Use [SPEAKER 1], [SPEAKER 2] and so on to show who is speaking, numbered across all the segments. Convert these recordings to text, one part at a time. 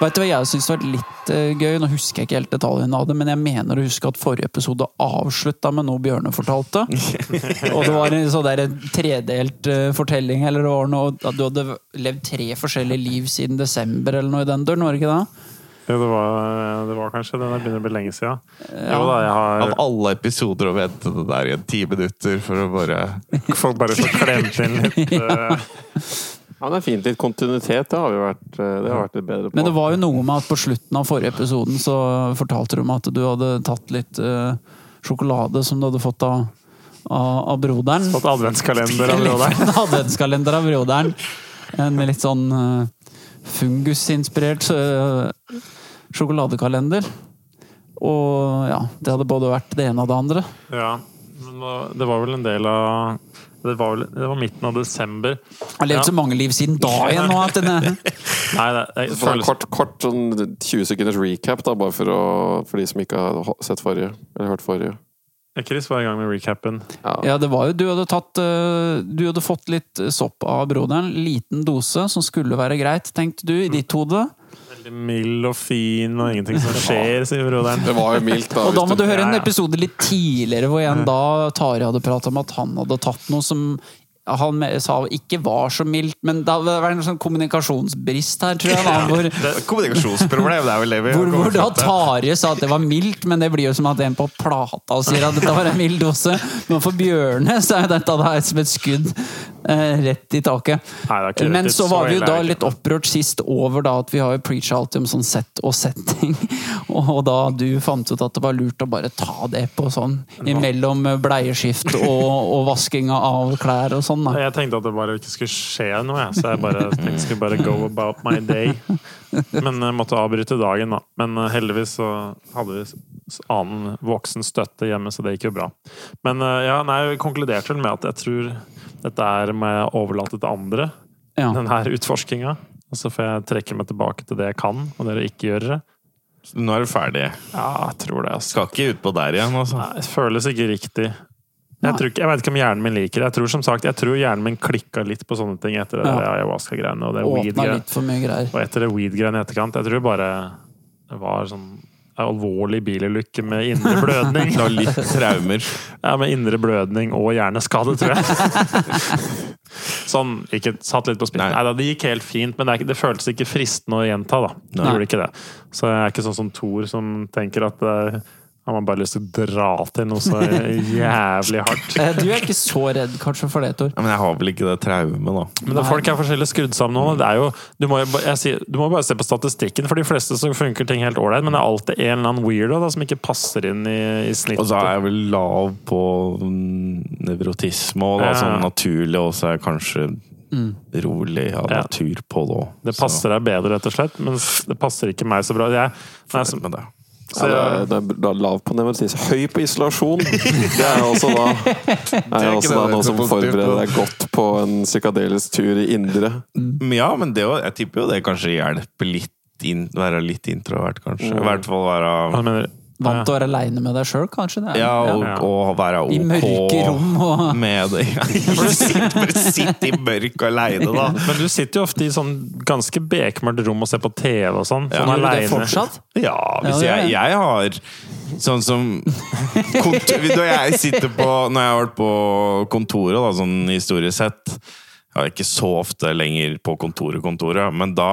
[SPEAKER 1] Vet du hva jeg syns var litt eh, gøy? Nå husker jeg ikke helt detaljene av det, men jeg mener å huske at forrige episode avslutta med noe Bjørne fortalte. Og det var en sånn der tredelt eh, fortelling, eller det var noe at du hadde levd tre forskjellige liv siden desember, eller noe i den døren, var det ikke det?
[SPEAKER 2] Jo, det var, det var kanskje det. Det begynner å bli lenge siden.
[SPEAKER 1] Ja.
[SPEAKER 2] Jo da, jeg
[SPEAKER 3] Av
[SPEAKER 2] har
[SPEAKER 3] alle episoder å vente det der i en ti minutter for å bare
[SPEAKER 2] folk bare får klemt inn litt. eh,
[SPEAKER 4] Ja, det er fint. Litt kontinuitet, det har vi vært, eh, det har vært litt bedre på.
[SPEAKER 1] Men det var jo noe med at på slutten av forrige episoden så fortalte du meg at du hadde tatt litt eh, sjokolade som du hadde fått av, av, av broderen.
[SPEAKER 2] Fått adventskalender av
[SPEAKER 1] Eller
[SPEAKER 2] broderen.
[SPEAKER 1] En adventskalender av broderen. En litt sånn eh, fungusinspirert eh, sjokoladekalender. Og ja, det hadde både vært det ene og det andre.
[SPEAKER 2] Ja, men hva- det var vel en del av det var, vel, det var midten av desember.
[SPEAKER 1] Jeg har levd
[SPEAKER 2] Ja.
[SPEAKER 1] så mange liv siden da igjen nå at denne
[SPEAKER 2] Nei, det, det
[SPEAKER 4] For en
[SPEAKER 2] føles
[SPEAKER 4] kort, kort sånn 20 sekunders recap, da, bare for, å, for de som ikke har ho- sett forrige, eller hørt forrige.
[SPEAKER 2] Chris var i gang med recapen.
[SPEAKER 1] Ja, det var jo Du hadde tatt eh, Du hadde fått litt sopp av broderen. Liten dose som skulle være greit, tenkte du, i ditt hode.
[SPEAKER 2] Veldig mild og fin og ingenting som skjer, sier broderen.
[SPEAKER 4] Det var jo mildt, da.
[SPEAKER 1] Og da
[SPEAKER 4] hvis
[SPEAKER 1] må du høre en
[SPEAKER 2] Ja, Mm. ja.
[SPEAKER 1] episode litt tidligere, hvor igjen da Tari hadde pratet om at han hadde tatt noe som han me- sa ikke var så mildt, men det hadde vært en sånn kommunikasjonsbrist her, tror jeg. Da, hvor,
[SPEAKER 3] Kommunikasjonsproblem, det er vel det vi
[SPEAKER 1] hvor, hvor da
[SPEAKER 3] kommet frem til.
[SPEAKER 1] Tari sa at det var mildt, men det blir jo som at en på plata sier at dette var en mild dose. Men for Bjørne så er dette da som et skudd eh, rett i taket.
[SPEAKER 2] Nei, det er ikke
[SPEAKER 1] Men
[SPEAKER 2] rett i-
[SPEAKER 1] så
[SPEAKER 2] så
[SPEAKER 1] var vi jo
[SPEAKER 2] ille er
[SPEAKER 1] da
[SPEAKER 2] det ikke.
[SPEAKER 1] litt opprørt sist over da at vi har jo preacha alltid om sånn sett og setting. Og da du fant ut at det var lurt å bare ta det på sånn imellom bleieskift og, og vaskinga av klær og sånn. da.
[SPEAKER 2] Jeg tenkte at det bare ikke skulle skje noe, jeg. så jeg bare tenkte jeg skulle bare go about my day. Men jeg måtte avbryte dagen, da. Men eh, heldigvis så hadde vi s- s- annen voksen støtte hjemme, så det gikk jo bra. Men eh, ja, nei, jeg konkluderte vel med at jeg tror dette er må jeg overlate til andre,
[SPEAKER 1] Ja.
[SPEAKER 2] denne utforskinga. Og så får jeg trekke meg tilbake til det jeg kan, og dere ikke gjør det.
[SPEAKER 3] Nå er du ferdig.
[SPEAKER 2] Ja, jeg tror det, altså.
[SPEAKER 3] Skal ikke utpå der igjen, altså.
[SPEAKER 2] Nei, det føles ikke riktig.
[SPEAKER 1] Nei.
[SPEAKER 2] Jeg, tror ikke, jeg vet ikke om hjernen min liker det. Jeg tror som sagt, jeg tror hjernen min klikka litt på sånne ting etter det
[SPEAKER 1] Ja.
[SPEAKER 2] der ayahuasca-greiene og det
[SPEAKER 1] Åpna
[SPEAKER 2] weed-greiene.
[SPEAKER 1] litt for mye greier.
[SPEAKER 2] Og etter det weed-greiene i etterkant. Jeg tror bare det var sånn en alvorlig bilulykke med indre blødning.
[SPEAKER 3] Du har litt traumer.
[SPEAKER 2] Ja, med indre blødning og hjerneskade, tror jeg. Sånn, ikke satt litt på spill.
[SPEAKER 3] Nei.
[SPEAKER 2] Nei. da, det gikk helt fint, men det, er ikke, det føltes ikke fristende å gjenta, da. Det
[SPEAKER 3] Nei.
[SPEAKER 2] Gjorde ikke det. Så jeg er ikke sånn som Thor, som tenker at eh, han har bare lyst til å dra til noe så jævlig hardt.
[SPEAKER 1] Eh, Du er ikke så redd kanskje for det, Tor.
[SPEAKER 3] Ja, Men jeg har vel ikke det traumet, da.
[SPEAKER 2] Men det, folk er forskjellig skrudd sammen nå. Det er jo, du, må jo ba- jeg sier, du må bare se på statistikken. For de fleste så funker ting helt ålreit, men det er alltid en eller annen weirdo da, som ikke passer inn i, i
[SPEAKER 3] Og
[SPEAKER 2] snittet.
[SPEAKER 3] så er jeg vel lav på mm, nevrotisme, og da
[SPEAKER 2] Ja. Mm.
[SPEAKER 3] sånn naturlig, og så er jeg kanskje rolig av
[SPEAKER 2] Ja.
[SPEAKER 3] natur på det òg.
[SPEAKER 2] Det passer deg bedre, rett og slett, mens det passer ikke meg så bra. Jeg, nei, så,
[SPEAKER 3] med det.
[SPEAKER 2] så,
[SPEAKER 4] Ja, det, er, det er da lav på nevrotis. Høy på isolasjon! Det er jo også da, er jo
[SPEAKER 3] ikke
[SPEAKER 4] også da
[SPEAKER 3] det
[SPEAKER 4] noe som
[SPEAKER 3] som positivt,
[SPEAKER 4] forbereder
[SPEAKER 3] da.
[SPEAKER 4] deg godt på en psykadelisk tur i indre.
[SPEAKER 2] Mm.
[SPEAKER 3] Men Ja, men det, å- jeg tipper jo det kanskje hjelper litt inn, være litt introvert, kanskje.
[SPEAKER 2] Mm.
[SPEAKER 3] I hvert fall være
[SPEAKER 2] hva mener du?
[SPEAKER 1] Vant til å være aleine med deg sjøl, kanskje? det er-
[SPEAKER 3] Ja, og,
[SPEAKER 2] Ja.
[SPEAKER 3] og være OK
[SPEAKER 1] I mørke rom og
[SPEAKER 3] med det. Ja, bare sitt- bare sitt i mørket aleine, da.
[SPEAKER 2] Men du sitter jo ofte i sånn ganske bekmørkt rom og ser på TV og sånn. Sånn
[SPEAKER 1] Gjør du det
[SPEAKER 2] alene.
[SPEAKER 1] fortsatt?
[SPEAKER 3] Ja,
[SPEAKER 1] Ja,
[SPEAKER 3] hvis
[SPEAKER 1] det er
[SPEAKER 3] jeg,
[SPEAKER 1] det.
[SPEAKER 3] jeg har sånn som kontor, Når jeg sitter på Når jeg har vært på kontoret, da, sånn historisk sett Jeg er ikke så ofte lenger på kontoret, kontoret, men da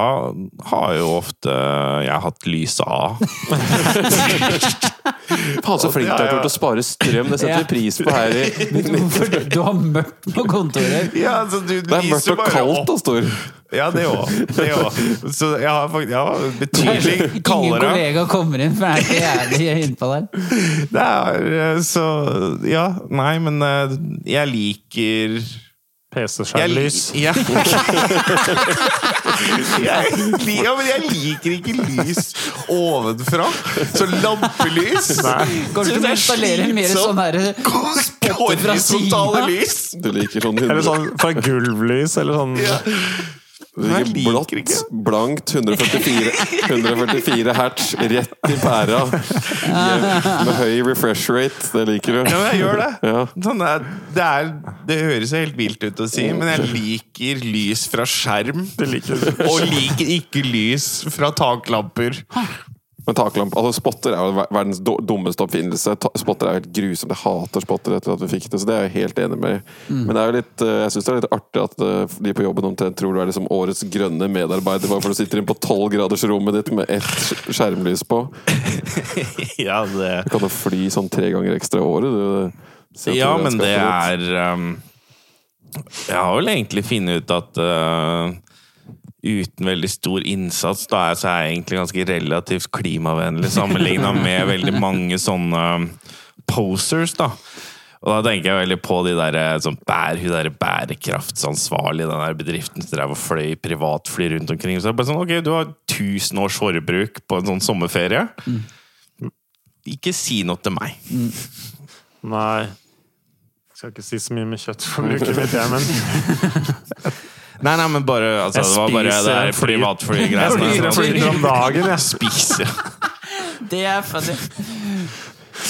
[SPEAKER 3] har jo ofte jeg hatt lyset av.
[SPEAKER 4] Faen, så flink du er til å spare strøm! Det setter vi pris på her i
[SPEAKER 1] Hvorfor du- du har mørkt på kontoret?
[SPEAKER 3] Ja, altså, du, du
[SPEAKER 4] Det er mørkt og kaldt og stor.
[SPEAKER 3] Ja, det òg. Så jeg har faktisk ja, betydelig
[SPEAKER 1] Ingen
[SPEAKER 3] kaldere.
[SPEAKER 1] kollega kommer inn, for jeg er ikke jævlig innpå der.
[SPEAKER 3] Det er eh, så Ja, nei, men eh, jeg liker Jeg lik-
[SPEAKER 2] PC-skjermlys.
[SPEAKER 3] Ja. jeg, li- ja, men jeg liker ikke lys ovenfra. Så lampelys
[SPEAKER 1] Kanskje du må installere mer sånn her
[SPEAKER 3] Horisontale lys!
[SPEAKER 4] Du liker sånn
[SPEAKER 2] Eller
[SPEAKER 4] hundre
[SPEAKER 2] sånn fra gulvlys, eller sånn
[SPEAKER 3] Ja. Nei, jeg liker
[SPEAKER 4] Blått,
[SPEAKER 3] ikke.
[SPEAKER 4] blankt, 144, 144 hertz, rett i pæra. Jevn- Med høy refresh rate. Det liker du.
[SPEAKER 3] Ja, men jeg gjør det.
[SPEAKER 4] Ja.
[SPEAKER 3] Sånn det, er, det, er, det høres jo helt vilt ut å si, men jeg liker lys fra skjerm.
[SPEAKER 2] Det liker du.
[SPEAKER 3] Og liker ikke lys fra taklamper.
[SPEAKER 4] Men taklamp, altså spotter er jo ver- verdens do- dummeste oppfinnelse. Ta spotter er jo helt grusomt. Jeg hater spotter etter at vi fikk det, så det er jeg helt enig med.
[SPEAKER 3] Mm.
[SPEAKER 4] Men det er jo litt, eh, jeg syns det er litt artig at eh, de på jobben omtrent tror du er liksom årets grønne medarbeider bare for du sitter inne på tolvgradersrommet ditt med ett sk- skjermlys på.
[SPEAKER 3] Ja, det
[SPEAKER 4] Du kan jo fly sånn tre ganger ekstra i året. Du, CO2
[SPEAKER 3] Ja, men det
[SPEAKER 4] regnskapet
[SPEAKER 3] er um, Jeg har vel egentlig funnet ut at uh, uten veldig stor innsats, da er, så er jeg egentlig ganske relativt klimavennlig sammenligna med veldig mange sånne um, posers, da. Og da tenker jeg veldig på de der, eh, sånn, bær, hun der bærekraftsansvarlig i den der bedriften som drev og fløy privatfly rundt omkring. Så det er bare sånn, ok, du har 1000 års forbruk på en sånn sommerferie. Ikke si noe til meg.
[SPEAKER 2] Nei. Skal ikke si så mye med kjøttforbruket mitt, jeg, men
[SPEAKER 3] Nei, nei, men bare altså,
[SPEAKER 2] Jeg
[SPEAKER 3] Det var bare det
[SPEAKER 2] spiser
[SPEAKER 3] der
[SPEAKER 2] en fly.
[SPEAKER 3] privatflygreiene.
[SPEAKER 2] jeg flyr
[SPEAKER 3] som
[SPEAKER 2] en
[SPEAKER 3] var-
[SPEAKER 2] flytur om dagen, jeg.
[SPEAKER 3] Spiser
[SPEAKER 1] Det er fattig.
[SPEAKER 3] om
[SPEAKER 4] ditt.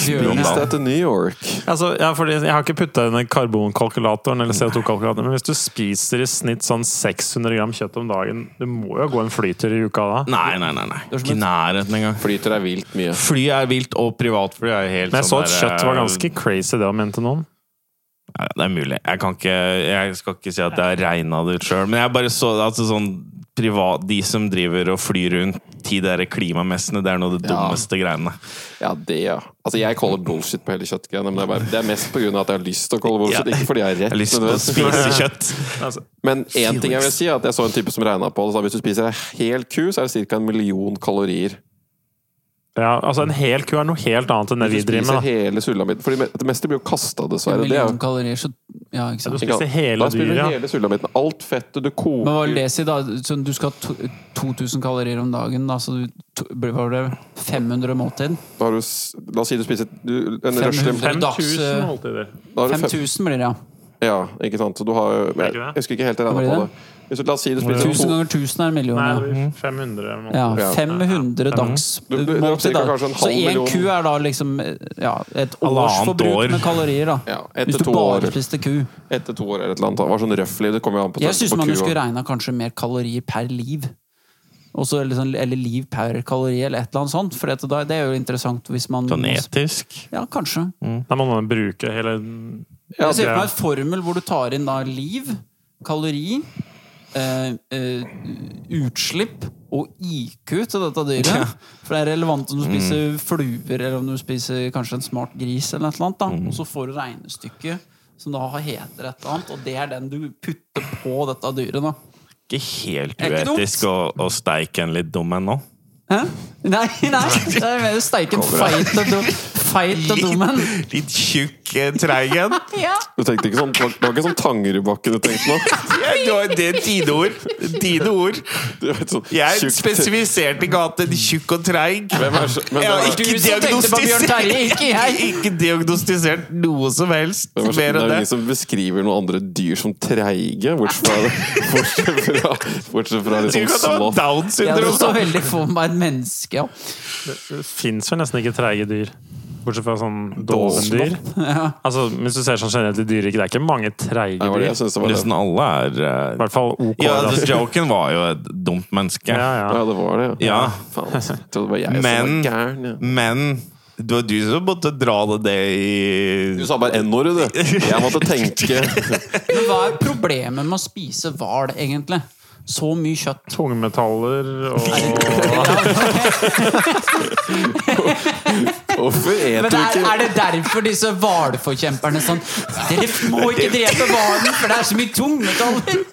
[SPEAKER 3] dagen.
[SPEAKER 4] Det er til New York.
[SPEAKER 2] Altså, ja, fordi jeg har ikke putta inn i karbonkalkulatoren eller CO2-kalkulatoren, men hvis du spiser i snitt sånn 600 gram kjøtt om dagen, du må jo gå en flytur i uka da.
[SPEAKER 3] Nei, nei, nei. nei. Ikke i nærheten engang.
[SPEAKER 4] Flyter er vilt mye.
[SPEAKER 3] Fly er vilt, og privatfly er jo helt
[SPEAKER 2] Men jeg så
[SPEAKER 3] sånn
[SPEAKER 2] at
[SPEAKER 3] der,
[SPEAKER 2] kjøtt var ganske crazy, det å mene til noen.
[SPEAKER 3] Nei, Det er mulig. Jeg, kan ikke, jeg skal ikke si at jeg regna det ut sjøl, men jeg bare så altså, sånn privat, De som driver og flyr rundt de der klimamessene, det er noe av det
[SPEAKER 4] Ja.
[SPEAKER 3] dummeste greiene.
[SPEAKER 4] Ja, det, ja. Altså, jeg caller bullshit på hele kjøttgreiene, men det er, bare, det er mest pga. at jeg har lyst til å calle bullshit,
[SPEAKER 3] Ja.
[SPEAKER 4] ikke fordi jeg har rett.
[SPEAKER 3] Jeg har lyst til å
[SPEAKER 4] nødvendigvis.
[SPEAKER 3] spise kjøtt.
[SPEAKER 2] Altså,
[SPEAKER 4] Men én ting jeg vil si, er at jeg så en type som regna på det. sa Hvis du spiser en hel ku, så er det ca. en million kalorier.
[SPEAKER 2] Ja, altså En hel ku er noe helt annet enn det vi
[SPEAKER 4] Hvis du
[SPEAKER 2] driver med.
[SPEAKER 4] spiser
[SPEAKER 2] da.
[SPEAKER 4] hele sulamitten. For det meste blir jo kasta,
[SPEAKER 1] En
[SPEAKER 4] dessverre. Det er
[SPEAKER 1] million
[SPEAKER 4] jo
[SPEAKER 1] kalorier, så Ja, ikke
[SPEAKER 2] Du
[SPEAKER 1] sant.
[SPEAKER 2] spiser hele
[SPEAKER 4] da spiser du
[SPEAKER 2] dyret. ja.
[SPEAKER 4] hele sulamitten. Alt fettet du
[SPEAKER 1] Men hva
[SPEAKER 4] koker
[SPEAKER 1] vil det si, da? Så du skal ha to- 2000 kalorier om dagen, da, så du to- blir- hva blir det 500 måltid?
[SPEAKER 4] da har du, s- La oss si du spiser du, en
[SPEAKER 1] 500.
[SPEAKER 4] røslim.
[SPEAKER 1] Fem-
[SPEAKER 2] 5000 måltider.
[SPEAKER 4] Da har du fem,
[SPEAKER 1] 5000 blir det, ja.
[SPEAKER 4] ja, ikke sant. Så du har jo Jeg
[SPEAKER 2] ikke det?
[SPEAKER 4] jeg husker ikke helt jeg
[SPEAKER 1] Hva
[SPEAKER 4] regna
[SPEAKER 1] blir
[SPEAKER 4] på
[SPEAKER 1] det?
[SPEAKER 4] det. Hvis du, la oss si du spiser
[SPEAKER 1] 1000
[SPEAKER 4] to
[SPEAKER 1] ganger 1000 er en million.
[SPEAKER 2] Nei,
[SPEAKER 1] Ja.
[SPEAKER 2] det blir 500 måltider.
[SPEAKER 1] Ja, 500 dags
[SPEAKER 4] Mm. Du- du- du-
[SPEAKER 1] måltid. Da.
[SPEAKER 4] cirka kanskje en
[SPEAKER 1] Så
[SPEAKER 4] halv
[SPEAKER 1] én
[SPEAKER 4] million.
[SPEAKER 1] ku er da liksom ja, et
[SPEAKER 3] Halvannet år.
[SPEAKER 1] årsforbruk med kalorier, da.
[SPEAKER 4] Ja, etter
[SPEAKER 1] Hvis du
[SPEAKER 4] to
[SPEAKER 1] bare
[SPEAKER 4] år.
[SPEAKER 1] spiste ku.
[SPEAKER 4] etter to år eller et eller annet. Det var sånn røfflig. Det kommer jo an på
[SPEAKER 1] Jeg
[SPEAKER 4] størrelsen
[SPEAKER 1] syns
[SPEAKER 4] på
[SPEAKER 1] man jo
[SPEAKER 4] kua.
[SPEAKER 1] skulle regna kanskje mer kalorier per liv. Også, eller, sånn- eller liv per kalori, eller et eller annet sånt. For det, det er jo interessant hvis man
[SPEAKER 3] Sånn etisk.
[SPEAKER 1] Ja, kanskje.
[SPEAKER 2] Da må man bruke hele
[SPEAKER 1] altså, Jeg ser
[SPEAKER 2] det-
[SPEAKER 1] for meg en formel hvor du tar inn da liv, kalori, eh, eh, utslipp og IQ til dette dyret. For det er relevant om du spiser fluer eller om du spiser kanskje en smart gris. eller, et eller annet, da. Og så får du regnestykket som da heter et eller annet, og det er den du putter på dette dyret. da.
[SPEAKER 3] Ikke helt
[SPEAKER 1] Er ikke dumt.
[SPEAKER 3] uetisk å, å steike en litt dum en nå.
[SPEAKER 1] Hæ? Nei, nei! Det er mer steiken feit og dum. Feit og dum en.
[SPEAKER 3] Litt, litt tjukk, eh, treig en.
[SPEAKER 1] Ja.
[SPEAKER 4] Du tenkte ikke sånn, det var- det var ikke sånn Tangerudbakken du tenkte nå?
[SPEAKER 3] Ja, Det var det er dine ord. Dine ord.
[SPEAKER 4] Du vet, sånn,
[SPEAKER 3] Jeg
[SPEAKER 4] tjukt-
[SPEAKER 3] spesifiserte ikke at en tjukk og treig.
[SPEAKER 4] Hvem er så- men
[SPEAKER 3] Jeg har
[SPEAKER 4] hvem er-
[SPEAKER 1] Du
[SPEAKER 3] ikke
[SPEAKER 1] som tenkte på Bjørn
[SPEAKER 3] diagnostisert,
[SPEAKER 1] Terje, ikke jeg!
[SPEAKER 3] ikke diagnostisert noe som helst
[SPEAKER 4] Hvem er så-
[SPEAKER 3] mer
[SPEAKER 4] det er
[SPEAKER 3] enn det.
[SPEAKER 4] jo liksom- ingen som beskriver noen andre dyr som treige, bortsett fra, bortsett fra, bortsett fra litt
[SPEAKER 3] Du
[SPEAKER 4] sånn
[SPEAKER 3] kan ta
[SPEAKER 4] sloth.
[SPEAKER 3] Downs
[SPEAKER 1] Jeg hadde
[SPEAKER 3] syndrom.
[SPEAKER 1] så
[SPEAKER 3] da.
[SPEAKER 1] veldig for meg et menneske. Ja.
[SPEAKER 2] Det fins vel nesten ikke treige dyr. Bortsett fra sånn dovendyr. Altså, hvis du ser sånn generelt i dyreriket, det er ikke mange treige
[SPEAKER 4] Det altså- var det
[SPEAKER 2] dyr.
[SPEAKER 4] jeg syntes det var. Det.
[SPEAKER 3] Nesten alle er
[SPEAKER 2] I
[SPEAKER 3] eh,
[SPEAKER 2] hvert fall OK.
[SPEAKER 3] Ja,
[SPEAKER 2] da.
[SPEAKER 3] altså, joken var jo et dumt menneske.
[SPEAKER 2] ja, ja.
[SPEAKER 4] Ja, det var det.
[SPEAKER 3] Ja.
[SPEAKER 4] Faen, altså. jeg trodde det var
[SPEAKER 3] Men-
[SPEAKER 4] jeg som var gæren. Ja.
[SPEAKER 3] Men det var du som måtte dra det det
[SPEAKER 4] Du
[SPEAKER 3] i
[SPEAKER 4] sa bare n-ordet, du. Jeg måtte tenke.
[SPEAKER 1] Men hva er problemet med å spise hval, egentlig? Så mye kjøtt.
[SPEAKER 2] Tungmetaller og
[SPEAKER 4] Hvorfor
[SPEAKER 1] Men
[SPEAKER 4] et
[SPEAKER 1] er,
[SPEAKER 4] uke?
[SPEAKER 1] er det derfor disse hvalforkjemperne sånn Dere må ikke drepe hvalen, for det er så mye tungmetaller!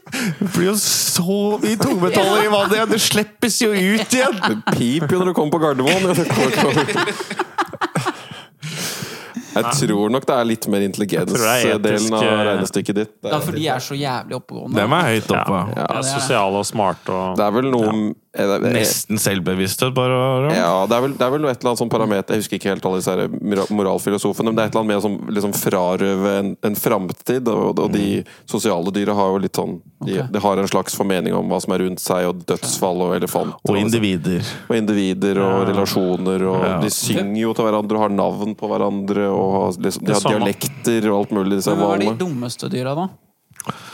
[SPEAKER 3] Det blir jo så mye tungmetaller i vannet! Ja, det slippes jo ut igjen!
[SPEAKER 4] Pip jo når du kommer på Gardermoen. Ja, det kommer- kommer. Jeg tror nok det er litt mer
[SPEAKER 2] Jeg tror det er etisk,
[SPEAKER 4] intelligens-delen av
[SPEAKER 2] eh,
[SPEAKER 4] regnestykket ditt. Det
[SPEAKER 1] Ja,
[SPEAKER 4] er-
[SPEAKER 1] for de er så jævlig oppegående.
[SPEAKER 3] Dem er høyt oppe.
[SPEAKER 2] ja, sosiale og smarte og
[SPEAKER 4] Det er vel noe Eh, det- det-
[SPEAKER 5] Nesten selvbevissthet, bare. Aron.
[SPEAKER 4] Ja, det er, vel, det er vel noe- et eller annet sånn parameter Jeg husker ikke helt alle disse her mora- moralfilosofene, men det er et eller annet med å som- liksom frarøve en, en framtid. Og, og
[SPEAKER 2] Mm.
[SPEAKER 4] de sosiale dyra har jo litt sånn de, de har en slags formening om hva som er rundt seg, og dødsfall og elefanter.
[SPEAKER 5] Og
[SPEAKER 4] og-
[SPEAKER 5] individer.
[SPEAKER 4] og individer og relasjoner, og
[SPEAKER 5] Ja.
[SPEAKER 4] de synger jo til hverandre og har navn på hverandre, og har liksom,
[SPEAKER 2] Det
[SPEAKER 4] de har
[SPEAKER 2] samme.
[SPEAKER 4] dialekter og alt mulig, disse
[SPEAKER 1] Men hva er de
[SPEAKER 4] hvalene.
[SPEAKER 1] dummeste dyra, da?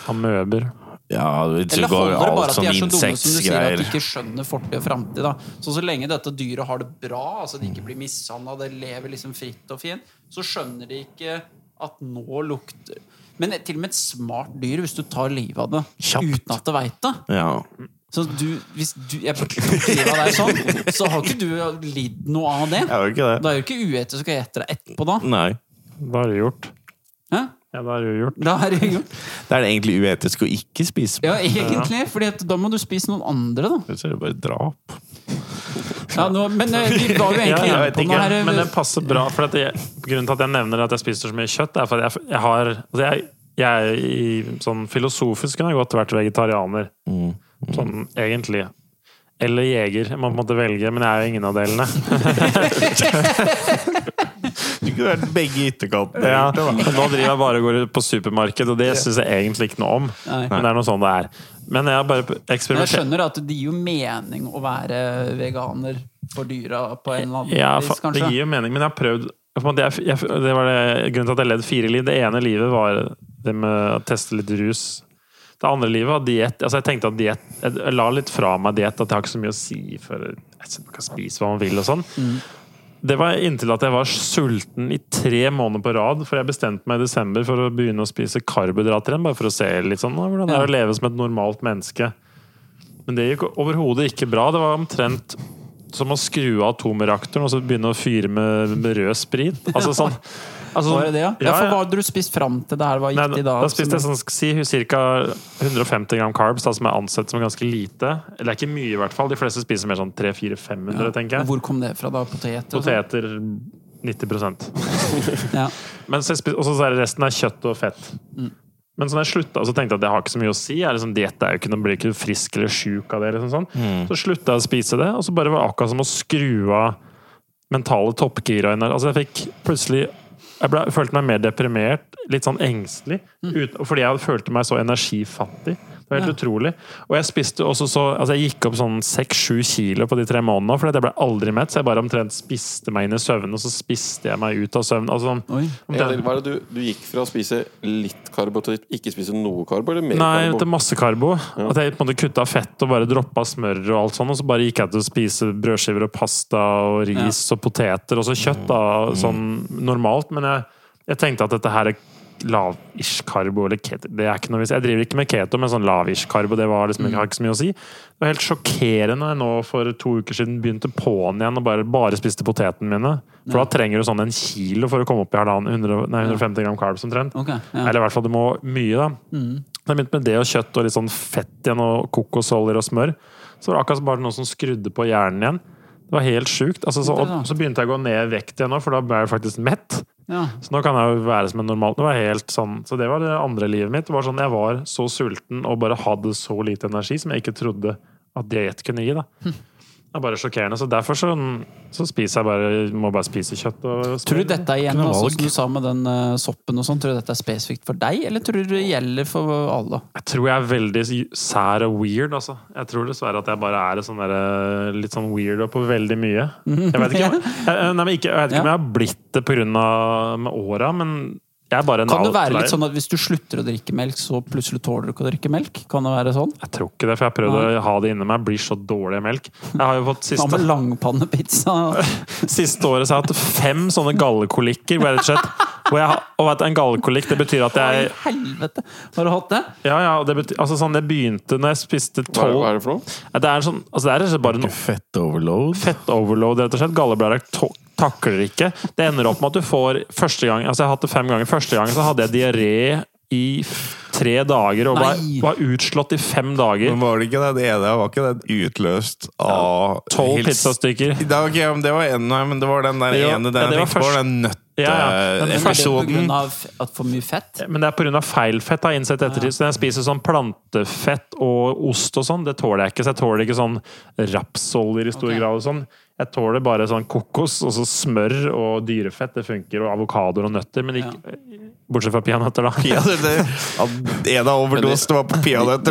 [SPEAKER 2] Amøber.
[SPEAKER 5] Ja, hvis du
[SPEAKER 1] Eller
[SPEAKER 5] går
[SPEAKER 1] holder det bare
[SPEAKER 5] alt
[SPEAKER 1] at de
[SPEAKER 5] sånn
[SPEAKER 1] er så dumme som du sier at
[SPEAKER 5] insektgreier.
[SPEAKER 1] de ikke skjønner fortid og framtid? da? Så så lenge dette dyret har det bra, altså de ikke blir mishandla, det lever liksom fritt og fint, så skjønner de ikke at nå lukter Men til og med et smart dyr, hvis du tar livet av det
[SPEAKER 5] Kjapt.
[SPEAKER 1] uten at det veit det
[SPEAKER 5] Ja.
[SPEAKER 1] så du, Hvis du jeg tok livet av deg sånn, så har ikke du lidd noe av det.
[SPEAKER 5] Jeg har jo ikke
[SPEAKER 1] Da
[SPEAKER 5] det.
[SPEAKER 1] er jo ikke uetisk å ete deg etterpå, da.
[SPEAKER 5] Nei.
[SPEAKER 2] Da er det gjort.
[SPEAKER 1] Hæ?
[SPEAKER 2] Ja, da er det jo gjort.
[SPEAKER 1] Da er det jo
[SPEAKER 5] Da er det egentlig uetisk å ikke spise.
[SPEAKER 1] Ja, egentlig, Fordi at da må du spise noen andre, da.
[SPEAKER 5] Ellers er det bare drap.
[SPEAKER 1] Ja, nå, men eh, vi var jo egentlig
[SPEAKER 2] Ja,
[SPEAKER 1] inne
[SPEAKER 2] jeg vet
[SPEAKER 1] på noe
[SPEAKER 2] ikke,
[SPEAKER 1] her. eh,
[SPEAKER 2] Men det passer bra. For at jeg, grunnen til at jeg nevner at jeg spiser så mye kjøtt, er for at jeg, jeg har altså jeg, jeg, i, sånn Filosofisk kunne jeg godt vært vegetarianer. Sånn egentlig. Eller jeger. Man måtte velge, men jeg er jo ingen av delene.
[SPEAKER 5] Du kunne vært begge ytterkantene.
[SPEAKER 2] Ja, men nå driver jeg bare og går ut på supermarked, og det syns jeg egentlig ikke noe om.
[SPEAKER 1] Nei.
[SPEAKER 2] Men det er noe sånn det er. Men jeg har bare
[SPEAKER 1] Men jeg
[SPEAKER 2] eksperimentert.
[SPEAKER 1] skjønner at det gir jo mening å være veganer for dyra på en eller annen
[SPEAKER 2] Ja, fa-
[SPEAKER 1] vis, kanskje.
[SPEAKER 2] det gir jo mening, men jeg har prøvd på en måte, jeg, jeg, Det var det, grunnen til at jeg levde fire liv. Det ene livet var det med å teste litt rus. Det andre livet var diett. Altså, jeg tenkte at diett jeg, jeg la litt fra meg diett, at jeg har ikke så mye å si for jeg kan spise hva man vil og sånn. Det var inntil at jeg var sulten i tre måneder på rad, for jeg bestemte meg i desember for å begynne å spise karbohydrater igjen, bare for å se litt sånn, «Å, hvordan det er å leve som et normalt menneske. Men det gikk overhodet ikke bra. Det var omtrent som å skru av atomreaktoren og så begynne å fyre med, med rød sprit. Altså sånn altså,
[SPEAKER 1] Var det det, ja?
[SPEAKER 2] sånn-
[SPEAKER 1] ja, for hva hadde du spist fram til det her var
[SPEAKER 2] Nei,
[SPEAKER 1] gikk i
[SPEAKER 2] da,
[SPEAKER 1] dag?
[SPEAKER 2] da spiste jeg sånn, si, ca. 150 gram carbs, da, som er ansett som ganske lite. Eller det er ikke mye, i hvert fall. De fleste spiser mer sånn 300-400-500, tenker jeg.
[SPEAKER 1] Hvor kom det fra, da? Potet? og sånn?
[SPEAKER 2] Poteter 90
[SPEAKER 1] Ja.
[SPEAKER 2] Men så jeg spis- og så er det resten er kjøtt og fett. Men så når jeg slutta, så tenkte jeg at det har ikke så mye å si. Jeg er liksom, diett er jo ikke noe, blir ikke frisk eller sjuk av det. Liksom, sånn. Så slutta jeg å spise det, og så bare var det akkurat som å skru av mentale toppgira. inn der. Altså, jeg fikk plutselig jeg ble, følte meg mer deprimert, litt sånn engstelig. Ut, fordi jeg følte meg så energifattig. Det var helt utrolig. Og jeg spiste også så altså Jeg gikk opp sånn 6-7 kilo på de tre månedene. For jeg ble aldri mett, så jeg bare omtrent spiste meg inn i søvnen, og så spiste jeg meg ut av søvnen. Altså sånn,
[SPEAKER 1] Oi.
[SPEAKER 4] Ja,
[SPEAKER 2] omtrent,
[SPEAKER 4] hva er det du, du gikk fra å spise litt karbo til ikke spise noe karbo, eller mer
[SPEAKER 2] Nei,
[SPEAKER 4] karbo?
[SPEAKER 2] til masse karbo. At jeg på en måte kutta fett og bare droppa smør og alt sånn, og så bare gikk jeg til å spise brødskiver og pasta og ris og poteter og så kjøtt, da,
[SPEAKER 1] Mm.
[SPEAKER 2] sånn normalt. Men jeg, jeg tenkte at dette her er lav-ish-karbo eller keto. Det er ikke noe vis. Jeg driver ikke med keto, men sånn lav-ish-karbo det var
[SPEAKER 1] Mm.
[SPEAKER 2] liksom, jeg har ikke så mye å si. Det var helt sjokkerende når jeg nå for to uker siden begynte på'n igjen og bare, bare spiste potetene mine. For da trenger du sånn en kilo for å komme opp i halvannen, 100, nei, 150 gram carbs omtrent.
[SPEAKER 1] Ok, ja. Mm.
[SPEAKER 2] Eller i hvert fall du må mye, da. Så jeg begynte med det og kjøtt og litt sånn fett igjen og kokosoljer og smør. Så var det akkurat som bare noen som skrudde på hjernen igjen. Det var helt sjukt. Altså, så, og,
[SPEAKER 1] Interessant.
[SPEAKER 2] så begynte jeg å gå ned i vekt igjen nå, for da ble jeg faktisk mett.
[SPEAKER 1] Ja.
[SPEAKER 2] Så nå kan jeg jo være som en normal Det var helt sånn, så det var det andre livet mitt. Det var sånn, Jeg var så sulten og bare hadde så lite energi som jeg ikke trodde at diett kunne gi. da.
[SPEAKER 1] Hm.
[SPEAKER 2] Det er bare sjokkerende. Så derfor så, så spiser jeg bare Må bare spise kjøtt og
[SPEAKER 1] Tror du dette er igjen,
[SPEAKER 5] Kunne
[SPEAKER 1] altså,
[SPEAKER 5] valg.
[SPEAKER 1] som du sa med den eh, soppen og sånn, tror du dette er spesifikt for deg, eller tror du det gjelder for alle?
[SPEAKER 2] Jeg tror jeg er veldig sær og weird, altså. Jeg tror dessverre at jeg bare er sånn derre- litt sånn weirdo på veldig mye. Jeg vet ikke, om- jeg, nei, men ikke, jeg vet ikke om jeg har blitt det pga. med åra, men jeg er bare en
[SPEAKER 1] Kan det være
[SPEAKER 2] outlier.
[SPEAKER 1] litt sånn at hvis du slutter å drikke melk, så plutselig tåler du ikke å drikke melk? Kan det være sånn?
[SPEAKER 2] Jeg tror ikke det, for jeg har prøvd å ha det inni meg. Jeg Blir så dårlig av melk. Jeg har jo fått
[SPEAKER 1] Hva med
[SPEAKER 2] siste,
[SPEAKER 1] langpannepizza?
[SPEAKER 2] siste året så har jeg hatt fem sånne gallekolikker. Hvor jeg rett og slett hvor jeg, har- og vet, du, En gallekolikk, det betyr at
[SPEAKER 1] Hva i
[SPEAKER 2] jeg
[SPEAKER 1] helvete? Har du hatt det?
[SPEAKER 2] Ja, ja, og det betyr, altså sånn, det begynte når jeg spiste
[SPEAKER 4] Hva er, hva
[SPEAKER 2] tolv
[SPEAKER 4] er det for noe?
[SPEAKER 2] Ja, Det er sånn, altså det er rett og slett bare noe
[SPEAKER 5] Fett overload.
[SPEAKER 2] fettoverload, rett og slett. Galleblæra to- takler ikke. Det ender opp med at du får første gang Altså, jeg har hatt det fem ganger. Første gangen så hadde jeg diaré i f- tre dager og var,
[SPEAKER 1] Nei.
[SPEAKER 2] var utslått i fem dager.
[SPEAKER 5] Men var det ikke det? Det ene var ikke det utløst av
[SPEAKER 2] Tolv
[SPEAKER 5] hils-
[SPEAKER 2] pizzastykker.
[SPEAKER 5] Da, ok, men det var en, nei, men det var den der
[SPEAKER 2] Jo,
[SPEAKER 5] ene
[SPEAKER 2] ja,
[SPEAKER 5] den
[SPEAKER 2] det
[SPEAKER 5] jeg
[SPEAKER 2] var
[SPEAKER 5] tenkte på,
[SPEAKER 2] først.
[SPEAKER 5] den nøtt
[SPEAKER 2] Ja, ja. Men-
[SPEAKER 5] fett-episoden.
[SPEAKER 1] Pga. for mye fett?
[SPEAKER 2] Men det er pga. feil fett, har jeg innsett i ettertid. Så når jeg spiser sånn plantefett og ost og sånn, det tåler jeg ikke. Så jeg tåler ikke sånn rapsoljer i stor
[SPEAKER 1] Ok.
[SPEAKER 2] grad og sånn. Jeg tåler bare sånn kokos og så smør og dyrefett. Det funker. Og avokadoer og nøtter. Men ikke, bortsett fra peanøtter, da.
[SPEAKER 5] Ja, det, det, at en av overdosene var på peanøtter.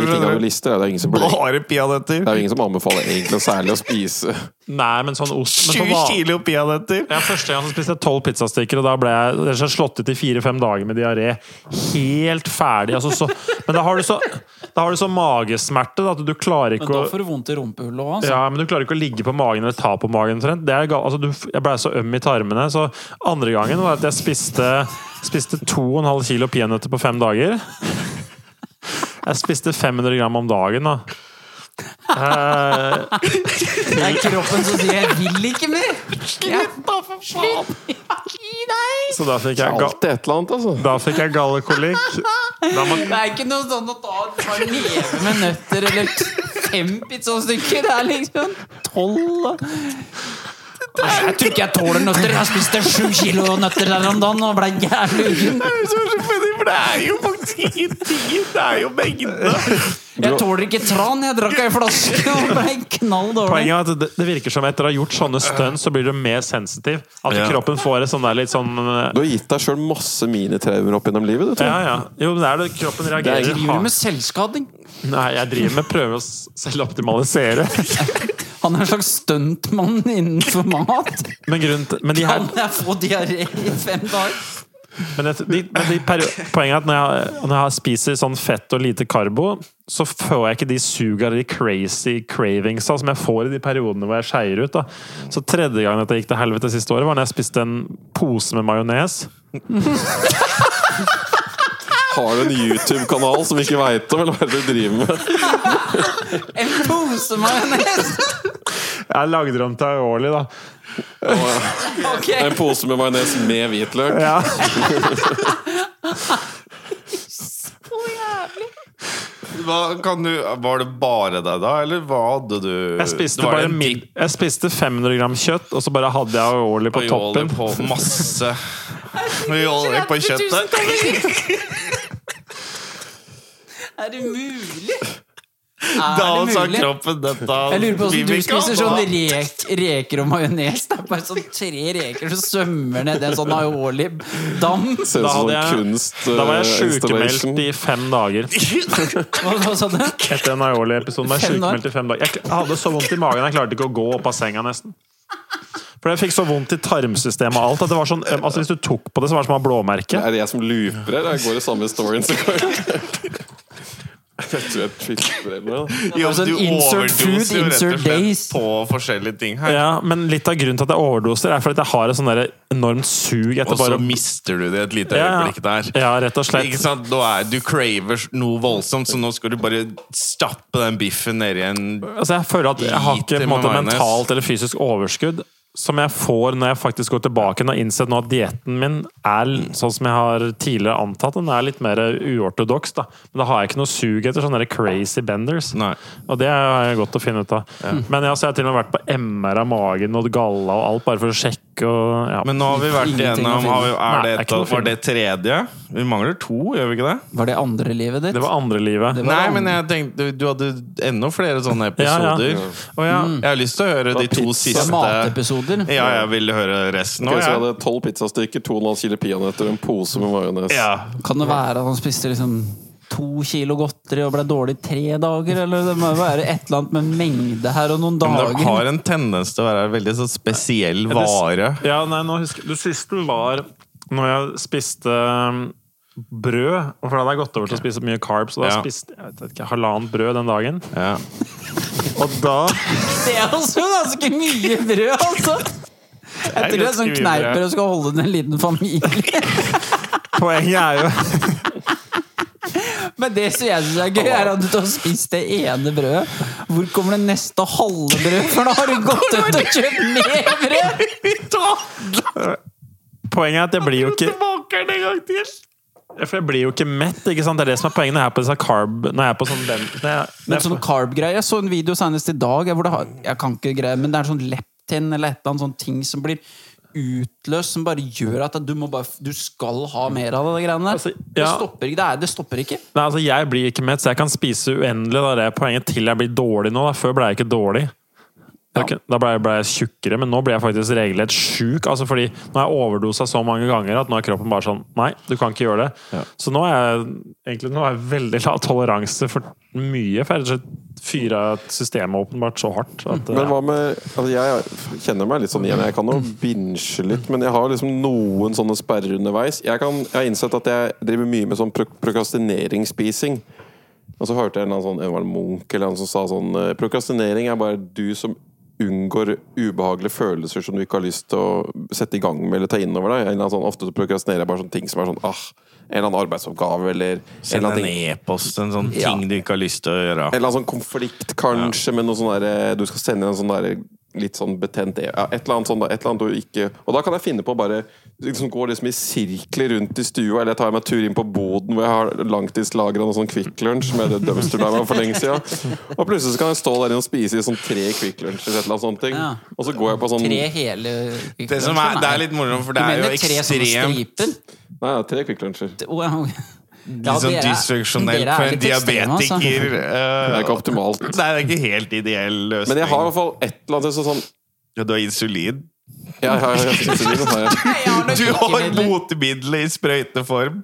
[SPEAKER 4] De tingene med
[SPEAKER 5] skjønner du?
[SPEAKER 4] lister, er det er ingen som burde
[SPEAKER 5] Bare peanøtter!
[SPEAKER 4] Det er jo ingen som anbefaler egentlig særlig å spise
[SPEAKER 2] Nei, men sånn ost men
[SPEAKER 5] 20
[SPEAKER 2] sånn, va-
[SPEAKER 5] kilo peanøtter!
[SPEAKER 2] ja, Første gang så spiste jeg tolv pizzastykker, og da ble jeg rett og slett slått ut i fire-fem dager med diaré. Helt ferdig. Altså, så, men da har du så, da har du så magesmerte da, at du klarer ikke
[SPEAKER 1] Men da
[SPEAKER 2] å
[SPEAKER 1] får du vondt i rumpehullet òg, altså.
[SPEAKER 2] Ja, men du klarer ikke å ligge på magen eller ta på magen. omtrent. Det er gal altså, du, jeg blei så øm i tarmene. Så andre gangen var at jeg spiste, spiste 2,5 kilo peanøtter på fem dager. Jeg spiste 500 gram om dagen, da. Eh,
[SPEAKER 1] Det er kroppen som sier 'jeg vil ikke mer'! Slutt, da, for faen! Gi deg!
[SPEAKER 2] så da fikk jeg, ga
[SPEAKER 4] alltid et eller annet, altså.
[SPEAKER 2] da fikk jeg gallekolikk. Da må,
[SPEAKER 1] Det er ikke noe sånn å ta et par neve med nøtter eller fem pizzastykker. Det er liksom tolv Jeg tror ikke jeg tåler nøtter. Jeg spiste sju kilo nøtter der om dagen og ble jævlig uggen.
[SPEAKER 5] Det er jo så spennende, for det er jo faktisk ingenting! Det er jo mengdene!
[SPEAKER 1] Jeg tåler ikke tran. Jeg drakk ei flaske og ble knall dårlig.
[SPEAKER 2] poenget er at det, det virker som etter å ha gjort sånne stunt, så blir du mer sensitiv. At
[SPEAKER 5] Ja.
[SPEAKER 2] kroppen får et sånn der litt sånn eh,
[SPEAKER 4] Du har gitt deg sjøl masse minitraumer opp gjennom livet, du, tror
[SPEAKER 2] Ja,
[SPEAKER 4] jeg.
[SPEAKER 2] ja. Jo, men det er det. Kroppen reagerer.
[SPEAKER 1] Jeg driver med selvskading.
[SPEAKER 2] Nei, jeg driver med å prøve å s- selvoptimalisere.
[SPEAKER 1] Han er en slags stuntmann innenfor mat.
[SPEAKER 2] Men, grunnen til, men de her
[SPEAKER 1] Kan jeg få diaré i fem dager?
[SPEAKER 2] men jeg- de, men de perio- Poenget er at når jeg, når jeg spiser sånn fett og lite karbo, så får jeg ikke de suga eller de crazy cravingsa som jeg får i de periodene hvor jeg skeier ut. Da. Så tredje gangen at jeg gikk til helvete siste året, var når jeg spiste en pose med majones.
[SPEAKER 4] Har du en YouTube-kanal som ikke veit om, eller hva er det du driver med?
[SPEAKER 1] En pose majones!
[SPEAKER 2] Jeg lagde det om til aioli, da.
[SPEAKER 1] Ok,
[SPEAKER 4] En pose med majones med hvitløk?
[SPEAKER 2] Ja.
[SPEAKER 5] Hva kan du, var det bare deg da, eller hva hadde du
[SPEAKER 2] Jeg spiste,
[SPEAKER 5] Det var
[SPEAKER 2] bare
[SPEAKER 5] en
[SPEAKER 2] min, jeg spiste 500 gram kjøtt, og så bare hadde jeg aioli på
[SPEAKER 5] aioli
[SPEAKER 2] toppen.
[SPEAKER 5] på sånn masse aioli på kjøttet.
[SPEAKER 1] er det mulig?
[SPEAKER 5] Da
[SPEAKER 1] Er det
[SPEAKER 5] sa
[SPEAKER 1] mulig?
[SPEAKER 5] kroppen dette
[SPEAKER 1] Jeg lurer på
[SPEAKER 5] blir
[SPEAKER 1] hvordan du
[SPEAKER 5] vi ikke
[SPEAKER 1] spiser
[SPEAKER 5] ha.
[SPEAKER 1] sånn rek, reker og majones. Det er bare sånn tre reker som svømmer ned i en sånn aioli dam.
[SPEAKER 4] Ser ut
[SPEAKER 2] Da,
[SPEAKER 4] som
[SPEAKER 2] hadde
[SPEAKER 4] sånn
[SPEAKER 2] jeg,
[SPEAKER 4] kunst
[SPEAKER 2] da var
[SPEAKER 4] eh,
[SPEAKER 2] jeg
[SPEAKER 4] installation.
[SPEAKER 2] sjukemeldt i fem dager.
[SPEAKER 1] Hva, hva sa du?
[SPEAKER 2] Etter en aioli-episode var jeg
[SPEAKER 1] Fem dager.
[SPEAKER 2] sykemeldt i fem dager. Jeg hadde så vondt i magen, jeg klarte ikke å gå opp av senga nesten. For jeg fikk så vondt i tarmsystemet og alt. At det var sånn, altså Hvis du tok på det, så var det som å ha blåmerke.
[SPEAKER 4] Er det jeg som looper her? Jeg går i samme storyen som går. Jeg tror jeg twister eller noe.
[SPEAKER 5] Jo,
[SPEAKER 1] sånn
[SPEAKER 5] du
[SPEAKER 1] insert food,
[SPEAKER 5] overdoser jo rett
[SPEAKER 1] insert
[SPEAKER 5] og slett
[SPEAKER 1] days.
[SPEAKER 5] på forskjellige ting her.
[SPEAKER 2] Ja, Men litt av grunnen til at jeg overdoser, er fordi at jeg har et sånn der enormt sug etter
[SPEAKER 5] Og så
[SPEAKER 2] bare å-
[SPEAKER 5] mister du det et lite
[SPEAKER 2] Ja,
[SPEAKER 5] øyeblikk der.
[SPEAKER 2] ja, rett og slett.
[SPEAKER 5] Ikke sant? Nå er, du craver noe voldsomt, så nå skal du bare stappe den biffen nedi en
[SPEAKER 2] Altså Jeg føler at jeg har ikke på en måte,
[SPEAKER 5] Lite majones.
[SPEAKER 2] mentalt eller fysisk overskudd som jeg får når jeg faktisk går tilbake og har innsett nå at dietten min er l- sånn som jeg har tidligere antatt. Den er litt mer uortodoks, da. Men da har jeg ikke noe sug etter sånne der crazy benders.
[SPEAKER 5] Nei.
[SPEAKER 2] Og det er jo godt å finne ut av. Men ja, så jeg har til og med vært på MR av magen og galla og alt, bare for å sjekke og ja.
[SPEAKER 5] Men nå har vi vært
[SPEAKER 1] Ingenting å
[SPEAKER 5] igjennom har vi,
[SPEAKER 2] Nei,
[SPEAKER 5] er det
[SPEAKER 2] det er
[SPEAKER 5] et,
[SPEAKER 2] ikke noe å
[SPEAKER 5] Var det tredje? Vi mangler to, gjør vi ikke det?
[SPEAKER 1] Var det andre livet ditt?
[SPEAKER 2] Det var andre livet.
[SPEAKER 1] Det var-
[SPEAKER 5] Nei, men jeg tenkte du hadde enda flere sånne
[SPEAKER 2] Ja, ja.
[SPEAKER 5] episoder. Mm.
[SPEAKER 2] Å ja.
[SPEAKER 1] Mm.
[SPEAKER 5] Jeg har lyst til å høre de to
[SPEAKER 1] Det
[SPEAKER 4] pizza.
[SPEAKER 1] er
[SPEAKER 5] siste.
[SPEAKER 1] Matepisoder?
[SPEAKER 5] Ja, jeg ville høre resten
[SPEAKER 4] Ok, så jeg
[SPEAKER 5] òg,
[SPEAKER 4] hadde tolv pizzastykker, 2,5 kilo peanøtter, en pose med majones.
[SPEAKER 5] Ja.
[SPEAKER 1] Kan det være at han spiste liksom to kilo godteri og ble dårlig i tre dager? Eller det må jo være et eller annet med mengde her og noen
[SPEAKER 5] Men det
[SPEAKER 1] dager?
[SPEAKER 5] har en tendens til å være en veldig sånn spesiell vare.
[SPEAKER 2] Ja, nei, nå husker Det siste var når jeg spiste um, brød. og For da hadde jeg gått over til å spise mye carbs, og da
[SPEAKER 5] Ja.
[SPEAKER 2] spiste jeg vet ikke, halvannet brød den dagen.
[SPEAKER 5] Ja.
[SPEAKER 2] Og da
[SPEAKER 1] Det er også ganske mye brød, altså! Jeg tror det er
[SPEAKER 2] ganske
[SPEAKER 1] sånn
[SPEAKER 2] mye brød.
[SPEAKER 1] kneiper og skal holde den en liten familie.
[SPEAKER 2] Poenget er jo
[SPEAKER 1] Men det som jeg syns er gøy, er at du har spist det ene brødet. Hvor kommer det neste halve brød? For da har du gått ut og kjøpt mer brød!
[SPEAKER 2] Poenget er at jeg blir jo ikke Ja, For jeg blir jo ikke mett, ikke sant? Det er det som er poenget når jeg er på disse carb Når jeg er på sånn den, når jeg, når
[SPEAKER 1] Men
[SPEAKER 2] jeg,
[SPEAKER 1] sånn carb-greie. Jeg så en video senest i dag hvor det har Jeg kan ikke greie, men det er sånn leptin eller et eller annet sånn ting som blir utløst som bare gjør at du, må bare, du skal ha mer av det, det greiene der.
[SPEAKER 2] Altså,
[SPEAKER 1] det,
[SPEAKER 2] ja.
[SPEAKER 1] stopper ikke, det, er, det stopper ikke.
[SPEAKER 2] Nei, altså Jeg blir ikke mett, så jeg kan spise uendelig. Da. Det er poenget til jeg blir dårlig nå. Da. Før ble jeg ikke dårlig. Da
[SPEAKER 1] Ja.
[SPEAKER 2] kun- Da ble jeg, ble jeg tjukkere, men nå blir jeg faktisk regelrett sjuk. Altså fordi nå har jeg overdosa så mange ganger at nå er kroppen bare sånn Nei, du kan ikke gjøre det. Så nå er jeg egentlig nå har jeg veldig lav toleranse for mye. For jeg rett og slett fyra systemet åpenbart så hardt. At, eh,
[SPEAKER 4] Mm. Men
[SPEAKER 2] ja.
[SPEAKER 4] hva med altså Jeg kjenner meg litt sånn igjen. Jeg kan jo binge litt, men jeg har liksom noen sånne sperrer underveis. Jeg, kan, jeg har innsett at jeg driver mye med sånn pro prokrastineringsspising. Og så hørte jeg en eller annen sånn, det var en munk eller en som sa sånn eh, Prokrastinering er bare du som unngår ubehagelige følelser som du ikke har lyst til å sette i gang med eller ta innover deg. En eller annen sånn, ofte så prokrastinerer jeg bare sånne ting som er sånn ah, En eller annen arbeidsoppgave eller en
[SPEAKER 5] Send
[SPEAKER 4] eller annen
[SPEAKER 5] en
[SPEAKER 4] ting.
[SPEAKER 5] e-post, en sånn
[SPEAKER 1] Ja.
[SPEAKER 5] ting du ikke har lyst til å
[SPEAKER 4] En
[SPEAKER 5] gjøre.
[SPEAKER 4] eller annen sånn konflikt, kanskje, med noe sånn derre Du skal sende inn en sånn derre litt sånn betent e- ja, Et eller annet sånn, da. Et eller annet du ikke Og da kan jeg finne på å bare liksom gå liksom i sirkler rundt i stua, eller jeg tar meg en tur inn på boden hvor jeg har langtidslagra noe sånn Kvikk Lunsj med det dumpster diver for lenge siden. Og plutselig så kan jeg stå der inne og spise i sånn tre Kvikk Lunsjer eller et eller annet sånt ting.
[SPEAKER 1] Ja.
[SPEAKER 4] Og så går jeg på sånn
[SPEAKER 1] Tre
[SPEAKER 4] Nei,
[SPEAKER 1] hele
[SPEAKER 5] Mm. Det, som er, det er litt morsomt, for det er jo ekstremt
[SPEAKER 4] ja, tre Kvikk Lunsjer.
[SPEAKER 1] Litt
[SPEAKER 5] sånn dysfunksjonelt for en
[SPEAKER 1] altså.
[SPEAKER 5] diabetiker.
[SPEAKER 4] Det
[SPEAKER 5] eh,
[SPEAKER 4] er ikke optimalt.
[SPEAKER 5] Nei, det er ikke helt ideell løsning.
[SPEAKER 4] Men jeg har i hvert fall et eller annet så sånn
[SPEAKER 5] Ja, du har insulin.
[SPEAKER 4] Ja, ja, ja, ja, ja, ja, ja.
[SPEAKER 5] Du har botemiddelet i sprøyteform.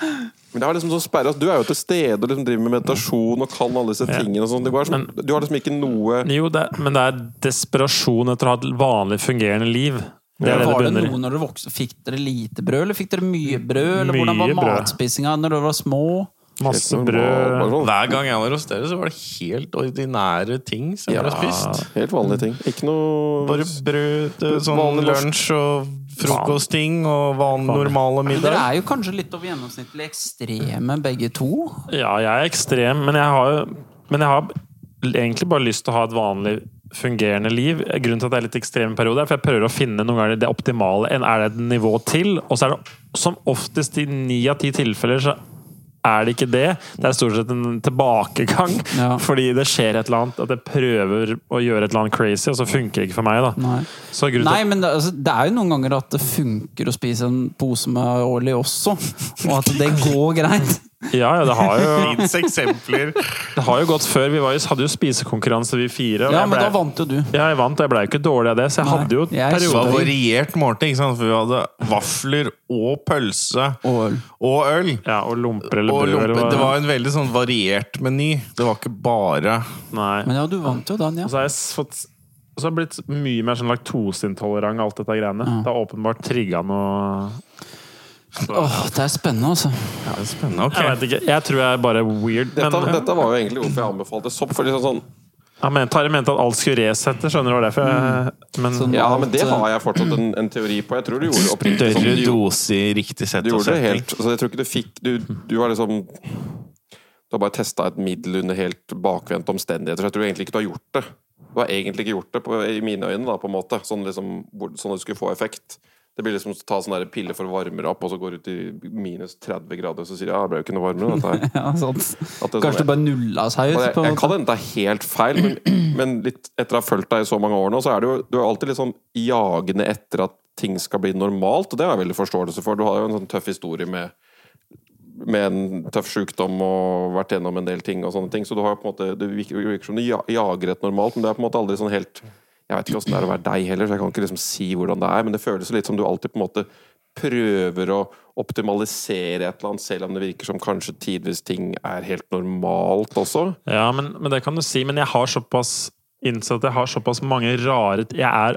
[SPEAKER 4] Men det er liksom sånn sperre, altså, Du er jo til stede og liksom driver med meditasjon og kan alle disse tingene. Og sånn. det går, som, du har liksom ikke noe
[SPEAKER 2] Jo, det, er- men det er desperasjon etter å ha et vanlig fungerende liv. Det er det det
[SPEAKER 1] Var det
[SPEAKER 2] bunner i.
[SPEAKER 1] noe når dere vokste Fikk dere lite brød, eller fikk dere mye brød? Eller
[SPEAKER 2] Mye
[SPEAKER 1] hvordan var
[SPEAKER 2] brød.
[SPEAKER 1] matspisinga når dere var små?
[SPEAKER 2] Masse
[SPEAKER 4] Normal,
[SPEAKER 2] brød.
[SPEAKER 4] bare sånn.
[SPEAKER 5] Hver gang jeg var hos dere, så var det helt ordinære ting som
[SPEAKER 4] Ja.
[SPEAKER 5] ble spist.
[SPEAKER 4] Helt vanlige ting. Ikke noe
[SPEAKER 5] Bare brød, eh, sånn
[SPEAKER 4] Vanlig norsk.
[SPEAKER 5] lunsj og frokostting og vanlig normale
[SPEAKER 1] Dere
[SPEAKER 5] middag.
[SPEAKER 1] er jo kanskje litt over gjennomsnittlig ekstreme, begge to.
[SPEAKER 2] Ja, jeg er ekstrem, men jeg har, men jeg har egentlig bare lyst til å ha et vanlig fungerende liv. Grunnen til at det er litt ekstrem i perioder, er for jeg prøver å finne noen ganger det optimale. En er det et nivå til, og så er det som oftest i ni av ti tilfeller så er det ikke det. Det er stort sett en tilbakegang,
[SPEAKER 1] Ja.
[SPEAKER 2] fordi det skjer et eller annet, at jeg prøver å gjøre et eller annet crazy, og så funker det ikke for meg, da.
[SPEAKER 1] Nei.
[SPEAKER 2] Så grunnen
[SPEAKER 1] Nei,
[SPEAKER 2] til at
[SPEAKER 1] men det, altså, det er jo noen ganger at det funker å spise en pose med aioli også. Og at det går greit.
[SPEAKER 2] Ja, ja, det har jo
[SPEAKER 5] Fins eksempler.
[SPEAKER 2] Det har jo gått før. Vi var jo, hadde jo spisekonkurranse, vi fire. og
[SPEAKER 1] Ja,
[SPEAKER 2] jeg
[SPEAKER 1] men
[SPEAKER 2] ble-
[SPEAKER 1] da vant jo du.
[SPEAKER 2] Ja, jeg vant, og jeg ble jo ikke dårlig av det, så jeg
[SPEAKER 1] Nei,
[SPEAKER 2] hadde jo
[SPEAKER 1] jeg
[SPEAKER 5] Det
[SPEAKER 2] perioder
[SPEAKER 5] var variert måltid, ikke sant? for vi hadde vafler og pølse
[SPEAKER 1] Og øl.
[SPEAKER 5] og øl.
[SPEAKER 2] ja, og lomper eller
[SPEAKER 5] Og
[SPEAKER 2] brød.
[SPEAKER 5] lompe.
[SPEAKER 2] eller hva-
[SPEAKER 5] Det var en veldig sånn variert meny. Det var ikke bare
[SPEAKER 2] Nei.
[SPEAKER 1] Men ja, du vant jo den, ja.
[SPEAKER 2] Og så har jeg s- fått og så har jeg blitt mye mer sånn laktoseintolerant, alt dette greiene. Det har åpenbart trigga noe
[SPEAKER 1] Åh, det er spennende, altså.
[SPEAKER 5] ja, det er Spennende.
[SPEAKER 2] Jeg
[SPEAKER 5] Ok.
[SPEAKER 2] vet ikke. Jeg tror jeg er bare weird. Men,
[SPEAKER 4] dette, dette var jo egentlig hvorfor jeg anbefalte sopp. For liksom sånn,
[SPEAKER 2] ja, men Tarjei mente at alt skulle resette, skjønner du hva det er for jeg- Men
[SPEAKER 1] Sånn.
[SPEAKER 4] ja, men det har jeg fortsatt en, en teori på. Jeg tror du gjorde oppriktig sånn.
[SPEAKER 5] Større
[SPEAKER 4] Du,
[SPEAKER 5] dose i riktig sett
[SPEAKER 4] du
[SPEAKER 5] og
[SPEAKER 4] gjorde det
[SPEAKER 5] setting.
[SPEAKER 4] helt altså, Jeg tror ikke du fikk Du, du var liksom Du har bare testa et middel under helt bakvendte omstendigheter. Så jeg tror egentlig ikke du har gjort det. Du har egentlig ikke gjort det, på, i mine øyne, da, på en måte. Sånn, liksom, hvor- sånn at du skulle få effekt. Det blir liksom å ta sånn der pille for å varme deg opp, og så går du ut i minus 30 grader, og så sier du ja, det ble jo ikke noe varmere, dette her.
[SPEAKER 1] Ja, sant.
[SPEAKER 4] At det er
[SPEAKER 1] Kanskje
[SPEAKER 4] sånn-
[SPEAKER 1] det bare nulla seg ut?
[SPEAKER 4] Og jeg,
[SPEAKER 1] på en
[SPEAKER 4] jeg
[SPEAKER 1] måte.
[SPEAKER 4] kan hende det er helt feil, men, men litt etter å ha fulgt deg i så mange år nå, så er det jo, du er alltid litt sånn jagende etter at ting skal bli normalt, og det har jeg veldig forståelse for. Du har jo en sånn tøff historie med, med en tøff sykdom og vært gjennom en del ting og sånne ting, så du har jo på en måte, det virker, virker som du ja- jager et normalt, men det er på en måte aldri sånn helt Jeg vet ikke åssen det er å være deg heller, så jeg kan ikke liksom si hvordan det er, men det føles jo litt som du alltid på en måte prøver å optimalisere et eller annet, selv om det virker som kanskje tidvis ting er helt normalt også.
[SPEAKER 2] Ja, men, men det kan du si. Men jeg har såpass innsett at jeg har såpass mange rare t- Jeg er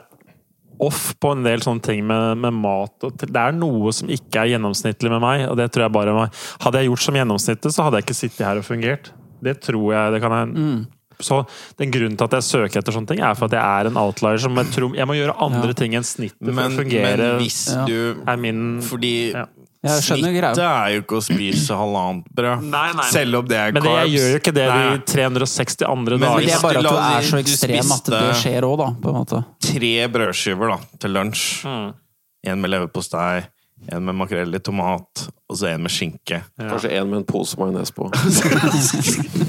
[SPEAKER 2] off på en del sånne ting med, med mat. Og til- det er noe som ikke er gjennomsnittlig med meg. og det tror jeg bare var- Hadde jeg gjort som gjennomsnittet, så hadde jeg ikke sittet her og fungert. Det tror jeg det kan jeg... Så den grunnen til at jeg søker etter sånne ting, er for at jeg er en outlier. som Jeg, tror, jeg må gjøre andre ting enn snittet for
[SPEAKER 5] Men,
[SPEAKER 2] å fungere.
[SPEAKER 5] men hvis du
[SPEAKER 2] er min...
[SPEAKER 5] Fordi
[SPEAKER 2] Ja.
[SPEAKER 1] Jeg skjønner greia.
[SPEAKER 5] snittet er jo ikke å spise halvannet brød.
[SPEAKER 2] Nei, nei.
[SPEAKER 5] Selv om det er
[SPEAKER 2] Men det, jeg gjør jo ikke det
[SPEAKER 5] Nei.
[SPEAKER 2] de 360 andre
[SPEAKER 5] Men
[SPEAKER 1] Men
[SPEAKER 2] dager.
[SPEAKER 1] det er
[SPEAKER 5] hvis
[SPEAKER 1] bare
[SPEAKER 5] du
[SPEAKER 1] at du
[SPEAKER 5] la-
[SPEAKER 1] er så
[SPEAKER 5] du
[SPEAKER 1] ekstrem at det
[SPEAKER 5] spiste-
[SPEAKER 1] skjer òg, da. På en måte.
[SPEAKER 5] Tre brødskiver da, til lunsj. En med leverpostei, en med makrell i tomat, og så en med skinke.
[SPEAKER 4] Kanskje en med en pose majones på.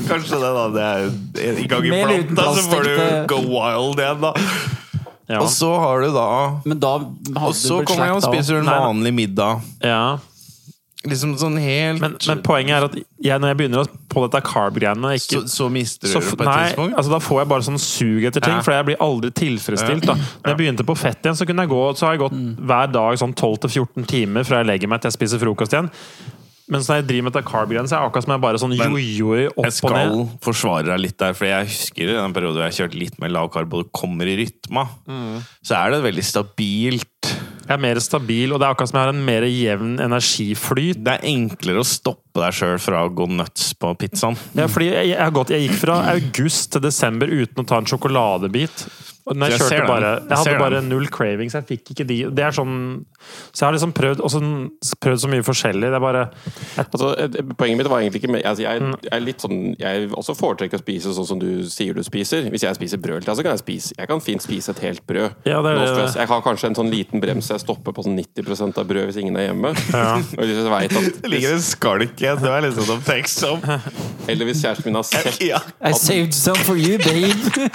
[SPEAKER 5] Kanskje det, da. Det er en gang i
[SPEAKER 1] Mer
[SPEAKER 5] plata, så får du
[SPEAKER 1] utenlandstekte-
[SPEAKER 5] go wild igjen, da.
[SPEAKER 2] Ja.
[SPEAKER 5] Og så har du da
[SPEAKER 1] Men da
[SPEAKER 5] Og
[SPEAKER 1] hadde du
[SPEAKER 5] så
[SPEAKER 1] blitt
[SPEAKER 5] kommer jeg og
[SPEAKER 1] slakta
[SPEAKER 5] spiser en
[SPEAKER 2] Nei, nei.
[SPEAKER 5] vanlig middag.
[SPEAKER 2] ja.
[SPEAKER 5] Liksom sånn helt
[SPEAKER 2] Men, men poenget er at jeg, når jeg begynner å- på dette carb-greiene ikke-
[SPEAKER 5] så, så mister du
[SPEAKER 2] så
[SPEAKER 5] det
[SPEAKER 2] f-
[SPEAKER 5] på et
[SPEAKER 2] nei,
[SPEAKER 5] tidspunkt.
[SPEAKER 2] altså Da får jeg bare sånn sug etter ting,
[SPEAKER 5] Ja.
[SPEAKER 2] for jeg blir aldri tilfredsstilt. da Når jeg begynte på fett igjen, så kunne jeg gå Så har jeg gått
[SPEAKER 5] Mm.
[SPEAKER 2] hver dag sånn 12-14 timer fra jeg legger meg til jeg spiser frokost igjen. Mens når jeg driver med dette carb-greiene, så er det akkurat som jeg bare sånn
[SPEAKER 5] Men
[SPEAKER 2] jojoer
[SPEAKER 5] Jeg
[SPEAKER 2] opp og
[SPEAKER 5] skal
[SPEAKER 2] ned.
[SPEAKER 5] forsvare deg litt der, for jeg husker i den perioden jeg kjørte litt mer lav karbo, og det kommer i rytma, så er det veldig stabilt.
[SPEAKER 2] Jeg er mer stabil, og det er akkurat som jeg har en mer jevn energiflyt.
[SPEAKER 5] Det er enklere å stoppe deg sjøl fra å gå nuts på pizzaen.
[SPEAKER 2] Ja, fordi jeg, jeg, har gått, jeg gikk fra august til desember uten å ta en sjokoladebit. Og når jeg,
[SPEAKER 5] Jeg ser
[SPEAKER 2] kjørte
[SPEAKER 5] den.
[SPEAKER 2] bare,
[SPEAKER 5] Jeg
[SPEAKER 2] jeg hadde
[SPEAKER 5] ser
[SPEAKER 2] bare
[SPEAKER 5] den.
[SPEAKER 2] null cravings. Jeg fikk ikke de. Det er sånn, så jeg har liksom prøvd, og sånn- prøvd så mye forskjellig. Det er bare
[SPEAKER 4] Altså, eh, poenget mitt var egentlig ikke med, altså,
[SPEAKER 2] Mm.
[SPEAKER 4] jeg, jeg er litt sånn Jeg også foretrekker å spise sånn som du sier du spiser. Hvis jeg spiser brød, til deg, så kan jeg spise Jeg kan fint spise et helt brød.
[SPEAKER 2] Ja, det er
[SPEAKER 4] No
[SPEAKER 2] det.
[SPEAKER 4] stress. Jeg har kanskje en sånn liten brems jeg stopper på sånn 90 av brød hvis ingen er hjemme. Og hvis jeg vet at,
[SPEAKER 5] en skalk igjen, det er liksom som tekst som
[SPEAKER 4] eller hvis kjæresten min har sett
[SPEAKER 5] ja.
[SPEAKER 1] I saved some for you, babe!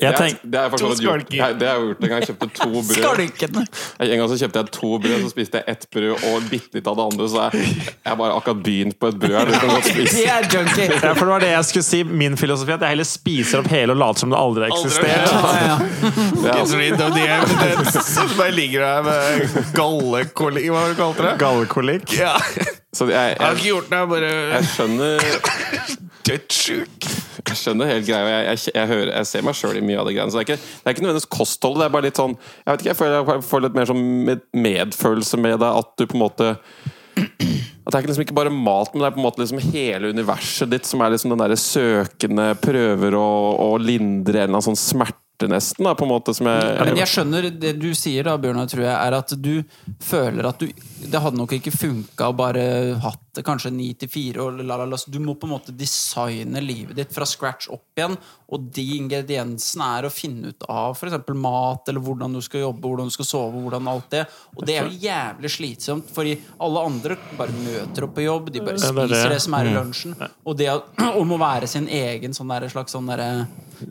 [SPEAKER 2] Jeg
[SPEAKER 4] det,
[SPEAKER 2] tenk,
[SPEAKER 4] er, det, er faktisk
[SPEAKER 5] To
[SPEAKER 4] noe jeg har gjort.
[SPEAKER 5] skalker.
[SPEAKER 4] Nei, det har jeg gjort en gang. Jeg kjøpte to brød.
[SPEAKER 1] Skalkende!
[SPEAKER 4] En gang så kjøpte jeg to brød, så spiste jeg ett brød og bitte litt av det andre. Så jeg, jeg har bare akkurat begynt på et brød. her, Det kan jeg godt spise.
[SPEAKER 1] Det er junkie!
[SPEAKER 2] Ja, for det var det jeg skulle si. Min filosofi er at jeg heller spiser opp hele og later som det aldri har eksistert.
[SPEAKER 1] Ja, ja.
[SPEAKER 4] Det er altså-
[SPEAKER 5] Som bare ligger der med gallekolikk Hva har du kalt det?
[SPEAKER 2] Gallekolikk.
[SPEAKER 5] Ja.
[SPEAKER 4] Så jeg,
[SPEAKER 5] Jeg har
[SPEAKER 4] jeg,
[SPEAKER 5] ikke gjort det, jeg er bare
[SPEAKER 4] jeg skjønner
[SPEAKER 5] dødssjuk.
[SPEAKER 4] Jeg skjønner helt greia. og Jeg, jeg, jeg, hører, jeg ser meg sjøl i mye av det greiene. Så det er ikke, det er ikke nødvendigvis kostholdet. Det er bare litt sånn Jeg vet ikke, jeg føler jeg får litt mer sånn med, medfølelse med deg. At du på en måte At det er ikke liksom ikke bare mat, men det er på en måte liksom hele universet ditt som er liksom den derre søkende Prøver å, å lindre en eller annen sånn smerte, nesten, da, på en måte, som jeg,
[SPEAKER 1] Men jeg skjønner det du sier, da, Bjørnar, tror jeg, er at du føler at du Det hadde nok ikke funka å bare hatt det kanskje ni til fire år, la, la, la. Så Du må på en måte designe livet ditt fra scratch opp igjen. Og de ingrediensene er å finne ut av f.eks. mat, eller hvordan du skal jobbe, hvordan du skal sove, hvordan alt det. Og det er jo jævlig slitsomt, fordi alle andre bare møter opp på jobb, de bare
[SPEAKER 2] Ja, det er det. Mm.
[SPEAKER 1] spiser det som er i lunsjen. Og det at- om å være sin egen sånn der, slags sånn derre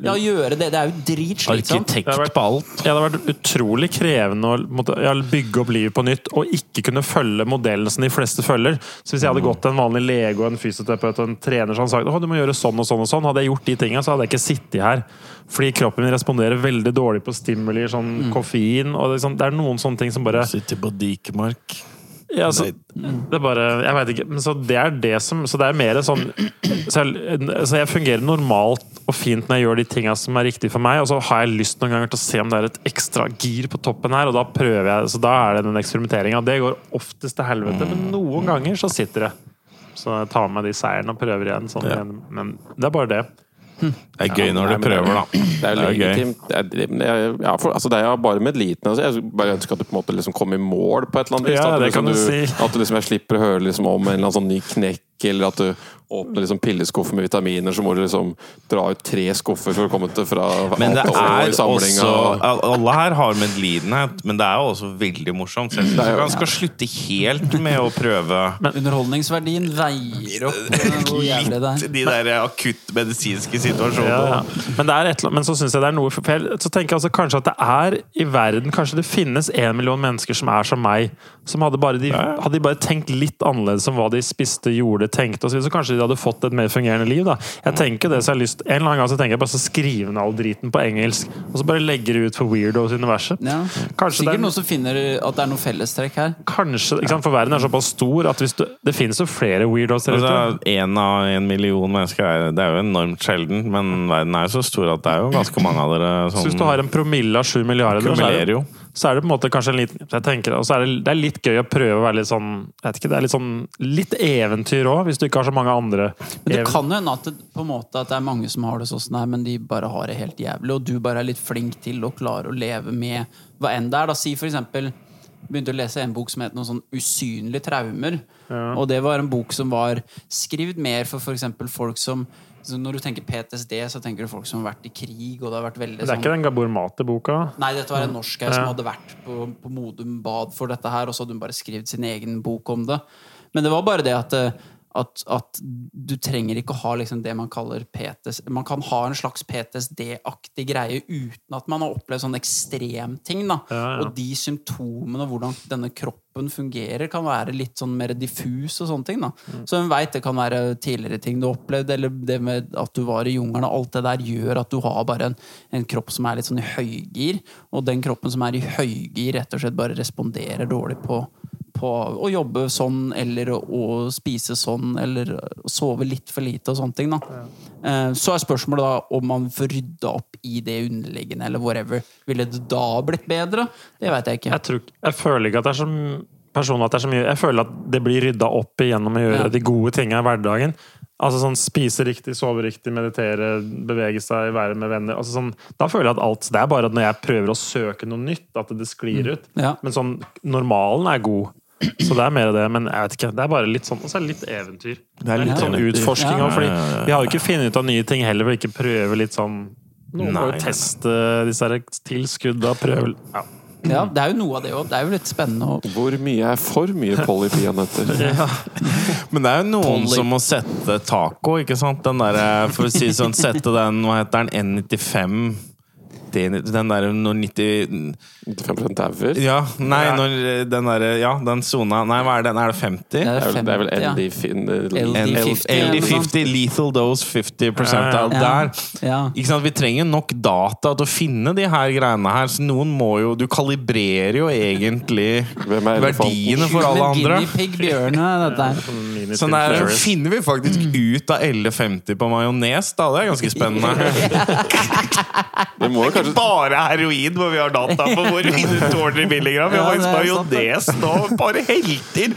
[SPEAKER 1] Ja,
[SPEAKER 2] Mm.
[SPEAKER 1] gjøre det. Det er jo dritslitsomt.
[SPEAKER 5] Arkitekt på alt.
[SPEAKER 2] Ja, det har vært utrolig krevende å måtte, ja, bygge opp livet på nytt og ikke kunne følge modellen som de fleste følger. Så Hvis jeg
[SPEAKER 5] Mm.
[SPEAKER 2] hadde gått til en vanlig lege og en fysioterapeut og en trener som hadde sagt «Åh, du må gjøre sånn og sånn og sånn, hadde jeg gjort de tingene, så hadde jeg ikke sittet her. Fordi kroppen min responderer veldig dårlig på stimulier, sånn
[SPEAKER 5] Mm.
[SPEAKER 2] koffein og det, er sånn- det er noen sånne ting som bare
[SPEAKER 5] Sitter på Dikemark.
[SPEAKER 2] Ja, så, det er bare Jeg veit ikke. Men så det er det som Så det er mer sånn så jeg, så jeg fungerer normalt og fint når jeg gjør de tinga som er riktig for meg, og så har jeg lyst noen ganger til å se om det er et ekstra gir på toppen her, og da prøver jeg. Så da er det den eksperimenteringa. Det går oftest til helvete, men noen ganger så sitter det. Så jeg tar med meg de seierne og prøver igjen. Sånn,
[SPEAKER 5] Ja.
[SPEAKER 2] igjen. Men det er bare det.
[SPEAKER 5] Det er gøy når du prøver, da.
[SPEAKER 4] Det er jo
[SPEAKER 5] Det er gøy.
[SPEAKER 4] legitimt. Det er, det er- ja, for, altså, det er jo bare medliten. Altså, jeg bare ønsker at du på en måte liksom kommer i mål på et eller annet vis.
[SPEAKER 2] Ja,
[SPEAKER 4] da. at,
[SPEAKER 2] det kan
[SPEAKER 4] liksom,
[SPEAKER 2] du
[SPEAKER 4] du,
[SPEAKER 2] si.
[SPEAKER 4] at du liksom, jeg slipper å høre liksom, om en eller annen sånn ny knekk, eller at du åpner liksom, pilleskuffer med vitaminer, så må du liksom dra ut tre skuffer for å komme til fra
[SPEAKER 5] Men det
[SPEAKER 4] alt og i
[SPEAKER 5] er
[SPEAKER 4] samlinga,
[SPEAKER 5] også
[SPEAKER 4] og-
[SPEAKER 5] al- Alle her har medlidenhet, men det er jo også veldig morsomt. Så jeg syns
[SPEAKER 4] er jo-
[SPEAKER 5] man skal slutte helt med å prøve
[SPEAKER 1] Underholdningsverdien veier opp eh, hvor jævlig det
[SPEAKER 5] litt
[SPEAKER 1] er.
[SPEAKER 5] de der akutt medisinske situasjonene.
[SPEAKER 2] Ja, ja. Men, det er et, eller annet- men så syns jeg det er noe for- for jeg- Så tenker jeg altså kanskje at det er i verden Kanskje det finnes en million mennesker som er som meg. Som hadde bare de, hadde de bare tenkt litt annerledes om hva de spiste, gjorde, tenkte og så videre, så kanskje de hadde fått et mer fungerende liv. Da. Jeg tenker det, så jeg har lyst En eller annen gang så tenker jeg bare så skrive ned all driten på engelsk, og så bare legger det ut for weirdos i universet.
[SPEAKER 1] Ja.
[SPEAKER 2] Kanskje det
[SPEAKER 1] Sikkert
[SPEAKER 2] er
[SPEAKER 1] noen som finner at det er noe fellestrekk her.
[SPEAKER 2] Kanskje, ikke sant? For verden er såpass stor at hvis du, det finnes jo flere weirdos der ute.
[SPEAKER 5] Altså, en av en million mennesker er, det er jo enormt sjelden, men verden er jo så stor at det er jo ganske mange av dere
[SPEAKER 2] Så
[SPEAKER 5] som
[SPEAKER 2] hvis du har en promille av sju milliarder så er det-
[SPEAKER 5] kumulerer jo.
[SPEAKER 2] så er det på en måte kanskje en liten jeg tenker, og så er det, det er litt gøy å prøve å være litt sånn jeg vet ikke, det er litt sånn litt eventyr òg, hvis du ikke har så mange andre
[SPEAKER 1] Men det
[SPEAKER 2] even-
[SPEAKER 1] kan jo hende at det, på en måte at det er mange som har det sånn, som det er, men de bare har det helt jævlig, og du bare er litt flink til å klare å leve med hva enn det er. Da Si for eksempel begynte å lese en bok som het noe sånn 'Usynlige traumer'. Og det var en bok som var skrevet mer for f.eks. folk som så Når du tenker PTSD, så tenker du folk som har vært i krig, og det har vært veldig
[SPEAKER 2] Det er
[SPEAKER 1] sånn
[SPEAKER 2] ikke den Gabor Mate-boka?
[SPEAKER 1] Nei, dette var en norsk her som hadde vært på, på Modum Bad for dette her, og så hadde hun bare skrevet sin egen bok om det. Men det var bare det at eh, at, at du trenger ikke å ha liksom det man kaller PTS Man kan ha en slags PTSD-aktig greie uten at man har opplevd sånne ekstremting. da.
[SPEAKER 2] Ja, ja.
[SPEAKER 1] Og de symptomene og hvordan denne kroppen fungerer, kan være litt sånn mer diffus. og sånne ting da.
[SPEAKER 2] Mm.
[SPEAKER 1] Så hun veit det kan være tidligere ting du har opplevd, eller det med at du var i jungelen. og Alt det der gjør at du har bare en, en kropp som er litt sånn i høygir. Og den kroppen som er i høygir, rett og slett bare responderer dårlig på på å jobbe sånn, eller å, å spise sånn, eller å sove litt for lite og sånne ting. Da. Eh, Så er spørsmålet da om man får rydda opp i det underliggende, eller whatever. Ville det da blitt bedre? Det veit jeg ikke.
[SPEAKER 2] Jeg, tror, ikke- jeg føler ikke at det er så m- personlig at det er så mye Jeg føler at det blir rydda opp i gjennom å gjøre
[SPEAKER 1] Ja.
[SPEAKER 2] de gode tinga i hverdagen. Altså sånn Spise riktig, sove riktig, meditere, bevege seg, være med venner. Altså sånn, da føler jeg at alt Det er bare at når jeg prøver å søke noe nytt, at det sklir ut.
[SPEAKER 1] Mm. Ja.
[SPEAKER 2] Men sånn, normalen er god. Så det er mer det. Men jeg vet ikke, det er bare litt sånn, og så er det litt eventyr. Det er litt
[SPEAKER 5] litt
[SPEAKER 2] sånn
[SPEAKER 5] eventyr.
[SPEAKER 2] utforsking
[SPEAKER 1] Ja.
[SPEAKER 2] òg, fordi
[SPEAKER 5] Ja, ja, ja.
[SPEAKER 2] vi har jo ikke funnet ut av nye ting heller, og ikke prøve litt sånn Noen må
[SPEAKER 5] Nei, nei, nei.
[SPEAKER 2] jo teste disse her tilskudda, prøve ja.
[SPEAKER 1] Ja, det er jo noe av det òg. Det er jo litt spennende å
[SPEAKER 4] Hvor mye er for mye polypeanøtter?
[SPEAKER 5] Men det er jo noen
[SPEAKER 1] Polly.
[SPEAKER 5] som må sette taco, ikke sant? Den der, for å si det sånn, sette den, hva heter den, N95 det- Den der når 90
[SPEAKER 4] 95 dauer?
[SPEAKER 5] Ja, nei,
[SPEAKER 2] Ja.
[SPEAKER 5] når eh, den derre Ja, den sona Nei, hva er den? Er det 50?
[SPEAKER 1] Ja,
[SPEAKER 4] Det er vel- det er vel
[SPEAKER 1] ja.
[SPEAKER 4] LD
[SPEAKER 5] L- L-
[SPEAKER 1] LD50, eller noe sånt.
[SPEAKER 5] LD50, lethal dose 50
[SPEAKER 2] Ja,
[SPEAKER 5] av
[SPEAKER 1] ja.
[SPEAKER 5] der.
[SPEAKER 1] Ja.
[SPEAKER 5] Ikke sant? Vi trenger nok data til å finne de her greiene her, så noen må jo Du kalibrerer jo egentlig
[SPEAKER 4] Hvem er elefanten?
[SPEAKER 5] verdiene for alle
[SPEAKER 1] Men
[SPEAKER 5] andre.
[SPEAKER 1] guinea pig, bjørne, dette her.
[SPEAKER 4] Sånn
[SPEAKER 5] Så
[SPEAKER 1] Sånn
[SPEAKER 5] der finner vi faktisk
[SPEAKER 1] Mm.
[SPEAKER 5] ut av LD50 på majones, da. Det er ganske spennende.
[SPEAKER 4] Det må jo
[SPEAKER 5] Det er
[SPEAKER 4] kanskje
[SPEAKER 5] ikke bare heroin hvor vi har data på hvor vi tåler i milligram. Vi har
[SPEAKER 1] Ja, det
[SPEAKER 5] faktisk
[SPEAKER 1] er sant,
[SPEAKER 5] majones nå. Bare helter.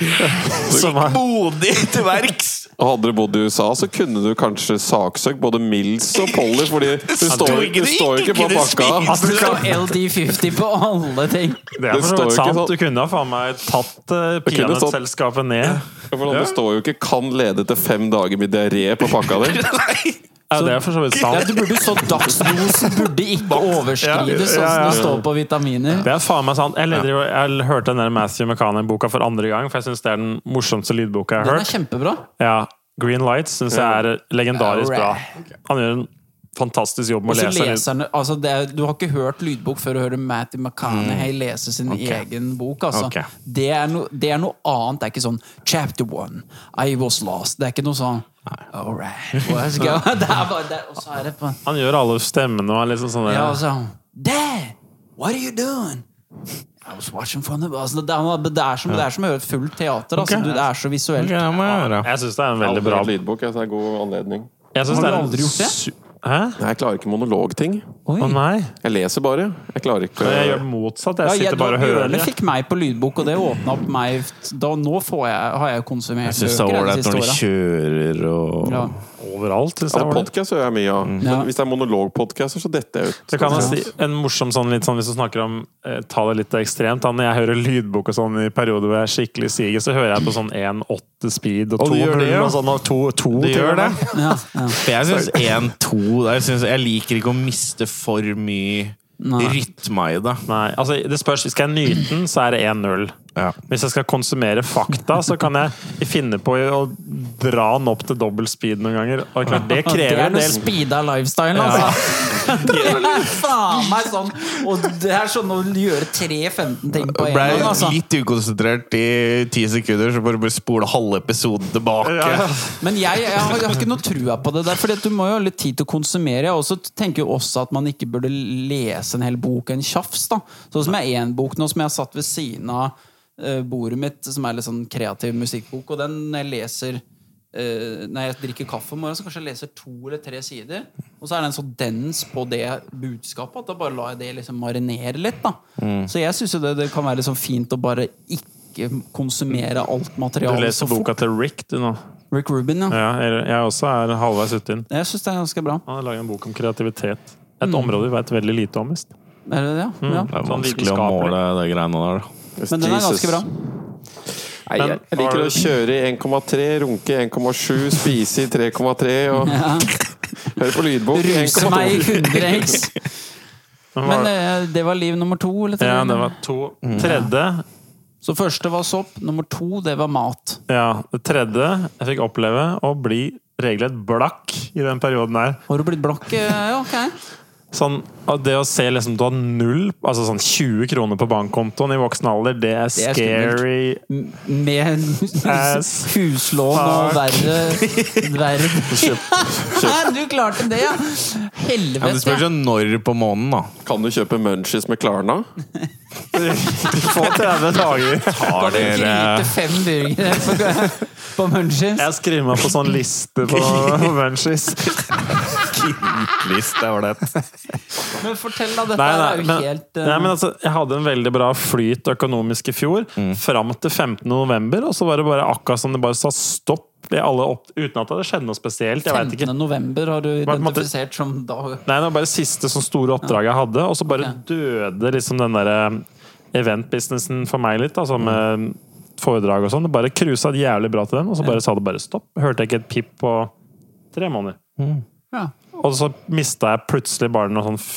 [SPEAKER 2] Som er-
[SPEAKER 5] Gikk modig til verks.
[SPEAKER 4] Og Hadde du bodd i USA, så kunne du kanskje saksøkt både Mills og Polly, fordi det står,
[SPEAKER 5] tror ikke
[SPEAKER 4] det
[SPEAKER 5] de
[SPEAKER 4] står ikke på
[SPEAKER 5] kunne
[SPEAKER 4] pakka.
[SPEAKER 5] spise.
[SPEAKER 1] At det står LD50 på alle ting!
[SPEAKER 2] Det er
[SPEAKER 4] Det
[SPEAKER 2] for så
[SPEAKER 4] står
[SPEAKER 2] vidt
[SPEAKER 4] jo ikke
[SPEAKER 2] sant.
[SPEAKER 4] sånn.
[SPEAKER 2] Du kunne ha faen meg tatt eh,
[SPEAKER 4] kunne stått-
[SPEAKER 2] peanøttselskapet ned.
[SPEAKER 4] For Det står jo ikke 'kan lede til fem dager med diaré' på pakka di.
[SPEAKER 2] Ja, det er for så vidt
[SPEAKER 1] Ja,
[SPEAKER 2] sant.
[SPEAKER 1] det burde jo stått dagsdosen burde ikke overskrides, sånn som det står på vitaminer.
[SPEAKER 2] Det er faen meg sant. Jeg, leder, jo- jeg hørte den der Matthew McCann-boka for andre gang, for jeg syns det er den morsomste lydboka jeg har
[SPEAKER 1] Den er
[SPEAKER 2] hørt.
[SPEAKER 1] kjempebra.
[SPEAKER 2] Ja, Green Lights syns jeg er legendarisk bra. Han gjør en fantastisk jobb
[SPEAKER 1] Og
[SPEAKER 2] med å
[SPEAKER 1] så
[SPEAKER 2] lese. den.
[SPEAKER 1] leser han altså det er, Du har ikke hørt lydbok før du hører Matty McConaughey lese sin egen bok. Altså.
[SPEAKER 5] Ok.
[SPEAKER 1] Det, er no, det er noe annet. Det er ikke sånn 'Chapter one, I was lost'. Det er ikke noe sånn All right, let's go. Det er bare det, og så er det på
[SPEAKER 2] Han gjør alle stemmene og er liksom sånn
[SPEAKER 1] Ja, altså- og så er han, Dad, what are you doing? I was watching from the altså, det, er, det, er som, det er som å høre et fullt teater. Altså.
[SPEAKER 2] Ok.
[SPEAKER 1] Du, det er så visuelt.
[SPEAKER 5] Ja, må jeg høre.
[SPEAKER 2] Jeg syns det er en veldig
[SPEAKER 4] Aldri
[SPEAKER 2] bra
[SPEAKER 4] hørt lydbok, altså, det er god anledning.
[SPEAKER 2] Jeg synes
[SPEAKER 1] Har
[SPEAKER 2] det er
[SPEAKER 1] du
[SPEAKER 2] en
[SPEAKER 1] aldri gjort det?
[SPEAKER 2] su- Hæ?
[SPEAKER 4] Nei, jeg klarer ikke monologting.
[SPEAKER 1] Oi.
[SPEAKER 2] Å nei.
[SPEAKER 4] Jeg leser bare. Jeg klarer ikke
[SPEAKER 2] Jeg gjør det motsatt. Jeg
[SPEAKER 1] Ja,
[SPEAKER 2] sitter bare og hører.
[SPEAKER 1] Bjørle
[SPEAKER 2] jeg.
[SPEAKER 1] fikk meg på lydbok, og det åpna opp meg da, Nå får jeg, har jeg jo konsumert
[SPEAKER 5] Jeg syns det er
[SPEAKER 1] bøker de
[SPEAKER 5] ålreit
[SPEAKER 1] siste
[SPEAKER 5] når de
[SPEAKER 1] åra.
[SPEAKER 5] kjører og
[SPEAKER 1] Ja.
[SPEAKER 2] Overalt, syns
[SPEAKER 4] Ja,
[SPEAKER 2] jeg. var det.
[SPEAKER 4] Podkast hører Altså, jeg mye av.
[SPEAKER 1] Ja.
[SPEAKER 4] Men hvis det er monologpodkaster, så detter jeg ut.
[SPEAKER 2] Så kan jeg si en morsom sånn litt sånn hvis du snakker om eh, ta det litt ekstremt. Da, når jeg hører lydbok og sånn i perioder hvor jeg er skikkelig siger, så hører jeg på sånn 1,8 speed og
[SPEAKER 5] Og du
[SPEAKER 2] 2
[SPEAKER 5] gjør det, ja?
[SPEAKER 2] og sånn og 2, 2
[SPEAKER 5] Det gjør det.
[SPEAKER 1] Ja, ja.
[SPEAKER 5] For jeg syns 1-2 jeg, synes- jeg liker ikke å miste for mye
[SPEAKER 1] Nei.
[SPEAKER 5] rytme i det.
[SPEAKER 2] Nei, altså det spørs. Skal jeg nyte den, så er det 1-0.
[SPEAKER 5] Ja.
[SPEAKER 2] Hvis jeg skal konsumere fakta, så kan jeg finne på å dra den opp til dobbel speed noen ganger. Og det er klart, det
[SPEAKER 1] Det
[SPEAKER 2] krever
[SPEAKER 1] er
[SPEAKER 2] en
[SPEAKER 1] noe
[SPEAKER 2] del
[SPEAKER 1] speeda lifestyle, altså! Det er Faen meg sånn! Og det er sånn å gjøre 3-15 ting på
[SPEAKER 5] Og
[SPEAKER 1] en
[SPEAKER 5] Ble
[SPEAKER 1] gang, altså.
[SPEAKER 5] litt ukonsentrert i ti sekunder, så bare, bare spole halve episoden tilbake.
[SPEAKER 2] Ja.
[SPEAKER 1] Men jeg, jeg, har, jeg har ikke noe trua på det der, for du må jo ha litt tid til å konsumere. Jeg også tenker jo også at man ikke burde lese en hel bok en tjafs. da. Sånn som jeg er en bok nå som jeg har satt ved siden av eh, bordet mitt, som er litt sånn kreativ musikkbok, og den jeg leser eh, når jeg drikker kaffe om morgenen, så kanskje jeg leser to eller tre sider. Og så er den så dens på det budskapet at da bare lar jeg det liksom marinere litt. da.
[SPEAKER 2] Mm.
[SPEAKER 1] Så jeg syns jo det, det kan være liksom fint å bare ikke konsumere alt
[SPEAKER 2] Du
[SPEAKER 1] materialet så
[SPEAKER 2] leser
[SPEAKER 1] fort.
[SPEAKER 2] boka til Rick, du nå.
[SPEAKER 1] Rick Rubin, ja.
[SPEAKER 2] Ja, jeg jeg også er halvveis uti den.
[SPEAKER 1] Jeg syns det er ganske bra.
[SPEAKER 2] Han har laget en bok om kreativitet.
[SPEAKER 5] Mm.
[SPEAKER 2] Et område vi vet veldig lite om. visst.
[SPEAKER 1] Er det det? Ja.
[SPEAKER 5] Det
[SPEAKER 1] ja.
[SPEAKER 5] er
[SPEAKER 2] Sånn
[SPEAKER 5] vanskelig å
[SPEAKER 2] vitenskapelig.
[SPEAKER 5] måle det greiene der. da.
[SPEAKER 1] Men den er ganske bra.
[SPEAKER 4] Nei, jeg, jeg liker å kjøre i 1,3, runke i 1,7, spise i 3,3 og høre på lydbok i
[SPEAKER 1] Ruse meg i
[SPEAKER 4] 1,2.
[SPEAKER 1] 100 x.
[SPEAKER 2] Men hva-
[SPEAKER 1] Men eh, det var liv nummer to, eller?
[SPEAKER 2] Ja, det var to. Tredje
[SPEAKER 1] Så første var sopp, nummer to det var mat.
[SPEAKER 2] Ja, Det tredje jeg fikk oppleve å bli regelrett blakk i den perioden her.
[SPEAKER 1] Har du blitt blakk? Eh, Ja, ok.
[SPEAKER 2] Sånn, at det å se liksom du har null, altså sånn 20 kroner på bankkontoen i voksen alder, det er
[SPEAKER 1] er
[SPEAKER 2] scary.
[SPEAKER 1] M- Med hus-
[SPEAKER 2] Ass.
[SPEAKER 1] huslån og
[SPEAKER 2] Fuck.
[SPEAKER 1] verre, verre. Du klarte det, ja!
[SPEAKER 5] Ja, det
[SPEAKER 1] Helvete!
[SPEAKER 5] spørs jo når på måneden, da.
[SPEAKER 4] Kan du kjøpe munchies med Klarna?
[SPEAKER 2] Få 30 dager.
[SPEAKER 5] Har
[SPEAKER 1] Jeg
[SPEAKER 5] dere eh,
[SPEAKER 1] Gryte fem burgere på, på munchies.
[SPEAKER 2] Jeg skriver meg på sånn liste på Munchies.
[SPEAKER 5] List, det var det.
[SPEAKER 1] Men fortell, da. Dette
[SPEAKER 2] Nei,
[SPEAKER 1] er
[SPEAKER 2] nei,
[SPEAKER 1] jo
[SPEAKER 2] men,
[SPEAKER 1] helt eh,
[SPEAKER 2] nei, men altså, jeg hadde en veldig bra flyt økonomisk i fjor, fram til 15. november, og så var det bare akkurat som det bare sa stopp i alle opp, uten at det skjedde noe spesielt. Jeg vet ikke.
[SPEAKER 1] 15. november har du
[SPEAKER 2] Hva- måtte-
[SPEAKER 1] identifisert som dag.
[SPEAKER 2] Nei, det var bare siste sånn store oppdraget jeg hadde, og så bare
[SPEAKER 1] Ok.
[SPEAKER 2] døde liksom den der eh, event-businessen for meg litt, altså
[SPEAKER 1] Mm.
[SPEAKER 2] med foredrag og sånn. Det bare cruisa jævlig bra til den, og så bare sa det bare stopp. Hørte jeg ikke et pip på tre måneder.
[SPEAKER 1] Ja.
[SPEAKER 2] Og så mista jeg plutselig bare noe sånn f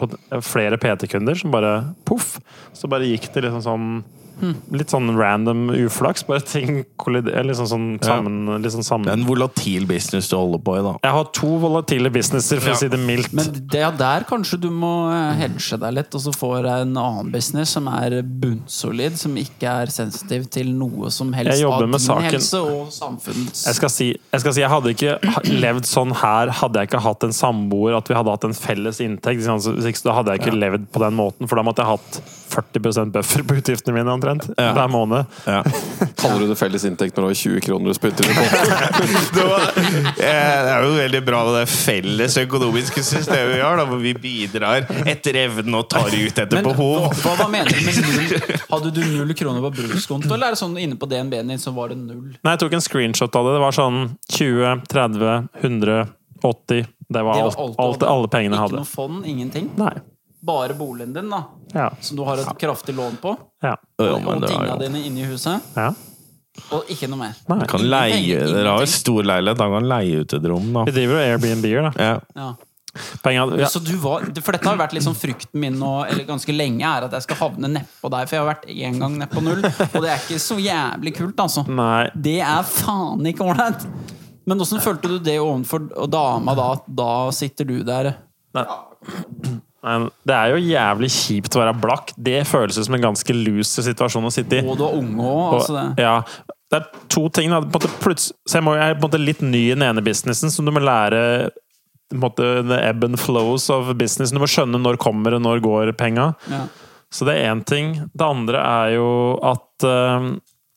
[SPEAKER 2] på eh, flere PT-kunder som bare poff. Så bare gikk det liksom sånn
[SPEAKER 1] Hmm.
[SPEAKER 2] Litt sånn random uflaks. Bare ting kolliderer liksom sånn sammen. Liksom
[SPEAKER 5] Det er
[SPEAKER 2] sammen.
[SPEAKER 5] en volatil business du holder på i, da.
[SPEAKER 2] Jeg har to volatile businesser, for
[SPEAKER 5] Ja.
[SPEAKER 2] å si det mildt.
[SPEAKER 1] Men det er der kanskje du må eh, hedge deg litt, og så får jeg en annen business som er bunnsolid, som ikke er sensitiv til noe som helst
[SPEAKER 2] Jeg jobber med saken.
[SPEAKER 1] helse og samfunnets
[SPEAKER 2] Jeg skal, si, jeg skal si jeg hadde ikke ha- levd sånn her hadde jeg ikke hatt en samboer, at vi hadda hatt en felles inntekt. ikke sant? Så- så ikke- Da hadde jeg ikke levd på den måten, for da måtte jeg hatt 40 buffer på utgiftene mine omtrent hver måned.
[SPEAKER 5] Ja.
[SPEAKER 4] Kaller du det felles inntekt når du har 20 kroner du spytter i potten?
[SPEAKER 5] det, var, eh, det er jo veldig bra med det felles økonomiske systemet vi har, da, hvor vi bidrar etter evne og tar ut etter
[SPEAKER 1] Men hva,
[SPEAKER 5] behov.
[SPEAKER 1] hva, hva mener du med null? Hadde du null kroner på brukskonto, eller er det sånn inne på DNB-en din så var det null?
[SPEAKER 2] Nei, jeg tok en screenshot av det. Det var sånn 20, 30, 100, 80 Det var,
[SPEAKER 1] Det var
[SPEAKER 2] alt,
[SPEAKER 1] alt
[SPEAKER 2] alt,
[SPEAKER 1] du hadde.
[SPEAKER 2] alle pengene jeg
[SPEAKER 1] Ikke
[SPEAKER 2] hadde.
[SPEAKER 1] noe fond, ingenting?
[SPEAKER 2] Nei.
[SPEAKER 1] Bare boligen din, da,
[SPEAKER 2] Ja.
[SPEAKER 1] som du har et kraftig lån på?
[SPEAKER 2] Ja.
[SPEAKER 5] Ja,
[SPEAKER 1] Og
[SPEAKER 5] men det
[SPEAKER 1] tinga
[SPEAKER 5] er jo-
[SPEAKER 1] dine inne i huset?
[SPEAKER 2] ja.
[SPEAKER 1] Og ikke noe mer?
[SPEAKER 2] Nei.
[SPEAKER 5] kan leie, Dere har jo stor leilighet, da kan leie ut et rom, da.
[SPEAKER 2] Vi driver og Airbnb-er, da.
[SPEAKER 5] Ja.
[SPEAKER 1] Ja.
[SPEAKER 2] Penger, ja.
[SPEAKER 1] Så du var, for dette har vært liksom frykten min nå, eller ganske lenge, er at jeg skal havne nedpå deg. For jeg har vært én gang nedpå null, og det er ikke så jævlig kult, altså.
[SPEAKER 2] Nei.
[SPEAKER 1] Det er faen ikke ålreit! Men åssen følte du det overfor og dama da? at Da sitter du der.
[SPEAKER 2] Nei, det er jo jævlig kjipt å være blakk. Det føles ut som en ganske loser situasjon å sitte i.
[SPEAKER 1] Og du er unge òg. Altså det.
[SPEAKER 2] ja, det er to ting. Da. På en måte, plutselig- så jeg, må, jeg er på en måte litt ny i den ene businessen, så du må lære på en måte, the ebb and flows of business. Du må skjønne når kommer og når går penga.
[SPEAKER 1] Ja.
[SPEAKER 2] Så det er én ting. Det andre er jo at øhm,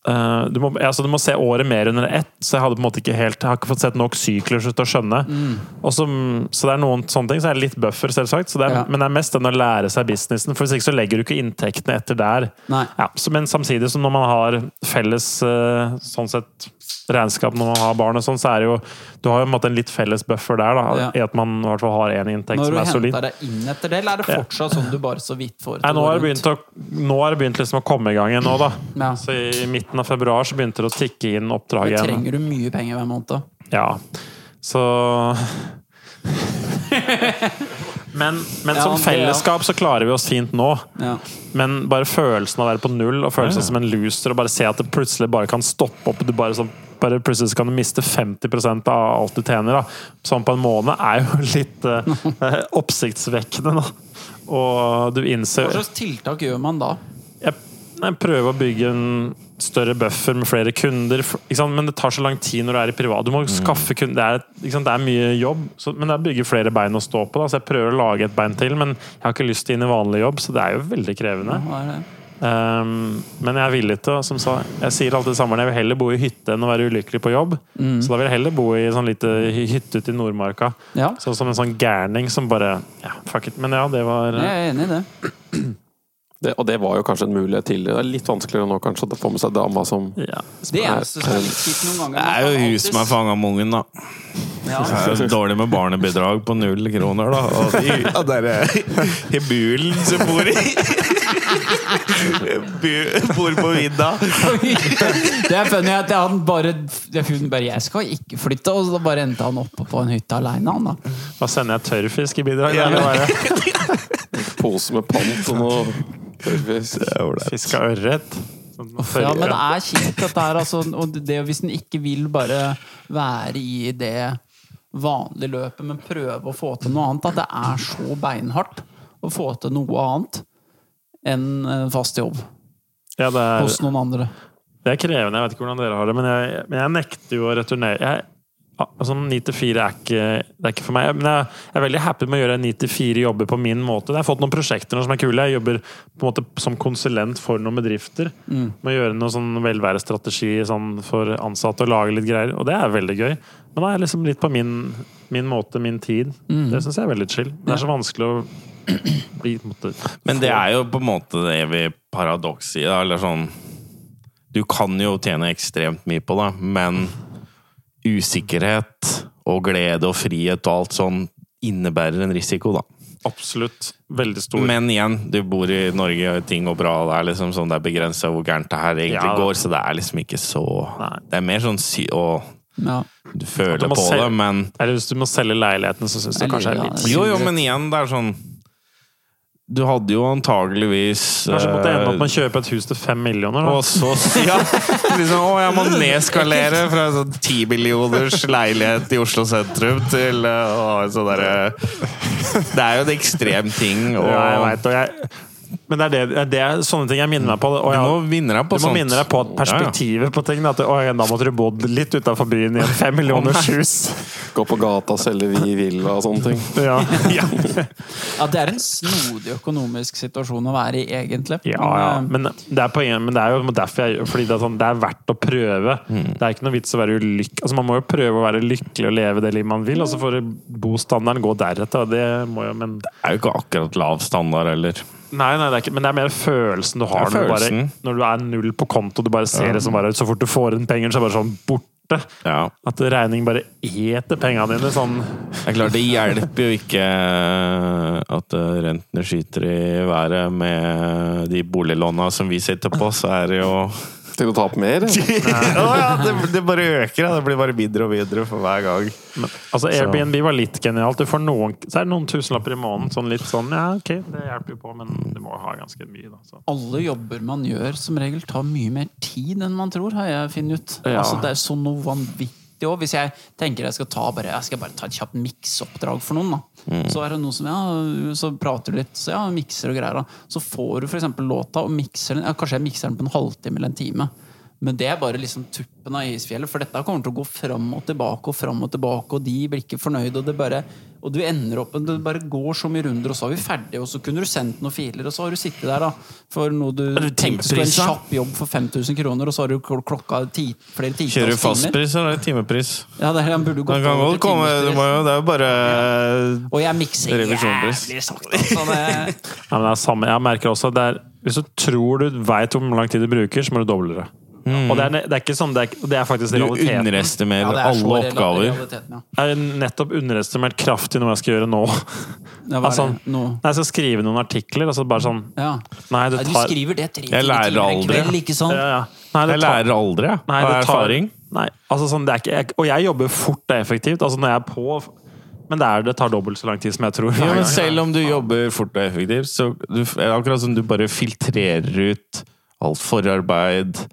[SPEAKER 2] øh, du, må, altså du må se året mer under ett, så jeg hadde på en måte ikke helt Jeg har ikke fått sett nok sykler til å skjønne.
[SPEAKER 1] Mm.
[SPEAKER 2] Og så- så det er noen sånne ting. Så er det litt buffer, selvsagt. Så det er,
[SPEAKER 1] Ja.
[SPEAKER 2] Men det er mest den å lære seg businessen, for hvis ikke så legger du ikke inntektene etter der.
[SPEAKER 1] Nei.
[SPEAKER 2] Ja, så, men samtidig som når man har felles øh, sånn sett regnskap når man har barn og sånn, så er det jo Du har jo på en måte en litt felles buffer der, da,
[SPEAKER 1] Ja.
[SPEAKER 2] i at man i hvert fall har én inntekt
[SPEAKER 1] Når
[SPEAKER 2] som
[SPEAKER 1] du
[SPEAKER 2] er solid.
[SPEAKER 1] henter deg inn etter det, eller er det fortsatt sånn du bare så vidt får
[SPEAKER 2] Nei,
[SPEAKER 1] til
[SPEAKER 2] nå
[SPEAKER 1] å
[SPEAKER 2] har
[SPEAKER 1] gå
[SPEAKER 2] det
[SPEAKER 1] rundt?
[SPEAKER 2] begynt, å, nå har det begynt liksom å komme i gang igjen nå, da.
[SPEAKER 1] Ja.
[SPEAKER 2] Så i midten av februar så begynte det å tikke inn oppdrag
[SPEAKER 1] Da
[SPEAKER 2] igjen.
[SPEAKER 1] Trenger du mye penger hver måned?
[SPEAKER 2] Ja. Så Men, men
[SPEAKER 1] Ja,
[SPEAKER 2] som
[SPEAKER 1] det, ja.
[SPEAKER 2] fellesskap så klarer vi oss fint nå.
[SPEAKER 1] Ja.
[SPEAKER 2] Men bare følelsen av å være på null og følelsen som en loser og bare se at det plutselig bare kan stoppe opp. Du bare, sånn- bare plutselig så kan du miste 50 av alt du tjener. Da. Sånn på en måned er jo litt eh, oppsiktsvekkende. Da. Og du innser
[SPEAKER 1] Hva slags tiltak gjør man da?
[SPEAKER 2] jeg, jeg prøver å bygge en større buffer med flere kunder, f- ikke sant? men det tar så lang tid når du er i privat. Du må skaffe kunder. Det er, ikke sant? Det er mye jobb, så, men det er å bygge flere bein å stå på. Da. Så jeg prøver å lage et bein til, men jeg har ikke lyst til inn i vanlig jobb, så det er jo veldig krevende.
[SPEAKER 1] Hva er det?
[SPEAKER 2] Um, men jeg er villig til å, som sa, jeg sier alltid det samme, jeg vil heller bo i hytte enn å være ulykkelig på jobb. Så da vil jeg heller bo i sånn lite hy- hytte ute i Nordmarka.
[SPEAKER 1] Ja.
[SPEAKER 2] Sånn som en sånn gærning som bare Ja, fuck it. Men ja, det var
[SPEAKER 1] Jeg er enig i det.
[SPEAKER 4] Det, og det var jo kanskje en mulighet tidligere. Det er litt vanskeligere nå kanskje å få med seg dama som
[SPEAKER 2] ja.
[SPEAKER 1] Det eneste som er litt kjipt noen ganger
[SPEAKER 5] Det er jo hun som er fanga med ungen, da.
[SPEAKER 1] Ja.
[SPEAKER 5] Det er jo dårlig med barnebidrag på null kroner, da. Og de, ja, det er i bulen som bor i Bu- Bor på vidda.
[SPEAKER 1] Det er funny at han bare det er hun bare, 'Jeg skal ikke flytte', og så bare endte han oppe på en hytte aleine, han da.
[SPEAKER 2] Da sender jeg tørrfisk i bidrag.
[SPEAKER 5] Ja.
[SPEAKER 2] eller hva er det?
[SPEAKER 4] pose med pant og noe Tørrfisk.
[SPEAKER 5] Det er ålreit.
[SPEAKER 2] Fisk av ørret. Sånn
[SPEAKER 1] Ja,
[SPEAKER 2] tørre-
[SPEAKER 1] men det er kjipt dette her, altså. Og det, hvis en ikke vil bare være i det vanlige løpet, men prøve å få til noe annet, at det er så beinhardt å få til noe annet enn en fast jobb
[SPEAKER 2] ja, det er,
[SPEAKER 1] hos noen andre.
[SPEAKER 2] Det er krevende. Jeg vet ikke hvordan dere har det, men jeg, men jeg nekter jo å returnere. Jeg, altså, 9 til 4 er ikke, det er ikke for meg. Men jeg, jeg er veldig happy med å gjøre 9 til 4 jobber på min måte. Jeg har fått noen prosjekter nå som er kule. Jeg jobber på en måte som konsulent for noen bedrifter.
[SPEAKER 1] Mm.
[SPEAKER 2] Med å gjøre noe sånn velværestrategi sånn, for ansatte og lage litt greier. Og det er veldig gøy. Men da er jeg liksom litt på min, min måte, min tid.
[SPEAKER 1] Mm.
[SPEAKER 2] Det syns jeg er veldig chill. Det er så vanskelig å bli på en måte,
[SPEAKER 5] Men det er jo på en måte det evige paradokset i det. Eller sånn Du kan jo tjene ekstremt mye på det, men usikkerhet og glede og frihet og alt sånn innebærer en risiko, da.
[SPEAKER 2] absolutt veldig stor
[SPEAKER 5] Men igjen, du bor i Norge, og ting går bra, og det er liksom sånn det er begrensa hvor gærent det her egentlig
[SPEAKER 2] Ja, da.
[SPEAKER 5] går, så det er liksom ikke så
[SPEAKER 2] Nei.
[SPEAKER 5] Det er mer sånn sy... Og
[SPEAKER 1] Ja.
[SPEAKER 2] At
[SPEAKER 5] du
[SPEAKER 2] du
[SPEAKER 5] føler
[SPEAKER 2] må
[SPEAKER 5] på
[SPEAKER 2] se-
[SPEAKER 5] det, men
[SPEAKER 2] Eller hvis du må selge leiligheten, så syns du
[SPEAKER 1] Eller,
[SPEAKER 2] kanskje det
[SPEAKER 1] ja,
[SPEAKER 2] er litt
[SPEAKER 1] det-
[SPEAKER 5] Jo, jo, men igjen, det er sånn Du hadde jo antageligvis
[SPEAKER 2] Kanskje måtte jeg ende opp
[SPEAKER 5] eh,
[SPEAKER 2] med å kjøpe et hus til fem millioner. Da.
[SPEAKER 5] Og så ja, liksom, Å, jeg må nedskalere fra en sånn ti millioners leilighet i Oslo sentrum til eh, å ha en sånn derre Det er jo en ekstrem ting. Og,
[SPEAKER 2] Ja, jeg vet, og jeg, men det er, det, det er det- sånne ting jeg minner meg på. Og
[SPEAKER 5] du
[SPEAKER 2] jeg,
[SPEAKER 5] må vinne deg på
[SPEAKER 2] du må
[SPEAKER 5] sånn- sånt.
[SPEAKER 2] minne deg på at perspektivet på ting. At å, ja, da måtte du bodd litt utenfor byen i et fem millioners hus.
[SPEAKER 4] Gå på gata og selge vi i villa og sånne ting.
[SPEAKER 2] Ja.
[SPEAKER 5] Ja, ja.
[SPEAKER 1] ja, det er en snodig økonomisk situasjon å være i, egentlig.
[SPEAKER 2] Ja, ja.
[SPEAKER 1] Men, eh,
[SPEAKER 2] Men det er poenget, men det er jo derfor jeg Fordi det er, sånn, det er verdt å prøve. Det er ikke noe vits å være ulykkelig. Altså, man må jo prøve å være lykkelig og leve det livet man vil, og så får bostandarden gå deretter. og Det må jo, men
[SPEAKER 5] Det er jo ikke akkurat lav standard heller.
[SPEAKER 2] Nei, nei, det er ikke, men det er mer følelsen du har
[SPEAKER 5] Det er
[SPEAKER 2] når,
[SPEAKER 5] følelsen.
[SPEAKER 2] Du bare, når du er null på konto. Du bare ser det som bare ut. Så fort du får inn penger, så er det bare sånn borte.
[SPEAKER 5] Ja.
[SPEAKER 2] At regning bare eter pengene dine. Sånn.
[SPEAKER 5] Det er klart, det hjelper jo ikke at eh, rentene skyter i været med de boliglåna som vi sitter på, så er det jo
[SPEAKER 4] Til å ta opp mer? eller?
[SPEAKER 5] det, bare øker, Det blir bare mindre og mindre for hver gang.
[SPEAKER 2] Men, altså, Airbnb var litt genialt. Du får noen, så er det noen tusenlapper i måneden. Sånn litt sånn, ja, ok, det hjelper jo på, men du må ha ganske mye. Da, så.
[SPEAKER 1] alle jobber man gjør, som regel tar mye mer tid enn man tror, har jeg funnet ut.
[SPEAKER 2] Ja.
[SPEAKER 1] Altså, det er så noe vanvittig også. Hvis jeg tenker jeg skal ta bare, jeg skal bare ta et kjapt miksoppdrag for noen, da. så er det noen som ja, så prater du litt, så ja, mikser og greier. Da. Så får du f.eks. låta, og mikser den, ja, kanskje jeg mikser den på en halvtime eller en time. Men det er bare liksom tuppen av isfjellet, for dette kommer til å gå fram og tilbake og fram og tilbake, og de blir ikke fornøyd, og det bare Og du ender opp Det bare går så mye runder, og så er vi ferdige, og så kunne du sendt noen filer, og så har du sittet der, da, for noe du
[SPEAKER 5] du
[SPEAKER 1] tenkte skulle være en
[SPEAKER 5] timepris, da?
[SPEAKER 1] kjapp jobb for 5000 kroner, og så har du kl- klokka ti, flere titalls
[SPEAKER 5] Kjører du
[SPEAKER 1] timer.
[SPEAKER 5] fastpris eller timepris?
[SPEAKER 1] Ja, det er, han burde jo
[SPEAKER 5] Den
[SPEAKER 1] gått
[SPEAKER 5] kan
[SPEAKER 1] over
[SPEAKER 5] godt
[SPEAKER 1] til
[SPEAKER 5] komme,
[SPEAKER 1] timespris.
[SPEAKER 5] det, må jo, det er jo bare
[SPEAKER 1] Og jeg mikser
[SPEAKER 5] Revisjonspris.
[SPEAKER 1] jævlig sakte. Altså, det,
[SPEAKER 2] Ja, men det er samme. Jeg merker også at det er, hvis du tror du vet hvor lang tid du bruker, så må du doble det. Og det er, det er ikke sånn, det er, det er faktisk
[SPEAKER 5] Mm. Du
[SPEAKER 2] realiteten.
[SPEAKER 1] ja,
[SPEAKER 5] underestimerer
[SPEAKER 1] det er så
[SPEAKER 5] alle
[SPEAKER 1] reala-
[SPEAKER 5] oppgaver.
[SPEAKER 1] realiteten, ja.
[SPEAKER 2] Jeg har nettopp underestimert kraftig noe jeg skal gjøre nå.
[SPEAKER 1] Ja, hva er
[SPEAKER 2] Altså,
[SPEAKER 1] det? Nå-
[SPEAKER 2] Nei, jeg skal skrive noen artikler, og så bare sånn
[SPEAKER 1] Ja.
[SPEAKER 2] Nei, det
[SPEAKER 1] Ja, Du
[SPEAKER 2] tar
[SPEAKER 1] skriver det tre
[SPEAKER 5] Jeg
[SPEAKER 1] timer
[SPEAKER 5] lærer
[SPEAKER 1] tidligere i
[SPEAKER 5] aldri.
[SPEAKER 1] kveld, ikke sant?
[SPEAKER 2] ja, ja. Nei, det
[SPEAKER 5] Jeg
[SPEAKER 2] tar-
[SPEAKER 5] lærer aldri, jeg.
[SPEAKER 2] Nei,
[SPEAKER 5] Av
[SPEAKER 2] det tar-
[SPEAKER 5] erfaring.
[SPEAKER 2] Nei, altså sånn, det er ikke jeg, Og jeg jobber fort og effektivt, altså når jeg er på Men det, er, det tar dobbelt så lang tid som jeg tror.
[SPEAKER 5] Ja, men selv om du jobber fort og effektivt, så du, er det akkurat som du bare filtrerer ut alt forarbeid,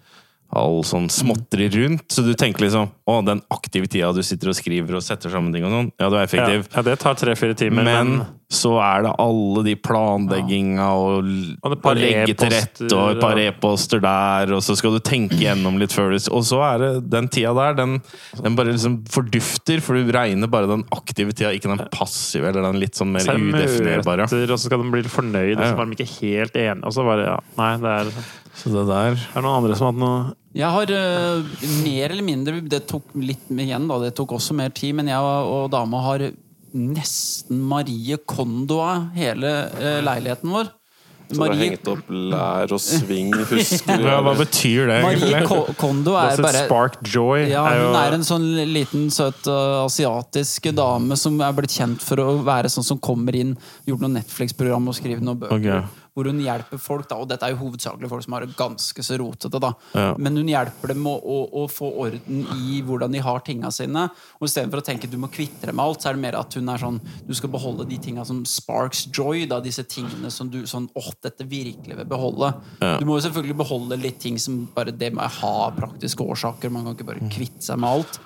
[SPEAKER 5] all sånn småtteri rundt, så du tenker liksom Å, den aktive tida du sitter og skriver og setter sammen ting og sånn, ja, du er
[SPEAKER 2] ja,
[SPEAKER 5] effektiv.
[SPEAKER 2] ja, det tar tre-fire timer. Men,
[SPEAKER 5] Men så er det alle de planlegginga og,
[SPEAKER 2] Og
[SPEAKER 5] og,
[SPEAKER 2] et par
[SPEAKER 5] legge til rette
[SPEAKER 2] e-poster,
[SPEAKER 5] og et par
[SPEAKER 2] ja.
[SPEAKER 5] e-poster der, og så skal du tenke gjennom litt før du Og så er det den tida der, den, den bare liksom fordufter, for du regner bare den aktive tida, ikke den passive eller den litt sånn mer
[SPEAKER 2] så er det
[SPEAKER 5] udefinerbare.
[SPEAKER 2] møter, og så skal de bli fornøyd, og så var de ikke helt enige. Og så bare, ja, nei, det er, det
[SPEAKER 5] Så det der
[SPEAKER 2] er noen andre som har hatt noe
[SPEAKER 1] Jeg har eh, mer eller mindre Det tok litt igjen, da. Det tok også mer tid. Men jeg og dama har nesten Marie Kondoa hele eh, leiligheten vår.
[SPEAKER 4] Så det er
[SPEAKER 1] Marie,
[SPEAKER 4] hengt opp lær og sving, husker du?
[SPEAKER 5] ja, Hva betyr det
[SPEAKER 1] Marie
[SPEAKER 5] egentlig?
[SPEAKER 1] Ko- Kondo
[SPEAKER 2] That's
[SPEAKER 1] er
[SPEAKER 2] it,
[SPEAKER 1] bare
[SPEAKER 2] Spark Joy
[SPEAKER 1] ja,
[SPEAKER 2] er jo
[SPEAKER 1] Hun er en sånn liten, søt uh, asiatisk dame som er blitt kjent for å være sånn som kommer inn, gjort noe Netflix-program og skrevet noen bøker.
[SPEAKER 5] Ok.
[SPEAKER 1] hvor hun hjelper folk, da, og dette er jo hovedsakelig folk som har det ganske så rotete, da.
[SPEAKER 5] Ja.
[SPEAKER 1] men hun hjelper dem å, å, å få orden i hvordan de har tinga sine. Og istedenfor å tenke du må kvitte deg med alt, så er det mer at hun er sånn du skal beholde de tinga som sparks joy, da, disse tingene som du sånn åh, dette virkelig vil beholde. Du må jo selvfølgelig beholde litt ting som bare det må jeg ha av praktiske årsaker, man kan ikke bare kvitte seg med alt.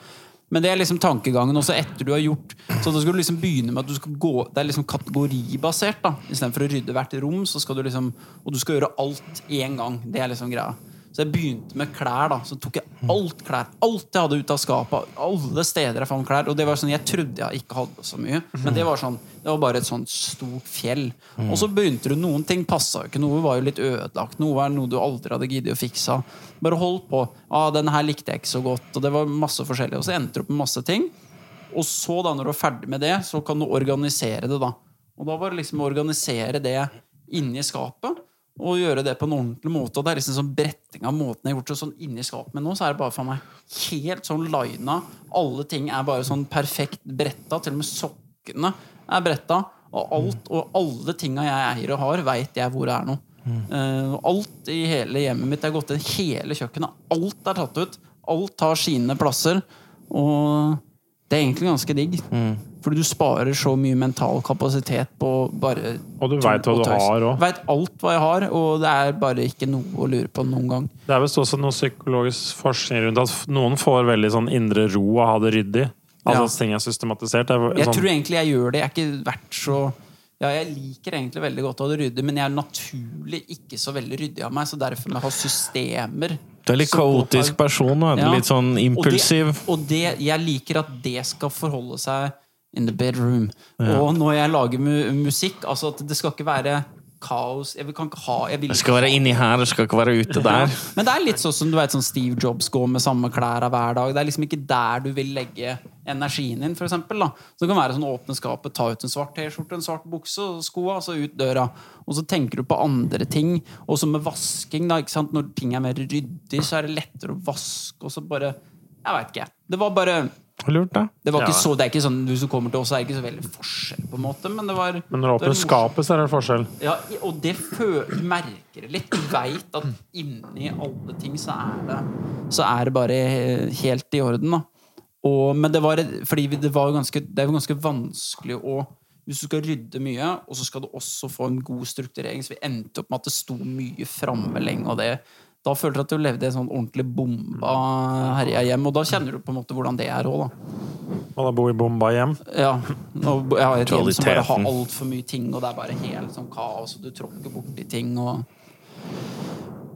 [SPEAKER 1] Men det er liksom tankegangen også etter du har gjort Så da skal du liksom begynne med at du skal gå Det er liksom kategoribasert da Istedenfor å rydde hvert rom så skal du liksom Og du skal gjøre alt én gang Det er liksom greia Så jeg begynte med klær da Så tok jeg alt klær Alt jeg hadde ut av skapet Alle steder jeg fant klær Og det var sånn Jeg trodde jeg ikke hadde så mye Men det var sånn Det var bare et sånt stort fjell Og så begynte du Noen ting passet jo ikke Noe var jo litt ødelagt Noe er noe du aldri hadde giddet å fikse Bare holdt på ah, Den her likte jeg ikke så godt Og det var masse forskjellig Og så endte du opp med masse ting Og så da når du er ferdig med det Så kan du organisere det da Og da var det liksom å organisere det Inni skapet Og gjøre det på en ordentlig måte Og det er liksom sånn bretting av måten jeg har gjort det Sånn inni skapet Men nå så er det bare for meg Helt sånn lina Alle ting er bare sånn perfekt bretta Til og med sokkene er bretta Og alt og alle tinga jeg eier og har Vet jeg hvor det er nå Eh, og alt i hele hjemmet mitt er gått inn. Hele kjøkkenet. Alt er tatt ut. Alt har sine plasser. Og det er egentlig ganske digg.
[SPEAKER 2] Mm.
[SPEAKER 1] Fordi du sparer så mye mental kapasitet på bare
[SPEAKER 2] Og du vet hva du har også.
[SPEAKER 1] Veit alt hva jeg har, og det er bare ikke noe å lure på noen gang.
[SPEAKER 2] Det er visst også noe psykologisk forskning rundt at f- noen får veldig sånn indre ro av å ha det ryddig. Altså
[SPEAKER 1] Ja.
[SPEAKER 2] at ting er systematisert. Det er
[SPEAKER 1] Jeg
[SPEAKER 2] sånn,
[SPEAKER 1] tror egentlig jeg gjør det. Jeg er ikke vært så ja, Jeg liker egentlig veldig godt å ha det ryddig, men jeg er naturlig ikke så veldig ryddig av meg, så derfor må jeg ha systemer.
[SPEAKER 5] Du er litt
[SPEAKER 1] som går på-
[SPEAKER 5] kaotisk person. Da.
[SPEAKER 1] Ja.
[SPEAKER 5] Litt sånn impulsiv.
[SPEAKER 1] Og, det, og det, jeg liker at det skal forholde seg in the bedroom. Og når jeg lager mu musikk, altså at det skal ikke være kaos Jeg vil, kan ikke ha jeg vil
[SPEAKER 5] Det
[SPEAKER 1] ikke
[SPEAKER 5] skal være
[SPEAKER 1] ha-
[SPEAKER 5] inni her, det skal ikke være ute der.
[SPEAKER 1] men det er litt sånn som du vet, sånn Steve Jobs går med samme klær av hver dag. Det er liksom ikke der du vil legge energien din, for eksempel, da. Så det kan være sånn åpne skapet, ta ut en svart T-skjorte, en svart bukse, og skoa, og så ut døra. Og så tenker du på andre ting. Og så med vasking, da. ikke sant? Når ting er mer ryddig, så er det lettere å vaske, og så bare Jeg veit ikke. Det var bare
[SPEAKER 5] Lurt, da.
[SPEAKER 1] det, var ikke
[SPEAKER 2] Ja.
[SPEAKER 1] så, det er ikke sånn, Du som kommer til oss, er det ikke så veldig forskjell, på en måte, men det var
[SPEAKER 2] men når du
[SPEAKER 1] det var
[SPEAKER 2] åpner skapet, så er det en forskjell.
[SPEAKER 1] ja, i- og det fø du merker det litt. Du veit at inni alle ting så er det, så er det bare eh, helt i orden. Da. Og, men det var, fordi vi- det, var jo ganske, det er jo ganske vanskelig å Hvis du skal rydde mye, og så skal du også få en god strukturering, så vi endte opp med at det sto mye framme lenge. Og det, da følte du at du levde i en sånn ordentlig bomba herja hjem, og da kjenner du på en måte hvordan det er òg, da.
[SPEAKER 2] Og da bor i bomba hjem.
[SPEAKER 1] Ja. Nå, jeg har et hjem som bare har
[SPEAKER 5] Kvaliteten.
[SPEAKER 1] altfor mye ting, og det er bare helt sånn kaos, og du tråkker borti ting og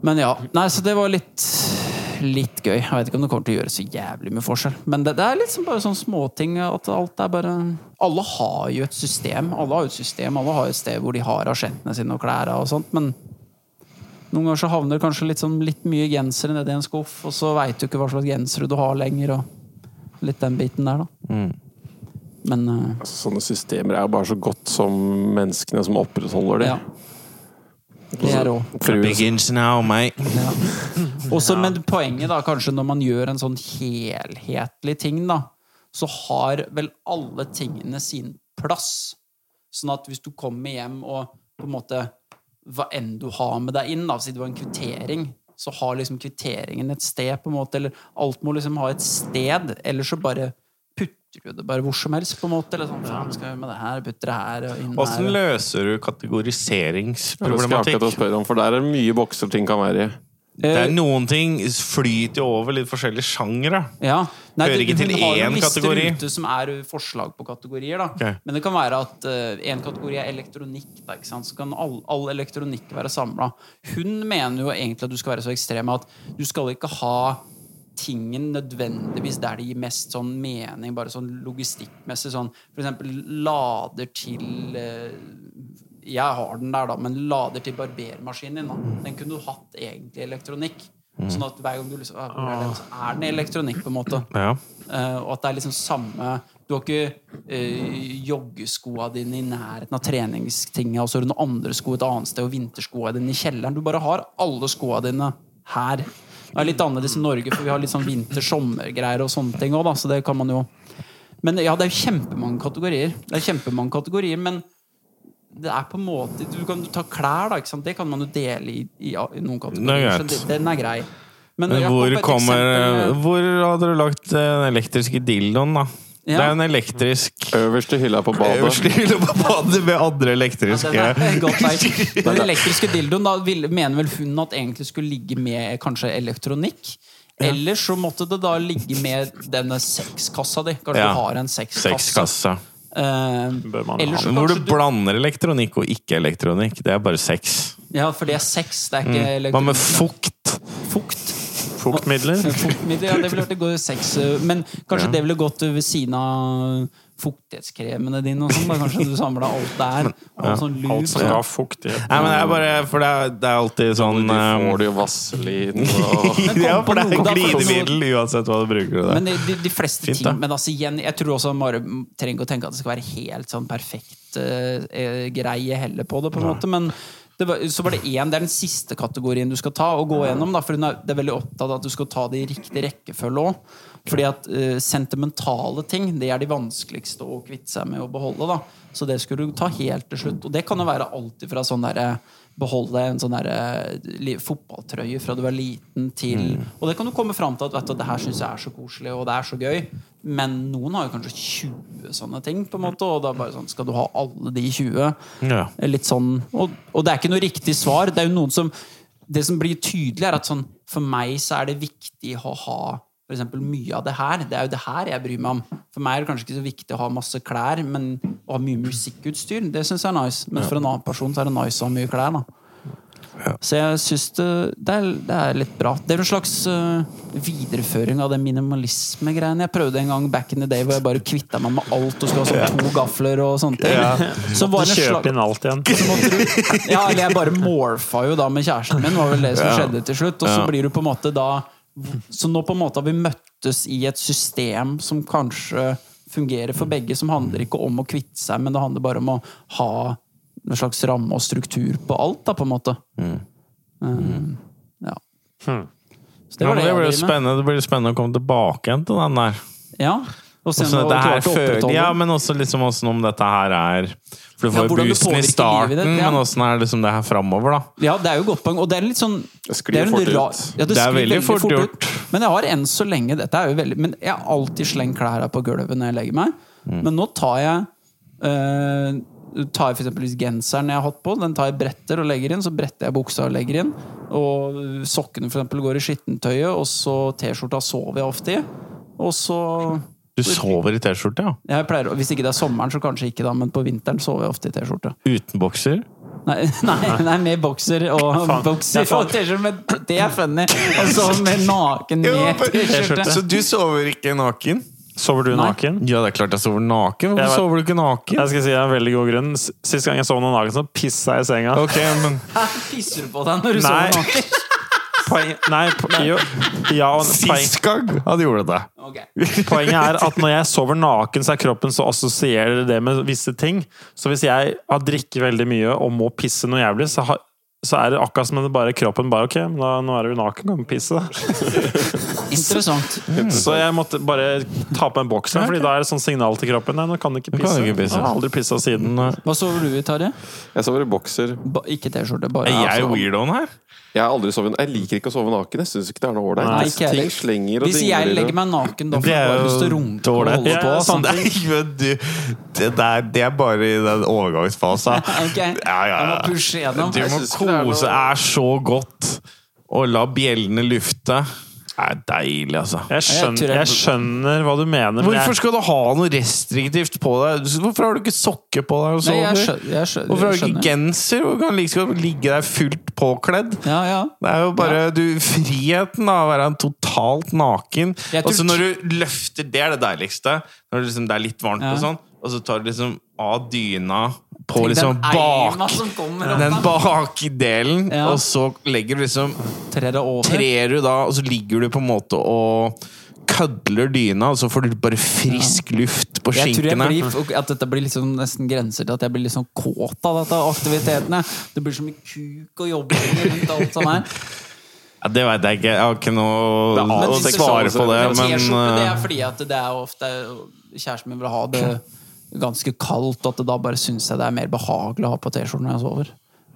[SPEAKER 1] Men ja. Nei, så det var litt Litt gøy. Jeg vet ikke om det kommer til å gjøre så jævlig mye forskjell, men det, det er liksom bare sånne småting. At alt er bare Alle har jo et system. Alle har jo et system, alle har jo et sted hvor de har asjettene sine og klærne og sånt, men noen ganger så havner det kanskje litt, sånn, litt mye gensere nedi en skuff, og så veit du ikke hva slags gensere du har lenger, og litt den biten der, da. Men eh,
[SPEAKER 4] Altså, Sånne systemer er jo bare så godt som menneskene som opprettholder det.
[SPEAKER 1] Ja. Det er òg.
[SPEAKER 5] Begins now, mate.
[SPEAKER 1] Også, men poenget, da, kanskje når man gjør en sånn helhetlig ting, da, så har vel alle tingene sin plass. Sånn at hvis du kommer hjem og på en måte Hva enn du har med deg inn, da, siden det var en kvittering, så har liksom kvitteringen et sted, på en måte, eller alt må liksom ha et sted, ellers så bare putter du det bare hvor som helst, på en måte. Eller sånn, faen, skal jeg gjøre med det her, putter det her og inn
[SPEAKER 5] Åssen
[SPEAKER 1] her. og-
[SPEAKER 5] løser
[SPEAKER 4] Det skal jeg akkurat å
[SPEAKER 5] du
[SPEAKER 1] altså.
[SPEAKER 5] kategoriseringsproblematikk?
[SPEAKER 4] spørre om, for der er det mye bokser ting kan være i.
[SPEAKER 5] Det er noen ting flyter jo over litt forskjellige sjangere.
[SPEAKER 1] Ja. Nei,
[SPEAKER 5] Hører ikke
[SPEAKER 1] hun
[SPEAKER 5] til
[SPEAKER 1] har jo
[SPEAKER 5] én
[SPEAKER 1] en liste
[SPEAKER 5] kategori.
[SPEAKER 1] Ute som er forslag på kategorier, da.
[SPEAKER 5] Ok.
[SPEAKER 1] Men det kan være at én kategori er elektronikk. Da, ikke sant? Så kan all, all elektronikk være samla. Hun mener jo egentlig at du skal være så ekstrem at du skal ikke ha tingen nødvendigvis der det gir mest sånn mening, bare sånn logistikkmessig sånn For eksempel lader til eh, jeg har den der, da, men lader til barbermaskinen din. Da. Den kunne du hatt egentlig i elektronikk. Sånn at hver gang du liksom, «Ah, hvor er, den? Så er den i elektronikk, på en måte.
[SPEAKER 5] Ja.
[SPEAKER 1] Eh, og at det er liksom samme Du har ikke eh, joggeskoa dine i nærheten av treningstinga, og så har du noen andre sko et annet sted, og vinterskoa dine i kjelleren. Du bare har alle skoa dine her. Det er litt annerledes i Norge, for vi har litt sånn vinter-sommer-greier og sånne ting òg, da. Så det kan man jo Men ja, det er jo kjempemange kategorier. Det er kjempemange kategorier, men det er på en måte Du kan ta klær, da. Ikke sant? Det kan man jo dele i, i, i noen
[SPEAKER 5] Det
[SPEAKER 1] kategorier.
[SPEAKER 5] er
[SPEAKER 1] så
[SPEAKER 5] greit.
[SPEAKER 1] det- Den er grei. Men
[SPEAKER 5] Men
[SPEAKER 1] jeg kom
[SPEAKER 5] hvor
[SPEAKER 1] på et
[SPEAKER 5] kommer eh,
[SPEAKER 1] eksempel med-
[SPEAKER 5] Hvor hadde du lagt den elektriske dildoen, da?
[SPEAKER 1] Ja.
[SPEAKER 5] Det er en elektrisk
[SPEAKER 4] Øverst i hylla på badet.
[SPEAKER 5] Øverste hylle på badet med andre elektriske
[SPEAKER 1] Ja, den er godt veit. Den elektriske dildoen, da vil, mener vel hun at egentlig skulle ligge med kanskje elektronikk? Eller så måtte det da ligge med denne sexkassa di. Kanskje
[SPEAKER 5] Ja.
[SPEAKER 1] du har en sexkasse.
[SPEAKER 5] Sexkassa.
[SPEAKER 2] Bør
[SPEAKER 1] Eh,
[SPEAKER 2] man
[SPEAKER 1] eller
[SPEAKER 2] ha.
[SPEAKER 1] så
[SPEAKER 5] Men hvor
[SPEAKER 1] kanskje
[SPEAKER 5] du
[SPEAKER 1] du
[SPEAKER 5] blander elektronikk og ikke-elektronikk. Det er bare sex.
[SPEAKER 1] Ja, for det er sex, det er ikke
[SPEAKER 5] Mm. Hva med
[SPEAKER 1] elektronikk.
[SPEAKER 5] fukt?
[SPEAKER 1] Fukt.
[SPEAKER 2] Fuktmidler?
[SPEAKER 1] Fuktmiddel, ja, det ville vært god sex. eh, Men kanskje det ville gått ved siden av fuktighetskremene dine. Og sånn, da kanskje du samla alt der. Og sånn
[SPEAKER 2] Alt
[SPEAKER 1] lube.
[SPEAKER 2] skal ha fukt i.
[SPEAKER 5] Nei, men det er bare For det er, det er alltid sånn
[SPEAKER 4] De
[SPEAKER 5] eh,
[SPEAKER 4] får det jo vaselin og
[SPEAKER 5] Ja, for det er
[SPEAKER 1] Da får du noe-
[SPEAKER 5] glidemiddel uansett hva du bruker det
[SPEAKER 1] Men de, de, de fleste
[SPEAKER 5] Fint, da.
[SPEAKER 1] ting Men altså igjen, jeg tror også man bare trenger ikke å tenke at det skal være helt sånn perfekt eh, eh, greie heller på det, på en måte. Men det var, så var det én, det er den siste kategorien du skal ta og gå gjennom. Da, for hun er, det er veldig opptatt av at du skal ta det i riktig rekkefølge òg. Fordi at eh, sentimentale ting Det er de vanskeligste å kvitte seg med og beholde. da Så det skulle du ta helt til slutt. Og det kan jo være alt ifra sånn derre Beholde en sånn der, eh, li- fotballtrøye fra du er liten, til Og det kan du komme fram til at vet du, det her syns jeg er så koselig og det er så gøy. Men noen har jo kanskje 20 sånne ting, på en måte og da er det bare sånn, skal du ha alle de 20?
[SPEAKER 5] Ja.
[SPEAKER 1] Litt sånn, og, og det er ikke noe riktig svar. Det er jo noen som det som blir tydelig, er at sånn, for meg så er det viktig å ha for eksempel mye av det her. Det er jo det her jeg bryr meg om. For meg er det kanskje ikke så viktig å ha masse klær, men å ha mye musikkutstyr, det syns jeg er nice. Men for en annen person så er det nice å ha mye klær, da. Så jeg syns det, det, er, det er litt bra. Det er en slags øh, videreføring av den minimalisme-greiene. Jeg prøvde en gang back in the day hvor jeg bare kvitta meg med alt og skulle ha sånn to gafler og sånne ting. Så var det en slags-
[SPEAKER 2] Kjøp inn alt igjen.
[SPEAKER 1] ja, eller jeg bare morfa jo da med kjæresten min, var vel det som skjedde til slutt. Og så
[SPEAKER 5] Ja.
[SPEAKER 1] blir du på en måte da Så nå på en måte har vi møttes i et system som kanskje fungerer for begge, som handler ikke om å kvitte seg, men det handler bare om å ha en slags ramme og struktur på alt, da, på en måte.
[SPEAKER 5] Mm.
[SPEAKER 1] Um, ja. Så det
[SPEAKER 5] Hmm. Ja,
[SPEAKER 1] var
[SPEAKER 5] men
[SPEAKER 1] det
[SPEAKER 5] det
[SPEAKER 1] jeg
[SPEAKER 5] blir jo
[SPEAKER 1] drev med.
[SPEAKER 5] spennende Det blir jo spennende å komme tilbake igjen til den der.
[SPEAKER 1] Ja. Og se om
[SPEAKER 5] Også
[SPEAKER 1] du
[SPEAKER 5] dette
[SPEAKER 1] har
[SPEAKER 5] her
[SPEAKER 1] klart å
[SPEAKER 5] føler,
[SPEAKER 1] opprettholde
[SPEAKER 5] ja,
[SPEAKER 1] det.
[SPEAKER 5] men også liksom åssen om dette her er For du
[SPEAKER 1] Ja,
[SPEAKER 5] får jo
[SPEAKER 1] hvordan det
[SPEAKER 5] boosten i
[SPEAKER 1] påvirker
[SPEAKER 5] starten,
[SPEAKER 1] livet ditt, ja.
[SPEAKER 5] men åssen er liksom det her framover, da?
[SPEAKER 1] Ja, det er jo et godt poeng. Og det er litt sånn
[SPEAKER 4] Det sklir
[SPEAKER 1] er en
[SPEAKER 4] fort ut.
[SPEAKER 1] rar- Ja, det,
[SPEAKER 5] Det er
[SPEAKER 1] sklir
[SPEAKER 5] veldig
[SPEAKER 1] veldig fort,
[SPEAKER 5] fort
[SPEAKER 1] ut. Men jeg har enn så lenge dette er jo veldig Men jeg har alltid slengt klærne på gulvet når jeg legger meg.
[SPEAKER 4] Mm.
[SPEAKER 1] Men nå tar jeg eh, Tar jeg for eksempel genseren jeg har hatt på, den tar jeg bretter og legger inn. Så bretter jeg buksa og legger inn. Og sokkene for eksempel går i skittentøyet, og så T-skjorta sover jeg ofte i. Og så
[SPEAKER 5] Du sover i T-skjorte, ja?
[SPEAKER 1] jeg pleier, å- Hvis ikke det er sommeren, så kanskje ikke, da, men på vinteren sover jeg ofte i T-skjorte.
[SPEAKER 5] Uten bokser?
[SPEAKER 1] Nei, nei, nei, med bokser og
[SPEAKER 2] Faen,
[SPEAKER 1] bokser
[SPEAKER 2] det er sant.
[SPEAKER 1] og T-skjorte. Men det er funny! Altså med naken med T-skjorte.
[SPEAKER 5] du sover ikke naken?
[SPEAKER 2] Sover du
[SPEAKER 1] Nei.
[SPEAKER 2] naken?
[SPEAKER 5] Ja, det er klart jeg sover naken.
[SPEAKER 2] Jeg
[SPEAKER 5] Hvorfor
[SPEAKER 2] vet-
[SPEAKER 5] sover du ikke naken?
[SPEAKER 2] Jeg skal si det er en veldig god grunn. S- Sist gang jeg sov noen dagen, så pissa jeg i senga.
[SPEAKER 5] Ok, men
[SPEAKER 1] Pisser du på deg når du
[SPEAKER 2] Nei.
[SPEAKER 1] sover naken?
[SPEAKER 2] Poeng, nei, po jo, ja, og poeng,
[SPEAKER 5] Sist gang han gjorde det.
[SPEAKER 1] Ok.
[SPEAKER 2] poenget er at når jeg sover naken, så er kroppen så assosierer det med visse ting. Så hvis jeg har drikket veldig mye og må pisse noe jævlig, så, har, så er det akkurat som om det bare kroppen bare Ok, men da, nå er du naken, kan du pisse. da».
[SPEAKER 1] Interessant.
[SPEAKER 2] Så jeg måtte bare ta på en bokser, Fordi da er det sånn signal til kroppen. Nei, nå kan du ikke
[SPEAKER 5] kan
[SPEAKER 2] pisse.
[SPEAKER 5] du ikke pisse.
[SPEAKER 2] Jeg har aldri pissa siden.
[SPEAKER 1] Hva sover du i, Tarjei?
[SPEAKER 4] Jeg sover i bokser.
[SPEAKER 1] Ba, ikke T-skjorte, bare
[SPEAKER 5] Er jeg
[SPEAKER 1] altså.
[SPEAKER 5] weirdoen her?
[SPEAKER 4] Jeg har aldri sovet Jeg liker ikke å sove naken. Jeg syns ikke det er noe
[SPEAKER 1] Nei,
[SPEAKER 4] ålreit.
[SPEAKER 1] ikke jeg
[SPEAKER 4] Ting
[SPEAKER 1] heller.
[SPEAKER 4] slenger og
[SPEAKER 1] Hvis jeg
[SPEAKER 4] dingler.
[SPEAKER 1] legger meg naken, da får
[SPEAKER 5] Det
[SPEAKER 1] jeg
[SPEAKER 5] er
[SPEAKER 1] bare lyst til å
[SPEAKER 5] jo
[SPEAKER 1] runke og
[SPEAKER 5] dårlig.
[SPEAKER 1] holde
[SPEAKER 2] Ja,
[SPEAKER 1] på.
[SPEAKER 2] ja, sant.
[SPEAKER 1] Altså.
[SPEAKER 5] Det er, ikke- men du, det, der, det er bare i den overgangsfasen.
[SPEAKER 1] Ok,
[SPEAKER 5] Ja, ja,
[SPEAKER 1] Jeg må
[SPEAKER 5] ja.
[SPEAKER 1] pushe gjennom.
[SPEAKER 5] Du
[SPEAKER 4] Jeg
[SPEAKER 5] må
[SPEAKER 4] synes ikke det er
[SPEAKER 5] kose
[SPEAKER 4] noe-
[SPEAKER 5] er så godt. Å la bjellene lufte Det er deilig, altså.
[SPEAKER 2] Jeg
[SPEAKER 1] Jeg tror
[SPEAKER 2] skjønner,
[SPEAKER 1] jeg-
[SPEAKER 2] jeg skjønner hva du mener. men jeg-
[SPEAKER 5] Hvorfor skal du ha noe restriktivt på deg? Hvorfor har du ikke sokker på deg? Og
[SPEAKER 1] Nei, jeg
[SPEAKER 5] sover?
[SPEAKER 1] skjø- jeg skjø-
[SPEAKER 5] Hvorfor har du
[SPEAKER 1] skjønner.
[SPEAKER 5] ikke genser? Hvor kan du like liksom ligge der fullt påkledd?
[SPEAKER 1] Ja, ja.
[SPEAKER 5] Det er jo bare du, friheten da, å være en totalt naken.
[SPEAKER 1] Jeg tror-
[SPEAKER 5] Og så når du løfter, det er det deiligste. Når det, liksom, det er litt varmt
[SPEAKER 1] Ja.
[SPEAKER 5] og sånn, og så tar du liksom av dyna på
[SPEAKER 1] Tenk
[SPEAKER 5] liksom
[SPEAKER 1] den eima
[SPEAKER 5] bak
[SPEAKER 1] som kommer
[SPEAKER 5] den
[SPEAKER 1] opp, da.
[SPEAKER 5] bakdelen,
[SPEAKER 1] Ja.
[SPEAKER 5] og så legger du liksom
[SPEAKER 1] Trer det over.
[SPEAKER 5] Trer du da, og så ligger du på en måte og kødler dyna, og så får du bare frisk luft på
[SPEAKER 1] Jeg tror jeg
[SPEAKER 5] skinkene.
[SPEAKER 1] blir, at dette blir liksom nesten grenser til at jeg blir liksom kåt av dette aktivitetene. Det blir så mye kuk og jobbing rundt alt sånn her.
[SPEAKER 5] Ja, det veit jeg ikke. Jeg har ikke noe
[SPEAKER 2] Det er
[SPEAKER 5] å
[SPEAKER 2] alt-
[SPEAKER 5] svare på det,
[SPEAKER 1] Men
[SPEAKER 5] men
[SPEAKER 1] T-skjorte, det
[SPEAKER 5] eh,
[SPEAKER 1] er fordi at det er ofte kjæresten min vil ha det ganske kaldt, at det da bare syns jeg det er mer behagelig å ha på T-skjorten når jeg sover.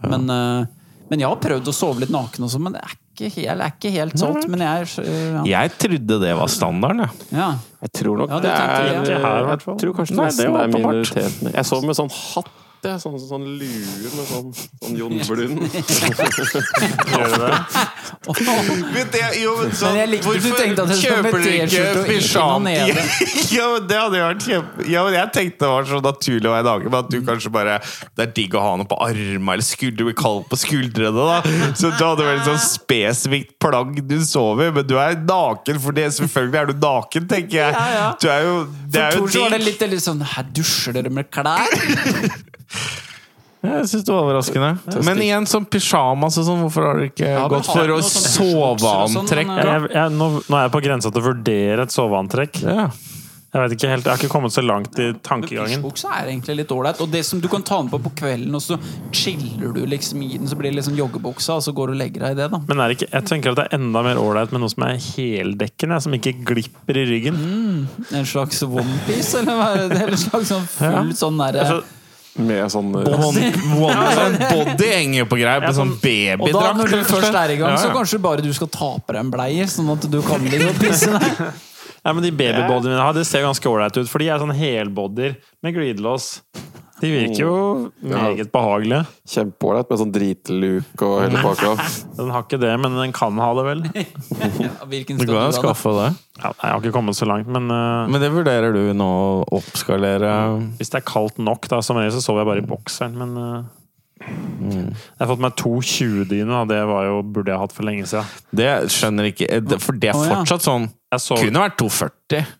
[SPEAKER 1] Men, eh, men jeg har prøvd å sove litt naken også, men det er ikke helt, det er ikke helt solgt. Men jeg er eh, ja.
[SPEAKER 5] Jeg trodde det var standarden, jeg.
[SPEAKER 1] ja.
[SPEAKER 4] Jeg tror nok
[SPEAKER 1] Ja, det tenkte jeg.
[SPEAKER 2] Ikke her, i hvert fall.
[SPEAKER 4] Jeg tror kanskje
[SPEAKER 5] Nei, det
[SPEAKER 4] nesten det
[SPEAKER 5] var
[SPEAKER 4] er
[SPEAKER 5] åpenbart.
[SPEAKER 4] minoriteten. Jeg sov med sånn hatt. jeg. Sånn, sånn lue med sånn, sånn Jon Blund.
[SPEAKER 2] Gjør du det?
[SPEAKER 1] Åh, Men jeg likte at du tenkte at det skulle
[SPEAKER 5] sånn, kjøper
[SPEAKER 1] være
[SPEAKER 5] du ikke
[SPEAKER 1] T-skjorte og ikke
[SPEAKER 5] pysjama?
[SPEAKER 1] noe nede.
[SPEAKER 5] Ja, men det hadde jo vært kjempe... Ja, men jeg tenkte det var så naturlig å være naken, men at du kanskje bare Det er digg å ha noe på armene eller skuldre, bli kald på skuldrene, da. Så du hadde vel et sånn spesifikt plagg du sover i, men du er naken for det. Selvfølgelig er du naken, tenker jeg.
[SPEAKER 1] Ja, ja.
[SPEAKER 5] Du er jo
[SPEAKER 1] For
[SPEAKER 5] Det er jo
[SPEAKER 1] Tor så var det
[SPEAKER 5] digg.
[SPEAKER 1] litt, litt sånn Her dusjer dere med klær?
[SPEAKER 5] Jeg syns det var overraskende. Men igjen, sånn pysjamas og sånn, hvorfor har du ikke
[SPEAKER 1] men
[SPEAKER 5] gått
[SPEAKER 1] har du
[SPEAKER 5] for å
[SPEAKER 1] noe sånn
[SPEAKER 5] soveantrekk?
[SPEAKER 1] pysjabukser og sånn,
[SPEAKER 2] Jeg, jeg, jeg, nå, nå er jeg på grensa til å vurdere et soveantrekk.
[SPEAKER 5] Ja.
[SPEAKER 2] Jeg vet ikke helt, jeg har ikke kommet så langt i tankegangen.
[SPEAKER 1] Pysjbuksa er egentlig litt ålreit. Og det som du kan ta den på på kvelden, og så chiller du liksom i den, så blir det liksom joggebuksa, og så går du og legger deg i det, da.
[SPEAKER 2] Men er det ikke, jeg tenker at det er enda mer ålreit med noe som er heldekkende, som ikke glipper i ryggen.
[SPEAKER 5] Mm.
[SPEAKER 1] En slags onepiece, eller hva er det? Eller en slags sånn full sånn derre
[SPEAKER 2] Altså,
[SPEAKER 4] Med sånn
[SPEAKER 5] One, one, sånn body henger på greier på sånn
[SPEAKER 1] og da, når du
[SPEAKER 5] babydrakt.
[SPEAKER 1] først er i gang,
[SPEAKER 5] Ja,
[SPEAKER 1] så
[SPEAKER 5] ja.
[SPEAKER 1] kanskje bare du skal ta på deg en bleier, sånn at du kan ligge og pisse deg.
[SPEAKER 2] Ja, men De babybodyene jeg har, det ser ganske ålreit ut. For de er sånn helbodyer med glidelås. De virker jo
[SPEAKER 5] Mm.
[SPEAKER 2] meget behagelige.
[SPEAKER 4] kjempeålreit med sånn dritluk og hele pakka.
[SPEAKER 2] Den har ikke det, men den kan ha det vel. Ja,
[SPEAKER 1] Ja, Hvilken
[SPEAKER 5] Det
[SPEAKER 1] skal
[SPEAKER 5] går
[SPEAKER 1] du ha?
[SPEAKER 5] an å
[SPEAKER 1] da?
[SPEAKER 5] skaffe det.
[SPEAKER 2] jeg har ikke kommet så langt, men eh,
[SPEAKER 5] Men det vurderer du nå å oppskalere
[SPEAKER 2] hvis det er kaldt nok, da, som regel, så sover jeg bare i bokseren. Men eh,
[SPEAKER 5] Mm.
[SPEAKER 2] jeg har fått meg to 20-dyner, og det var jo, burde jeg hatt for lenge siden.
[SPEAKER 5] Det skjønner ikke eh, det- For det er
[SPEAKER 1] Å, ja.
[SPEAKER 5] fortsatt sånn.
[SPEAKER 2] Jeg, sov,
[SPEAKER 5] Kunne vært 2,40.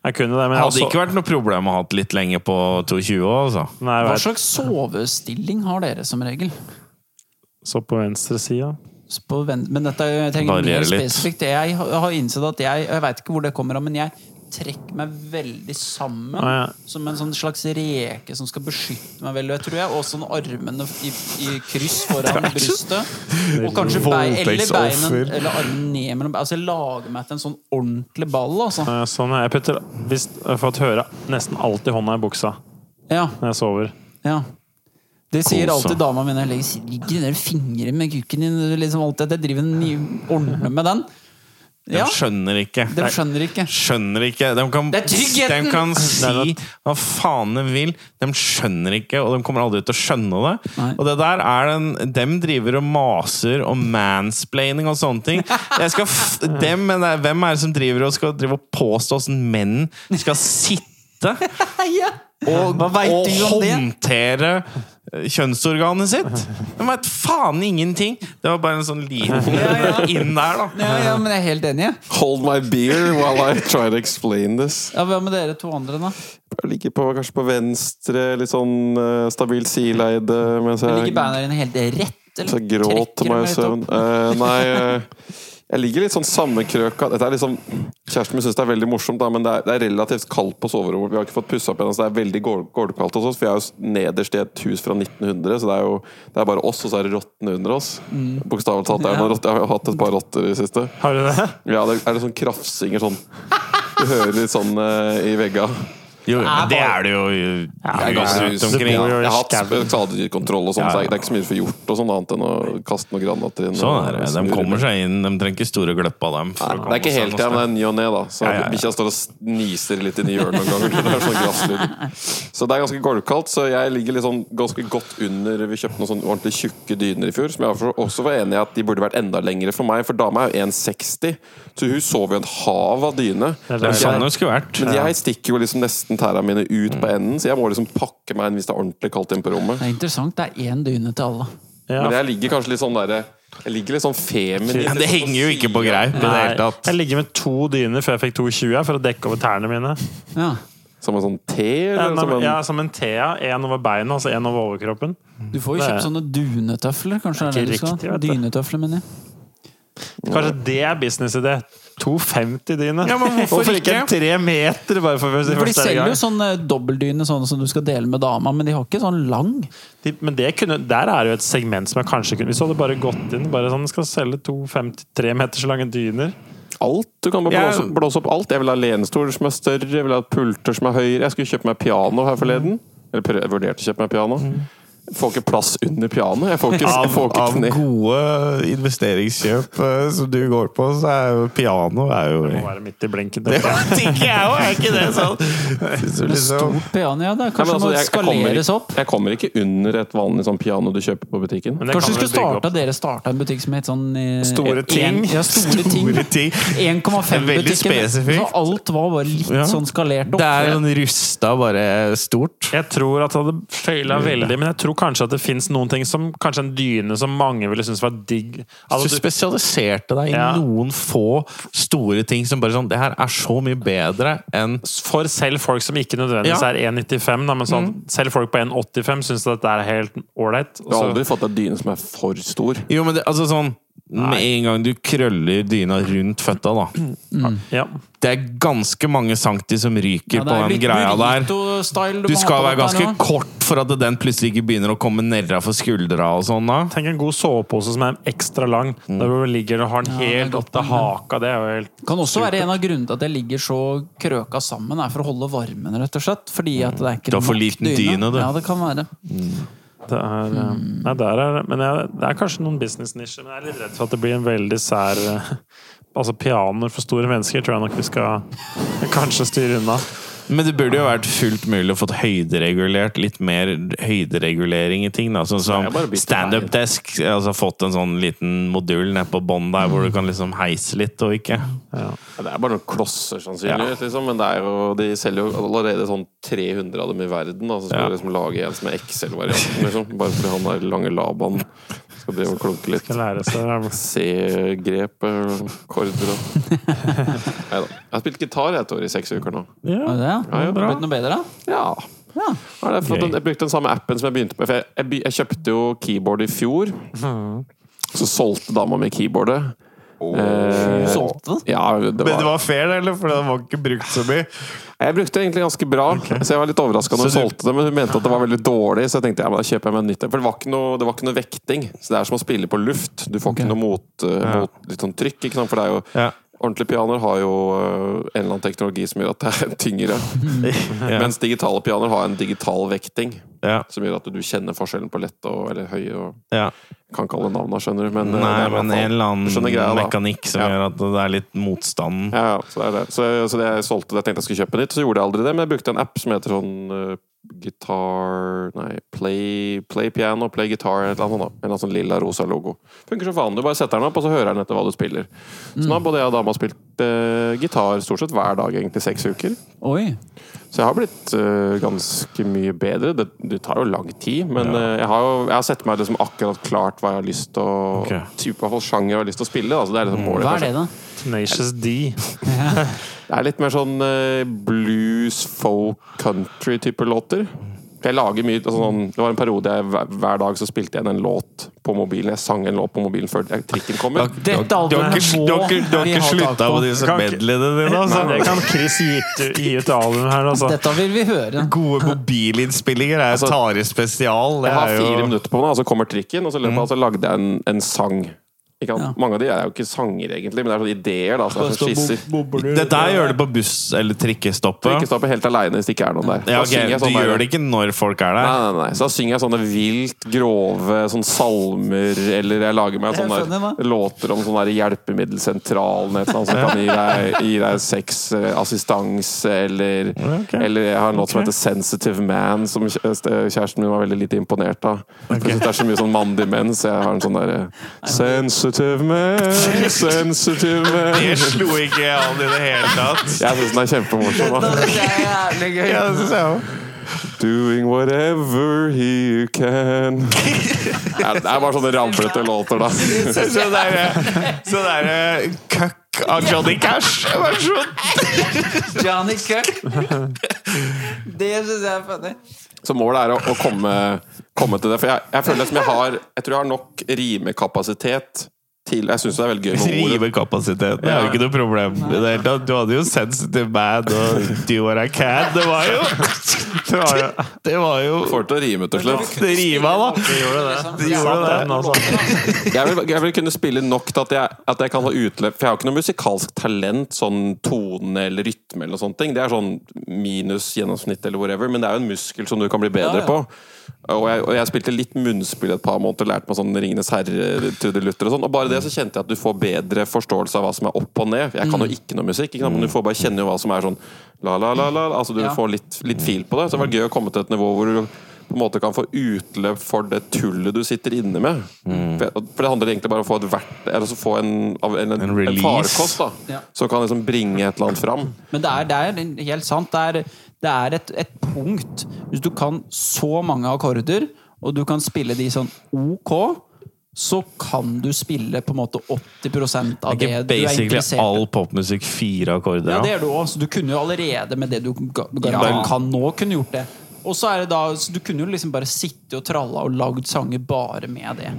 [SPEAKER 2] jeg kunne det, men jeg
[SPEAKER 1] Altså-
[SPEAKER 5] Hadde ikke vært noe problem å ha hatt litt lenge på 2,20 også, altså.
[SPEAKER 2] Nei, jeg
[SPEAKER 1] Hva
[SPEAKER 2] vet,
[SPEAKER 1] slags sovestilling har dere som regel?
[SPEAKER 2] så på venstre side.
[SPEAKER 1] Så på ven- Men dette er- jeg trenger
[SPEAKER 5] Varierer
[SPEAKER 1] mer
[SPEAKER 5] litt.
[SPEAKER 1] spesifikt. Jeg har- har innsett at jeg Jeg veit ikke hvor det kommer av, men jeg trekker meg veldig sammen.
[SPEAKER 2] Ah, ja.
[SPEAKER 1] Som en sånn slags reke som skal beskytte meg veldig. Jeg tror jeg, Og sånn armene i, i kryss foran brystet. Og kanskje bein, eller,
[SPEAKER 5] Voldtektsoffer.
[SPEAKER 1] beinen, eller armen ned mellom beina. Altså, jeg lager meg til en sånn ordentlig ball, altså.
[SPEAKER 2] Eh, Sånn er jeg putter hvis, Jeg har fått høre nesten alltid hånda i buksa
[SPEAKER 1] Ja,
[SPEAKER 2] når jeg sover.
[SPEAKER 1] ja. Det sier
[SPEAKER 5] Kose.
[SPEAKER 1] alltid dama mi når jeg legger sier, Ligger de der fingre med kuken din du liksom alltid, at Jeg driver og ni- ordner med den.
[SPEAKER 5] De
[SPEAKER 1] Ja,
[SPEAKER 5] skjønner ikke.
[SPEAKER 1] De skjønner ikke.
[SPEAKER 5] skjønner ikke De kan,
[SPEAKER 1] Det er tryggheten!
[SPEAKER 5] de kan si
[SPEAKER 2] Nei,
[SPEAKER 5] hva faen de vil. De skjønner ikke, og de kommer aldri til å skjønne det.
[SPEAKER 1] Nei.
[SPEAKER 5] Og det der er den Dem driver og maser og mansplaining og sånne ting. Jeg skal f dem, men det er, hvem er det som driver og skal drive og påstå åssen menn skal sitte
[SPEAKER 1] Ja.
[SPEAKER 5] og,
[SPEAKER 1] Hva vet
[SPEAKER 5] og
[SPEAKER 1] du om det?
[SPEAKER 5] håndtere eh, kjønnsorganet sitt? De veit faen ingenting! Det var bare en sånn liten
[SPEAKER 1] Ja,
[SPEAKER 5] inn der, da.
[SPEAKER 1] Ja, ja, men jeg er helt enig. jeg.
[SPEAKER 4] Hold my beer while I try to explain this.
[SPEAKER 1] Ja, Hva med dere to andre, da?
[SPEAKER 4] Jeg ligger på, kanskje på venstre, litt sånn eh, stabilt sileide mens
[SPEAKER 1] Du
[SPEAKER 4] jeg
[SPEAKER 1] ligger beina dine helt rett?
[SPEAKER 4] Så jeg gråt
[SPEAKER 1] trekker
[SPEAKER 4] meg i
[SPEAKER 1] litt
[SPEAKER 4] søvn.
[SPEAKER 1] opp?
[SPEAKER 4] Eh, nei, eh, jeg ligger litt sånn sammenkrøka. Dette er liksom, kjæresten min syns det er veldig morsomt, da, men det er, det er relativt kaldt på soverommet. Vi har ikke fått pussa opp ennå, så det er veldig gål- gålkaldt hos oss. For vi er jo s- nederst i et hus fra 1900, så det er jo det er bare oss, og så er det rottene under oss.
[SPEAKER 5] Mm.
[SPEAKER 4] Bokstavelig talt. Det er noen rotter- jeg har hatt et par rotter i det siste.
[SPEAKER 2] Har du det?
[SPEAKER 4] Ja, det er det sånn krafsinger sånn Du hører litt sånn eh, i vegga.
[SPEAKER 5] Jo, jo, men det
[SPEAKER 1] bare-
[SPEAKER 5] er det jo
[SPEAKER 2] det er
[SPEAKER 5] ganske
[SPEAKER 2] jo-
[SPEAKER 5] rundt
[SPEAKER 2] det
[SPEAKER 5] omkring.
[SPEAKER 2] bor jo-
[SPEAKER 4] Jeg har hatt
[SPEAKER 2] Skauen.
[SPEAKER 4] skadedyrkontroll og sånn, så det er- det er ikke så mye for gjort og sånn annet enn å kaste noen granater inn.
[SPEAKER 5] Sånn
[SPEAKER 4] og
[SPEAKER 5] er det.
[SPEAKER 4] snurre
[SPEAKER 5] De kommer
[SPEAKER 4] rundt.
[SPEAKER 5] seg inn. De trenger ikke store gløpp av dem. for å
[SPEAKER 4] Nei, det er
[SPEAKER 5] komme
[SPEAKER 4] ikke
[SPEAKER 5] seg
[SPEAKER 4] helt igjen,
[SPEAKER 5] noe
[SPEAKER 4] det
[SPEAKER 5] sted.
[SPEAKER 4] er ny og ne, da. Så
[SPEAKER 5] Ja, ja, ja.
[SPEAKER 4] bikkja står og s- niser litt inni hjørnet noen ganger. Det er sånn glasslyd. Så det er ganske golvkaldt, så jeg ligger litt sånn ganske godt under Vi kjøpte noen sånn ordentlig tjukke dyner i fjor, som jeg for- også var enig i at de burde vært enda lengre for meg, for dama er jo 1,60, så hun sover jo et hav av dyne.
[SPEAKER 2] er
[SPEAKER 5] Det
[SPEAKER 2] det.
[SPEAKER 5] er sånn det skulle vært.
[SPEAKER 4] Men jeg stikker jo liksom nesten tæra mine ut på
[SPEAKER 5] Mm.
[SPEAKER 4] enden, så jeg må liksom pakke meg inn hvis det er ordentlig kaldt inne på rommet.
[SPEAKER 1] Det er interessant. Det er én dyne til alle.
[SPEAKER 2] Ja.
[SPEAKER 4] Men jeg ligger kanskje litt sånn derre Jeg ligger litt sånn feminin.
[SPEAKER 5] Ja, det henger jo ikke på greip i det
[SPEAKER 2] Nei,
[SPEAKER 5] hele tatt.
[SPEAKER 2] Jeg ligger med to dyner før jeg fikk 2,20 for å dekke over tærne mine.
[SPEAKER 1] Ja.
[SPEAKER 4] Som en sånn T?
[SPEAKER 2] Ja,
[SPEAKER 4] Eller som
[SPEAKER 2] som,
[SPEAKER 4] en
[SPEAKER 2] ja, som en Thea. Én over beina, altså én over overkroppen.
[SPEAKER 1] Du får jo
[SPEAKER 2] Det er-
[SPEAKER 1] kjøpt sånne dunetøfler. Kanskje det
[SPEAKER 2] Det er
[SPEAKER 1] er det du
[SPEAKER 2] ikke
[SPEAKER 1] skal
[SPEAKER 2] riktig,
[SPEAKER 1] ha?
[SPEAKER 2] vet du.
[SPEAKER 1] Dynetøfler, mener jeg.
[SPEAKER 2] Kanskje det er businessidé. 2,50-dyne.
[SPEAKER 5] Ja, men hvorfor ikke?
[SPEAKER 2] en tre meter, bare for første,
[SPEAKER 1] For de
[SPEAKER 2] første
[SPEAKER 1] selger
[SPEAKER 2] gang?
[SPEAKER 1] jo sånn eh, dobbeltdyne sånn som du skal dele med dama, men de har ikke sånn lang.
[SPEAKER 2] De, men det kunne, der er jo et segment som jeg kanskje kunne Hvis du hadde bare gått inn bare sånn, skal selge 2,53 meters lange dyner
[SPEAKER 4] Alt. Du kan bare
[SPEAKER 5] Jeg-
[SPEAKER 4] blåse, opp- blåse opp alt. Jeg vil ha lenestol som er større, jeg vil ha pulter som er høyere. Jeg skulle kjøpe meg piano her forleden. Eller prøv- vurderte å kjøpe meg piano. Får ikke plass under pianoet. Jeg får ikke, jeg
[SPEAKER 5] Av,
[SPEAKER 4] får ikke
[SPEAKER 5] av
[SPEAKER 4] kne.
[SPEAKER 5] gode investeringskjøp eh, som du går på, så er jo piano er jo
[SPEAKER 2] Må være midt i blinken.
[SPEAKER 5] Det tenker jeg òg, er ikke det sånn? Så
[SPEAKER 1] Men
[SPEAKER 5] liksom,
[SPEAKER 1] stort piano, ja. Det er
[SPEAKER 4] Nei, men
[SPEAKER 1] kanskje
[SPEAKER 4] altså,
[SPEAKER 1] må
[SPEAKER 4] jeg- jeg kommer
[SPEAKER 1] skaleres
[SPEAKER 4] ikke-
[SPEAKER 1] opp.
[SPEAKER 4] Jeg kommer ikke under et vanlig sånn piano du kjøper på butikken.
[SPEAKER 2] Men det
[SPEAKER 1] Kanskje
[SPEAKER 2] kan
[SPEAKER 1] du skulle
[SPEAKER 2] vel bygge
[SPEAKER 1] starta,
[SPEAKER 2] opp.
[SPEAKER 1] dere starta en butikk som het sånn eh,
[SPEAKER 2] Store
[SPEAKER 1] en-
[SPEAKER 2] ting.
[SPEAKER 1] Ja, store ting.
[SPEAKER 5] store ting.
[SPEAKER 1] 1,5-butikken.
[SPEAKER 5] Veldig spesifikt.
[SPEAKER 1] Så alt var bare litt
[SPEAKER 5] Ja.
[SPEAKER 1] sånn skalert opp.
[SPEAKER 5] Det er sånn rusta, bare stort.
[SPEAKER 2] Jeg tror at det hadde feila veldig, men jeg tror kanskje at det fins noen ting som Kanskje en dyne som mange ville synes var digg.
[SPEAKER 5] Du
[SPEAKER 2] Altså, du,
[SPEAKER 5] spesialiserte deg i
[SPEAKER 2] Ja.
[SPEAKER 5] noen få store ting som bare sånn Det her er så mye bedre enn
[SPEAKER 2] for selv folk som ikke nødvendigvis
[SPEAKER 5] Ja.
[SPEAKER 2] er 1,95, da, men sånn, selv folk på 1,85 syns at dette er helt ålreit. og
[SPEAKER 4] Du har
[SPEAKER 2] så-
[SPEAKER 4] aldri fått deg dyne som er for stor.
[SPEAKER 5] Jo, men det, altså sånn Med en gang du krøller dyna rundt føtta, da.
[SPEAKER 1] Mm.
[SPEAKER 2] Ja.
[SPEAKER 5] Det er ganske mange centi som ryker
[SPEAKER 1] Ja, det
[SPEAKER 5] på
[SPEAKER 1] er
[SPEAKER 5] den
[SPEAKER 1] litt
[SPEAKER 5] greia der.
[SPEAKER 1] burrito-style må
[SPEAKER 5] Du
[SPEAKER 1] ha
[SPEAKER 5] skal
[SPEAKER 1] på
[SPEAKER 5] være
[SPEAKER 1] dette her
[SPEAKER 5] ganske
[SPEAKER 1] nå.
[SPEAKER 5] kort for at den plutselig ikke begynner å komme nedra for skuldra og sånn da.
[SPEAKER 2] Tenk en god sovepose som er ekstra lang, der hvor du ligger og har den
[SPEAKER 1] det er
[SPEAKER 2] helt
[SPEAKER 1] godt
[SPEAKER 2] opp til haka. Det er jo helt
[SPEAKER 1] Kan også være en av grunnene til at jeg ligger så krøka sammen, er for å holde varmen, rett og slett. Fordi at det er ikke
[SPEAKER 5] Du har for
[SPEAKER 1] nok
[SPEAKER 5] liten dyne, du.
[SPEAKER 1] Ja, det kan være.
[SPEAKER 2] Det er, eh, nei, der er, men jeg, det er kanskje noen businessnisjer, men jeg er litt redd for at det blir en veldig sær eh, Altså pianoer for store mennesker tror jeg nok vi skal kanskje styre unna.
[SPEAKER 5] Men det burde jo vært fullt mulig å fått høyderegulert litt mer høyderegulering i ting. da Sånn som
[SPEAKER 4] Det er bare å bytte vei.
[SPEAKER 5] standup-desk. Altså fått en sånn liten modul nede på bånn der hvor du kan liksom heise litt og ikke.
[SPEAKER 4] Ja, Det er bare noen klosser, sannsynligvis. Liksom. Men det er jo, de selger jo allerede sånn 300 av dem i verden. Da. Så skal
[SPEAKER 5] Ja.
[SPEAKER 4] de liksom lage en som er XL-varianten, liksom. bare fordi han der lange Laban skal drive og klunke litt.
[SPEAKER 2] Skal lære seg
[SPEAKER 4] C-grep, eh, korder og Nei da. Jeg har spilt gitar jeg, et år i seks uker nå.
[SPEAKER 1] Ja,
[SPEAKER 2] ja.
[SPEAKER 1] det
[SPEAKER 4] Ja,
[SPEAKER 1] er
[SPEAKER 4] ja, bra.
[SPEAKER 1] blitt noe bedre, da?
[SPEAKER 4] Ja.
[SPEAKER 1] Ja.
[SPEAKER 4] Har det fått den,
[SPEAKER 5] Gøy.
[SPEAKER 4] jeg brukte den samme appen som jeg begynte på. For jeg, jeg, by- jeg kjøpte jo keyboard i fjor. Mhm. Så solgte dama mi keyboardet.
[SPEAKER 1] Du
[SPEAKER 4] Eh,
[SPEAKER 1] solgte det?
[SPEAKER 4] ja, det var,
[SPEAKER 5] var fair, eller? For det var ikke brukt så mye.
[SPEAKER 4] Jeg brukte det egentlig ganske bra, så jeg var litt overraska når hun
[SPEAKER 5] Så du-
[SPEAKER 4] solgte det. Men hun mente at det var veldig dårlig, så jeg tenkte ja, men da kjøper jeg meg en nytt. For det var, ikke noe, det var ikke noe vekting. Så det er som å spille på luft. Du får ikke noe mot, eh, mot litt sånn trykk. Ikke sant? For det er jo
[SPEAKER 5] Ja.
[SPEAKER 4] Ordentlige pianoer har jo eh, en eller annen teknologi som gjør at det er tyngre. Mens digitale pianoer har en digital vekting
[SPEAKER 5] Ja,
[SPEAKER 4] som gjør at du kjenner forskjellen på lette og eller høye. Og,
[SPEAKER 5] ja.
[SPEAKER 4] kan ikke alle navnene, skjønner du. Men, eh, det
[SPEAKER 5] Nei,
[SPEAKER 4] er i hvert
[SPEAKER 5] men
[SPEAKER 4] fall-
[SPEAKER 5] en eller
[SPEAKER 4] Du skjønner
[SPEAKER 5] annen
[SPEAKER 4] greia, da.
[SPEAKER 5] mekanikk som
[SPEAKER 4] Ja.
[SPEAKER 5] gjør at det er litt motstand.
[SPEAKER 4] Ja, ja, så det er det. Så, jeg- så det jeg solgte det, jeg tenkte jeg skulle kjøpe nytt, så gjorde jeg aldri det. Men jeg brukte en app som heter sånn eh, Guitar Nei, Play, play Piano, Play Guitar, et eller annet sånt. da. En eller annen sånn lilla rosa logo. Funker som faen. Du bare setter den opp, og så hører den etter hva du spiller.
[SPEAKER 1] Mm.
[SPEAKER 4] Så nå har både jeg og dama spilt eh, gitar stort sett hver dag egentlig i seks uker.
[SPEAKER 1] Oi.
[SPEAKER 4] Så jeg har blitt eh, ganske mye bedre. Det, det tar jo lang tid, men eh, jeg har jo jeg har sett meg liksom akkurat klart hva jeg har lyst til å
[SPEAKER 5] Ok.
[SPEAKER 4] type, I hvert fall sjanger jeg har lyst til å spille. Da. Så det er liksom målet.
[SPEAKER 1] Mm. Hva
[SPEAKER 4] kanskje.
[SPEAKER 1] er det, da?
[SPEAKER 2] Tenacious D.
[SPEAKER 4] Det er litt mer sånn eh, blues, folk, country-type låter. Jeg lager mye altså sånn, Det var en periode jeg hver, hver dag så spilte jeg inn en låt på mobilen. Jeg sang en låt på mobilen før jeg- trikken kom. inn.
[SPEAKER 1] Dette albumet må vi ha tak på.
[SPEAKER 5] disse
[SPEAKER 2] Kan ikke-
[SPEAKER 5] medleyene dine,
[SPEAKER 2] Nei,
[SPEAKER 5] altså.
[SPEAKER 2] det kan Chris gi ut, gi ut album her, altså.
[SPEAKER 1] Dette vil vi høre.
[SPEAKER 5] Gode mobilinnspillinger er
[SPEAKER 4] Altså,
[SPEAKER 5] Tare spesial. Det
[SPEAKER 4] Jeg har
[SPEAKER 5] er jo- Mm.
[SPEAKER 4] fire minutter på meg, og så kommer trikken, og så, i løpet, av- så lagde jeg en, en sang. Ikke sant?
[SPEAKER 1] Ja.
[SPEAKER 4] Mange av de er jo ikke sanger, egentlig, men det er sånne ideer. Da, så det er sånne skisser.
[SPEAKER 5] Det der gjør du på buss- eller
[SPEAKER 4] Så jeg
[SPEAKER 5] trikkestoppet.
[SPEAKER 4] ikke stå på helt aleine hvis det ikke er noen der. Da
[SPEAKER 5] Ja, ok,
[SPEAKER 4] synger jeg
[SPEAKER 5] Du
[SPEAKER 4] sånn der-
[SPEAKER 5] gjør det ikke når folk er der.
[SPEAKER 4] Nei, nei, nei. Så da synger jeg sånne vilt grove sånn salmer, eller jeg lager meg
[SPEAKER 1] Jeg
[SPEAKER 4] sånne
[SPEAKER 1] skjønner det.
[SPEAKER 4] låter om sånne der hjelpemiddelsentralen, et eller annet som kan gi deg, gi deg sex, eh, assistanse, eller,
[SPEAKER 2] ok.
[SPEAKER 4] eller jeg har en låt som heter 'Sensitive Man', som kjæ- kjæresten min var veldig lite imponert av. For jeg synes det er så mye sånn mandig menn, så jeg har en sånn derre 'Sensitive Man', 'Sensitive Man'.
[SPEAKER 5] Det slo ikke jeg an i det hele tatt.
[SPEAKER 4] Jeg syns den er kjempemorsom. da.
[SPEAKER 1] Det er jævlig gøy.
[SPEAKER 5] Ja, det synes jeg også.
[SPEAKER 4] Doing whatever he can Det er det er bare sånne ramlete låter, da.
[SPEAKER 5] Så- Så derre så derre cuck av Johnny Cash. Vær så god.
[SPEAKER 1] Johnny Cuck. Det syns jeg er funny.
[SPEAKER 4] Så målet er å, å komme, komme til det. For jeg, jeg føler som jeg har Jeg tror jeg har nok rimekapasitet til Jeg syns det er veldig gøy med ordet.
[SPEAKER 5] Rivekapasitet. Det er jo ikke noe problem. I det hele tatt. Du hadde jo Sensitive Man og Do What I Can. Det var jo Det var jo, det var jo
[SPEAKER 4] Får til å rime til slutt.
[SPEAKER 5] Det rima, da!
[SPEAKER 2] Vi gjorde det.
[SPEAKER 5] Vi gjorde det.
[SPEAKER 2] Den, altså.
[SPEAKER 4] Jeg vil, jeg vil kunne spille nok til at jeg, at jeg kan ha utløp For jeg har ikke noe musikalsk talent, sånn tone eller rytme eller sånne ting. Det er sånn minus gjennomsnitt eller whatever, men det er jo en muskel som du kan bli bedre
[SPEAKER 1] Ja, ja.
[SPEAKER 4] på. Og jeg, og jeg spilte litt munnspill et par måneder, lærte meg sånn Ringenes herre, Trude Luther og sånn. Og bare det så kjente jeg at du får bedre forståelse av hva som er opp og ned. Jeg kan
[SPEAKER 1] Mm.
[SPEAKER 4] jo ikke noe musikk, ikke sant? men du får bare kjenne jo hva som er sånn la, la, la, la. Altså du
[SPEAKER 1] Ja.
[SPEAKER 4] får litt, litt fil på det. Så det var gøy å komme til et nivå hvor du på en måte kan få utløp for det tullet du sitter inne med. For, jeg- for det handler egentlig bare om å få et vert, eller så få en, av- en, en,
[SPEAKER 5] En
[SPEAKER 4] en,
[SPEAKER 5] release.
[SPEAKER 4] farkost da,
[SPEAKER 1] Ja.
[SPEAKER 4] som kan liksom bringe et eller annet fram.
[SPEAKER 1] Men det er, det er helt sant. Det er, det er et, et punkt Hvis du kan så mange akkorder, og du kan spille de sånn OK, så kan du spille på en måte 80 av det, du
[SPEAKER 5] Ikke
[SPEAKER 1] er
[SPEAKER 5] basically
[SPEAKER 1] interessert i.
[SPEAKER 5] all popmusikk fire akkorder.
[SPEAKER 1] Ja,
[SPEAKER 5] da.
[SPEAKER 1] det er du også. Du kunne jo allerede med det du ga- ga-
[SPEAKER 5] Ja.
[SPEAKER 1] kan nå, kunne gjort det. Og så er det da, så Du kunne jo liksom bare sitte og tralla og lagd sanger bare med det.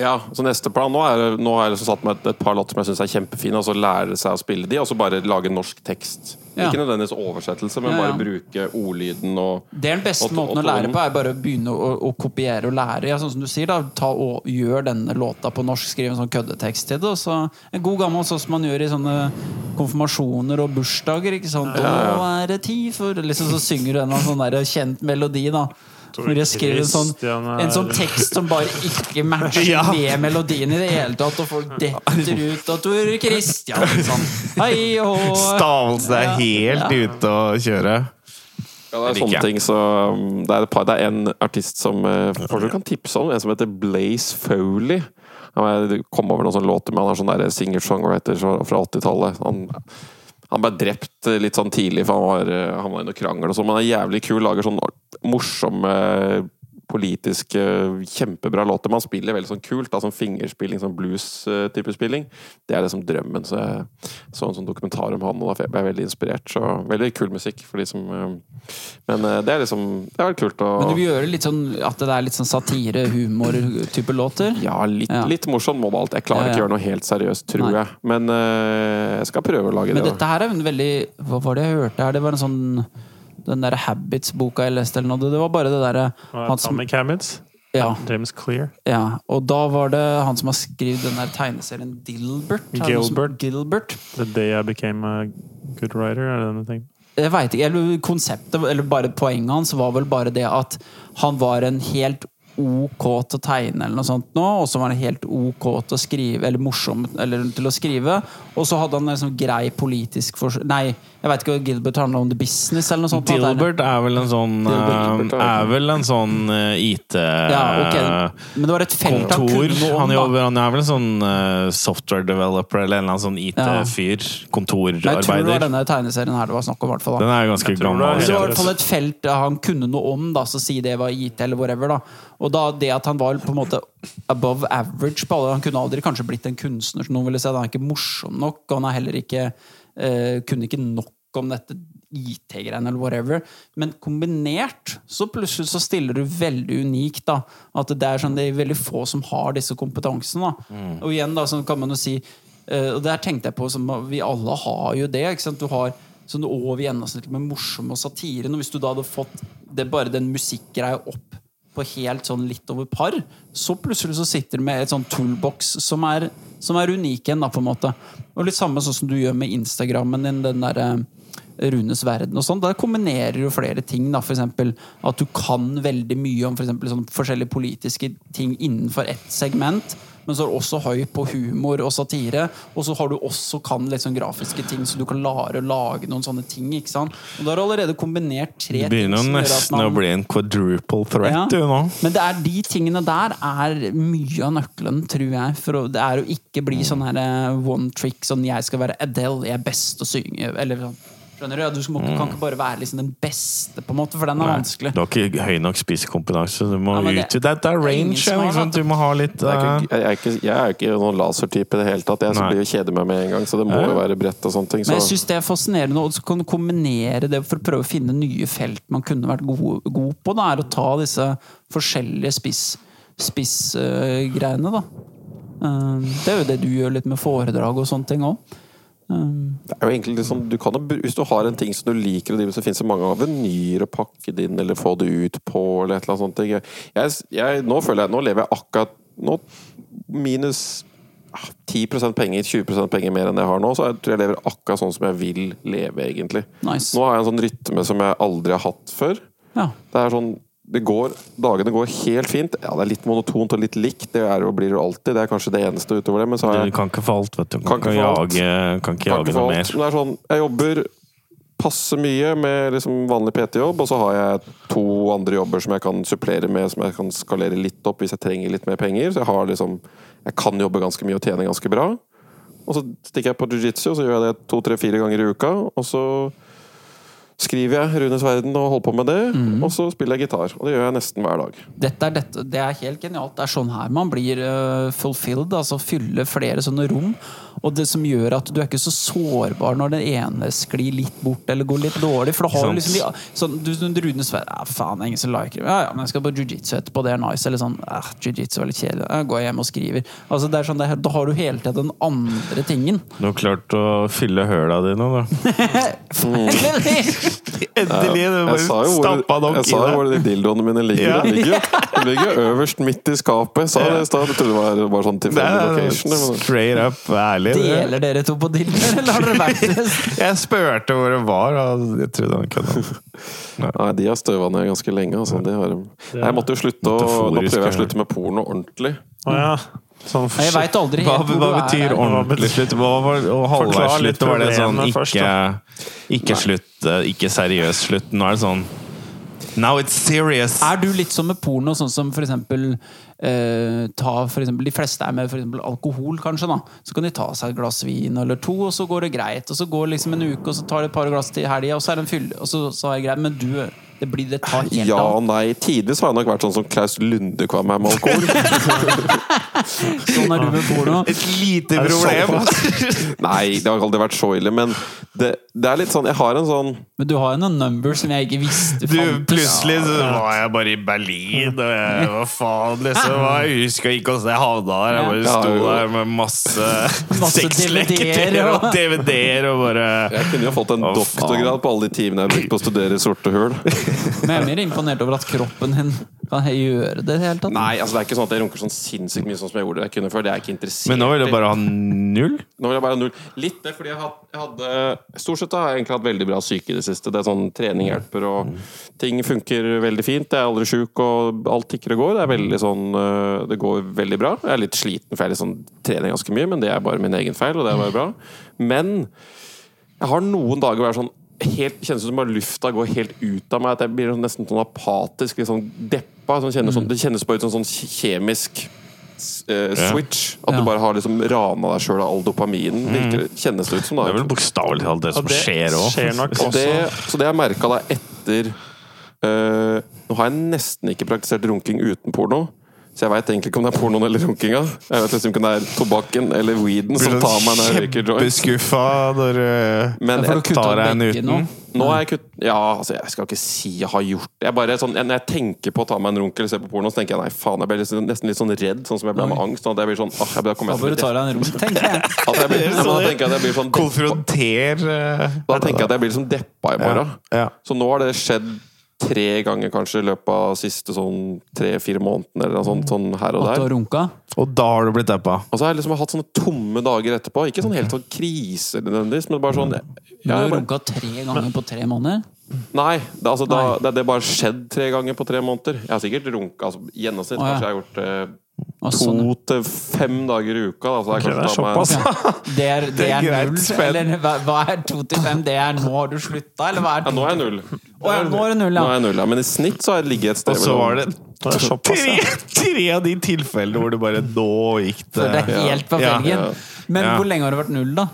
[SPEAKER 4] Ja, så neste plan nå er Nå har jeg liksom satt meg et, et par låter som jeg syns er kjempefine, og så lære seg å spille de, og så bare lage norsk tekst.
[SPEAKER 1] Ja.
[SPEAKER 4] Ikke nødvendigvis oversettelse, men
[SPEAKER 1] Ja, ja.
[SPEAKER 4] bare bruke ordlyden og
[SPEAKER 1] Det er den beste
[SPEAKER 4] Og- og
[SPEAKER 1] måten å lære
[SPEAKER 4] tonen.
[SPEAKER 1] på, er bare å begynne å, å kopiere og lære. Ja, sånn som du sier da, ta og Gjør denne låta på norsk, skriv en sånn køddetekst til det. Og så en god gammel sånn som man gjør i sånne konfirmasjoner og bursdager. Ikke sant? Og nå er det tid for liksom, Så synger du en eller annen sånn der kjent melodi, da. Hvor jeg skriver en sånn,
[SPEAKER 2] Christian er-
[SPEAKER 1] en sånn tekst som bare ikke matcher
[SPEAKER 5] Ja.
[SPEAKER 1] med melodien i det hele tatt, og folk detter ut av Tor Christian. ikke sant? Hei og
[SPEAKER 5] Stavelsen er helt ute å kjøre.
[SPEAKER 4] Ja, det er
[SPEAKER 5] Det liker
[SPEAKER 4] sånne
[SPEAKER 5] jeg.
[SPEAKER 4] ting, så um, det er, et par, det er en artist som eh, folk kan tipse om, en som heter Blaze Foley. Han er- kom over noen sånne låter med han er sånn der singer-songwriter fra fra 80-tallet. Han, han ble drept eh, litt sånn tidlig, for han var, eh, han var i noe krangel og sånn, men han er jævlig kul, lager sånn morsomme eh, politiske, kjempebra låter. Men han spiller veldig sånn kult, da, sånn fingerspilling, sånn blues-type spilling. Det er liksom drømmen. Så jeg så en sånn dokumentar om han, og da ble jeg veldig inspirert. Så veldig kul musikk for de som eh, Men eh, det er liksom Det er veldig kult å
[SPEAKER 1] Men du vil gjøre litt sånn at det er litt sånn satire, humor-type låter?
[SPEAKER 4] ja, litt,
[SPEAKER 1] Ja.
[SPEAKER 4] litt morsomt må det alt. Jeg
[SPEAKER 1] Ja,
[SPEAKER 4] klarer
[SPEAKER 1] ja.
[SPEAKER 4] ikke å gjøre noe helt seriøst, tror
[SPEAKER 1] Nei.
[SPEAKER 4] jeg. Men eh, jeg skal prøve å lage
[SPEAKER 1] Men
[SPEAKER 4] det. da.
[SPEAKER 1] dette her er jo en veldig Hva var det jeg hørte her? Det var en sånn Den der Habits-boka jeg leste eller noe. Det var bare det derre han som-
[SPEAKER 2] Atomic Habits.
[SPEAKER 1] ja,
[SPEAKER 2] James Clear.
[SPEAKER 1] ja. Og da var det han som har skrevet den der tegneserien Dilbert. Er det noe som-
[SPEAKER 2] Gilbert.
[SPEAKER 1] Gilbert.
[SPEAKER 2] The Day I Became a Good Writer. Er det denne ting?
[SPEAKER 1] Jeg vet ikke, eller konseptet, eller bare poenget hans var vel bare det at han var en helt OK til å tegne eller noe sånt nå, og så var han helt OK til å skrive, eller morsom eller til å skrive, og så hadde han en liksom grei politisk fors... Nei, jeg vet ikke hva Gilbert handler om, The Business eller noe sånt. at det er-
[SPEAKER 5] Dilbert er vel en sånn
[SPEAKER 4] Dilbert,
[SPEAKER 5] eh,
[SPEAKER 4] ja.
[SPEAKER 5] Er vel en sånn eh, IT
[SPEAKER 1] Ja, ok. Men det var et felt han kunne
[SPEAKER 5] eh, Kontor.
[SPEAKER 1] noe om,
[SPEAKER 5] Han,
[SPEAKER 1] da.
[SPEAKER 5] jobber, han er vel en sånn eh, software developer eller en eller annen sånn
[SPEAKER 1] Nei, jeg
[SPEAKER 5] IT-fyr.
[SPEAKER 1] tror det var
[SPEAKER 5] Kontorarbeider.
[SPEAKER 1] denne tegneserien her det var snakk om, i hvert fall. da.
[SPEAKER 5] Den er jo ganske
[SPEAKER 2] Jeg tror det er
[SPEAKER 1] Men
[SPEAKER 5] gammel.
[SPEAKER 2] helt
[SPEAKER 1] det var i
[SPEAKER 2] Ja.
[SPEAKER 1] hvert fall et felt eh, han kunne noe om, da, så si det var IT eller whatever. da. Og da det at han var på en måte above average på alle Han kunne aldri kanskje blitt en kunstner som noen ville si. Han er ikke morsom nok, og han er heller ikke eh, kunne ikke nok om dette IT-greiene eller whatever. Men kombinert så plutselig så stiller du veldig unikt, da. At det er sånn det er veldig få som har disse kompetansene. da. Og igjen da, så kan man jo si Eh, og der tenkte jeg på som, Vi alle har jo det. Ikke sant? Du har sånn over gjennomsnittlig med morsom og satiren. Og hvis du da hadde fått det, bare den musikkgreia opp på helt sånn litt over par, så plutselig så sitter du med et sånn toolbox som er, som er unik igjen, da, på en måte. Og litt samme sånn som du gjør med Instagrammen din, den eh, derre Runes verden og sånn. Der kombinerer du flere ting. da, for eksempel At du kan veldig mye om for eksempel sånn forskjellige politiske ting innenfor ett segment. Men så er du også høy på humor og satire. Og så har du også kan litt sånn grafiske ting, så du kan klare å lage noen sånne ting. ikke sant? Og da har du allerede kombinert tre
[SPEAKER 5] Det begynner jo
[SPEAKER 1] som gjør at
[SPEAKER 5] nesten å
[SPEAKER 1] man-
[SPEAKER 5] bli en quadruple
[SPEAKER 1] Ja.
[SPEAKER 5] threat, du, nå.
[SPEAKER 1] Men det er de tingene der er mye av nøkkelen, tror jeg. For å, det er å ikke bli sånn her eh, one trick, sånn jeg skal være Adele, jeg er best å synge Eller sånn. Skjønner du? Ja, Du skal- må ikke, kan ikke bare være liksom den beste, på en måte, for den er vanskelig.
[SPEAKER 5] Du har ikke høy nok spisekompetanse. Du må
[SPEAKER 1] Ja, men det-
[SPEAKER 5] ut i Dette
[SPEAKER 1] det
[SPEAKER 5] er
[SPEAKER 1] er ingen
[SPEAKER 5] range,
[SPEAKER 1] som har
[SPEAKER 5] ikke sant? Du må ha litt
[SPEAKER 4] Det er
[SPEAKER 5] eh,
[SPEAKER 4] ikke- Jeg er ikke, jeg er ikke noen lasertype i det hele tatt. Jeg
[SPEAKER 5] Nei.
[SPEAKER 4] blir jo kjeder meg med en gang, så det må jo være bredt og sånne ting. Så.
[SPEAKER 1] Men jeg syns det er fascinerende å kunne kombinere det for å prøve å finne nye felt man kunne vært god, god på. eh, Da, er å ta disse forskjellige spiss- spissgreiene, da. Um, Det er jo det du gjør litt med foredrag og sånne ting òg.
[SPEAKER 4] Det er jo egentlig litt sånn, du kan, jo br- Hvis du har en ting som du liker å drive med, så finnes det mange avenyer å pakke det inn eller få det ut på. eller et eller annet sånt. Jeg, jeg, jeg, nå føler jeg, nå lever jeg akkurat nå minus ah, 10 penger, 20 penger mer enn jeg har nå. Så jeg tror jeg lever akkurat sånn som jeg vil leve, egentlig.
[SPEAKER 1] Nice.
[SPEAKER 4] Nå har jeg en sånn rytme som jeg aldri har hatt før.
[SPEAKER 1] Ja.
[SPEAKER 4] Det er sånn, det går, Dagene går helt fint. Ja, Det er litt monotont og litt likt, det er og blir det alltid. Det er kanskje det eneste utover det. men så har jeg...
[SPEAKER 5] eh, Du kan ikke få alt, vet du. Du
[SPEAKER 4] Kan
[SPEAKER 5] kan,
[SPEAKER 4] ikke
[SPEAKER 5] ikke
[SPEAKER 4] få alt.
[SPEAKER 5] jage, kan
[SPEAKER 4] Kan
[SPEAKER 5] ikke jage
[SPEAKER 4] ikke få
[SPEAKER 5] noe
[SPEAKER 4] alt. Men
[SPEAKER 5] mer.
[SPEAKER 4] det er sånn, jeg jobber passe mye med liksom vanlig PT-jobb, og så har jeg to andre jobber som jeg kan supplere med, som jeg kan skalere litt opp hvis jeg trenger litt mer penger. Så jeg har liksom Jeg kan jobbe ganske mye og tjene ganske bra. Og så stikker jeg på jiu-jitsu, og så gjør jeg det to-tre-fire ganger i uka. Og så skriver jeg Runes verden og holder på med det,
[SPEAKER 5] Mm.
[SPEAKER 4] og så spiller jeg gitar. Og det gjør jeg nesten hver dag.
[SPEAKER 1] Dette er, dette, det er helt genialt. Det er sånn her man blir eh, fulfilled. altså Fylle flere sånne rom. Og det som gjør at du er ikke så sårbar når den ene sklir litt bort eller går litt dårlig. For da har du
[SPEAKER 5] Sant.
[SPEAKER 1] liksom de, sånn, du, du Rune Sverre ja, faen, ingen som liker det. Ja, ja, men jeg skal på jiu-jitsu etterpå, det er nice. Eller sånn eh, jiu-jitsu er litt kjedelig. Ja, går jeg hjem og skriver. Altså det er sånn, det, er- Da har du hele tiden den andre tingen.
[SPEAKER 5] Du har klart å fylle høla dine, da. Endelig!
[SPEAKER 4] Jeg sa jo hvor, jeg sa jo hvor de dildoene mine ligger.
[SPEAKER 5] Ja.
[SPEAKER 4] De ligger, jo- de ligger jo øverst midt i skapet. Jeg Sa det i stad. Jeg trodde det var bare sånn
[SPEAKER 5] Det
[SPEAKER 4] tilfeldig
[SPEAKER 5] er
[SPEAKER 4] location. Men
[SPEAKER 5] straight up ærlig. det.
[SPEAKER 1] Deler dere to på dildoer, eller har dere vært
[SPEAKER 5] Jeg spurte hvor det var, og jeg trodde han kødda.
[SPEAKER 4] nei, de har støva ned ganske lenge. Altså. Det har de. Nei, Jeg måtte jo slutte å, Nå prøver jeg å slutte med porno ordentlig.
[SPEAKER 2] Å ja. Sånn
[SPEAKER 1] Jeg veit aldri
[SPEAKER 5] Hva,
[SPEAKER 1] helt hvor
[SPEAKER 5] hva
[SPEAKER 1] du er
[SPEAKER 5] betyr
[SPEAKER 1] her.
[SPEAKER 5] ordentlig slutt? Hva var og halvveis
[SPEAKER 2] Forklar litt
[SPEAKER 5] slutt? Var det sånn
[SPEAKER 2] problemet først,
[SPEAKER 5] ikke, ikke slutt, eh, ikke seriøs slutt? Nå er det sånn Now it's serious!
[SPEAKER 1] Er du litt som med porno, sånn som for eksempel, eh, ta for eksempel De fleste er med for eksempel alkohol, kanskje. da Så kan de ta seg et glass vin eller to, og så går det greit. Og så går liksom en uke, og så tar de et par glass til i helga, og så er det en fylle, og så, så er det greit. Men du det blir det tar helt
[SPEAKER 4] Ja,
[SPEAKER 1] av.
[SPEAKER 4] nei. Tidvis har jeg nok vært sånn som Klaus Lunde kvam her med alkohol.
[SPEAKER 1] Sånn er du med porno.
[SPEAKER 5] Et lite
[SPEAKER 2] Er det
[SPEAKER 5] problem!
[SPEAKER 4] Nei, det har aldri vært så ille. Men det, det er litt sånn Jeg har en sånn
[SPEAKER 1] Men du har jo noen numbers som jeg ikke visste
[SPEAKER 5] Du,
[SPEAKER 1] fantes.
[SPEAKER 5] plutselig så var jeg bare i Berlin, og jeg hva faen, liksom. Jeg husker ikke hvordan jeg havna der. Jeg bare
[SPEAKER 4] Ja.
[SPEAKER 5] sto der med masse,
[SPEAKER 1] Masse
[SPEAKER 5] sexleketøyer
[SPEAKER 1] DVD-er og-
[SPEAKER 5] og DVD-er og bare
[SPEAKER 4] Jeg kunne jo fått en
[SPEAKER 5] Å, faen.
[SPEAKER 4] doktorgrad på alle de timene jeg brukte på å studere sorte hull.
[SPEAKER 1] Men jeg er mer imponert over at kroppen din kan gjøre det i det hele tatt.
[SPEAKER 4] Nei, altså det er ikke sånn at jeg runker sånn sinnssykt mye sånn som jeg gjorde det jeg kunne før. Det er jeg ikke interessert
[SPEAKER 5] Men nå vil
[SPEAKER 4] i.
[SPEAKER 5] jeg bare ha null.
[SPEAKER 4] Nå vil jeg bare ha null. Litt det, fordi jeg had- jeg hadde Stort sett har jeg egentlig hatt veldig bra syke i det siste. Det er sånn Trening hjelper, og ting funker veldig fint. Jeg er aldri sjuk, og alt tikker og går. Det er veldig sånn øh, Det går veldig bra. Jeg er litt sliten, for jeg er litt sånn, trener ganske mye, men det er bare min egen feil, og det er bare bra. Men jeg har noen dager hvor jeg er sånn helt, Kjennes ut som bare lufta går helt ut av meg. At jeg blir sånn, nesten sånn apatisk, litt sånn deppa. Sånn, kjennes, sånn, det kjennes bare ut som sånn kjemisk eh, switch. At
[SPEAKER 1] Ja.
[SPEAKER 4] du bare har liksom rana deg sjøl av all dopaminen. Virker, kjennes det ut som.
[SPEAKER 5] Det
[SPEAKER 4] da
[SPEAKER 5] er vel bokstavelig talt det som
[SPEAKER 2] Og det
[SPEAKER 5] skjer òg.
[SPEAKER 2] skjer nok
[SPEAKER 4] Og
[SPEAKER 2] også.
[SPEAKER 4] det, Så det jeg merka da etter eh, Nå har jeg nesten ikke praktisert runking uten porno. Så jeg veit egentlig ikke om det er pornoen eller runkinga. Jeg vet liksom ikke om det er tobakken eller weeden som tar meg når jeg røyker joints.
[SPEAKER 5] Kjempeskuffa Sånn når eh,
[SPEAKER 4] Men
[SPEAKER 1] For å
[SPEAKER 4] jeg
[SPEAKER 1] kutte
[SPEAKER 5] tar
[SPEAKER 1] opp
[SPEAKER 5] jeg en
[SPEAKER 1] begge nå.
[SPEAKER 5] uten.
[SPEAKER 4] Nå har jeg kutt... Ja, altså, jeg skal ikke si jeg har gjort det. Jeg bare, sånn, Når jeg tenker på å ta meg en runk eller se på porno, så tenker jeg nei, faen. Jeg blir liksom- nesten litt sånn redd, sånn som jeg ble med angst. Sånn at jeg blir sånn åh, jeg blir, da kommer
[SPEAKER 1] Da bør du
[SPEAKER 4] jeg til
[SPEAKER 1] ta
[SPEAKER 4] å bli-
[SPEAKER 1] deg en rom, tenker jeg.
[SPEAKER 4] At jeg blir- ja, men da tenker jeg at jeg blir sånn
[SPEAKER 5] konfronter eh,
[SPEAKER 4] Da tenker jeg at jeg blir liksom deppa i morgen.
[SPEAKER 5] Ja, ja.
[SPEAKER 4] Så nå har det skjedd tre ganger kanskje i løpet av siste sånn tre-fire månedene, eller noe sånt, sånn her og
[SPEAKER 1] At du
[SPEAKER 4] der.
[SPEAKER 1] har runka.
[SPEAKER 5] Og da har du blitt deppa.
[SPEAKER 4] Og så har jeg liksom hatt sånne tomme dager etterpå. Ikke sånn helt sånn krise nødvendigvis, men bare sånn ja,
[SPEAKER 1] Du har
[SPEAKER 4] jeg bare,
[SPEAKER 1] runka tre ganger på tre måneder.
[SPEAKER 4] Nei, det, altså, da, det, det bare skjedd tre ganger på tre måneder. Jeg har sikkert runka altså, i gjennomsnitt.
[SPEAKER 1] Å, ja.
[SPEAKER 4] Kanskje jeg har gjort eh,
[SPEAKER 1] Og
[SPEAKER 4] to
[SPEAKER 1] sånn, ja.
[SPEAKER 4] til fem dager i uka. Da, så jeg
[SPEAKER 2] Ok, det er
[SPEAKER 4] kanskje tar meg-
[SPEAKER 2] såpass.
[SPEAKER 1] Det er, det
[SPEAKER 5] er
[SPEAKER 1] er,
[SPEAKER 5] greit
[SPEAKER 1] null,
[SPEAKER 5] spenn.
[SPEAKER 1] eller hva, hva er to til fem? Det er nå har du slutta, eller hva er
[SPEAKER 4] Ja, nå er jeg
[SPEAKER 1] to?
[SPEAKER 4] null.
[SPEAKER 1] Å ja, nå er det null, ja.
[SPEAKER 4] Nå er jeg null, ja. Men i snitt så har jeg ligget et sted
[SPEAKER 5] Og så
[SPEAKER 4] mellom-
[SPEAKER 5] var det
[SPEAKER 2] Det er såpass,
[SPEAKER 5] tre,
[SPEAKER 2] ja.
[SPEAKER 5] tre av de tilfellene hvor du bare Nå gikk det.
[SPEAKER 1] Det er helt på
[SPEAKER 5] Ja.
[SPEAKER 1] felgen.
[SPEAKER 4] Ja.
[SPEAKER 1] Men
[SPEAKER 5] Ja.
[SPEAKER 1] hvor lenge har det vært null, da?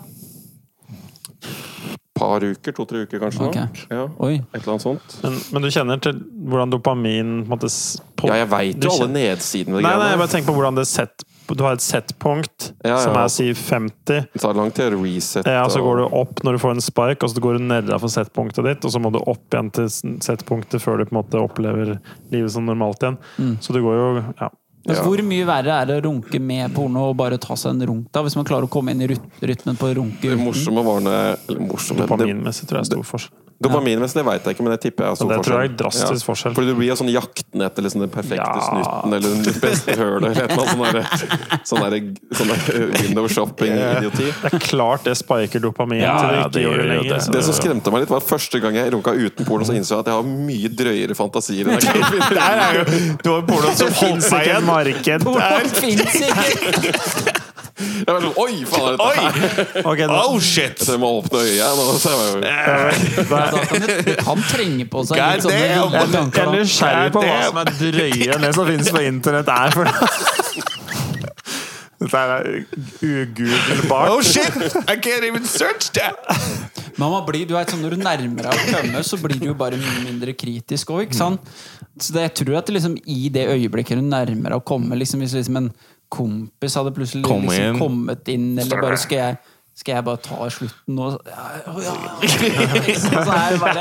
[SPEAKER 4] par uker, to-tre uker kanskje. nå.
[SPEAKER 1] Ok.
[SPEAKER 4] Ja.
[SPEAKER 1] Oi.
[SPEAKER 4] Et eller annet sånt.
[SPEAKER 2] Men, men du kjenner til hvordan dopamin på en måte, s- på,
[SPEAKER 4] Ja, jeg veit
[SPEAKER 2] du
[SPEAKER 4] jo alle
[SPEAKER 2] kjenner-
[SPEAKER 4] nedsidene.
[SPEAKER 2] Nei, nei, jeg bare tenker på hvordan det set, Du har et settpunkt
[SPEAKER 4] Ja, ja.
[SPEAKER 2] som er si 50.
[SPEAKER 4] Det tar lang tid å resette.
[SPEAKER 2] Ja, så
[SPEAKER 4] og-
[SPEAKER 2] går du opp når du får en spark, og så går du nedafor settpunktet ditt, og så må du opp igjen
[SPEAKER 5] Mm.
[SPEAKER 2] til s- settpunktet før du på en måte opplever livet som normalt igjen. Så du går jo ja,
[SPEAKER 1] Altså,
[SPEAKER 4] Ja.
[SPEAKER 1] Hvor mye verre er det å runke med porno og bare ta seg en runk, da? Hvis man klarer å komme inn i ryt- rytmen på å runke
[SPEAKER 4] Det
[SPEAKER 1] uten?
[SPEAKER 4] morsomme var når eller morsomme, det-
[SPEAKER 2] Dopaminmessig tror jeg er stor forskjell.
[SPEAKER 4] Dopaminmessig det vet jeg ikke, men jeg tipper jeg har stor
[SPEAKER 2] Det tror jeg er
[SPEAKER 4] forskjell.
[SPEAKER 2] drastisk forskjell.
[SPEAKER 4] Fordi du blir jo sånn jakten etter liksom den perfekte
[SPEAKER 2] Ja.
[SPEAKER 4] snutten eller den beste hølet eller et eller annet sånn derre- sånn derre- sånn derre window shopping-idioti.
[SPEAKER 2] Det er klart det spiker dopamin
[SPEAKER 5] Ja,
[SPEAKER 2] til du
[SPEAKER 5] ja,
[SPEAKER 2] ikke
[SPEAKER 5] det
[SPEAKER 2] gjør det
[SPEAKER 5] gjør jo
[SPEAKER 2] lenger.
[SPEAKER 5] det.
[SPEAKER 2] så-
[SPEAKER 4] Det som skremte meg litt, var første gang jeg runka uten porno, så innså jeg at jeg har mye drøyere fantasier enn jeg kan finne.
[SPEAKER 5] Der er jo Du har porno som holdt
[SPEAKER 2] Finnes ikke
[SPEAKER 5] meg
[SPEAKER 2] et
[SPEAKER 5] igjen!
[SPEAKER 2] marked der!
[SPEAKER 1] Porno finnes ikke!
[SPEAKER 4] Jeg var sånn, Oi, faen, er dette her?
[SPEAKER 2] Ok, da,
[SPEAKER 5] Oh shit!
[SPEAKER 4] Så jeg må åpne øya nå. Så jeg var jo-
[SPEAKER 1] Ja, da kan du, han trenger på seg
[SPEAKER 5] God
[SPEAKER 1] litt sånne
[SPEAKER 5] damn!
[SPEAKER 1] dumme
[SPEAKER 2] Jeg
[SPEAKER 1] tanker.
[SPEAKER 2] er
[SPEAKER 1] da.
[SPEAKER 2] nysgjerrig på hva som er drøye enn det som finnes på internett er for noe. Dette er
[SPEAKER 5] Oh
[SPEAKER 2] ugooglebart.
[SPEAKER 5] shit! I can't even search that!
[SPEAKER 1] Men man blir, du vet, sånn, når du nærmer deg å komme, så blir du jo bare mye mindre kritisk òg, ikke sant? Så det, jeg tror at det liksom, i det øyeblikket du nærmer deg å komme, liksom, hvis liksom en kompis hadde plutselig
[SPEAKER 5] Kom
[SPEAKER 1] liksom,
[SPEAKER 5] inn.
[SPEAKER 1] kommet inn, eller bare skal jeg skal jeg bare ta slutten nå? Så- Ja, ja, ja. Så er det bare,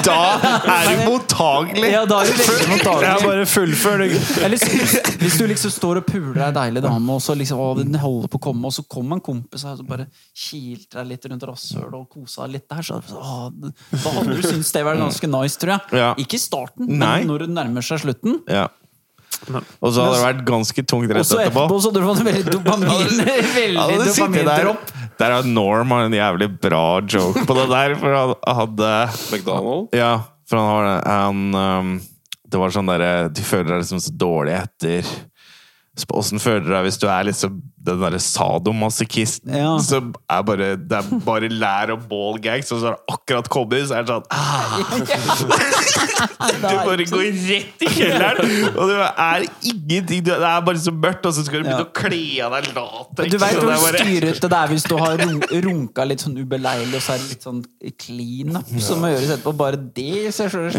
[SPEAKER 5] Da er du mottagelig!
[SPEAKER 1] ja, da er det veldig
[SPEAKER 2] Jeg er
[SPEAKER 1] mottagelig.
[SPEAKER 2] bare fullfør.
[SPEAKER 1] Eller hvis, hvis du liksom står og puler ei deilig dame, og så liksom, å, den holder på å komme, og så kommer en kompis og så bare kilte deg litt rundt rasshølet og kosa deg litt der, så, så å, da hadde du syntes sånn, det var ganske nice, tror jeg.
[SPEAKER 5] Ja.
[SPEAKER 1] Ikke i starten,
[SPEAKER 5] Nei.
[SPEAKER 1] men når det nærmer seg slutten.
[SPEAKER 5] Ja. Og så hadde det vært ganske
[SPEAKER 1] Og
[SPEAKER 5] tungt rett
[SPEAKER 1] så
[SPEAKER 5] etterpå.
[SPEAKER 1] etterpå så hadde du fått en veldig dopamin
[SPEAKER 5] Han
[SPEAKER 1] Veldig
[SPEAKER 5] hadde sittet der
[SPEAKER 1] dopamindropp.
[SPEAKER 5] Der har Norm har en jævlig bra joke på det der, for han hadde
[SPEAKER 4] McDonald.
[SPEAKER 5] Ja, for han har han, um, Det var sånn derre Du føler deg liksom så dårlig etter Så Åssen føler du deg hvis du er liksom den derre sadomasochisten
[SPEAKER 1] Ja.
[SPEAKER 5] som er bare Det er bare lær og ball gags, og så har det akkurat kommet, så er det sånn ah, Du bare går rett i kjelleren, og det er ingenting du, Det er bare så mørkt, og så skal du
[SPEAKER 1] Ja.
[SPEAKER 5] begynne å kle av deg latex.
[SPEAKER 1] Du vet
[SPEAKER 5] og sånn,
[SPEAKER 1] hvor
[SPEAKER 5] det er bare-
[SPEAKER 1] styrete det er hvis du har run- runka litt sånn ubeleilig, og så er det litt sånn clean-up som må gjøres etterpå. Bare det i seg sjøl.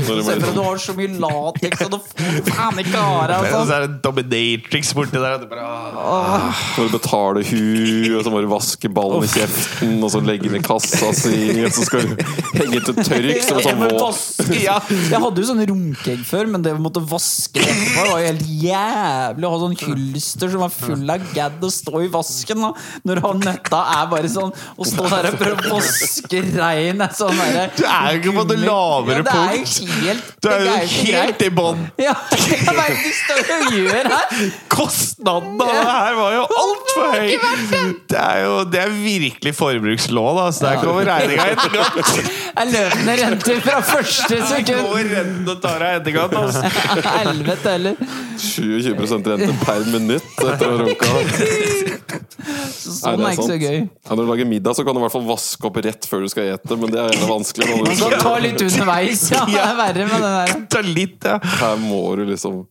[SPEAKER 1] Du har så mye lateks, og du får faen ikke av deg.
[SPEAKER 5] Men
[SPEAKER 1] altså.
[SPEAKER 5] så er det en dominatrix borti der. Og det bare, ah.
[SPEAKER 4] Når du betaler hu, og så må du vaske ballen i kjeften, og så legge den i kassa si, og så skal du henge til tørk
[SPEAKER 5] liksom
[SPEAKER 4] som
[SPEAKER 1] Jeg
[SPEAKER 4] en sånn
[SPEAKER 1] må
[SPEAKER 4] våt.
[SPEAKER 1] vaske- ja. Jeg hadde jo sånn runkeegg før, men det å måtte vaske det etterpå var jo helt jævlig. Å ha sånn hylster som var full av gadd og stå i vasken da. når han nøtta er bare sånn Å stå der og prøve å vaske rein er sånn derre-
[SPEAKER 5] Du er jo ikke på det lavere
[SPEAKER 1] ja, det er
[SPEAKER 5] punkt!
[SPEAKER 1] jo helt,
[SPEAKER 5] Du er
[SPEAKER 1] det
[SPEAKER 5] jo
[SPEAKER 1] er ikke
[SPEAKER 5] helt
[SPEAKER 1] greit.
[SPEAKER 5] i bånn!
[SPEAKER 1] Ja, jeg vet ikke hva du gjør her!
[SPEAKER 5] Kostnaden av det her var jo altfor høy! Det er jo det er virkelig forbrukslån, altså. Der kommer regninga etterkant.
[SPEAKER 1] Jeg løpende renter fra første
[SPEAKER 5] Der
[SPEAKER 1] sekund.
[SPEAKER 5] går renten og tar deg etterkant. Altså.
[SPEAKER 1] Helvete heller.
[SPEAKER 4] 27 rente per minutt etter å ha runka. Nei,
[SPEAKER 1] Sånn er ikke så
[SPEAKER 4] sant.
[SPEAKER 1] gøy.
[SPEAKER 4] Ja, når du lager middag, så kan du i hvert fall vaske opp rett før du skal ete, men det er jævla vanskelig. når du
[SPEAKER 1] Man skal ta litt underveis, ja. Det er verre med den der.
[SPEAKER 5] Ta litt, ja.
[SPEAKER 4] Her må du liksom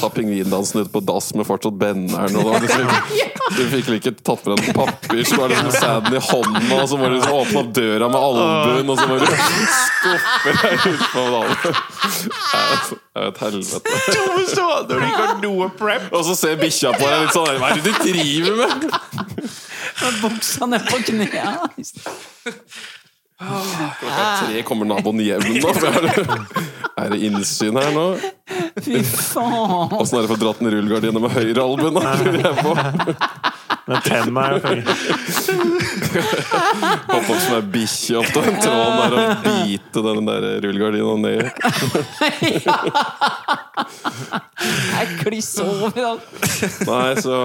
[SPEAKER 4] ta pingvindansen ut på dass med fortsatt benneren. Og da liksom, du fikk vel ikke tatt med en papir som var liksom sæden i hånda, og så må du liksom åpne opp døra med albuen, og så må du skuffe deg utpå dagen. Det er et altså, helvete.
[SPEAKER 5] Tomme stående når du ikke har noe prep.
[SPEAKER 4] Og så ser bikkja på deg litt sånn Hva er det du driver med?
[SPEAKER 1] Med buksa ned på knærne.
[SPEAKER 4] Tre kommer naboen hjem nå. for jeg har- Er det innsyn her nå?
[SPEAKER 1] Fy faen.
[SPEAKER 4] Åssen er det for å dra den rullegardina med høyrealbuen? da, lurer jeg på.
[SPEAKER 2] Men tennene er jo fengende.
[SPEAKER 4] Hoppe opp som ei bikkje opp til den tråden der og bite den der rullegardina ned.
[SPEAKER 1] Jeg klisser over. alt.
[SPEAKER 4] Nei, så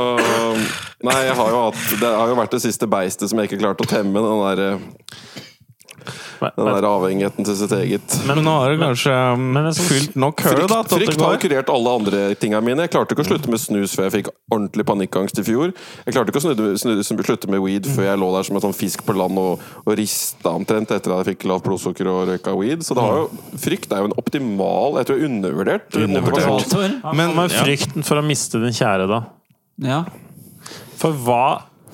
[SPEAKER 4] Nei, jeg har jo hatt Det har jo vært det siste beistet som jeg ikke klarte å temme. Den der, eh, den der avhengigheten til sitt eget.
[SPEAKER 5] Men nå har du kanskje
[SPEAKER 2] Men en sånn-
[SPEAKER 5] fylt nok høl,
[SPEAKER 4] Frykt,
[SPEAKER 5] da. til at det
[SPEAKER 4] frykt har
[SPEAKER 5] går.
[SPEAKER 4] kurert alle andre tinga mine. Jeg klarte ikke å slutte med snus før jeg fikk ordentlig panikkangst i fjor. Jeg klarte ikke å snu, snu, snu, slutte med weed før jeg lå der som en sånn fisk på land og, og rista omtrent etter at jeg fikk lavt blodsukker og røyka weed. Så det har jo, frykt er jo en optimal Jeg tror jeg er undervurdert.
[SPEAKER 5] Undervurdert.
[SPEAKER 1] Tor?
[SPEAKER 2] Men, men
[SPEAKER 5] ja.
[SPEAKER 2] frykten for å miste den kjære, da.
[SPEAKER 1] Ja.
[SPEAKER 2] For hva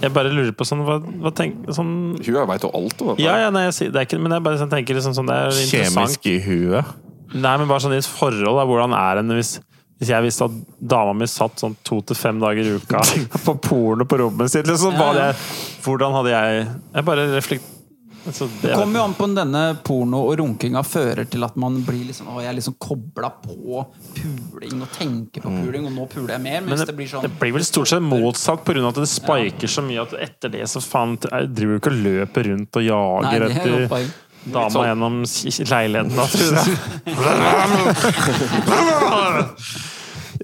[SPEAKER 2] Jeg bare lurer på sånn Hva, hva tenk, sånn
[SPEAKER 4] Hun jeg veit jo alt om dette.
[SPEAKER 2] ja, ja, nei, jeg sier, det er ikke, men jeg bare sånn, tenker liksom sånn, det er interessant.
[SPEAKER 5] Kjemisk i huet.
[SPEAKER 2] Nei, men bare sånn i et forhold, da, hvordan er en hvis, hvis jeg visste at dama mi satt sånn to til fem dager i uka på porno på rommet sitt, liksom, hva hadde jeg, hvordan hadde jeg Jeg bare reflekt, Så det-
[SPEAKER 1] Det kommer jo an på om denne porno og runkinga fører til at man blir liksom, å, jeg er liksom kobla på puling og tenker på puling, og nå puler jeg mer.
[SPEAKER 2] Men
[SPEAKER 1] Mens
[SPEAKER 2] det,
[SPEAKER 1] det, blir sånn
[SPEAKER 2] det blir vel stort sett motsatt pga. at det spiker så mye at etter det så faen jeg driver du ikke og løper rundt og
[SPEAKER 1] Nei,
[SPEAKER 2] jager
[SPEAKER 1] det er jo et
[SPEAKER 2] etter
[SPEAKER 1] poeng.
[SPEAKER 2] dama
[SPEAKER 4] sånn-
[SPEAKER 2] gjennom s- s- leiligheten. Da, tror jeg.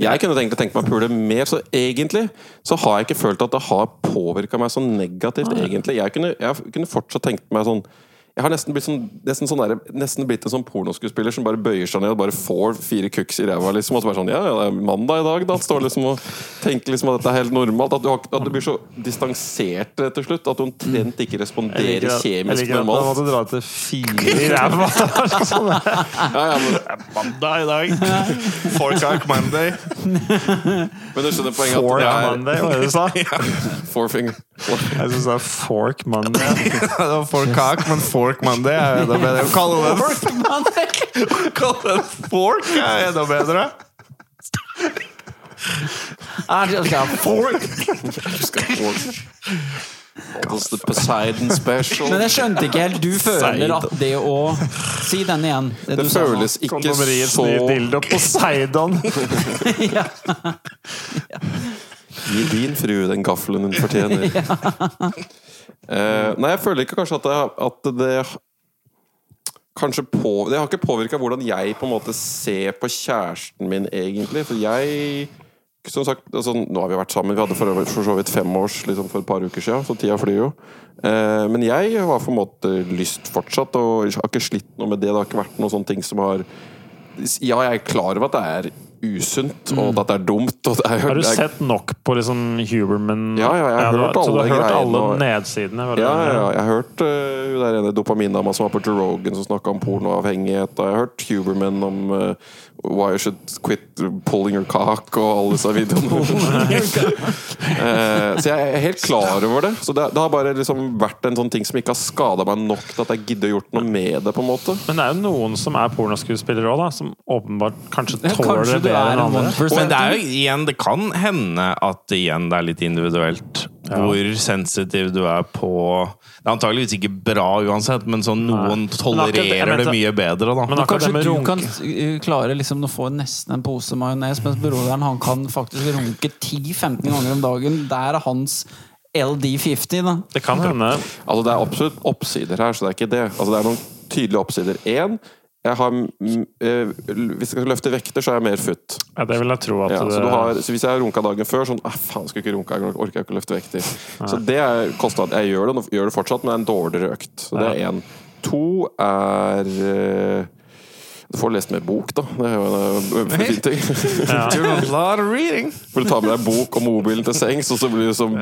[SPEAKER 4] Jeg kunne egentlig tenkt meg å pule mer, så egentlig så har jeg ikke følt at det har påvirka meg så negativt, egentlig. Jeg kunne, jeg kunne fortsatt tenkt meg sånn jeg har nesten blitt, sånn, nesten, sånn der, nesten blitt en sånn pornoskuespiller som bare bøyer seg ned og bare får fire kuks i ræva. Liksom, og så bare sånn, ja, ja, det er mandag i dag. Da står liksom og tenker liksom at dette er helt normalt. At du, har, at du blir så distansert til slutt at du omtrent ikke
[SPEAKER 2] Jeg
[SPEAKER 4] responderer
[SPEAKER 2] liker at- jeg
[SPEAKER 4] kjemisk
[SPEAKER 2] liker at
[SPEAKER 3] Da
[SPEAKER 4] normalt.
[SPEAKER 3] måtte dra til fire
[SPEAKER 2] I ræva.
[SPEAKER 4] Ja, ja, men,
[SPEAKER 2] Mandag i dag.
[SPEAKER 5] Forkak Monday.
[SPEAKER 4] men du skjønner poenget?
[SPEAKER 2] Fork
[SPEAKER 4] At
[SPEAKER 2] Monday, var det du sa?
[SPEAKER 4] det er forefinger.
[SPEAKER 2] Jeg syns det er Fork Monday.
[SPEAKER 3] Det var Forkak, men Fork Monday er enda bedre. Kalle det Kalle det Fork er enda bedre.
[SPEAKER 1] Er det- altså, ja.
[SPEAKER 4] Calls the Poseidon special.
[SPEAKER 1] Men jeg skjønte ikke helt. Du føler at det å Si den igjen. Det,
[SPEAKER 4] Det
[SPEAKER 1] du sa nå.
[SPEAKER 4] føles ikke
[SPEAKER 2] sånn Kondomeriets
[SPEAKER 4] så
[SPEAKER 2] nye dildo Poseidon.
[SPEAKER 1] ja.
[SPEAKER 4] Gi din frue den gaffelen hun fortjener. Eh, nei, jeg føler ikke kanskje at det, at det Kanskje på, Det har ikke påvirka hvordan jeg på en måte ser på kjæresten min, egentlig. For jeg som sagt, altså, Nå har vi vært sammen. Vi hadde for, for så vidt fem års liksom, for et par uker siden, så tida flyr jo. Eh, men jeg har på en måte lyst fortsatt, og har ikke slitt noe med det. Det har ikke vært noen sånne ting som har Ja, jeg er klar over at det er usunt, og at det er dumt. Og det er,
[SPEAKER 2] Mm. Har du
[SPEAKER 4] det er,
[SPEAKER 2] sett nok på liksom Huberman?
[SPEAKER 4] Ja, ja, jeg har
[SPEAKER 2] du
[SPEAKER 4] hørt
[SPEAKER 2] så du har
[SPEAKER 4] alle
[SPEAKER 2] hørt alle
[SPEAKER 4] greiene og-
[SPEAKER 2] nedsidene? var det
[SPEAKER 4] Ja,
[SPEAKER 2] det?
[SPEAKER 4] ja, ja. jeg har hørt eh, hun der ene dopamindama som var på Joe Rogan som snakka om pornoavhengighet. Og jeg har hørt Huberman om eh, Why you should quit pulling your cock og alle disse videoene. Eh, så jeg er helt klar over det. Så det, det har bare liksom vært en sånn ting som ikke har skada meg nok til at jeg gidder å gjort noe med det. på en måte
[SPEAKER 2] Men det er jo noen som er pornoskuespillere òg, som åpenbart kanskje
[SPEAKER 1] Ja,
[SPEAKER 2] tåler
[SPEAKER 1] Kanskje
[SPEAKER 2] det
[SPEAKER 1] du
[SPEAKER 2] bedre
[SPEAKER 1] er
[SPEAKER 2] enn
[SPEAKER 1] en
[SPEAKER 2] andre.
[SPEAKER 1] 1%.
[SPEAKER 5] Men det er jo igjen, det kan hende at igjen det er litt individuelt hvor sensitiv du er på Det er antageligvis ikke bra uansett, men sånn
[SPEAKER 2] Men
[SPEAKER 5] noen
[SPEAKER 2] akkurat det- jeg
[SPEAKER 5] tolererer det
[SPEAKER 2] mente-
[SPEAKER 5] mye bedre, da.
[SPEAKER 2] Men akkurat det
[SPEAKER 1] Kanskje
[SPEAKER 2] med
[SPEAKER 1] du
[SPEAKER 2] runk-
[SPEAKER 1] kan uh, klare liksom å få nesten en pose majones, mens broderen han kan faktisk runke 10-15 ganger om dagen. Der er hans LD50, da.
[SPEAKER 2] Det kan hende.
[SPEAKER 4] Altså Det er absolutt oppsider her, så det er ikke det. Altså Det er noen tydelige oppsider. Én jeg har, mm, eh, hvis jeg skal løfte vekter, så er jeg mer futt.
[SPEAKER 2] Ja, det vil jeg tro at
[SPEAKER 4] Ja,
[SPEAKER 2] det,
[SPEAKER 4] så, du har, så hvis jeg har runka dagen før, sånn ah, faen, skulle ikke runka, jeg orker ikke å løfte vekter. Så det er kostnad. Jeg gjør det, nå- gjør det fortsatt, men det er en dårligere økt. Så det er én. To er eh, Du får lest mer bok, da. Det er jo en eh, fin ting.
[SPEAKER 3] A lot of reading.
[SPEAKER 4] For du tar med deg bok og mobilen til sengs, og så, blir du som,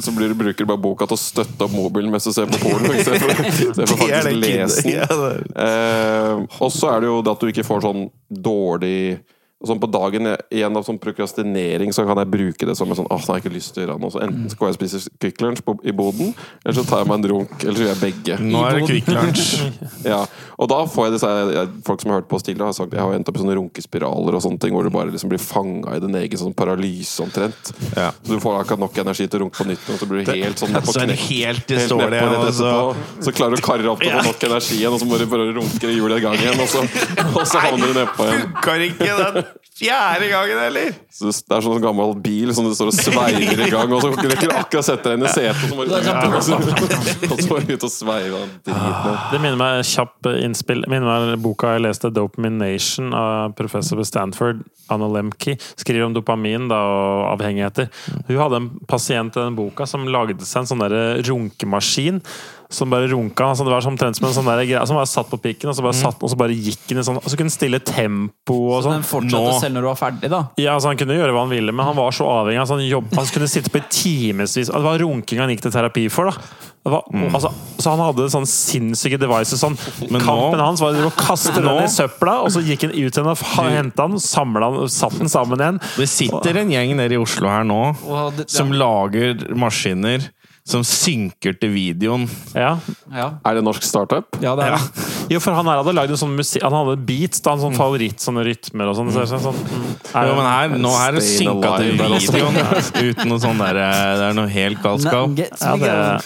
[SPEAKER 4] så blir du bruker du bare boka til å støtte opp mobilen mens du ser på porno. i stedet for- i stedet
[SPEAKER 3] Det er
[SPEAKER 4] for
[SPEAKER 3] det
[SPEAKER 4] faktisk
[SPEAKER 3] kid-
[SPEAKER 4] lese den.
[SPEAKER 3] Ja, det-
[SPEAKER 4] Eh, og så er det jo det at du ikke får sånn dårlig Sånn På dagen igjen av sånn prokrastinering så kan jeg bruke det som en sånn Åh, nå har jeg ikke lyst til å gjøre noe. Så enten så går jeg og spiser Kvikk Lunsj på- i boden, eller så tar jeg meg en runk. Eller så gjør jeg begge.
[SPEAKER 5] Nå er det Kvikk Lunsj.
[SPEAKER 4] Ja, og da får jeg disse jeg- Folk som har hørt på oss tidligere, har sagt jeg har endt opp i sånne runkespiraler og sånne ting hvor du bare liksom blir fanga i din egen sånn paralyse omtrent.
[SPEAKER 5] Ja.
[SPEAKER 4] Så du får akkurat nok energi til å runke på nytt, og så blir du helt sånn på
[SPEAKER 5] Så er det
[SPEAKER 4] knekk.
[SPEAKER 5] helt
[SPEAKER 4] Helt nedpå
[SPEAKER 5] dårlig.
[SPEAKER 4] rett
[SPEAKER 5] og så-
[SPEAKER 4] etterpå, så klarer du å karre opp til å få nok energi igjen, og så må du bare runke i hjulet en gang igjen, og så, og så havner du nedpå igjen.
[SPEAKER 5] Funker ikke den fjerde gangen heller!
[SPEAKER 4] Så det det er sånn gammel bil som du står og sveiver i gang, og så rekker du akkurat å sette deg inn i setet, og så må du og så må du ut og sveive den driten.
[SPEAKER 5] Ah.
[SPEAKER 2] det minner meg kjapp eh, innspill. Det minner meg boka jeg leste, 'Dopamination', av professor ved Stanford, Anna Lemke, skriver om dopamin da, og avhengigheter. Hun hadde en pasient i den boka som lagde seg en sånn der runkemaskin. Som bare runka. Altså det var sånn omtrent som en sånn der greie som bare satt på pikken, og så bare satt den, og så bare gikk den i sånn Og så kunne den stille tempo og sånn.
[SPEAKER 1] Den fortsetter
[SPEAKER 5] nå-
[SPEAKER 1] selv når du er ferdig, da.
[SPEAKER 2] Ja, altså Han kunne gjøre hva han ville, men han var så avhengig. Altså han, jobb, han kunne sitte på i timevis. Det var runking han gikk til terapi for. da det var, altså, Så han hadde sånn sinnssyke devices. Sånn.
[SPEAKER 5] Mm. Men nå-
[SPEAKER 2] Kampen hans var å kaste den i søpla, og så gikk han ut igjen og henta den, samla den, satt den sammen igjen.
[SPEAKER 5] Det sitter en gjeng nede i Oslo her nå
[SPEAKER 1] Og det-
[SPEAKER 5] som lager maskiner som synker til videoen.
[SPEAKER 2] Ja.
[SPEAKER 1] Ja,
[SPEAKER 4] Er det norsk startup?
[SPEAKER 1] ja det er det.
[SPEAKER 2] Jo, for han her hadde lagd en sånn musikk Han hadde beats, da, en sånn favoritt, sånne rytmer og sånn. Så, så, sånn mm.
[SPEAKER 5] Mm. Jo, men her, nå er det
[SPEAKER 4] Staying
[SPEAKER 5] synka til
[SPEAKER 4] alive der også.
[SPEAKER 5] videoen. Uten noe sånn derre Det eh, er noe helt galskap.
[SPEAKER 1] Nothing gets me
[SPEAKER 2] ja, det,
[SPEAKER 1] going.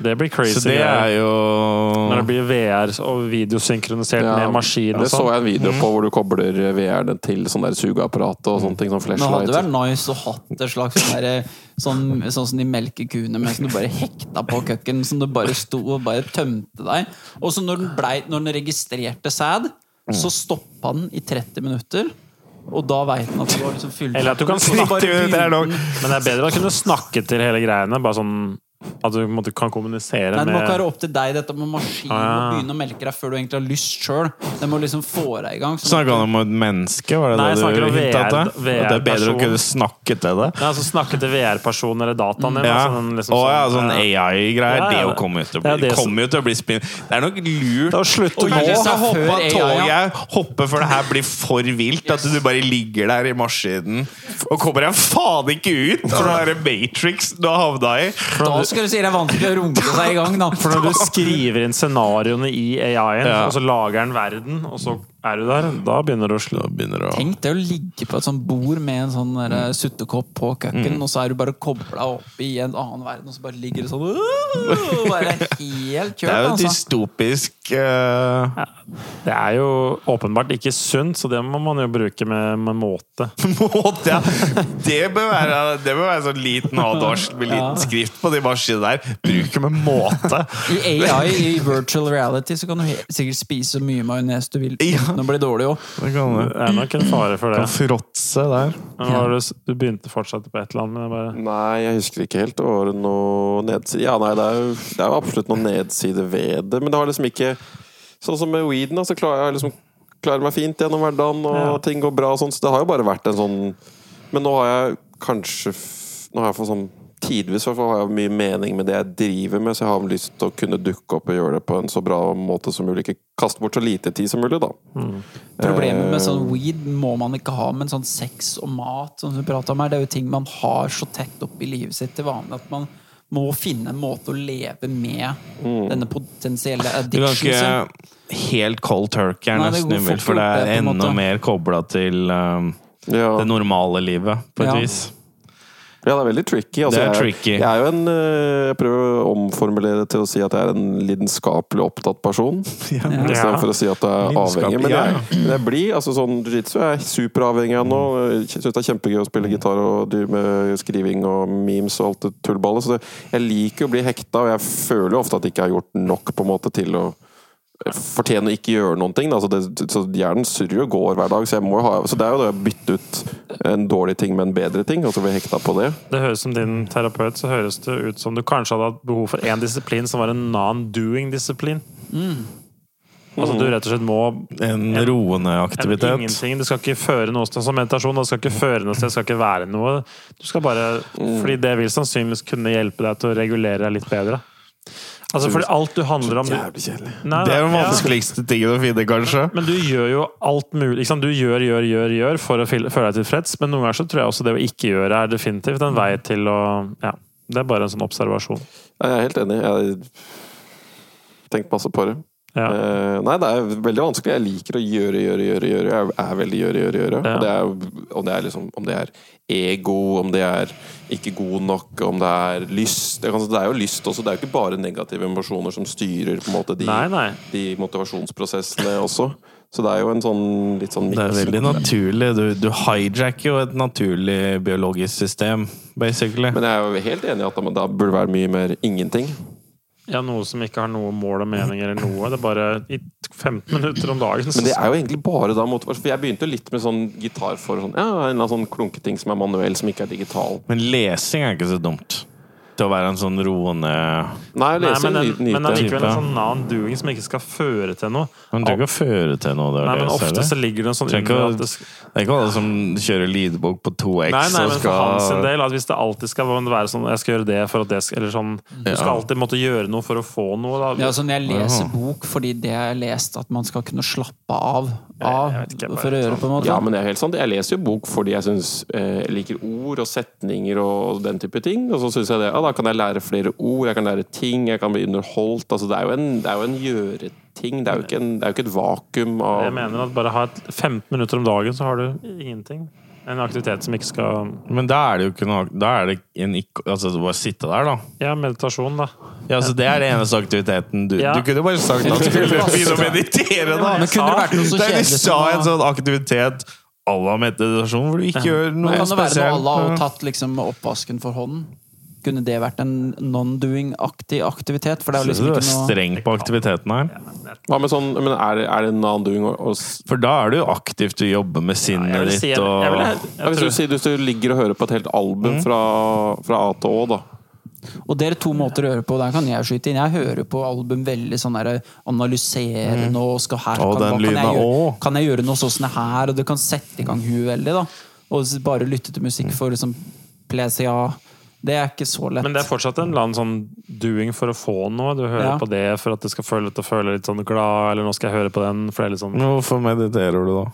[SPEAKER 2] Det blir crazy.
[SPEAKER 5] Så det
[SPEAKER 2] greier.
[SPEAKER 5] er jo
[SPEAKER 2] Når det blir VR og videosynkronisert med maskin og
[SPEAKER 4] det så
[SPEAKER 2] sånn.
[SPEAKER 4] jeg en video på hvor du kobler VR-en til sånn der sugeapparat og sånne ting. Sånn
[SPEAKER 1] Men hadde det
[SPEAKER 4] flashlight.
[SPEAKER 1] vært nice å hatt et slags sånn, derre- sånn, sånn som de melker kuene mens du bare hekta på køkken, som du bare sto og bare tømte deg. Og så når den, blei, når den registrerte sæd, så stoppa den i 30 minutter. Og da veit den at du har liksom fylt
[SPEAKER 2] Eller at du kan
[SPEAKER 1] Så bare
[SPEAKER 2] snakke
[SPEAKER 1] begynte-
[SPEAKER 2] det er nok. Men det er bedre å kunne snakke til hele greiene. Bare sånn at du på en måte kan kommunisere
[SPEAKER 1] Nei, Det må ikke være
[SPEAKER 2] med
[SPEAKER 1] opp til deg, dette med maskinen
[SPEAKER 2] Ah,
[SPEAKER 1] å
[SPEAKER 2] eh, ja.
[SPEAKER 1] begynne å melke deg før du egentlig har lyst sjøl. Den må liksom få deg i gang. sånn at
[SPEAKER 5] Snakka han om et menneske? Var det
[SPEAKER 2] Nei, jeg
[SPEAKER 5] det
[SPEAKER 2] snakker
[SPEAKER 5] du
[SPEAKER 2] om
[SPEAKER 5] hinta
[SPEAKER 2] VR
[SPEAKER 5] til? At det er bedre å
[SPEAKER 2] person.
[SPEAKER 5] kunne snakke til det?
[SPEAKER 2] ja, altså Snakke til VR-personen eller dataen din.
[SPEAKER 5] Ja.
[SPEAKER 2] altså den liksom
[SPEAKER 5] Å ja, sånn
[SPEAKER 2] ja. Ja,
[SPEAKER 5] AI-greier.
[SPEAKER 2] ja,
[SPEAKER 5] Det jo
[SPEAKER 2] det-
[SPEAKER 5] kommer jo til å
[SPEAKER 2] det er
[SPEAKER 5] bli,
[SPEAKER 2] det som-
[SPEAKER 5] kommer jo til å bli spinn... Det er nok lurt
[SPEAKER 2] Da slutter
[SPEAKER 5] å
[SPEAKER 1] du med det.
[SPEAKER 5] nå hoppe av
[SPEAKER 1] Før AI, ja.
[SPEAKER 5] toget, hoppe før det her blir for vilt. At du bare ligger der i maskinen og kommer deg faen ikke ut av den der Matrix du har havna i.
[SPEAKER 1] Da skal du si det er vanskelig å runke seg i gang, da.
[SPEAKER 2] For når du skriver inn scenarioene i AI-en,
[SPEAKER 5] Ja.
[SPEAKER 2] og så lager den verden, og så er du der, da begynner du å slå.
[SPEAKER 5] Da begynner det å
[SPEAKER 1] Tenk det å ligge på et sånt bord med en sånn der, eh, suttekopp på køkken,
[SPEAKER 5] Mm.
[SPEAKER 1] og så er du bare kobla opp i en annen verden, og så bare ligger du sånn «Åh!» Bare helt
[SPEAKER 5] Det er
[SPEAKER 1] kjørt, altså.
[SPEAKER 5] jo dystopisk eh,
[SPEAKER 2] Det er jo åpenbart ikke sunt, så det må man jo bruke med, med måte.
[SPEAKER 5] måte. Ja. Det bør være, det bør være sånn liten advarsel med liten skrift på de maskinene der. Bruker med måte.
[SPEAKER 1] I AI, i virtual reality, så kan du he- sikkert spise så mye majones du vil
[SPEAKER 5] Ja.
[SPEAKER 1] uten å bli dårlig òg.
[SPEAKER 5] Det kan
[SPEAKER 2] Det er nok en fare for det.
[SPEAKER 5] fråtse der.
[SPEAKER 2] Men hva var det, s- du begynte fortsatt på et eller annet, men jeg bare
[SPEAKER 4] Nei, jeg husker ikke helt. Var det noe nedside Ja, nei, det er, jo, det er jo absolutt noen nedside ved det, men det har liksom ikke Sånn som med weeden, da, så klarer jeg liksom klarer meg fint gjennom hverdagen, og
[SPEAKER 2] Ja.
[SPEAKER 4] ting går bra og sånn, så det har jo bare vært en sånn Men nå har jeg kanskje f- Nå har jeg fått sånn Tidvis i hvert fall har jeg mye mening med det jeg driver med, så jeg har lyst til å kunne dukke opp og gjøre det på en så bra måte som mulig. Ikke kaste bort så lite tid som mulig, da.
[SPEAKER 1] Problemet med
[SPEAKER 5] Eh.
[SPEAKER 1] sånn weed må man ikke ha, men sånn sex og mat sånn som du prater om her, det er jo ting man har så tett opp i livet sitt til vanlig at man må finne en måte å leve med denne potensielle
[SPEAKER 5] Mm. Du kan
[SPEAKER 1] addictionen sin.
[SPEAKER 5] ikke helt cold turkey er
[SPEAKER 1] Nei, det
[SPEAKER 5] nesten
[SPEAKER 1] går
[SPEAKER 5] umulig,
[SPEAKER 1] fort
[SPEAKER 5] for det
[SPEAKER 1] gjort,
[SPEAKER 5] er
[SPEAKER 1] det, på en
[SPEAKER 5] enda
[SPEAKER 1] måte.
[SPEAKER 5] mer kobla til um,
[SPEAKER 4] Ja.
[SPEAKER 5] det normale livet, på et
[SPEAKER 1] Ja.
[SPEAKER 5] vis.
[SPEAKER 4] Ja, det er veldig tricky. Altså,
[SPEAKER 5] Det er
[SPEAKER 4] jeg,
[SPEAKER 5] tricky.
[SPEAKER 4] Jeg er jo en øh, Jeg prøver å omformulere det til å si at jeg er en lidenskapelig opptatt person. I stedet for å si at jeg er
[SPEAKER 5] Lidenskapelig,
[SPEAKER 4] avhengig. Men
[SPEAKER 5] ja, ja.
[SPEAKER 4] jeg, men jeg blir altså sånn jiu-jitsu. Jeg er superavhengig av nå. Jeg Syns det er kjempegøy å spille gitar og drive med skriving og memes og alt det tullballet. Så det, jeg liker å bli hekta, og jeg føler jo ofte at jeg ikke har gjort nok på en måte til å fortjene å ikke gjøre noen ting. Da. Så, det, så hjernen surrer og går hver dag. Så, jeg må jo ha, så det er jo det å bytte ut en dårlig ting med en bedre ting, og så blir jeg hekta på det.
[SPEAKER 2] Det høres som din terapeut, så høres det ut som du kanskje hadde hatt behov for én disiplin som var en non-doing-disiplin.
[SPEAKER 5] Mm.
[SPEAKER 2] Altså du rett og slett må
[SPEAKER 5] En roende
[SPEAKER 2] en
[SPEAKER 5] aktivitet.
[SPEAKER 2] ingenting. Du skal ikke føre noe sted som meditasjon, og du skal ikke føre noe sted, det skal ikke være noe. Du skal bare,
[SPEAKER 5] Mm.
[SPEAKER 2] fordi det vil sannsynligvis kunne hjelpe deg til å regulere deg litt bedre. Altså, fordi alt du handler om... Du,
[SPEAKER 4] kjedelig.
[SPEAKER 2] Nei,
[SPEAKER 5] Det er den
[SPEAKER 2] ja.
[SPEAKER 5] vanskeligste tingen å finne, kanskje.
[SPEAKER 2] Men du gjør jo alt mulig. Ikke sant? Du gjør, gjør, gjør, gjør for å fil- føle deg tilfreds, men noen ganger så tror jeg også det å ikke gjøre er definitivt en vei til å Ja. Det er bare en sånn observasjon.
[SPEAKER 4] Jeg er helt enig. Jeg har tenkt masse på det.
[SPEAKER 2] Ja.
[SPEAKER 4] Eh, nei, det er veldig vanskelig. Jeg liker å gjøre, gjøre, gjøre. gjøre. Jeg er veldig gjøre, gjøre, gjøre.
[SPEAKER 2] Ja.
[SPEAKER 4] Og det er, om, det er liksom, om det er ego, om det er ikke god nok, om det er lyst Det kan- det er jo lyst også. Det er jo ikke bare negative emosjoner som styrer på en måte de,
[SPEAKER 2] Nei, nei.
[SPEAKER 4] de motivasjonsprosessene også. Så det er jo en sånn litt sånn
[SPEAKER 5] Det er
[SPEAKER 4] miks.
[SPEAKER 5] veldig naturlig. Du, du hijacker jo et naturlig biologisk system, basically.
[SPEAKER 4] Men jeg er jo helt enig i at da- da burde det være mye mer ingenting.
[SPEAKER 2] ja, noe som ikke har noe mål og mening eller noe. Det er bare i 15 minutter om dagen.
[SPEAKER 4] Men det
[SPEAKER 2] Så,
[SPEAKER 4] er jo egentlig bare da mot For jeg begynte jo litt med sånn gitar for sånn, ja, en eller annen sånn klunketing som er manuell, som ikke er digital.
[SPEAKER 5] Men lesing er ikke så dumt. Til å være en sånn roende
[SPEAKER 4] Nei,
[SPEAKER 2] nei,
[SPEAKER 4] jeg leser
[SPEAKER 2] men
[SPEAKER 4] Nei,
[SPEAKER 2] en, men
[SPEAKER 4] nyte.
[SPEAKER 2] allikevel en sånn non-doing som ikke skal føre til noe.
[SPEAKER 5] Men det trenger ikke å føre til noe. Det, er
[SPEAKER 2] Nei, men
[SPEAKER 5] det, jeg ser
[SPEAKER 2] ofte
[SPEAKER 5] det.
[SPEAKER 2] så ligger det en sånn
[SPEAKER 5] Trenger ikke
[SPEAKER 2] under
[SPEAKER 5] å-
[SPEAKER 2] at det,
[SPEAKER 5] det
[SPEAKER 2] sk-
[SPEAKER 5] er ikke alle som kjører lydbok på 2X
[SPEAKER 2] Nei, nei,
[SPEAKER 5] og
[SPEAKER 2] men for
[SPEAKER 5] skal
[SPEAKER 2] hans sin del, at hvis det alltid skal være sånn Jeg skal gjøre det for at det skal Eller sånn Du skal alltid måtte gjøre noe for å få noe, da.
[SPEAKER 1] Ja, altså når jeg leser bok fordi det jeg har lest, at man skal kunne slappe av, av
[SPEAKER 2] jeg vet ikke, jeg bare
[SPEAKER 1] for å gjøre
[SPEAKER 2] sånn-
[SPEAKER 1] på en måte.
[SPEAKER 4] Ja, men det er helt sant. Jeg leser jo bok fordi jeg synes, eh, jeg liker ord og setninger og den type ting. Og så syns jeg det. Ja, da kan jeg lære flere ord, jeg kan lære ting, jeg kan bli underholdt. Altså, det er jo en, det er jo en gjøreting. Det er jo ikke, en, det er jo ikke et vakuum
[SPEAKER 2] Jeg
[SPEAKER 4] av
[SPEAKER 2] mener at bare ha et 15 minutter om dagen, så har du ingenting. En aktivitet som ikke skal
[SPEAKER 5] Men da er det jo ikke noe Da er det en ikke Altså bare sitte der, da.
[SPEAKER 2] Ja, meditasjon, da.
[SPEAKER 5] Ja, så Det er den eneste aktiviteten du
[SPEAKER 2] Ja.
[SPEAKER 5] Du kunne bare sagt at du skulle begynne å meditere, da!
[SPEAKER 2] Men
[SPEAKER 1] kunne det vært noe så
[SPEAKER 5] Det
[SPEAKER 1] kjedelig
[SPEAKER 5] er- Du
[SPEAKER 1] som
[SPEAKER 5] sa
[SPEAKER 1] å-
[SPEAKER 5] en sånn aktivitet à la meditasjon, hvor du ikke gjør
[SPEAKER 1] Men
[SPEAKER 5] noe
[SPEAKER 1] kan det være noe
[SPEAKER 5] spesielt.
[SPEAKER 1] alla og tatt liksom oppvasken for hånden? Kunne det vært en non-doing-aktig aktivitet? For det er jo
[SPEAKER 5] Så
[SPEAKER 1] liksom
[SPEAKER 5] du er
[SPEAKER 1] ikke noe
[SPEAKER 5] streng på aktiviteten her.
[SPEAKER 4] Hva med sånn, men er, det- er det en annen doing? å- å s-
[SPEAKER 5] For da er du jo aktivt, du jobber med sinnet
[SPEAKER 2] Jeg vil si
[SPEAKER 5] ditt
[SPEAKER 2] jeg,
[SPEAKER 5] og
[SPEAKER 2] jeg, vil, jeg,
[SPEAKER 4] Ja,
[SPEAKER 2] tror-
[SPEAKER 4] hvis,
[SPEAKER 2] Mm.
[SPEAKER 4] du, sier- hvis du ligger og hører på et helt album fra, fra A til Å, da.
[SPEAKER 1] Og det er to måter å høre på. Der kan jeg skyte inn. Jeg hører på album veldig sånn der analyserende og skal her
[SPEAKER 5] Å,
[SPEAKER 1] kan, hva
[SPEAKER 5] den lyden
[SPEAKER 1] kan,
[SPEAKER 5] av
[SPEAKER 1] jeg gjøre,
[SPEAKER 5] å.
[SPEAKER 1] kan jeg gjøre noe sånn her? Og det kan sette i gang huet veldig. da Og s- bare lytte til musikk for liksom plesia. Det er ikke så lett.
[SPEAKER 2] Men det er fortsatt en eller annen sånn doing for å få noe. Du hører
[SPEAKER 1] Ja.
[SPEAKER 2] på det for at du skal føle at du føler litt sånn glad, eller nå skal jeg høre på den. For det er litt sånn.
[SPEAKER 5] Men Hvorfor mediterer du da?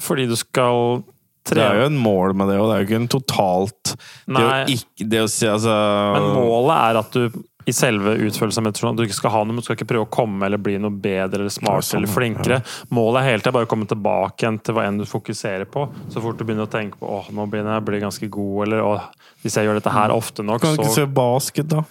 [SPEAKER 2] Fordi du skal
[SPEAKER 5] Det
[SPEAKER 2] trene.
[SPEAKER 5] er jo en mål med det, og det er jo ikke en totalt Det, å,
[SPEAKER 2] Nei.
[SPEAKER 5] ikke, det å si altså
[SPEAKER 2] Men målet er at du i selve utførelsen av meditasjon at du ikke skal ha noe, men du skal ikke prøve å komme eller bli noe bedre eller smartere eller flinkere. Målet er hele tiden bare å komme tilbake igjen til hva enn du fokuserer på. Så fort du begynner å tenke på åh, nå begynner jeg å bli ganske god, eller åh, hvis jeg gjør dette her ofte nok,
[SPEAKER 5] Kan du ikke
[SPEAKER 2] så
[SPEAKER 5] se basket, da?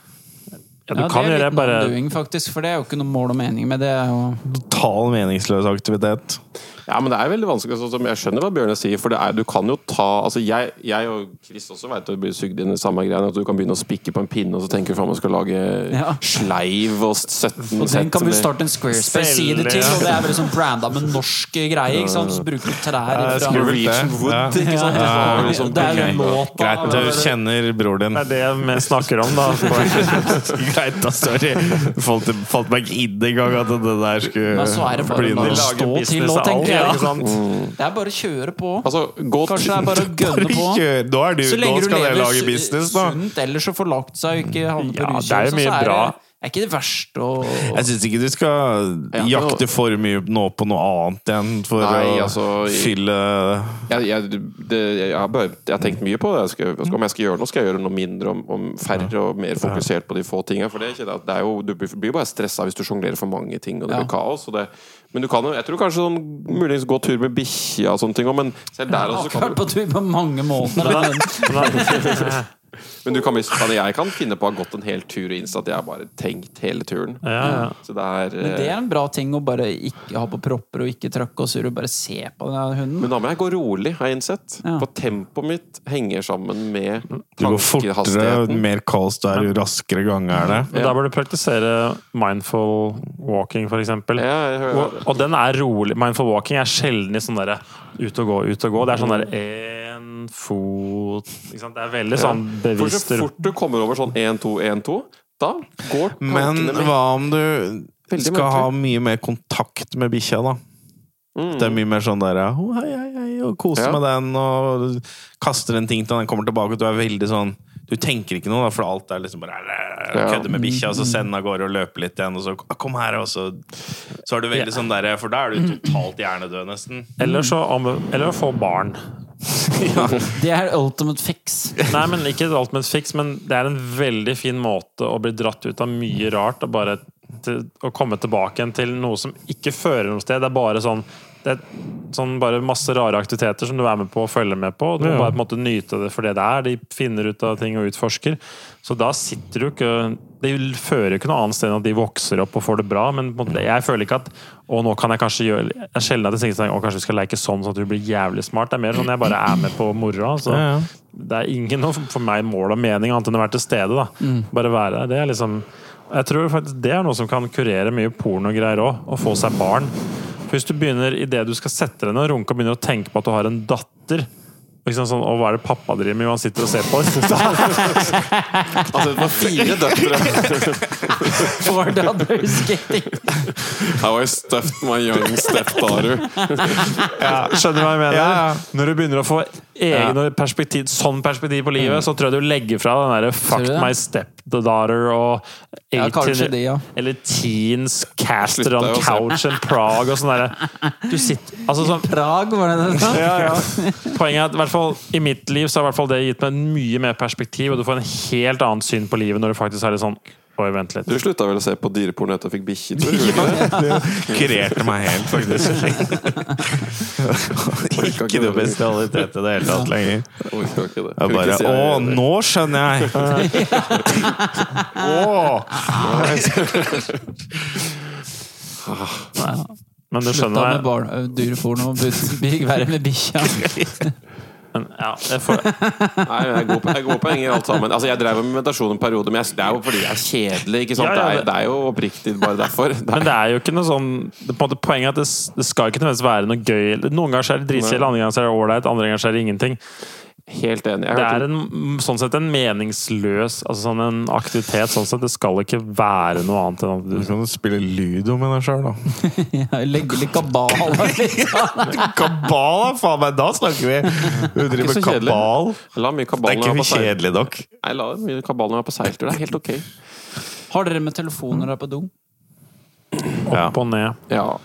[SPEAKER 2] Ja, du kan gjøre det, bare
[SPEAKER 1] doing faktisk, for det er jo ikke noe mål og mening med det. er jo
[SPEAKER 5] Total meningsløs aktivitet.
[SPEAKER 4] Ja, men det er veldig vanskelig. Sånn som jeg skjønner hva Bjørne sier, for det er, du kan jo ta altså Jeg, jeg og Chris også vet at du blir sugd inn i samme greiene. At du kan begynne å spikke på en pinne, og så tenker du faen meg skal lage
[SPEAKER 1] Ja.
[SPEAKER 4] sleiv og 17
[SPEAKER 1] Og den kan vi
[SPEAKER 4] med-
[SPEAKER 1] starte en Squarespace-side
[SPEAKER 2] Selge.
[SPEAKER 1] til, og det er veldig sånn branda med norsk greie. ikke sant? Så bruker du trær ifra
[SPEAKER 4] Norwegian
[SPEAKER 5] det.
[SPEAKER 4] Wood,
[SPEAKER 5] Ja.
[SPEAKER 4] ikke sant?
[SPEAKER 1] Ja,
[SPEAKER 4] Det er
[SPEAKER 1] ja.
[SPEAKER 4] liksom-
[SPEAKER 1] Det er jo låta.
[SPEAKER 5] Greit, du kjenner bror din.
[SPEAKER 2] Det er det jeg snakker om, da.
[SPEAKER 5] Greit, da. Sorry. Falt, falt meg ikke inn engang at det der skulle
[SPEAKER 1] Men så er det bare
[SPEAKER 5] bli
[SPEAKER 1] å
[SPEAKER 5] noe.
[SPEAKER 2] lager
[SPEAKER 1] stå til
[SPEAKER 2] business
[SPEAKER 1] og
[SPEAKER 2] av alt,
[SPEAKER 1] tenke.
[SPEAKER 2] ikke
[SPEAKER 1] Ja.
[SPEAKER 2] sant?
[SPEAKER 1] Det er bare å kjøre på.
[SPEAKER 4] Altså, gå
[SPEAKER 1] Kanskje det er bare å gønne på.
[SPEAKER 5] Kjør. Nå, er du,
[SPEAKER 1] Så
[SPEAKER 5] nå
[SPEAKER 1] lenge du
[SPEAKER 5] skal dere
[SPEAKER 1] lever
[SPEAKER 5] lage
[SPEAKER 1] su-
[SPEAKER 5] business, da.
[SPEAKER 1] sunt ellers og får lagt seg og ikke havner på
[SPEAKER 2] Ja,
[SPEAKER 1] ruskjøret,
[SPEAKER 2] det er jo
[SPEAKER 1] så
[SPEAKER 2] mye
[SPEAKER 1] er det-
[SPEAKER 2] bra.
[SPEAKER 1] Det er ikke det verste å
[SPEAKER 5] Jeg syns ikke du skal
[SPEAKER 4] Ja, men-
[SPEAKER 5] jakte for mye nå på noe annet igjen for
[SPEAKER 4] Nei,
[SPEAKER 5] å
[SPEAKER 4] altså, i-
[SPEAKER 5] fylle
[SPEAKER 4] jeg, jeg, det, jeg, har bare, jeg har tenkt mye på det. Jeg skal, om jeg skal gjøre noe, skal jeg gjøre noe mindre om, om færre og mer fokusert på de få tinga. For det, kjenner jeg at det er jo, du blir blir bare stressa hvis du sjonglerer for mange ting, og det
[SPEAKER 1] Ja.
[SPEAKER 4] blir kaos. Og det, men du kan jo Jeg tror kanskje sånn, muligens gå tur med bikkja og sånne ting òg, men selv der
[SPEAKER 1] Jeg
[SPEAKER 4] også
[SPEAKER 1] har
[SPEAKER 4] kan
[SPEAKER 1] vært
[SPEAKER 4] du
[SPEAKER 1] på tur på mange måneder. da, men-
[SPEAKER 4] Men du kan, bli- kan- jeg kan finne på å ha gått en hel tur og innse at jeg har bare tenkt hele turen.
[SPEAKER 2] Ja, ja.
[SPEAKER 4] Så det er,
[SPEAKER 1] Men det
[SPEAKER 4] eh,
[SPEAKER 1] er en bra ting å bare ikke ha på propper og ikke trøkke og surre. Bare se på den hunden.
[SPEAKER 4] men da må jeg gå rolig, har jeg innsett.
[SPEAKER 1] Ja.
[SPEAKER 4] For tempoet mitt henger sammen med
[SPEAKER 5] Du går fortere,
[SPEAKER 4] tankehastigheten.
[SPEAKER 5] mer kaos du er, jo raskere gange er det.
[SPEAKER 2] Men Da bør du praktisere mindful walking, for eksempel.
[SPEAKER 4] Ja, jeg hører-
[SPEAKER 2] og, og den er rolig. Mindful walking er sjelden i sånn derre ut og gå, ut og gå. Det er sånn derre én fot ikke sant? Det er veldig sånn
[SPEAKER 4] For så
[SPEAKER 2] bevisst
[SPEAKER 4] fort du kommer over sånn 1-2-1-2, da går
[SPEAKER 5] Men
[SPEAKER 4] tankene med.
[SPEAKER 5] hva om du
[SPEAKER 4] Veldig
[SPEAKER 5] skal ha
[SPEAKER 4] merkelig.
[SPEAKER 5] mye mer kontakt med bikkja, da? Det er mye mer sånn der «Å, hei, hei, hei, og
[SPEAKER 4] Mm.
[SPEAKER 5] kose
[SPEAKER 4] Ja.
[SPEAKER 5] med den, og kaster en ting til den, den kommer tilbake, og du er veldig sånn Du tenker ikke noe, da, for alt er liksom bare
[SPEAKER 4] Ja.
[SPEAKER 5] kødde med bikkja,
[SPEAKER 4] Mm.
[SPEAKER 5] og så sende av gårde og løpe litt igjen, og så Kom her, og så Så er du veldig sånn derre For da er du totalt hjernedød, nesten.
[SPEAKER 2] Eller, så, om- eller å få barn.
[SPEAKER 1] Det er ultimate fix.
[SPEAKER 2] Nei, men ikke alt med et fiks, men det er en veldig fin måte å bli dratt ut av mye rart og bare til, å komme tilbake igjen til noe som ikke fører noe sted. Det er bare sånn det er sånn bare masse rare aktiviteter som du er med på og følger med på. og Du må bare på en måte nyte det for det det er. De finner ut av ting og utforsker. Så da sitter du ikke Det fører jo ikke noe annet sted enn at de vokser opp og får det bra, men på en måte, jeg føler ikke at Å, nå kan jeg kanskje gjøre Det er sjelden at jeg tenker sånn Å, kanskje vi skal leke sånn, sånn at du blir jævlig smart. Det er mer sånn jeg bare er med på moroa. Så
[SPEAKER 5] Ja, ja.
[SPEAKER 2] det er ingen noe for meg mål og mening annet enn å være til stede. da.
[SPEAKER 5] Mm.
[SPEAKER 2] Bare være der. Det er liksom Jeg tror faktisk det er noe som kan kurere mye pornogreier òg. Å få seg barn. For hvis du begynner idet du skal sette deg ned og runke og begynner å tenke på at du har en datter liksom sånn, Og hva er det pappa driver med? Jo, han sitter og ser på.
[SPEAKER 4] Altså, det var fire døtre.
[SPEAKER 1] For the other is getting
[SPEAKER 4] How I stuffed my young stepdaughter.
[SPEAKER 2] skjønner du hva jeg mener?
[SPEAKER 5] Ja, ja.
[SPEAKER 2] Når du begynner å få egne perspektiv, sånn perspektiv på livet, så tror jeg du legger fra den derre 'fuck
[SPEAKER 1] Mm. du det?
[SPEAKER 2] my stepdaughter' og
[SPEAKER 1] Ja, kanskje det, ja.
[SPEAKER 2] Eller 'teens caster
[SPEAKER 4] Slutt
[SPEAKER 2] on
[SPEAKER 4] deg å se.
[SPEAKER 2] couch in Prague' og sånn derre. Du sitter Altså sånn
[SPEAKER 1] Prag, var det det? sa?
[SPEAKER 2] ja, ja. Poenget er at i, hvert fall, i mitt liv så har i hvert fall det gitt meg mye mer perspektiv, og du får en helt annet syn på livet når du faktisk er litt sånn Oi, vent litt.
[SPEAKER 4] Du slutta vel å se på dyreporno etter at du fikk bikkje? tror du, gjorde du ikke det?
[SPEAKER 5] Kurerte meg helt, faktisk. Ikke noe bestialitet i det hele tatt lenger.
[SPEAKER 4] Orka ikke det.
[SPEAKER 5] Jeg
[SPEAKER 4] Kunne
[SPEAKER 5] bare
[SPEAKER 4] ikke si
[SPEAKER 5] Å,
[SPEAKER 4] jeg-
[SPEAKER 5] nå skjønner jeg!
[SPEAKER 1] Nei, da.
[SPEAKER 2] Men du
[SPEAKER 1] Slutta
[SPEAKER 2] skjønner
[SPEAKER 1] med barn, ø, dyreporno og begynte- begynte å være med bikkja.
[SPEAKER 2] men, ja, jeg får,
[SPEAKER 4] Nei, men jeg er god på- jeg er gode poenger alt sammen. Altså, jeg drev med meditasjon en periode, men jeg, det er jo fordi jeg er kjedelig. Ikke sant?
[SPEAKER 2] Ja, ja,
[SPEAKER 4] det,
[SPEAKER 2] men-
[SPEAKER 4] er, det er jo oppriktig bare derfor. Det er,
[SPEAKER 2] men det er jo ikke noe sånn det, på en måte, Poenget er at det, s- det skal ikke nødvendigvis være noe gøy. eller- Noen ganger så er det dritkjedelig, andre ganger så er det ålreit, andre ganger så er det ingenting.
[SPEAKER 4] helt enig. Jeg
[SPEAKER 2] Det er
[SPEAKER 4] hørte,
[SPEAKER 2] en, sånn sett en meningsløs altså sånn en aktivitet. Sånn sett, det skal ikke være noe annet enn at du liksom
[SPEAKER 5] Så kan du spille ludo med deg sjøl, da.
[SPEAKER 1] Ja, Legge litt kabal liksom.
[SPEAKER 5] Kabal, da! Faen meg, da snakker vi!
[SPEAKER 4] Ikke
[SPEAKER 5] Du driver
[SPEAKER 4] så
[SPEAKER 5] med
[SPEAKER 4] kjedelig.
[SPEAKER 5] kabal.
[SPEAKER 4] jeg la mye
[SPEAKER 5] Det
[SPEAKER 4] kabal
[SPEAKER 5] er
[SPEAKER 4] når jeg var
[SPEAKER 5] ikke
[SPEAKER 4] på seil-
[SPEAKER 5] kjedelig nok.
[SPEAKER 4] Nei, jeg la mye kabal når jeg var på seiltur. Det er helt ok.
[SPEAKER 1] Har dere med telefoner der på do?
[SPEAKER 5] Ja.
[SPEAKER 2] opp og ned.
[SPEAKER 4] Ja.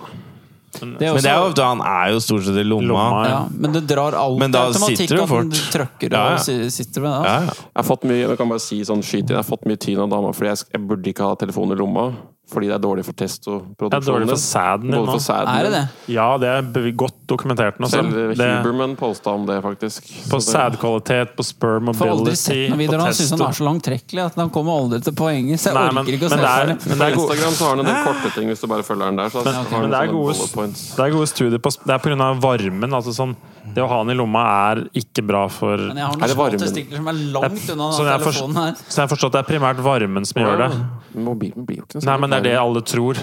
[SPEAKER 1] er
[SPEAKER 5] Men det er jo, han er jo stort sett i lomma.
[SPEAKER 2] Lomma,
[SPEAKER 1] ja, men det drar alltid
[SPEAKER 5] Men da
[SPEAKER 1] automatikk
[SPEAKER 5] sitter du
[SPEAKER 1] at den
[SPEAKER 5] fort.
[SPEAKER 1] trøkker
[SPEAKER 5] Ja, ja.
[SPEAKER 1] og si- sitter med det.
[SPEAKER 5] Ja,
[SPEAKER 1] altså.
[SPEAKER 5] ja.
[SPEAKER 4] Jeg har fått mye jeg kan bare si sånn skyt inn, jeg har fått mye tyn av dama fordi jeg, sk- jeg burde ikke ha telefonen i lomma. Fordi det er dårlig for
[SPEAKER 2] Det er dårlig
[SPEAKER 4] testoproduksjonen.
[SPEAKER 2] for sæden din nå.
[SPEAKER 4] Både for sæden
[SPEAKER 1] Er det
[SPEAKER 4] din.
[SPEAKER 1] det?
[SPEAKER 2] Ja, det er bev- godt dokumentert nå. så
[SPEAKER 4] Selv
[SPEAKER 2] Det,
[SPEAKER 4] Huberman posta om det, faktisk. Så
[SPEAKER 2] på
[SPEAKER 4] det-
[SPEAKER 2] sædkvalitet, på sperm
[SPEAKER 1] Får aldri sett
[SPEAKER 2] mobility,
[SPEAKER 1] noen videoer.
[SPEAKER 2] på
[SPEAKER 1] Han syns han
[SPEAKER 2] testo.
[SPEAKER 1] er så langtrekkelig at han kommer aldri til poenget. Så jeg
[SPEAKER 2] Nei,
[SPEAKER 1] orker
[SPEAKER 2] men, men,
[SPEAKER 1] ikke å se
[SPEAKER 2] det er,
[SPEAKER 1] på det.
[SPEAKER 2] men det er
[SPEAKER 4] På
[SPEAKER 2] gode
[SPEAKER 4] Instagram så har han en del korte ting hvis du bare følger den der. Så har han
[SPEAKER 2] men det er
[SPEAKER 4] sånne
[SPEAKER 2] gode-
[SPEAKER 4] bullet points.
[SPEAKER 2] Det er gode studier på Det er pga. varmen. Altså sånn, det å ha den i lomma er ikke bra for
[SPEAKER 1] Men jeg
[SPEAKER 2] Så
[SPEAKER 1] har
[SPEAKER 4] Er
[SPEAKER 1] noen
[SPEAKER 4] det
[SPEAKER 1] små
[SPEAKER 4] varmen?
[SPEAKER 1] testikler som er langt unna
[SPEAKER 2] jeg,
[SPEAKER 1] den
[SPEAKER 2] har forst-
[SPEAKER 1] telefonen her.
[SPEAKER 2] så jeg har forstått at det er primært varmen som gjør det.
[SPEAKER 4] Mobilen blir jo ikke noe
[SPEAKER 2] Nei, men Det er det alle tror.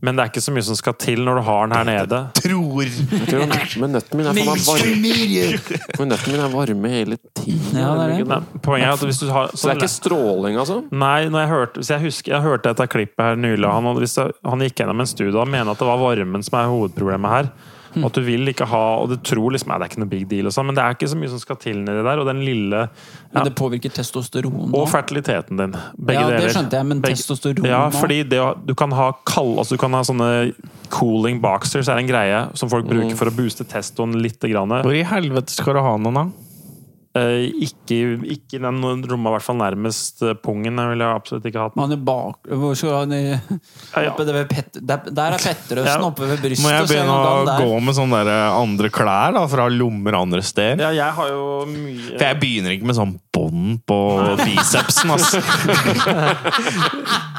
[SPEAKER 2] Men det er ikke så mye som skal til når du har den her nede.
[SPEAKER 5] Tror!
[SPEAKER 4] det sånn Men nøtten min er faen meg varm. Men nøtten min er varme hele tiden.
[SPEAKER 1] Ja, det er det.
[SPEAKER 4] Nei.
[SPEAKER 2] Nei, poenget er at hvis du har
[SPEAKER 4] Så det er ikke stråling, altså?
[SPEAKER 2] Nei, når jeg hørte, hvis jeg husker, jeg hørte dette klippet her nylig. Han, hadde- hvis jeg, han gikk gjennom en studie og han mener at det var varmen som er hovedproblemet her.
[SPEAKER 1] Hm.
[SPEAKER 2] Og at du vil ikke ha Og du tror liksom, nei, det er ikke noe big deal, og sånn, men det er ikke så mye som skal til nedi der. Og den lille ja,
[SPEAKER 1] Men det påvirker testosteron
[SPEAKER 2] Og
[SPEAKER 1] òg.
[SPEAKER 2] fertiliteten din. Begge
[SPEAKER 1] Ja,
[SPEAKER 2] deler.
[SPEAKER 1] det skjønte jeg, men
[SPEAKER 2] Begge-
[SPEAKER 1] testosteron
[SPEAKER 2] Ja,
[SPEAKER 1] nå?
[SPEAKER 2] fordi det, å- du kan ha kald Altså, du kan ha sånne cooling boxers, er en greie som folk
[SPEAKER 1] Mm.
[SPEAKER 2] bruker for å booste testoen litt. Grann.
[SPEAKER 5] Hvor i helvete skal du ha noen, da?
[SPEAKER 2] Eh, ikke, ikke den romma, i hvert fall nærmest eh, pungen. Jeg ville absolutt ikke hatt den.
[SPEAKER 1] Han er bak Hvor skal han i
[SPEAKER 2] Ja, ja.
[SPEAKER 1] oppe det ved Pet, der, der er Petterøsen
[SPEAKER 2] Ja.
[SPEAKER 1] oppe ved brystet.
[SPEAKER 5] Må
[SPEAKER 1] så er
[SPEAKER 5] jeg begynne
[SPEAKER 1] han
[SPEAKER 5] å
[SPEAKER 1] der.
[SPEAKER 5] gå med sånne der eh, andre klær, da? For å ha lommer andre steder?
[SPEAKER 2] Ja, jeg har jo mye
[SPEAKER 5] For jeg begynner ikke med sånn bånd på bicepsen, ass.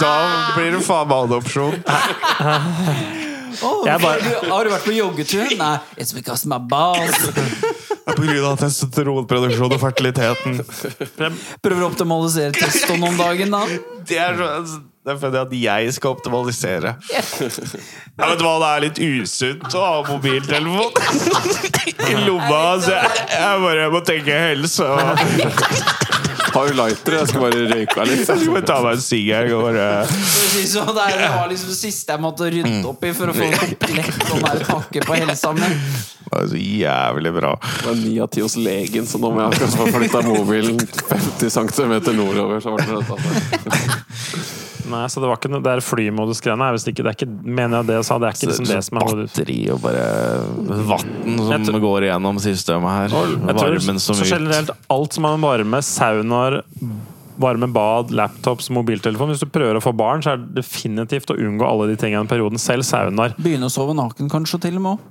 [SPEAKER 5] da blir det faen meg adopsjon.
[SPEAKER 1] Å,
[SPEAKER 2] Jeg
[SPEAKER 1] har
[SPEAKER 2] bare-
[SPEAKER 1] du- Har du vært på joggetur? Nei. It's because my balls.
[SPEAKER 5] På grunn av testosteronproduksjon og fertiliteten.
[SPEAKER 1] Prøver å optimalisere testoen om dagen, da.
[SPEAKER 5] Det er, så- altså, det er fordi at jeg skal optimalisere. Ja, vet du hva, det er litt usunt å ha mobiltelefon i lomma. Så jeg, jeg bare må tenke helse. Og
[SPEAKER 4] Har jo lighter, jeg skal bare røyke meg litt.
[SPEAKER 5] jeg skal bare ta meg en sigg her. og bare-
[SPEAKER 1] Precis, og det er- det var liksom det siste jeg måtte
[SPEAKER 5] Mm.
[SPEAKER 1] rydde opp i for å få komplett sånn der pakke på helsa mi.
[SPEAKER 5] Det er så jævlig bra.
[SPEAKER 4] Det var ni av ti hos legen, så nå må jeg kanskje få flytta mobilen 50 cm nordover. Så altså. var det for dette.
[SPEAKER 2] Nei, så det var ikke noe Det er flymodus-greiene er visst ikke Det er ikke, mener jeg det jeg sa, det er ikke liksom det som er modus.
[SPEAKER 5] batteri og bare vann
[SPEAKER 2] Jeg
[SPEAKER 5] som
[SPEAKER 2] tror-
[SPEAKER 5] går igjennom systemet her.
[SPEAKER 2] Jeg tror
[SPEAKER 5] Varmen som
[SPEAKER 2] så
[SPEAKER 5] ut.
[SPEAKER 2] generelt alt som har med varme, saunaer, varme bad, laptops, mobiltelefon Hvis du prøver å få barn, så er det definitivt å unngå alle de tingene i perioden. Selv saunaer.
[SPEAKER 1] Begynne å sove naken, kanskje, til og med. også.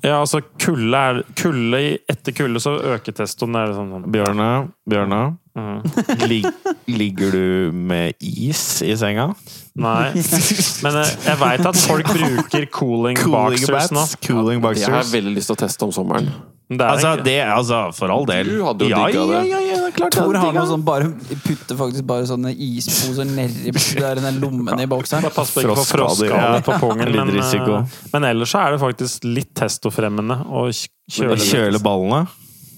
[SPEAKER 2] Ja, altså kulde er Kulde i- etter kulde så øker testoen. Det er sånn, sånn.
[SPEAKER 5] Bjørne, Bjørne
[SPEAKER 2] Mhm.
[SPEAKER 5] lig, ligger du med is i senga?
[SPEAKER 2] Nei. Men eh, jeg veit at folk bruker cooling,
[SPEAKER 5] Cooling
[SPEAKER 2] boxers nå.
[SPEAKER 5] bats, cooling
[SPEAKER 4] Jeg har
[SPEAKER 5] boxers.
[SPEAKER 4] veldig lyst til å teste om sommeren.
[SPEAKER 2] Men Det er
[SPEAKER 5] Altså,
[SPEAKER 2] en-
[SPEAKER 5] det, altså, for all del.
[SPEAKER 4] Du hadde jo
[SPEAKER 5] ja,
[SPEAKER 4] digga
[SPEAKER 5] ja,
[SPEAKER 4] det.
[SPEAKER 5] ja, ja, det er klart jeg
[SPEAKER 1] Tor
[SPEAKER 5] hadde
[SPEAKER 1] har noe
[SPEAKER 5] digga det.
[SPEAKER 1] sånn bare putter faktisk bare sånne isposer nedi der i den lommen i bokseren.
[SPEAKER 2] Pass på ikke få
[SPEAKER 5] Frostskader,
[SPEAKER 2] frostskader
[SPEAKER 5] ja.
[SPEAKER 2] på pungen.
[SPEAKER 5] Litt
[SPEAKER 2] Men,
[SPEAKER 5] risiko.
[SPEAKER 2] eh, men ellers så er det faktisk litt testofremmende å kj- kjøle
[SPEAKER 5] Å Kjøle ballene.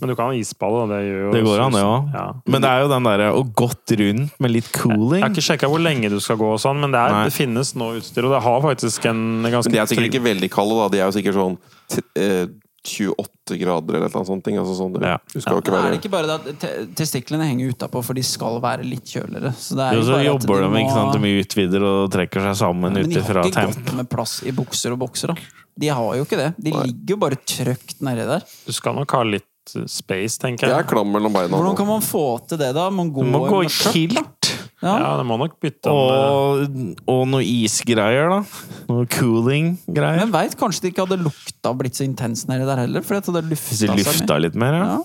[SPEAKER 2] Men du kan ha isballe, da. Det, gjør jo
[SPEAKER 5] Det går an, det òg.
[SPEAKER 2] Ja.
[SPEAKER 5] Men det er jo den derre å gått rundt med litt
[SPEAKER 2] Jeg har
[SPEAKER 5] cooling.
[SPEAKER 2] ikke sjekka hvor lenge du skal gå, og sånn, men det, er,
[SPEAKER 5] Nei.
[SPEAKER 2] det finnes nå utstyr. Og det har faktisk en ganske
[SPEAKER 4] Men de er sikkert
[SPEAKER 2] trygg-
[SPEAKER 4] ikke veldig kalde, da. De er jo sikkert sånn t- eh, 28 grader eller et eller annet sånt. ting, Altså sånn, det-
[SPEAKER 5] Ja.
[SPEAKER 4] Du skal jo ikke
[SPEAKER 1] Men er
[SPEAKER 4] være
[SPEAKER 1] det ikke bare det at te testiklene henger utapå, for de skal være litt kjøligere? Så det er
[SPEAKER 5] Og
[SPEAKER 1] jo
[SPEAKER 5] så
[SPEAKER 1] bare at
[SPEAKER 5] jobber de,
[SPEAKER 1] må
[SPEAKER 5] ikke
[SPEAKER 1] ha-
[SPEAKER 5] sant. De utvider og trekker seg sammen
[SPEAKER 1] Men
[SPEAKER 5] ut
[SPEAKER 1] de har
[SPEAKER 5] ifra
[SPEAKER 1] ikke
[SPEAKER 5] temp.
[SPEAKER 1] godt med plass i bukser og boksere. De har jo ikke det. De ligger jo bare trøkt nedi der.
[SPEAKER 2] Du skal nok ha litt eh, space, tenker
[SPEAKER 4] Jeg er
[SPEAKER 2] jeg.
[SPEAKER 4] klam mellom beina
[SPEAKER 1] Hvordan
[SPEAKER 4] nå.
[SPEAKER 1] kan man få til det, da? Man går
[SPEAKER 5] Du må gå i
[SPEAKER 1] med skjørt, da.
[SPEAKER 5] kilt.
[SPEAKER 2] Ja, det må nok bytte om eh,
[SPEAKER 5] Og, og noe isgreier, da. Noe cooling-greier.
[SPEAKER 1] Men veit kanskje det ikke hadde lukta blitt så intens nedi der heller? Fordi at det lufta
[SPEAKER 5] Hvis de
[SPEAKER 1] seg mye.
[SPEAKER 5] lufta litt mer, ja.
[SPEAKER 1] Ja.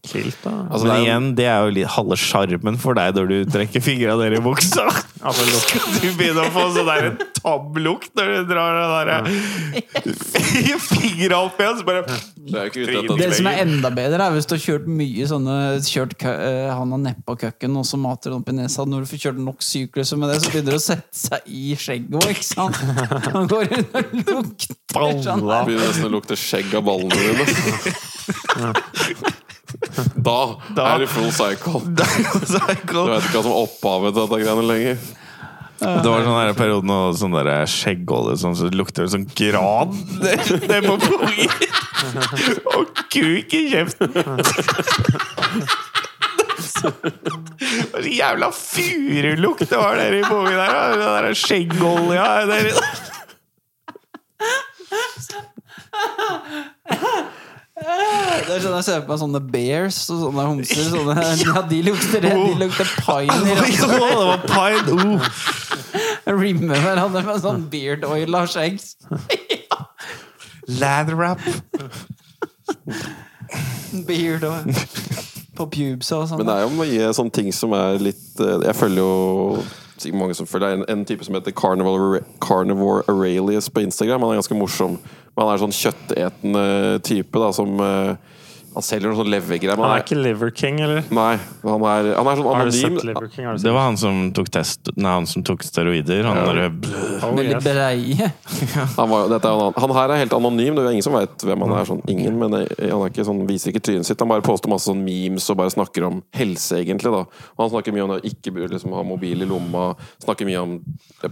[SPEAKER 2] kilt, da.
[SPEAKER 4] Altså,
[SPEAKER 5] Men igjen, det er jo litt halve sjarmen for deg når du trekker fingra ned i buksa.
[SPEAKER 2] Ja, for lukta.
[SPEAKER 5] Skal du begynne å få sånn der en tabb-lukt når du drar den der fingra opp igjen? Så bare
[SPEAKER 4] Det er jo ikke ute
[SPEAKER 1] Det
[SPEAKER 4] etter
[SPEAKER 1] som er enda bedre, er hvis du har kjørt mye sånne Kjørt kø- eh, han og neppa køkken, og så mater den opp i nesa. Når du får kjørt nok sykluser med det, så begynner det å sette seg i skjegget òg, ikke sant? Han går rundt og lukter sånn.
[SPEAKER 4] Det begynner nesten å lukte skjegg av ballene dine. Da, er det full cycle.
[SPEAKER 5] Det er jo
[SPEAKER 4] Du
[SPEAKER 5] så
[SPEAKER 4] vet ikke hva som er opphavet til dette greiene lenger.
[SPEAKER 5] Det var sånn der periode nå, sånn der skjeggolje sånn, så lukter det sånn gran ned ned på pungen. Og kuk i kjeften. Hva slags jævla furulukt det var der i pungen der. da. Den der skjeggolja der.
[SPEAKER 1] Det er sånn jeg ser på meg sånne bears og sånne homser. Sånne, ja, de lukter det. De lukter pine. i
[SPEAKER 5] Oi,
[SPEAKER 1] rassen.
[SPEAKER 5] å, det var pine. Oh.
[SPEAKER 1] Rimme hverandre med sånn beard oil og skjegg.
[SPEAKER 5] Land wrap.
[SPEAKER 1] Beard oil. På pubesa og sånn.
[SPEAKER 4] Men det er jo om å gi sånne ting som er litt eh, Jeg følger jo sikkert mange som følger en, en type som heter Carnivore, Carnivore Aurelius på Instagram. Han er ganske morsom. Men han er sånn kjøttetende type da, som eh, Han selger noen sånn levergreier. men
[SPEAKER 2] Han
[SPEAKER 4] han
[SPEAKER 2] er ikke Liver King, eller?
[SPEAKER 4] er- Nei, han er, han er sånn
[SPEAKER 2] Har du
[SPEAKER 4] anonym.
[SPEAKER 2] sett Liver King? Har du
[SPEAKER 5] Det
[SPEAKER 2] sett?
[SPEAKER 5] var han som tok, test, nei, han som tok steroider. Han der
[SPEAKER 2] Oh,
[SPEAKER 1] Veldig
[SPEAKER 2] yes.
[SPEAKER 1] breie.
[SPEAKER 4] Han, var, dette er jo en annen- han her er helt anonym, det er jo ingen som vet hvem han er. Sånn, ingen, men eh, han er ikke sånn, viser ikke trynet sitt. Han bare poster masse sånn memes og bare snakker om helse, egentlig. Da. Og han snakker mye om det å ikke burde liksom, ha mobil i lomma. Snakker mye om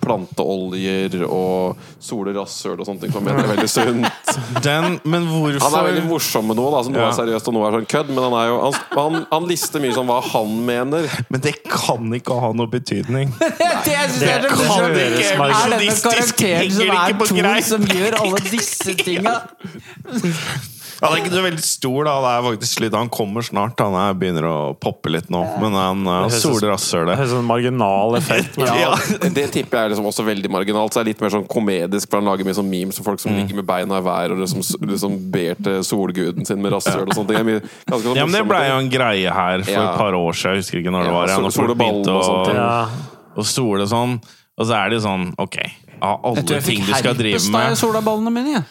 [SPEAKER 4] planteoljer og sole rasshøl og sånne ting som han mener er veldig sunt.
[SPEAKER 5] Den, men hvorfor
[SPEAKER 4] Han er veldig morsom med noe, da, som noe
[SPEAKER 5] Ja.
[SPEAKER 4] er seriøst og noe er sånn kødd. Men han, er jo, han, han, han lister mye sånn hva han mener.
[SPEAKER 5] Men det kan ikke ha noe betydning.
[SPEAKER 1] Det jeg synes er
[SPEAKER 2] Det
[SPEAKER 1] det
[SPEAKER 2] kan
[SPEAKER 1] morsomt.
[SPEAKER 2] dere som er
[SPEAKER 1] Er denne karakteren som er Thor, som gjør alle disse tinga?
[SPEAKER 5] Han er ikke så veldig stor, da. Det er faktisk litt, han kommer snart. Han er, begynner å poppe litt nå, men han uh,
[SPEAKER 2] Det høres-
[SPEAKER 5] soler
[SPEAKER 2] Det
[SPEAKER 5] rasshølet.
[SPEAKER 2] er sånn marginal effekt. Men altså,
[SPEAKER 5] Ja.
[SPEAKER 4] Det tipper jeg er liksom også veldig marginalt. Så det er litt mer sånn komedisk, for han lager mye sånn memes om folk
[SPEAKER 5] Mm.
[SPEAKER 4] som ligger med beina i været og liksom, liksom ber til solguden sin med rasshøl og sånne ting. Det er mye- ganske sånn
[SPEAKER 5] Ja, men Det
[SPEAKER 4] morsomme
[SPEAKER 5] blei jo
[SPEAKER 4] ting.
[SPEAKER 5] en greie her for
[SPEAKER 4] Ja.
[SPEAKER 5] et par år siden. Jeg husker ikke når det
[SPEAKER 4] Ja,
[SPEAKER 5] var.
[SPEAKER 4] sol-
[SPEAKER 5] Ja, når folk
[SPEAKER 4] solball
[SPEAKER 5] begynte
[SPEAKER 4] og
[SPEAKER 5] å,
[SPEAKER 4] sånt,
[SPEAKER 2] ja.
[SPEAKER 5] å sole sånn. Og så er det jo sånn, ok Av alle
[SPEAKER 1] Jeg tror jeg
[SPEAKER 5] ting
[SPEAKER 1] fikk
[SPEAKER 5] du skal drive
[SPEAKER 1] herpes da jeg
[SPEAKER 5] med
[SPEAKER 1] sola ballene mine. jeg.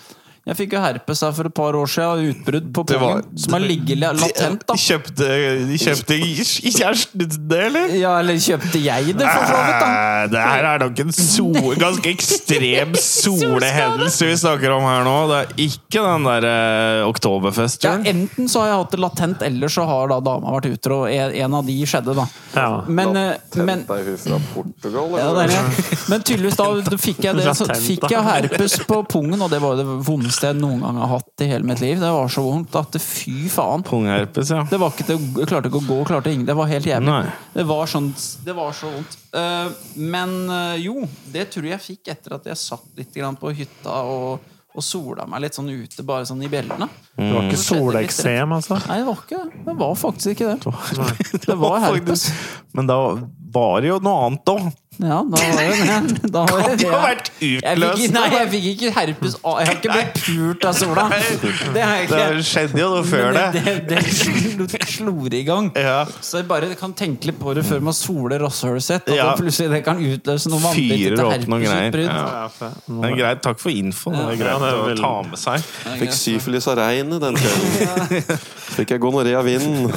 [SPEAKER 1] Jeg fikk jo herpes her for et par år siden, og utbrudd på
[SPEAKER 5] Det var-
[SPEAKER 1] pungen, som har ligget la- latent. da
[SPEAKER 5] Kjøpte, kjøpte kjæresten din det, eller?
[SPEAKER 1] Ja, eller kjøpte jeg det, for så vidt, da?
[SPEAKER 5] Eh, Det her er nok en sol, ganske ekstrem solehendelse vi snakker om her nå. Det er ikke den der eh,
[SPEAKER 1] Ja,
[SPEAKER 5] oktoberfesten.
[SPEAKER 1] enten så har jeg hatt det latent, eller så har da dama vært utro. og En en av de skjedde, da.
[SPEAKER 2] Ja.
[SPEAKER 1] Men, eh, men
[SPEAKER 4] Tenta i huet fra Portugal,
[SPEAKER 1] Ja, det
[SPEAKER 4] eller?
[SPEAKER 1] er det. Men tydeligvis da da fikk jeg, det, så
[SPEAKER 2] Latent,
[SPEAKER 1] fikk
[SPEAKER 2] da.
[SPEAKER 1] jeg herpes på pungen, og det var jo det vondeste jeg noen gang har hatt i hele mitt liv. Det var så vondt at det- fy faen.
[SPEAKER 5] Pungherpes, ja.
[SPEAKER 1] Det var ikke til, jeg klarte ikke å gå, klarte ingen. Det var helt jævlig.
[SPEAKER 5] Nei.
[SPEAKER 1] Det, var sånn, det var så vondt. Eh, men eh, jo, det tror jeg fikk etter at jeg satt litt grann på hytta og, og sola meg litt sånn ute, bare sånn i bjellene.
[SPEAKER 2] Mm. Det var
[SPEAKER 5] Mm.
[SPEAKER 2] ikke soleksem, altså.
[SPEAKER 1] Nei, det var ikke det. Det var faktisk ikke det. Det var herpes.
[SPEAKER 5] Men da var det jo noe annet òg.
[SPEAKER 1] Ja, da var det det. Da var det
[SPEAKER 5] Det
[SPEAKER 1] det.
[SPEAKER 5] har vært
[SPEAKER 1] Jeg fikk,
[SPEAKER 5] utløst.
[SPEAKER 1] nei, jeg fikk ikke herpes av Jeg har ikke blitt pult av sola. Det har jeg
[SPEAKER 5] Det
[SPEAKER 1] ikke.
[SPEAKER 5] skjedde jo noe før
[SPEAKER 1] Men
[SPEAKER 5] det.
[SPEAKER 1] det, det, det slår i gang.
[SPEAKER 5] Ja.
[SPEAKER 1] Så jeg bare kan tenke litt på det før man soler rasshølet sitt. Og
[SPEAKER 5] Ja.
[SPEAKER 1] plutselig det kan utløse noe vanvittig
[SPEAKER 5] Fyrer
[SPEAKER 1] til
[SPEAKER 5] opp noen greier.
[SPEAKER 1] herpesutbrudd.
[SPEAKER 5] Ja. Det er greit. Takk for infoen. Det er
[SPEAKER 2] Ja,
[SPEAKER 5] greit
[SPEAKER 2] det er
[SPEAKER 5] å
[SPEAKER 2] veldig-
[SPEAKER 5] ta med seg.
[SPEAKER 4] Fikk syfilis av regnet den kvelden. Fikk jeg gonoré av vinden.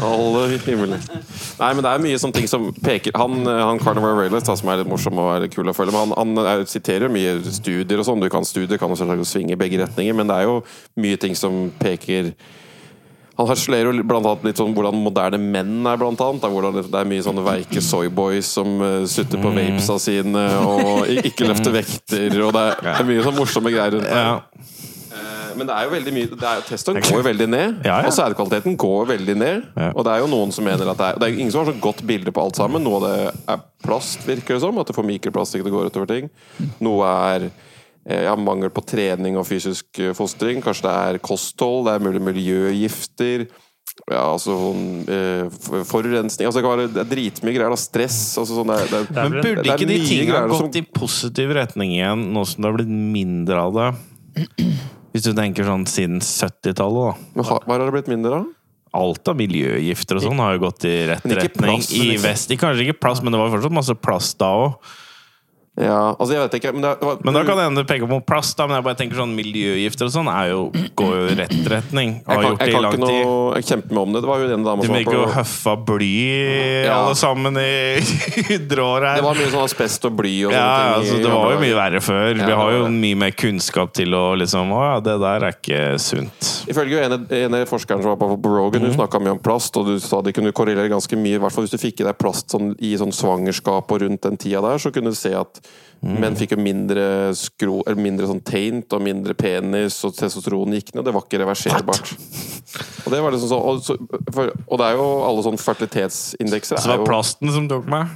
[SPEAKER 4] Alle himmelen. Nei, men det er mye sånne ting som peker Han, han Carnival Railers, da, som er litt morsom og er litt kul å følge med, han, han er, siterer jo mye studier og sånn. Du kan studier, kan jo selvsagt svinge i begge retninger, men det er jo mye ting som peker han harselerer jo blant annet litt sånn hvordan moderne menn er, blant annet. da, Hvordan det er mye sånne veike soyboys som eh, sutter på vapesa sine og i- ikke løfter vekter, og det er, det er mye sånn morsomme greier rundt det.
[SPEAKER 5] Ja.
[SPEAKER 4] Eh, Men det er jo veldig mye det er, Testoen går jo veldig ned,
[SPEAKER 5] Ja, ja.
[SPEAKER 4] og sædkvaliteten går jo veldig ned.
[SPEAKER 5] Ja.
[SPEAKER 4] Og det er jo noen som mener at det er Det er jo ingen som har så godt bilde på alt sammen. Noe av det er plast, virker det som. At du får mikroplastikk det går utover ting. Noe er eh, ja, mangel på trening og fysisk eh, fostring. Kanskje det er kosthold, det er mulig miljøgifter. ja, altså hun, eh, for- Forurensning altså, det, kan være, det er dritmye greier. Da. Stress altså, sånn, det, er- det, er-
[SPEAKER 2] er
[SPEAKER 5] Men
[SPEAKER 2] vel-
[SPEAKER 5] burde
[SPEAKER 4] det er
[SPEAKER 5] ikke de
[SPEAKER 4] mye
[SPEAKER 5] tinga
[SPEAKER 4] greier
[SPEAKER 5] gått
[SPEAKER 4] som-
[SPEAKER 5] i positiv retning igjen, nå som det har blitt mindre av det? Hvis du tenker sånn siden 70-tallet, da.
[SPEAKER 4] Men ha- Hva har det blitt mindre av?
[SPEAKER 5] Alt av miljøgifter og sånn har jo gått i rett
[SPEAKER 4] Men ikke
[SPEAKER 5] retning
[SPEAKER 4] plast,
[SPEAKER 5] i
[SPEAKER 4] liksom.
[SPEAKER 5] vest. I- Kanskje ikke plast, men det var fortsatt masse plast da òg.
[SPEAKER 4] Ja, altså jeg vet ikke Men, det, var-
[SPEAKER 5] Men da kan det hende du peker på plast, da, men jeg bare tenker sånn miljøgifter og sånn er jo, går jo i rett retning.
[SPEAKER 4] jeg
[SPEAKER 5] Har
[SPEAKER 4] kan,
[SPEAKER 5] gjort det
[SPEAKER 4] jeg
[SPEAKER 5] i
[SPEAKER 4] kan ikke
[SPEAKER 5] lang tid.
[SPEAKER 4] noe Jeg kjemper meg om det. Det var jo en dame
[SPEAKER 5] De
[SPEAKER 4] som var
[SPEAKER 5] vil ikke
[SPEAKER 4] på
[SPEAKER 5] høffa bly
[SPEAKER 4] Ja.
[SPEAKER 5] alle sammen i hydrår her.
[SPEAKER 4] Det var mye sånn asbest og bly og
[SPEAKER 5] Ja,
[SPEAKER 4] sånne ting.
[SPEAKER 5] altså,
[SPEAKER 4] i
[SPEAKER 5] det
[SPEAKER 4] gamle
[SPEAKER 5] var jo
[SPEAKER 4] dager.
[SPEAKER 5] mye verre før.
[SPEAKER 4] Ja,
[SPEAKER 5] Vi
[SPEAKER 4] det var
[SPEAKER 5] har jo
[SPEAKER 4] det.
[SPEAKER 5] mye mer kunnskap til å liksom Å ja, det der er ikke sunt.
[SPEAKER 4] Ifølge ene, ene forskeren som var på på Rogan, hun
[SPEAKER 5] Mhm.
[SPEAKER 4] snakka mye om plast, og du sa det kunne korrelere ganske mye, i hvert fall hvis du fikk i deg plast sånn, i sånn svangerskap og rundt den tida der, så kunne du se at
[SPEAKER 5] Mhm.
[SPEAKER 4] menn fikk jo mindre skro, eller mindre sånn taint og mindre penis, og testosteron gikk ned. Det var ikke reverserbart. Og det var liksom sånn, og, så, for, og det er jo alle sånne fertilitetsindekser
[SPEAKER 5] Så det
[SPEAKER 4] er
[SPEAKER 5] var
[SPEAKER 4] jo
[SPEAKER 5] plasten som tok meg.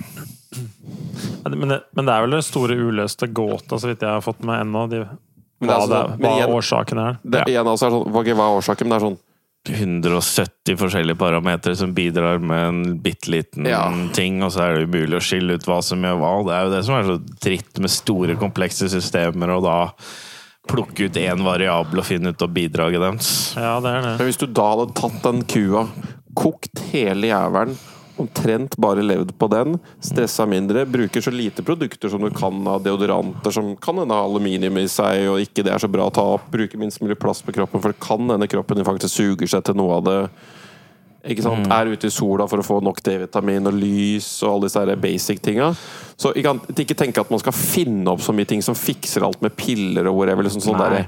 [SPEAKER 2] Men det, men det er vel det store uløste gåta, så vidt jeg har fått med ennå. De,
[SPEAKER 4] Men
[SPEAKER 2] hva
[SPEAKER 4] det
[SPEAKER 2] det,
[SPEAKER 4] er
[SPEAKER 2] hva
[SPEAKER 4] sånn- men igjen-
[SPEAKER 2] årsaken er.
[SPEAKER 4] det, igjen, altså, er sånn, hva hva er årsaken, men det er sånn
[SPEAKER 5] 170 forskjellige parametere som bidrar med en bitte liten
[SPEAKER 4] Ja.
[SPEAKER 5] ting, og så er det umulig å skille ut hva som gjør hva. Det er jo det som er så dritt med store, komplekse systemer, og da plukke ut én variabel og finne ut av bidraget deres.
[SPEAKER 2] Ja, det er det.
[SPEAKER 4] Men hvis du da hadde tatt den kua, kokt hele jævelen, omtrent bare levd på den, stressa mindre, bruker så lite produkter som du kan av deodoranter som kan hende har aluminium i seg, og ikke det er så bra å ta opp, bruker minst mulig plass på kroppen, for det kan hende kroppen din faktisk suger seg til noe av det. Ikke sant?
[SPEAKER 5] Mm.
[SPEAKER 4] Er ute i sola for å få nok D-vitamin og lys og alle disse her
[SPEAKER 5] Mm.
[SPEAKER 4] basic tinga. Så ikke, sant, ikke tenke at man skal finne opp så mye ting som fikser alt med piller og whatever. Liksom sånn
[SPEAKER 5] Nei.
[SPEAKER 4] der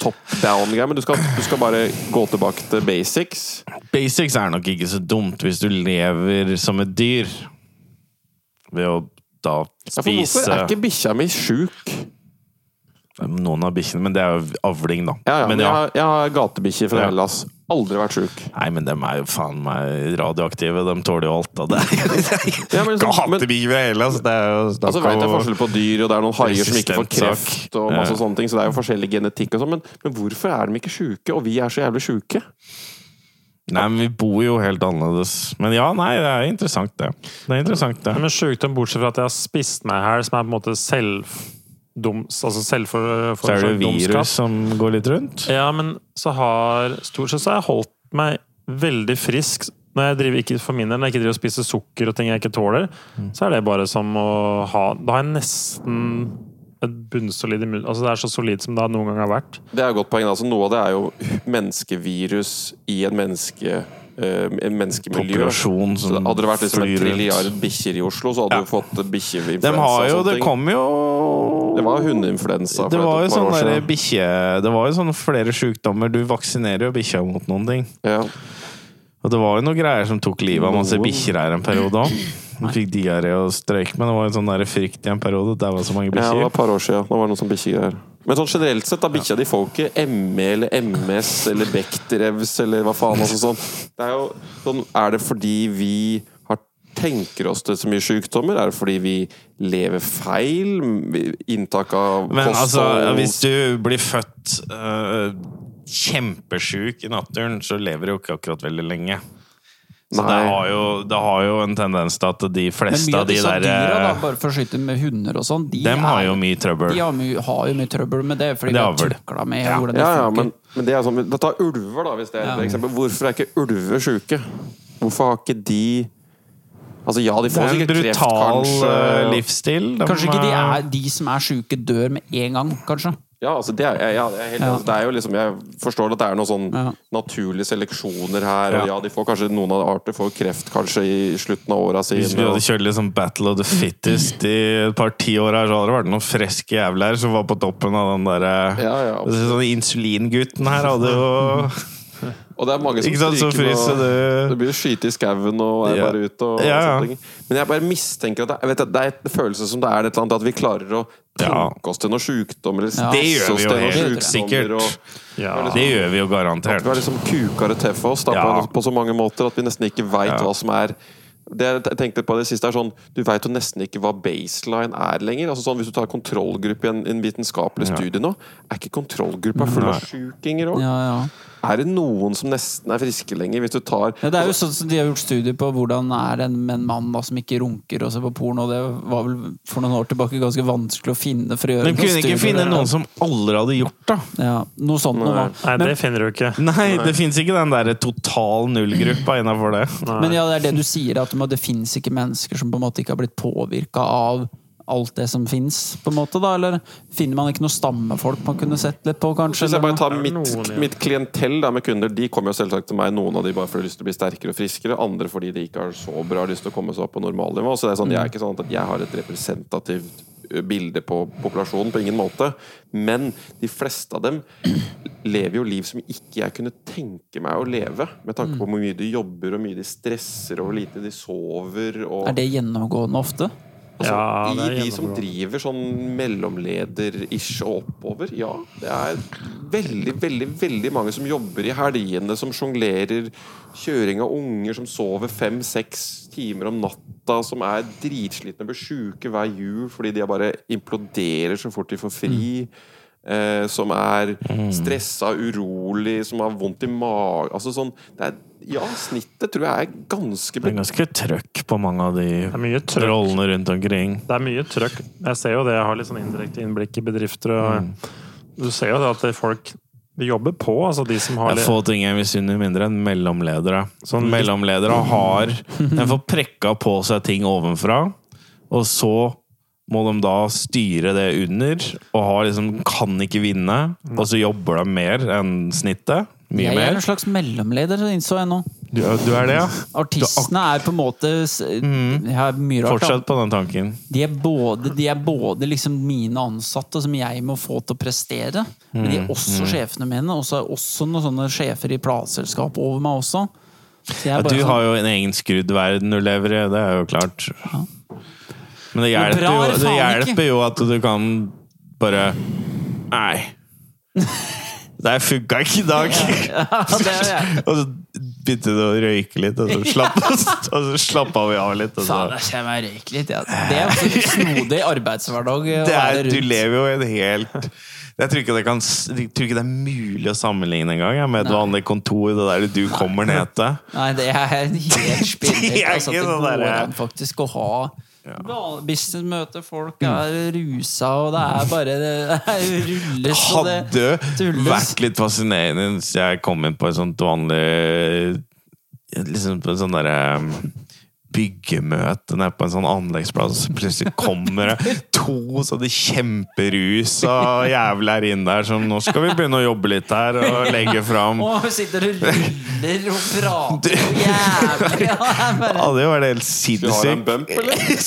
[SPEAKER 4] top down-greier. Men du skal, du skal bare gå tilbake til basics.
[SPEAKER 5] Basics er nok ikke så dumt hvis du lever som et dyr. Ved å da
[SPEAKER 4] Ja, for hvorfor
[SPEAKER 5] spise
[SPEAKER 4] er ikke bikkja mi sjuk?
[SPEAKER 5] Noen av bikkjene, men det er jo avling, da.
[SPEAKER 4] Ja, ja,
[SPEAKER 5] men
[SPEAKER 4] men
[SPEAKER 5] ja.
[SPEAKER 4] jeg, har- jeg har gatebikkjer fra
[SPEAKER 5] Ja.
[SPEAKER 4] Hellas. Aldri vært sjuk.
[SPEAKER 5] Nei, men de er jo faen meg radioaktive. De tåler jo alt av det.
[SPEAKER 4] Ja, men liksom-
[SPEAKER 5] Kan hate
[SPEAKER 4] men-
[SPEAKER 5] bikkjer i Hellas! Det er jo
[SPEAKER 4] Altså
[SPEAKER 5] snakk
[SPEAKER 4] vet jeg
[SPEAKER 5] om
[SPEAKER 4] forskjell på dyr, og det er noen haier som ikke får
[SPEAKER 5] Resistentsak.
[SPEAKER 4] kreft, og masse
[SPEAKER 5] Ja.
[SPEAKER 4] sånne ting, så det er jo forskjellig genetikk og sånn, men, men hvorfor er de ikke sjuke, og vi er så jævlig sjuke?
[SPEAKER 5] Nei, men vi bor jo helt annerledes. Men ja, nei, det er interessant, det. Det er interessant,
[SPEAKER 4] Mm.
[SPEAKER 5] det.
[SPEAKER 2] Men sjukdom, bortsett fra at jeg har spist meg i hæl, som er på en måte selvdoms... Altså
[SPEAKER 5] Så er det
[SPEAKER 2] selvforårsaket
[SPEAKER 5] jo virus som går litt rundt.
[SPEAKER 2] Ja, men så har Stort sett så har jeg holdt meg veldig frisk når jeg driver, ikke for min del, når jeg ikke driver og spiser sukker og ting jeg ikke tåler,
[SPEAKER 5] Mm.
[SPEAKER 2] så er det bare som å ha Da har jeg nesten et bunnsolid immun... Altså, det er så solid som det noen gang har vært.
[SPEAKER 4] Det er et godt poeng. Altså, noe av det er jo menneskevirus i en menneske... eh, en menneskemiljø.
[SPEAKER 5] Populasjon
[SPEAKER 4] Så det
[SPEAKER 5] som
[SPEAKER 4] hadde det vært liksom en
[SPEAKER 5] flyr rundt.
[SPEAKER 4] trilliard bikkjer i Oslo, så hadde du fått bikkjeinfluensa.
[SPEAKER 5] De har jo
[SPEAKER 4] og sånne
[SPEAKER 5] Det
[SPEAKER 4] ting.
[SPEAKER 5] kom jo
[SPEAKER 4] det var hundeinfluensa. for
[SPEAKER 5] Det var jo
[SPEAKER 4] et par
[SPEAKER 5] sånn
[SPEAKER 4] år
[SPEAKER 5] der
[SPEAKER 4] siden.
[SPEAKER 5] bikkje... Det var jo sånn flere sjukdommer. Du vaksinerer jo bikkja mot noen ting.
[SPEAKER 4] ja.
[SPEAKER 5] Og det var jo noen greier som tok livet av masse
[SPEAKER 4] Noen.
[SPEAKER 5] bikkjer her en periode òg. Hun fikk diaré og strøyk, men det var en sånn der frykt i en periode. Der var så
[SPEAKER 4] ja,
[SPEAKER 5] mange
[SPEAKER 4] det var
[SPEAKER 5] bikkjer.
[SPEAKER 4] et par år siden. Da var det noen sånne bikkjegreier. Men sånn generelt sett, da bikkja di får jo ikke ME eller MS eller Bechdrevs eller hva faen. Altså, sånn. Det er jo sånn Er det fordi vi har tenker oss til så mye sykdommer? Er det fordi vi lever feil? Inntak av
[SPEAKER 5] Men altså,
[SPEAKER 4] kosthold-
[SPEAKER 5] hvis du blir født øh, kjempesjuk i naturen, så lever du jo ikke akkurat veldig lenge. Så det
[SPEAKER 4] Nei.
[SPEAKER 5] har, jo, det har jo en tendens til at de
[SPEAKER 1] Men
[SPEAKER 5] fleste
[SPEAKER 1] mye
[SPEAKER 5] av
[SPEAKER 1] av
[SPEAKER 5] de
[SPEAKER 1] disse
[SPEAKER 5] der
[SPEAKER 1] dyra, da,
[SPEAKER 5] øh,
[SPEAKER 1] bare for å skyte med hunder og sånn, de,
[SPEAKER 5] Dem har jo
[SPEAKER 1] er-
[SPEAKER 5] mye trøbbel.
[SPEAKER 1] de har, mye- har jo mye trøbbel med det, fordi
[SPEAKER 5] Det
[SPEAKER 1] de
[SPEAKER 5] har
[SPEAKER 1] har
[SPEAKER 5] vel.
[SPEAKER 1] tukla med hvordan det
[SPEAKER 4] Ja, ja,
[SPEAKER 1] funker.
[SPEAKER 4] men, men det er sånn Da tar ulver, da, hvis det er et eksempel. Hvorfor er ikke ulver sjuke? Hvorfor har ikke de Altså, ja, de
[SPEAKER 5] Det
[SPEAKER 4] får
[SPEAKER 5] er en
[SPEAKER 4] sikkert kreft,
[SPEAKER 5] brutal
[SPEAKER 4] kanskje.
[SPEAKER 5] øh, livsstil. De,
[SPEAKER 1] Kanskje ikke de,
[SPEAKER 5] øh,
[SPEAKER 1] er, de som er sjuke, dør med en gang, kanskje.
[SPEAKER 4] Ja, altså, det er, ja, ja, jeg er helt,
[SPEAKER 1] Ja.
[SPEAKER 4] altså, det er jo liksom Jeg forstår at det er noen sånn
[SPEAKER 1] Ja.
[SPEAKER 4] naturlige seleksjoner her, og
[SPEAKER 5] Ja.
[SPEAKER 4] ja, de får kanskje noen av arter får kreft kanskje i slutten av åra
[SPEAKER 5] Hvis vi
[SPEAKER 4] sine.
[SPEAKER 5] hadde
[SPEAKER 4] og-
[SPEAKER 5] kjørt litt sånn Battle of the Fittest i et par tiår her, så hadde det vært noen freske jævler som var på toppen av den derre
[SPEAKER 4] Ja, ja.
[SPEAKER 5] Sånn Insulingutten her hadde jo
[SPEAKER 4] Og det er mange som
[SPEAKER 5] Ikke sant, så
[SPEAKER 4] stryker med
[SPEAKER 5] fryser
[SPEAKER 4] og- Det
[SPEAKER 5] du
[SPEAKER 4] blir skyte i skauen og er
[SPEAKER 5] Ja.
[SPEAKER 4] bare ute og
[SPEAKER 5] Ja, ja.
[SPEAKER 4] sånne ting. Men jeg bare mistenker at det, vet, du, det er en følelse som det er et eller annet at vi klarer å
[SPEAKER 5] Ja.
[SPEAKER 4] tenke oss til noe sjukdom eller
[SPEAKER 1] Ja.
[SPEAKER 5] Det
[SPEAKER 4] stresse
[SPEAKER 5] gjør vi
[SPEAKER 4] oss
[SPEAKER 5] jo
[SPEAKER 4] til noe
[SPEAKER 1] helt
[SPEAKER 4] sjukdommer,
[SPEAKER 5] sikkert.
[SPEAKER 4] Og,
[SPEAKER 2] Ja.
[SPEAKER 5] Det gjør vi jo
[SPEAKER 4] vi
[SPEAKER 5] garantert.
[SPEAKER 4] er liksom kukere til for oss da,
[SPEAKER 5] Ja.
[SPEAKER 4] på, på så mange måter at vi nesten ikke veit
[SPEAKER 5] Ja.
[SPEAKER 4] hva som er Det jeg te- tenkte på det siste er sånn Du vet jo nesten ikke hva baseline er lenger. Altså sånn, hvis du tar kontrollgruppe i en, en vitenskapelig studie nå, er ikke kontrollgruppa full av sjukinger òg?
[SPEAKER 1] Ja, ja.
[SPEAKER 4] Er det noen som nesten er friske lenger? Hvis du tar
[SPEAKER 1] Ja, det er jo sånn som De har gjort studier på hvordan er en, en mann da, som ikke runker og ser på porno. og Det var vel for noen år tilbake ganske vanskelig å finne. for å gjøre
[SPEAKER 5] De kunne ikke finne noen som aldri hadde gjort det.
[SPEAKER 1] Ja, noe sånt noe, da.
[SPEAKER 2] Nei, det finner du ikke.
[SPEAKER 5] Nei, det fins ikke den derre total nullgruppa innafor det.
[SPEAKER 1] Men ja, det er det du sier, at det fins ikke mennesker som på en måte ikke har blitt påvirka av alt det som fins, på en måte, da? Eller finner man ikke noe stammefolk man kunne sett litt på, kanskje?
[SPEAKER 4] Hvis jeg bare
[SPEAKER 1] eller noe?
[SPEAKER 4] tar mitt,
[SPEAKER 2] noen, ja.
[SPEAKER 4] mitt klientell da, med kunder, de kommer jo selvsagt til meg. Noen av de bare fordi de har lyst til å bli sterkere og friskere. Andre fordi de ikke har så bra lyst til å komme seg opp på normalnivå. Så det er sånn,
[SPEAKER 2] Mm.
[SPEAKER 4] jeg er ikke sånn at jeg har et representativt ø, bilde på populasjonen. På ingen måte. Men de fleste av dem lever jo liv som ikke jeg kunne tenke meg å leve. Med tanke
[SPEAKER 2] Mm.
[SPEAKER 4] på hvor mye de jobber, og hvor mye de stresser, og hvor lite de sover. Og
[SPEAKER 1] Er det gjennomgående ofte?
[SPEAKER 4] Altså,
[SPEAKER 2] Ja, det er
[SPEAKER 4] I de som
[SPEAKER 2] gjennomgående.
[SPEAKER 4] driver sånn mellomleder-ish og oppover, ja. Det er veldig, veldig veldig mange som jobber i helgene, som sjonglerer. Kjøring av unger som sover fem-seks timer om natta, som er dritslitne, blir sjuke hver jul fordi de bare imploderer så fort de får fri.
[SPEAKER 2] Mm.
[SPEAKER 4] Eh, som er stressa, urolig, som har vondt i magen altså sånn, det er, Ja, snittet tror jeg er ganske
[SPEAKER 5] Det er ganske trøkk på mange av
[SPEAKER 2] Det
[SPEAKER 5] de
[SPEAKER 2] er mye trøkk.
[SPEAKER 5] rollene rundt omkring.
[SPEAKER 2] Det er mye trøkk. Jeg ser jo det. Jeg har litt sånn indirekte innblikk i bedrifter.
[SPEAKER 5] Mm.
[SPEAKER 2] Og Du ser jo det at det er folk de jobber på, altså de som har
[SPEAKER 5] Det er
[SPEAKER 2] litt
[SPEAKER 5] få ting jeg misunner mindre enn mellomledere.
[SPEAKER 2] Sånn-
[SPEAKER 5] mellomledere har De får prekka på seg ting ovenfra, og så må de da styre det under, og har liksom kan ikke vinne, og så jobber de mer enn snittet. Mye
[SPEAKER 1] Jeg er en
[SPEAKER 5] mer.
[SPEAKER 1] slags mellomleder, innså jeg nå.
[SPEAKER 5] Du, du er det, ja?
[SPEAKER 1] Artistene er på en måte s- Jeg har mye rart. da.
[SPEAKER 5] Fortsett på den tanken.
[SPEAKER 1] De er både, de er både liksom mine ansatte, som jeg må få til å prestere, men
[SPEAKER 5] Mm,
[SPEAKER 1] de er også sjefene mine. Og så er også noen sånne sjefer i plateselskap over meg også. Så jeg er
[SPEAKER 5] Ja,
[SPEAKER 1] bare
[SPEAKER 5] du
[SPEAKER 1] sånn-
[SPEAKER 5] har jo en egen skrudd verden du lever i, det er jo klart. Men det
[SPEAKER 1] Men
[SPEAKER 5] hjelper,
[SPEAKER 1] bra
[SPEAKER 5] jo,
[SPEAKER 1] er
[SPEAKER 5] det
[SPEAKER 1] faen ikke.
[SPEAKER 5] hjelper jo at du kan bare Nei. Det her funka ikke i dag.
[SPEAKER 1] Ja, sånn, det er jeg.
[SPEAKER 5] og så begynte du å røyke litt, og så slapp, og så slappa vi av litt. Og så.
[SPEAKER 1] Faen, jeg kjenner meg røyk litt. Ja. Det er også en snodig arbeidshverdag. å
[SPEAKER 5] Det er,
[SPEAKER 1] være
[SPEAKER 5] du
[SPEAKER 1] rundt.
[SPEAKER 5] lever jo i en helt jeg tror, ikke det kan, s- jeg tror ikke det er mulig å sammenligne engang jeg, med et
[SPEAKER 1] Nei.
[SPEAKER 5] vanlig kontor. Det der du kommer ned til.
[SPEAKER 1] Nei, det er helt spinnvilt.
[SPEAKER 5] Det er
[SPEAKER 1] Altså, at det
[SPEAKER 5] ikke
[SPEAKER 1] går
[SPEAKER 5] sånn derre-
[SPEAKER 1] an faktisk å ha van- businessmøte, folk
[SPEAKER 5] Mm.
[SPEAKER 1] er rusa, og det er bare Det er rulles og det
[SPEAKER 5] hadde
[SPEAKER 1] tulles.
[SPEAKER 5] vært litt fascinerende hvis jeg kom inn på et sånt vanlig liksom på en sånn derre um, Byggemøte nede på en sånn anleggsplass, så plutselig kommer det to sånne kjemperusa jævler inn der som 'Nå skal vi begynne å jobbe litt her', og legge fram
[SPEAKER 1] Og sitter og ruller og prater og jævlig. Ja, det er bare-
[SPEAKER 5] Ja, det var helt
[SPEAKER 4] Skulle du ha en
[SPEAKER 5] sinnssykt.
[SPEAKER 4] bump,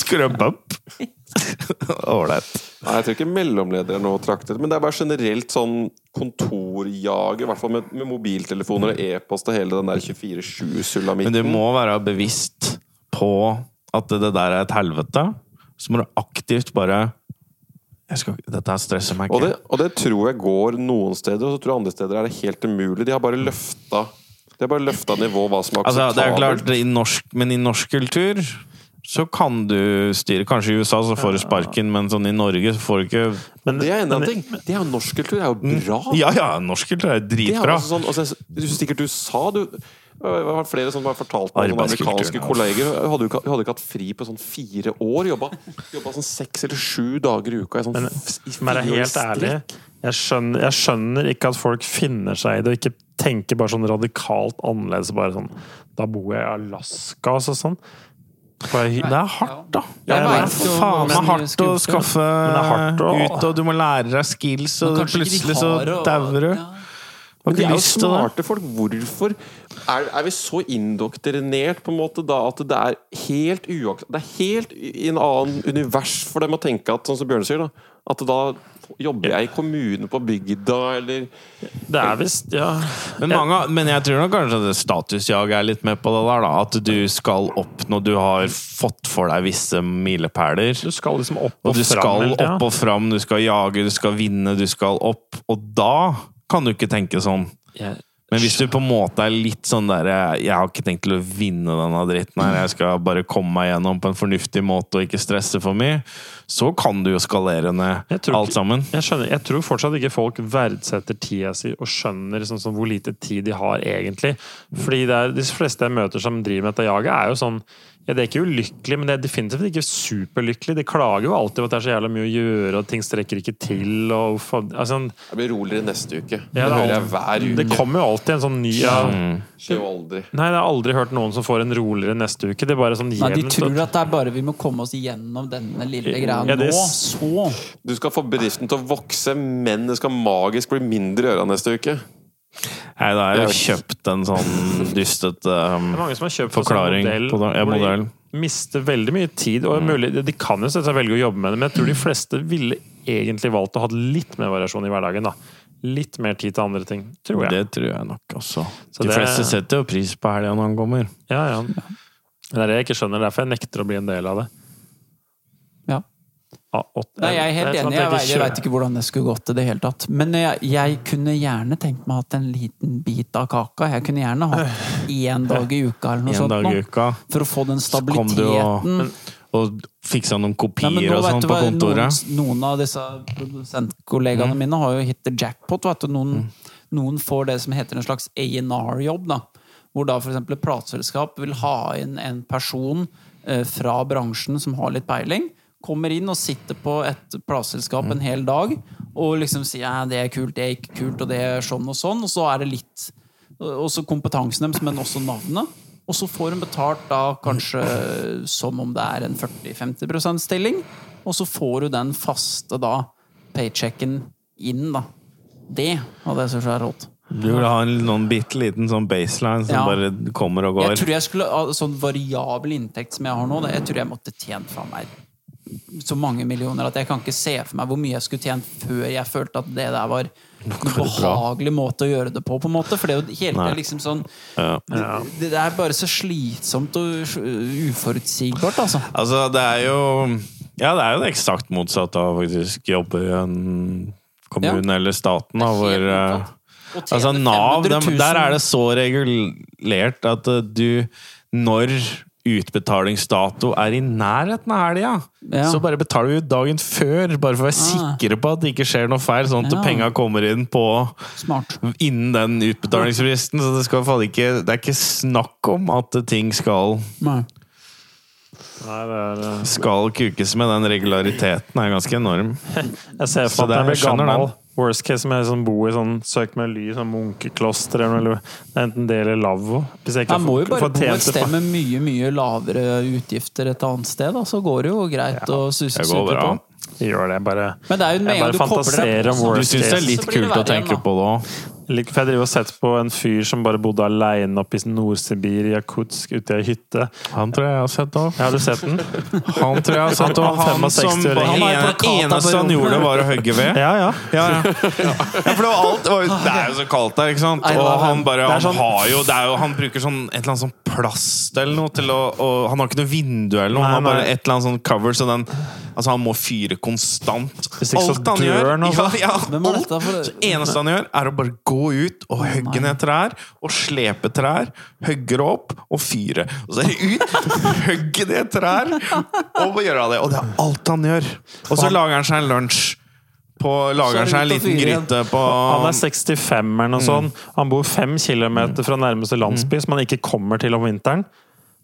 [SPEAKER 5] Skulle du ha en bump? Ålreit.
[SPEAKER 4] Nei, jeg tror ikke mellomledere er noe å trakte etter, men det er bare generelt sånn kontorjag, i hvert fall med, med mobiltelefoner og e-post og hele den der 24-7-sulamitten.
[SPEAKER 5] Men du må være bevisst på at det der er et helvete. Så må du aktivt bare jeg skal, ikke- Dette her stresser meg
[SPEAKER 4] Og det,
[SPEAKER 5] ikke.
[SPEAKER 4] og det tror jeg går noen steder, og så tror jeg andre steder er det helt umulig. De har bare løfta De har bare løfta nivået hva som er
[SPEAKER 5] Altså, det er klart,
[SPEAKER 4] akseptabelt.
[SPEAKER 5] i norsk, Men i norsk kultur så kan du styre Kanskje i USA så får du sparken, men sånn i Norge så får du ikke
[SPEAKER 2] men,
[SPEAKER 4] Det er en
[SPEAKER 2] men-
[SPEAKER 4] annen ting. Det er jo norsk kultur. Det er jo bra.
[SPEAKER 5] Ja ja, norsk kultur er
[SPEAKER 4] Det er
[SPEAKER 5] dritbra.
[SPEAKER 4] også sånn, altså, jeg synes sikkert du sa du jeg har flere som har fortalt meg sånne
[SPEAKER 5] Arbeidskulturen,
[SPEAKER 4] amerikanske
[SPEAKER 2] altså.
[SPEAKER 5] ja.
[SPEAKER 4] kolleger Jeg hadde jo ikke, jeg hadde ikke hatt fri på sånn fire år. Jobba, jobba sånn seks eller sju dager i uka. i Sånn
[SPEAKER 2] men
[SPEAKER 4] f- i
[SPEAKER 2] men jeg er
[SPEAKER 4] fire år i
[SPEAKER 2] helt ærlig.
[SPEAKER 4] strekk.
[SPEAKER 2] Jeg skjønner, jeg skjønner ikke at folk finner seg i det, og ikke tenker bare sånn radikalt annerledes. Bare sånn Da bor jeg i Alaska, altså sånn. For jeg,
[SPEAKER 5] Det er hardt, da.
[SPEAKER 1] Jeg
[SPEAKER 5] det er
[SPEAKER 1] vet jo
[SPEAKER 5] faen
[SPEAKER 1] hvordan
[SPEAKER 5] meg
[SPEAKER 1] de
[SPEAKER 5] hardt å
[SPEAKER 1] skulle gjort det.
[SPEAKER 5] skaffe
[SPEAKER 2] det er hardt å-
[SPEAKER 5] ut, og du må lære deg skills, og
[SPEAKER 1] Kanskje ikke de
[SPEAKER 5] plutselig så
[SPEAKER 1] har å-
[SPEAKER 5] dauer du.
[SPEAKER 1] Ja.
[SPEAKER 5] Har
[SPEAKER 4] Men de
[SPEAKER 5] ikke
[SPEAKER 4] er jo
[SPEAKER 5] lyst til det.
[SPEAKER 4] smarte folk. Hvorfor er, er vi så indoktrinert på en måte da at det er helt uaks... Det er helt i i en annen univers for dem å tenke at, sånn som Bjørn sier, da, at da jobber jeg i kommunen på bygda, eller
[SPEAKER 2] det er visst Ja.
[SPEAKER 5] Men, mange, men jeg tror nok kanskje at statusjaget er litt med på det der. da At du skal opp når du har fått for deg visse milepæler.
[SPEAKER 2] Du skal liksom opp og,
[SPEAKER 5] Og du
[SPEAKER 2] fram.
[SPEAKER 5] skal
[SPEAKER 2] hele tiden.
[SPEAKER 5] opp og fram, du skal jage, du skal vinne, du skal opp. Og da kan du ikke tenke sånn. Men hvis du på en måte er litt sånn der Jeg har ikke tenkt til å vinne denne dritten her, jeg skal bare komme meg gjennom på en fornuftig måte og ikke stresse for mye, så kan du jo skalere ned
[SPEAKER 2] Jeg tror
[SPEAKER 5] alt
[SPEAKER 2] ikke-
[SPEAKER 5] sammen.
[SPEAKER 2] Jeg, skjønner, jeg tror fortsatt ikke folk verdsetter tida si og skjønner sånn, som hvor lite tid de har egentlig. Fordi det er, de fleste jeg møter som driver med dette jaget, er jo sånn ja, De er ikke ulykkelige, men de er definitivt ikke superlykkelige. De klager jo alltid over at det er så jævla mye å gjøre, og ting strekker ikke til. og faen- altså,
[SPEAKER 4] Jeg blir roligere neste uke.
[SPEAKER 2] ja,
[SPEAKER 4] det hører
[SPEAKER 2] er
[SPEAKER 4] jeg hver
[SPEAKER 2] alltid-
[SPEAKER 4] uke.
[SPEAKER 2] det kommer jo alltid en sånn ny ja,
[SPEAKER 4] Skjer jo aldri.
[SPEAKER 2] Nei, jeg har aldri hørt noen som får en roligere neste uke. Det er bare sånn
[SPEAKER 1] Nei, de
[SPEAKER 2] jevnt
[SPEAKER 1] tror
[SPEAKER 2] at-
[SPEAKER 1] at det er bare vi må komme oss gjennom denne lille greia
[SPEAKER 2] Ja, det
[SPEAKER 1] nå,
[SPEAKER 2] er s-
[SPEAKER 1] så
[SPEAKER 4] Du skal få bedriften til å vokse, men det skal magisk bli mindre i øra neste uke.
[SPEAKER 5] Nei, da har jeg jo kjøpt en sånn dystete um,
[SPEAKER 2] Det er mange som har kjøpt en
[SPEAKER 5] Forklaring
[SPEAKER 2] sånn modell,
[SPEAKER 5] på det- ja, Mm.
[SPEAKER 2] hvor
[SPEAKER 5] modell.
[SPEAKER 2] De mister veldig mye tid. Og mulig, de kan jo selvsagt velge å jobbe med det, men jeg tror de fleste ville egentlig valgt å ha litt mer variasjon i hverdagen. da. Litt mer tid til andre ting, tror jeg.
[SPEAKER 5] Det tror jeg nok også.
[SPEAKER 2] Så
[SPEAKER 5] De
[SPEAKER 2] det-
[SPEAKER 5] fleste setter jo pris på helga når han kommer.
[SPEAKER 2] Ja, ja. Det er det jeg ikke skjønner. Derfor jeg nekter å bli en del av det.
[SPEAKER 1] Ja.
[SPEAKER 2] Av åtte-
[SPEAKER 1] Nei, jeg er helt
[SPEAKER 2] Det sånn
[SPEAKER 1] enig.
[SPEAKER 2] at
[SPEAKER 1] Jeg, jeg
[SPEAKER 2] kjører-
[SPEAKER 1] veit ikke hvordan det skulle gått i det hele tatt. Men jeg, jeg kunne gjerne tenkt meg at en liten bit av kaka Jeg kunne gjerne hatt én dag i uka eller noe
[SPEAKER 5] Øh. En
[SPEAKER 1] sånt.
[SPEAKER 5] dag i
[SPEAKER 1] nå,
[SPEAKER 5] uka.
[SPEAKER 1] For å få den
[SPEAKER 5] Så kom du og,
[SPEAKER 1] Altså, stabiliteten.
[SPEAKER 5] og fiksa noen
[SPEAKER 1] Nei,
[SPEAKER 5] kopier
[SPEAKER 1] men nå
[SPEAKER 5] og
[SPEAKER 1] vet
[SPEAKER 5] sånn
[SPEAKER 1] du
[SPEAKER 5] på
[SPEAKER 1] hva,
[SPEAKER 5] kontoret. Mm.
[SPEAKER 1] noen, noen av disse produsentkollegaene mine har jo hit the jackpot. Vet du. Noen, noen får det som heter en slags A&R-jobb. da. Hvor da f.eks. et plateselskap vil ha inn en person eh, fra bransjen som har litt peiling. Kommer inn og sitter på et plateselskap
[SPEAKER 5] Mm.
[SPEAKER 1] en hel dag og liksom sier ja, det er kult, det er ikke kult, og det er sånn og sånn. Og så er det litt også kompetansen deres, men også navnet. Og så får hun betalt da kanskje som om det er en 40-50 stilling. Og så får du den faste da paychecken inn, da. Det hadde jeg syntes var rått.
[SPEAKER 5] Du vil ha en noen bitte liten sånn baseline som
[SPEAKER 1] Ja.
[SPEAKER 5] bare kommer og
[SPEAKER 1] Jeg
[SPEAKER 5] går.
[SPEAKER 1] tror jeg skulle ha sånn variabel inntekt som jeg har nå. da, Jeg tror jeg måtte tjent fra meg så mange millioner at jeg kan ikke se for meg hvor mye jeg skulle tjent før jeg følte at det der var en behagelig måte å gjøre det på, på en måte. For det er jo hele tiden liksom sånn det, det er bare så slitsomt og uh, uforutsigbart, altså.
[SPEAKER 5] Altså, det er jo Ja, det er jo det eksakt motsatte av å faktisk jobbe i en kommune eller staten. Da, hvor,
[SPEAKER 1] Helt
[SPEAKER 5] eh,
[SPEAKER 1] motsatt. Og tjene
[SPEAKER 5] altså,
[SPEAKER 1] 500
[SPEAKER 5] Nav, dem,
[SPEAKER 1] 000
[SPEAKER 5] der er det så regulert at eh, du Når utbetalingsdato er i nærheten av helga,
[SPEAKER 1] Ja.
[SPEAKER 5] så bare betaler vi ut dagen før, bare for å være
[SPEAKER 1] Ah.
[SPEAKER 5] sikre på at det ikke skjer noe feil, sånn at
[SPEAKER 1] Ja.
[SPEAKER 5] penga kommer inn på
[SPEAKER 1] Smart.
[SPEAKER 5] innen den utbetalingsfristen. Så det, skal, faen ikke, det er ikke snakk om at ting skal
[SPEAKER 1] Nei.
[SPEAKER 2] Nei, det er, eh,
[SPEAKER 5] skal kukes med den regulariteten er ganske enorm.
[SPEAKER 2] Jeg ser
[SPEAKER 5] Så
[SPEAKER 2] for meg
[SPEAKER 5] det-
[SPEAKER 2] at jeg
[SPEAKER 5] jeg
[SPEAKER 2] blir
[SPEAKER 5] skjønner
[SPEAKER 2] gammel.
[SPEAKER 5] den.
[SPEAKER 2] Worst case om jeg sånn bor i sånn søk med ly, sånn munkekloster eller noe. Det er enten det eller lavvo. Hvis jeg ikke
[SPEAKER 1] Man må jo
[SPEAKER 2] får-
[SPEAKER 1] bare
[SPEAKER 2] får
[SPEAKER 1] bo
[SPEAKER 2] tjent
[SPEAKER 1] et
[SPEAKER 2] det
[SPEAKER 1] sted
[SPEAKER 2] fa-
[SPEAKER 1] med mye mye lavere utgifter et annet sted, da. Så går det jo greit å suse
[SPEAKER 5] Det
[SPEAKER 1] sute
[SPEAKER 5] går bra.
[SPEAKER 1] på.
[SPEAKER 2] Gjør det, bare.
[SPEAKER 1] Men det er jo med
[SPEAKER 2] Jeg
[SPEAKER 1] en gang
[SPEAKER 2] bare
[SPEAKER 1] du kobler
[SPEAKER 2] fantaserer
[SPEAKER 1] deg
[SPEAKER 2] om
[SPEAKER 1] på
[SPEAKER 5] Du
[SPEAKER 2] worst
[SPEAKER 5] syns det er
[SPEAKER 2] case.
[SPEAKER 5] litt
[SPEAKER 1] Så blir det
[SPEAKER 5] kult å
[SPEAKER 1] verre igjen,
[SPEAKER 5] tenke
[SPEAKER 1] da.
[SPEAKER 5] på det òg.
[SPEAKER 2] Lik- For jeg driver og sett på en fyr som bare bodde aleine oppe i Nord-Sibir, i Jakutsk, ute i ei hytte.
[SPEAKER 5] Han tror jeg jeg har sett òg.
[SPEAKER 2] Ja, Har du sett den?
[SPEAKER 5] Han tror jeg har sett
[SPEAKER 2] Han-
[SPEAKER 5] òg.
[SPEAKER 2] han
[SPEAKER 5] Han som
[SPEAKER 2] 65-åringen.
[SPEAKER 5] bare-
[SPEAKER 2] Han har
[SPEAKER 5] ene-
[SPEAKER 1] plakater
[SPEAKER 5] eneste
[SPEAKER 1] på
[SPEAKER 5] han
[SPEAKER 1] rommet.
[SPEAKER 5] gjorde, var å hogge ved.
[SPEAKER 2] Ja, ja.
[SPEAKER 5] Ja, ja. ja, for det var alt det var jo- Det er jo så kaldt der, ikke sant?
[SPEAKER 1] Nei, det var-
[SPEAKER 5] Og han bare
[SPEAKER 2] Det er
[SPEAKER 5] Han
[SPEAKER 2] sånn-
[SPEAKER 5] har jo det er jo, Han bruker sånn et eller annet sånn plast eller noe til å og Han har ikke noe vindu eller noe. Han har
[SPEAKER 2] Nei, nei.
[SPEAKER 5] bare et eller annet sånn cover, så den Altså, han må fyre konstant.
[SPEAKER 2] Hvis ikke så
[SPEAKER 5] Alt han
[SPEAKER 2] dør
[SPEAKER 5] gjør
[SPEAKER 2] han, altså.
[SPEAKER 5] ja, ja,
[SPEAKER 1] Hvem er
[SPEAKER 5] alt.
[SPEAKER 1] dette for-
[SPEAKER 5] Så eneste han gjør, er å bare gå ut og hogge ned trær og slepe trær, hogge det opp og fyre. Og så er det ut, hogge ned trær og gjøre det. Og det er alt han gjør. Og så lager han seg en lunsj på,
[SPEAKER 1] Så er
[SPEAKER 5] lager
[SPEAKER 1] det
[SPEAKER 5] han seg
[SPEAKER 1] ut
[SPEAKER 5] en
[SPEAKER 1] og
[SPEAKER 5] liten
[SPEAKER 1] fyre igjen.
[SPEAKER 5] gryte på
[SPEAKER 2] Han er 65 eller noe
[SPEAKER 5] Mm.
[SPEAKER 2] sånt. Han bor fem kilometer fra nærmeste landsby, som han ikke kommer til om vinteren.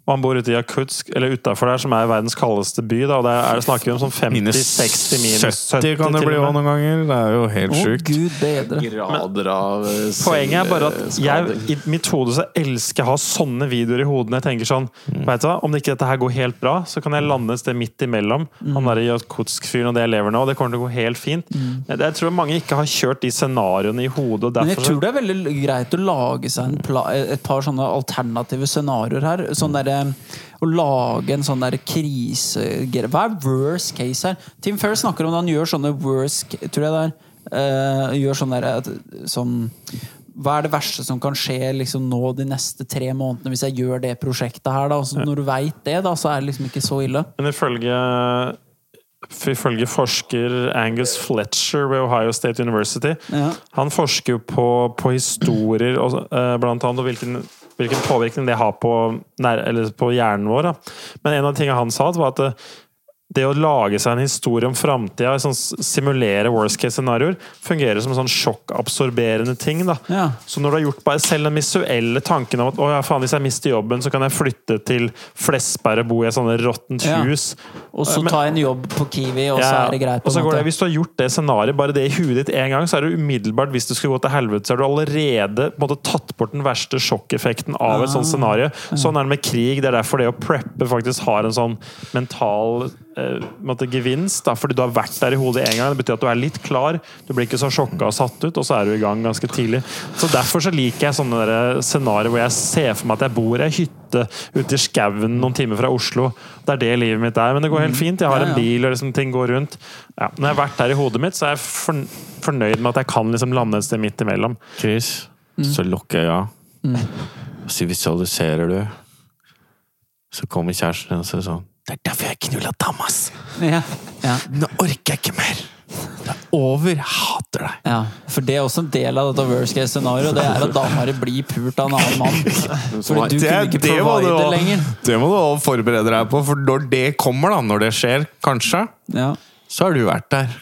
[SPEAKER 2] Og han bor ute i Jakutsk, eller utafor der, som er verdens kaldeste by. Da. Og der er det snakker vi om sånn 50-60
[SPEAKER 5] minus
[SPEAKER 2] minus
[SPEAKER 5] 70 kan det
[SPEAKER 2] til
[SPEAKER 5] bli
[SPEAKER 2] og
[SPEAKER 5] også
[SPEAKER 2] med.
[SPEAKER 5] noen ganger. Det er jo helt
[SPEAKER 1] Å,
[SPEAKER 5] sjukt.
[SPEAKER 1] gud bedre.
[SPEAKER 4] Grader av eh,
[SPEAKER 2] Poenget er bare at jeg,
[SPEAKER 4] selvskading.
[SPEAKER 2] i mitt hode så elsker jeg å ha sånne videoer i hodet. når Jeg tenker sånn,
[SPEAKER 1] Mm.
[SPEAKER 2] vet du hva, Om ikke dette her går helt bra, så kan jeg lande et sted midt imellom.
[SPEAKER 1] Mm.
[SPEAKER 2] Han der Jakutsk-fyren og det jeg lever nå, og det kommer til å gå helt fint. Jeg, jeg tror mange ikke har kjørt de scenarioene i hodet. og
[SPEAKER 1] Mm. Men jeg
[SPEAKER 2] derfor... så-
[SPEAKER 1] tror det er veldig greit å lage seg en pla eh, et par sånne alternative scenarioer her. Sånn derre- Å lage en sånn der krise... Hva er worst case her? Tim Ferriss snakker om det, han gjør sånne worst Tror jeg det er. eh, gjør sånn derre at- sånn hva er det verste som kan skje liksom nå de neste tre månedene hvis jeg gjør det prosjektet her? da, så Når du veit det, da, så er det liksom ikke så ille.
[SPEAKER 2] Men ifølge ifølge forsker Angus Fletcher ved Ohio State University.
[SPEAKER 1] Ja.
[SPEAKER 2] Han forsker jo på, på historier og, eh, blant annet, og hvilken, hvilken påvirkning det har på, nær, eller på hjernen vår. Da. Men en av tingene han sa, var at eh, det å lage seg en historie om framtida, sånn s- simulere worst case scenarioer, fungerer som en sånn sjokkabsorberende ting. Da.
[SPEAKER 1] Ja.
[SPEAKER 2] Så når du har gjort bare selv den visuelle tanken om at å, ja, faen, hvis jeg mister jobben, så kan jeg flytte til Flesberg og bo i sånn et sånt råttent
[SPEAKER 1] Ja.
[SPEAKER 2] hus.
[SPEAKER 1] Og så
[SPEAKER 2] Eh, Men-
[SPEAKER 1] ta en jobb på Kiwi, og så
[SPEAKER 2] Ja,
[SPEAKER 1] er det greit. på
[SPEAKER 2] og så
[SPEAKER 1] en
[SPEAKER 2] går det,
[SPEAKER 1] måte.
[SPEAKER 2] hvis du har gjort det scenariet, bare det i huet ditt én gang, så er det umiddelbart hvis det skulle gå til helvete, så har du allerede på en måte, tatt bort den verste sjokkeffekten av et sånt
[SPEAKER 1] Ah,
[SPEAKER 2] scenario. Sånn er det med krig. Det er derfor det å preppe faktisk har en sånn mental eh, på en måte, gevinst. Da, fordi du har vært der i hodet én gang. Det betyr at du er litt klar. Du blir ikke så sjokka og satt ut, og så er du i gang ganske tidlig. Så Derfor så liker jeg sånne der scenarioer hvor jeg ser for meg at jeg bor i ei hytte ute i skauen noen timer fra Oslo. Det er det livet mitt er. Men det går helt fint. Jeg
[SPEAKER 1] Mm.
[SPEAKER 2] har
[SPEAKER 1] Ja,
[SPEAKER 2] en
[SPEAKER 1] ja.
[SPEAKER 2] bil bil og liksom ting går rundt. Ja, når jeg har vært der i hodet mitt, så er jeg forn- fornøyd med at jeg kan liksom lande et sted midt imellom.
[SPEAKER 5] Chris, så lukker jeg øya. Og så visualiserer du. Så kommer kjæresten din og sier sånn Det er derfor jeg knulla Damas!
[SPEAKER 1] Ja. Ja.
[SPEAKER 5] Nå orker jeg ikke mer! Det er over! Jeg hater deg!
[SPEAKER 1] Ja, for det er også en del av dette worst case scenario. Det er at damene blir pult av en annen mann. Fordi du kunne ikke
[SPEAKER 5] må du
[SPEAKER 1] provide
[SPEAKER 5] også-
[SPEAKER 1] lenger.
[SPEAKER 5] det må du også forberede deg på, for når det kommer, da, når det skjer, kanskje,
[SPEAKER 1] Ja.
[SPEAKER 5] så har du vært der.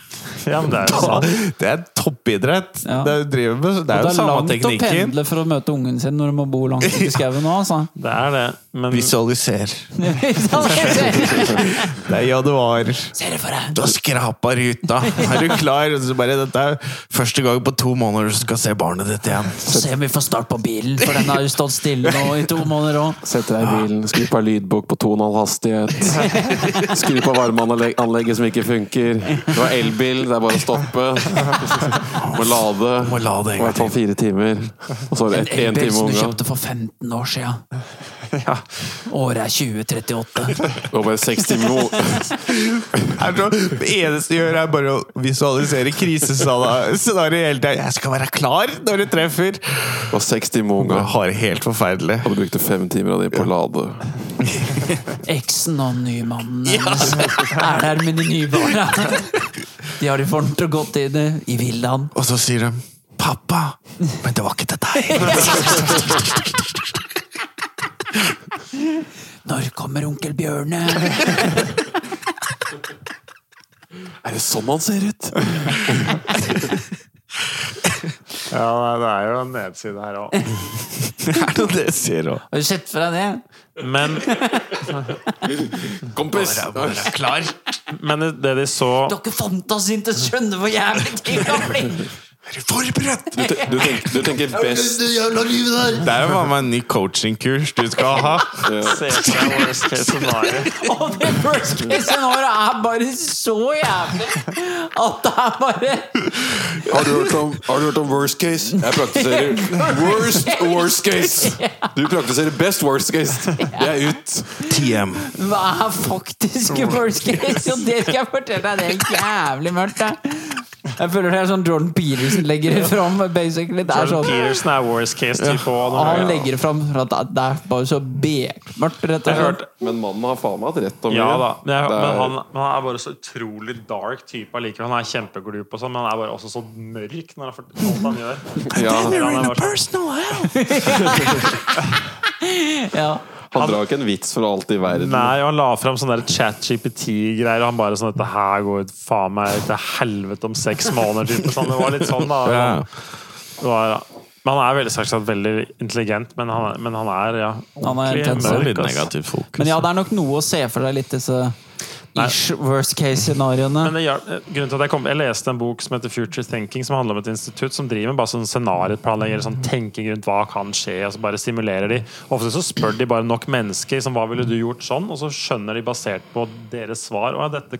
[SPEAKER 2] Ja, men det er jo
[SPEAKER 5] Da,
[SPEAKER 2] sant.
[SPEAKER 5] det er toppidrett.
[SPEAKER 1] Ja.
[SPEAKER 5] Det, er, du driver med, det er
[SPEAKER 1] Det
[SPEAKER 5] jo
[SPEAKER 1] er
[SPEAKER 5] samme
[SPEAKER 1] langt å
[SPEAKER 5] teknikken.
[SPEAKER 1] pendle for å møte ungen sin når du må bo langt ute i skauen nå, altså.
[SPEAKER 2] Det er det. Men
[SPEAKER 5] Visualiser.
[SPEAKER 1] Se
[SPEAKER 5] Det er januar.
[SPEAKER 1] det for deg!
[SPEAKER 5] Du har skrapa ruta. Er du klar? Og Så bare, dette er første gang på to måneder du skal se barnet ditt igjen.
[SPEAKER 1] Se om vi får start på bilen, for den har jo stått stille nå i to måneder òg.
[SPEAKER 4] Sette deg i bilen, skru på ei lydbok på 2,5 hastighet. Skru på varmeanlegget som ikke funker. Du har elbil, det er bare å stoppe. Må lade.
[SPEAKER 5] Må lade
[SPEAKER 4] I
[SPEAKER 5] en gang
[SPEAKER 4] hvert fall fire timer. Og så er det én
[SPEAKER 1] Elbil
[SPEAKER 4] time
[SPEAKER 1] som du
[SPEAKER 4] om gangen.
[SPEAKER 1] kjøpte for 15 år sia. Året er 2038.
[SPEAKER 4] Og bare seks timer om
[SPEAKER 5] Er så- Det eneste jeg gjør, er bare å visualisere krisescenarioet hele tida. Jeg skal være klar når du treffer!
[SPEAKER 4] Og seks timer om
[SPEAKER 5] Jeg
[SPEAKER 4] gangen.
[SPEAKER 5] har det helt forferdelig.
[SPEAKER 4] Og du brukte fem timer av de på å lade.
[SPEAKER 1] Eksen og nymannen hennes er der med de nye barna. De har det for ordentlig godt i det i villaen.
[SPEAKER 5] Og så sier de 'pappa', men det var ikke til deg.
[SPEAKER 1] Når kommer onkel Bjørne?
[SPEAKER 4] Er det sånn han ser ut?
[SPEAKER 2] ja, det er jo en nedside her òg.
[SPEAKER 5] Er det det jeg sier òg?
[SPEAKER 1] Har du sett for deg det?
[SPEAKER 2] Men,
[SPEAKER 4] Kompis!
[SPEAKER 5] Klar.
[SPEAKER 2] men det de så
[SPEAKER 1] Du har ikke fantasien til å skjønne hvor jævlig ting kan bli!
[SPEAKER 5] Er du forberedt?
[SPEAKER 4] Du, te- du, tenker, du tenker best
[SPEAKER 5] Det er jo faen meg en ny coachingkurs du skal ha.
[SPEAKER 2] Se for deg worst case scenario.
[SPEAKER 1] Og det worst case scenario er bare så jævlig at det er bare
[SPEAKER 4] Har du hørt om, har du hørt om worst case? Jeg praktiserer worst worst case. Du praktiserer best worst case. Det er ut.
[SPEAKER 5] TM.
[SPEAKER 1] Hva er faktisk worst case? Og det skal jeg fortelle deg, det er jævlig mørkt. Det. Jeg føler det er sånn Jordan Peterson legger det fram. Basically. Det er
[SPEAKER 2] Jordan
[SPEAKER 1] sånn
[SPEAKER 2] Peterson er worst case type òg.
[SPEAKER 1] Han legger det fram for at det er bare så bekmørkt, rett og slett.
[SPEAKER 4] Men mannen har faen meg hatt rett om
[SPEAKER 2] Ja da, men, jeg,
[SPEAKER 4] Det er-
[SPEAKER 2] men han, men han er bare så utrolig dark type allikevel. Han er kjempeglup og sånn, men han er bare også så mørk når han fort- alt han gjør.
[SPEAKER 4] Ja,
[SPEAKER 2] Han er bare sånn-
[SPEAKER 1] Ja.
[SPEAKER 4] han drar ikke en vits for alt i verden.
[SPEAKER 2] Nei, og han la fram sånne der chat-GPT-greier. Og han bare sånn Dette her går ut faen meg til helvete om seks måneder. Typ. Sånn, det var litt sånn, da.
[SPEAKER 5] Ja.
[SPEAKER 2] Det var, men han er veldig selvsagt veldig intelligent, men han, er- men han er ja,
[SPEAKER 1] Han er
[SPEAKER 2] ordentlig
[SPEAKER 1] intens, ja.
[SPEAKER 2] mørk,
[SPEAKER 5] Det er litt
[SPEAKER 2] ass.
[SPEAKER 5] negativt fokus.
[SPEAKER 1] Men ja, det er nok noe å se for deg litt disse ish worst case-scenarioene.
[SPEAKER 2] Men det hjalp- grunnen til at Jeg kom, jeg leste en bok som heter Future Thinking, som handler om et institutt som driver med bare sånn scenarioplanlegger, sånn tenking rundt hva kan skje, og så bare simulerer de. Ofte så spør de bare nok mennesker som hva ville du gjort sånn, og så skjønner de basert på deres svar og ja, dette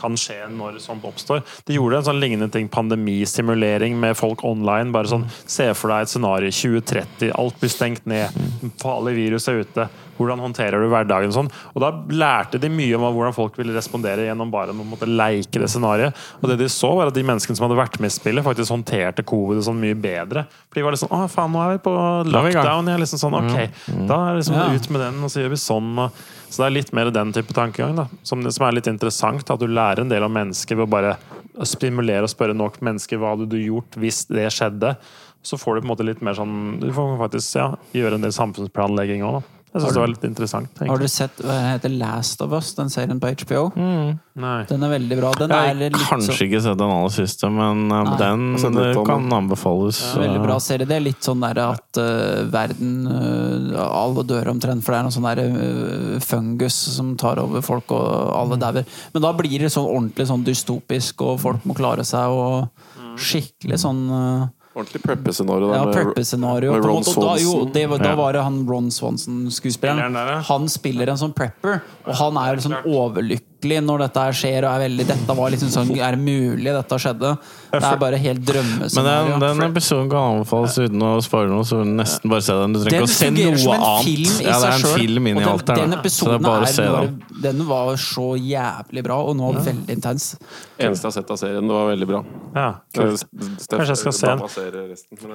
[SPEAKER 2] kan skje når sånt oppstår. De gjorde en sånn lignende ting, pandemistimulering med folk online. bare sånn,
[SPEAKER 5] Mm.
[SPEAKER 2] Se for deg et scenario 2030, alt blir stengt ned,
[SPEAKER 5] Mm.
[SPEAKER 2] farlig virus er ute. Hvordan håndterer du hverdagen og sånn? Og da lærte de mye om hvordan folk ville respondere gjennom bare å måtte leike det scenarioet. Og det de så, var at de menneskene som hadde vært med i spillet, faktisk håndterte covid og sånn mye bedre. For de var liksom Å, faen, nå er vi på
[SPEAKER 5] er vi i gang.
[SPEAKER 2] lockdown. Jeg er liksom sånn, ok, da er det liksom
[SPEAKER 1] Ja.
[SPEAKER 2] ut med den, og så gjør vi sånn. Og, Så det er litt mer den type tankegang, da. Som, som er litt interessant. At du lærer en del om mennesker ved å bare stimulere og spørre nok mennesker hva hadde du gjort hvis det skjedde. Så får du på en måte litt mer sånn Du får faktisk ja, gjøre en del samfunnsplanlegging òg, da. Jeg syns det var litt interessant. egentlig.
[SPEAKER 1] Har du sett hva heter Last of Us, den serien på HBO?
[SPEAKER 2] Nei.
[SPEAKER 1] Den er veldig bra. Den er
[SPEAKER 5] Jeg
[SPEAKER 1] litt
[SPEAKER 5] har Mm. kanskje
[SPEAKER 1] sånn,
[SPEAKER 5] ikke sett den aller siste, men eh,
[SPEAKER 1] Nei.
[SPEAKER 5] den
[SPEAKER 4] Jeg har sett litt
[SPEAKER 5] eh,
[SPEAKER 4] om
[SPEAKER 5] kan
[SPEAKER 4] den.
[SPEAKER 5] anbefales.
[SPEAKER 1] veldig bra serie. Det er litt sånn der at eh, verden eh, Alle dør omtrent, for det er noe sånn der eh, fungus som tar over folk, og alle
[SPEAKER 5] Mm.
[SPEAKER 1] dauer. Men da blir det sånn ordentlig sånn dystopisk, og folk må klare seg,
[SPEAKER 5] Mm.
[SPEAKER 1] og skikkelig sånn eh,
[SPEAKER 4] Ordentlig preppe-scenario.
[SPEAKER 1] Ja,
[SPEAKER 4] der med-
[SPEAKER 1] prepper-scenario.
[SPEAKER 4] med
[SPEAKER 1] på en
[SPEAKER 4] Ron
[SPEAKER 1] måte. Og Da, jo,
[SPEAKER 4] Swanson.
[SPEAKER 1] det, var- da
[SPEAKER 5] Ja.
[SPEAKER 1] var det han Ron Swanson-skuespilleren.
[SPEAKER 2] Spilleren der, ja.
[SPEAKER 1] Han spiller en sånn prepper, og han er jo liksom overlykkelig når dette her skjer. Og er veldig, dette var liksom sånn, er det mulig dette skjedde? Det er bare helt
[SPEAKER 5] Men den,
[SPEAKER 1] drømmescenario.
[SPEAKER 5] den episoden kan anbefales uten å spare noe. Så nesten bare se den. Du trenger
[SPEAKER 1] Den
[SPEAKER 5] ikke å se
[SPEAKER 1] fungerer
[SPEAKER 5] noe
[SPEAKER 1] som en
[SPEAKER 5] annet.
[SPEAKER 1] film i
[SPEAKER 5] ja, det
[SPEAKER 1] seg
[SPEAKER 5] er en
[SPEAKER 1] sjøl.
[SPEAKER 5] film inni
[SPEAKER 1] Og
[SPEAKER 5] alt
[SPEAKER 1] den,
[SPEAKER 5] der.
[SPEAKER 1] den
[SPEAKER 5] da. Så det
[SPEAKER 1] episoden
[SPEAKER 5] er bare å
[SPEAKER 1] er
[SPEAKER 5] se
[SPEAKER 1] noe,
[SPEAKER 5] den.
[SPEAKER 1] den var så jævlig bra, og nå veldig intens.
[SPEAKER 4] Eneste jeg har sett av serien. Det var veldig bra.
[SPEAKER 2] Ja, kult. Kanskje jeg skal se den.
[SPEAKER 4] den.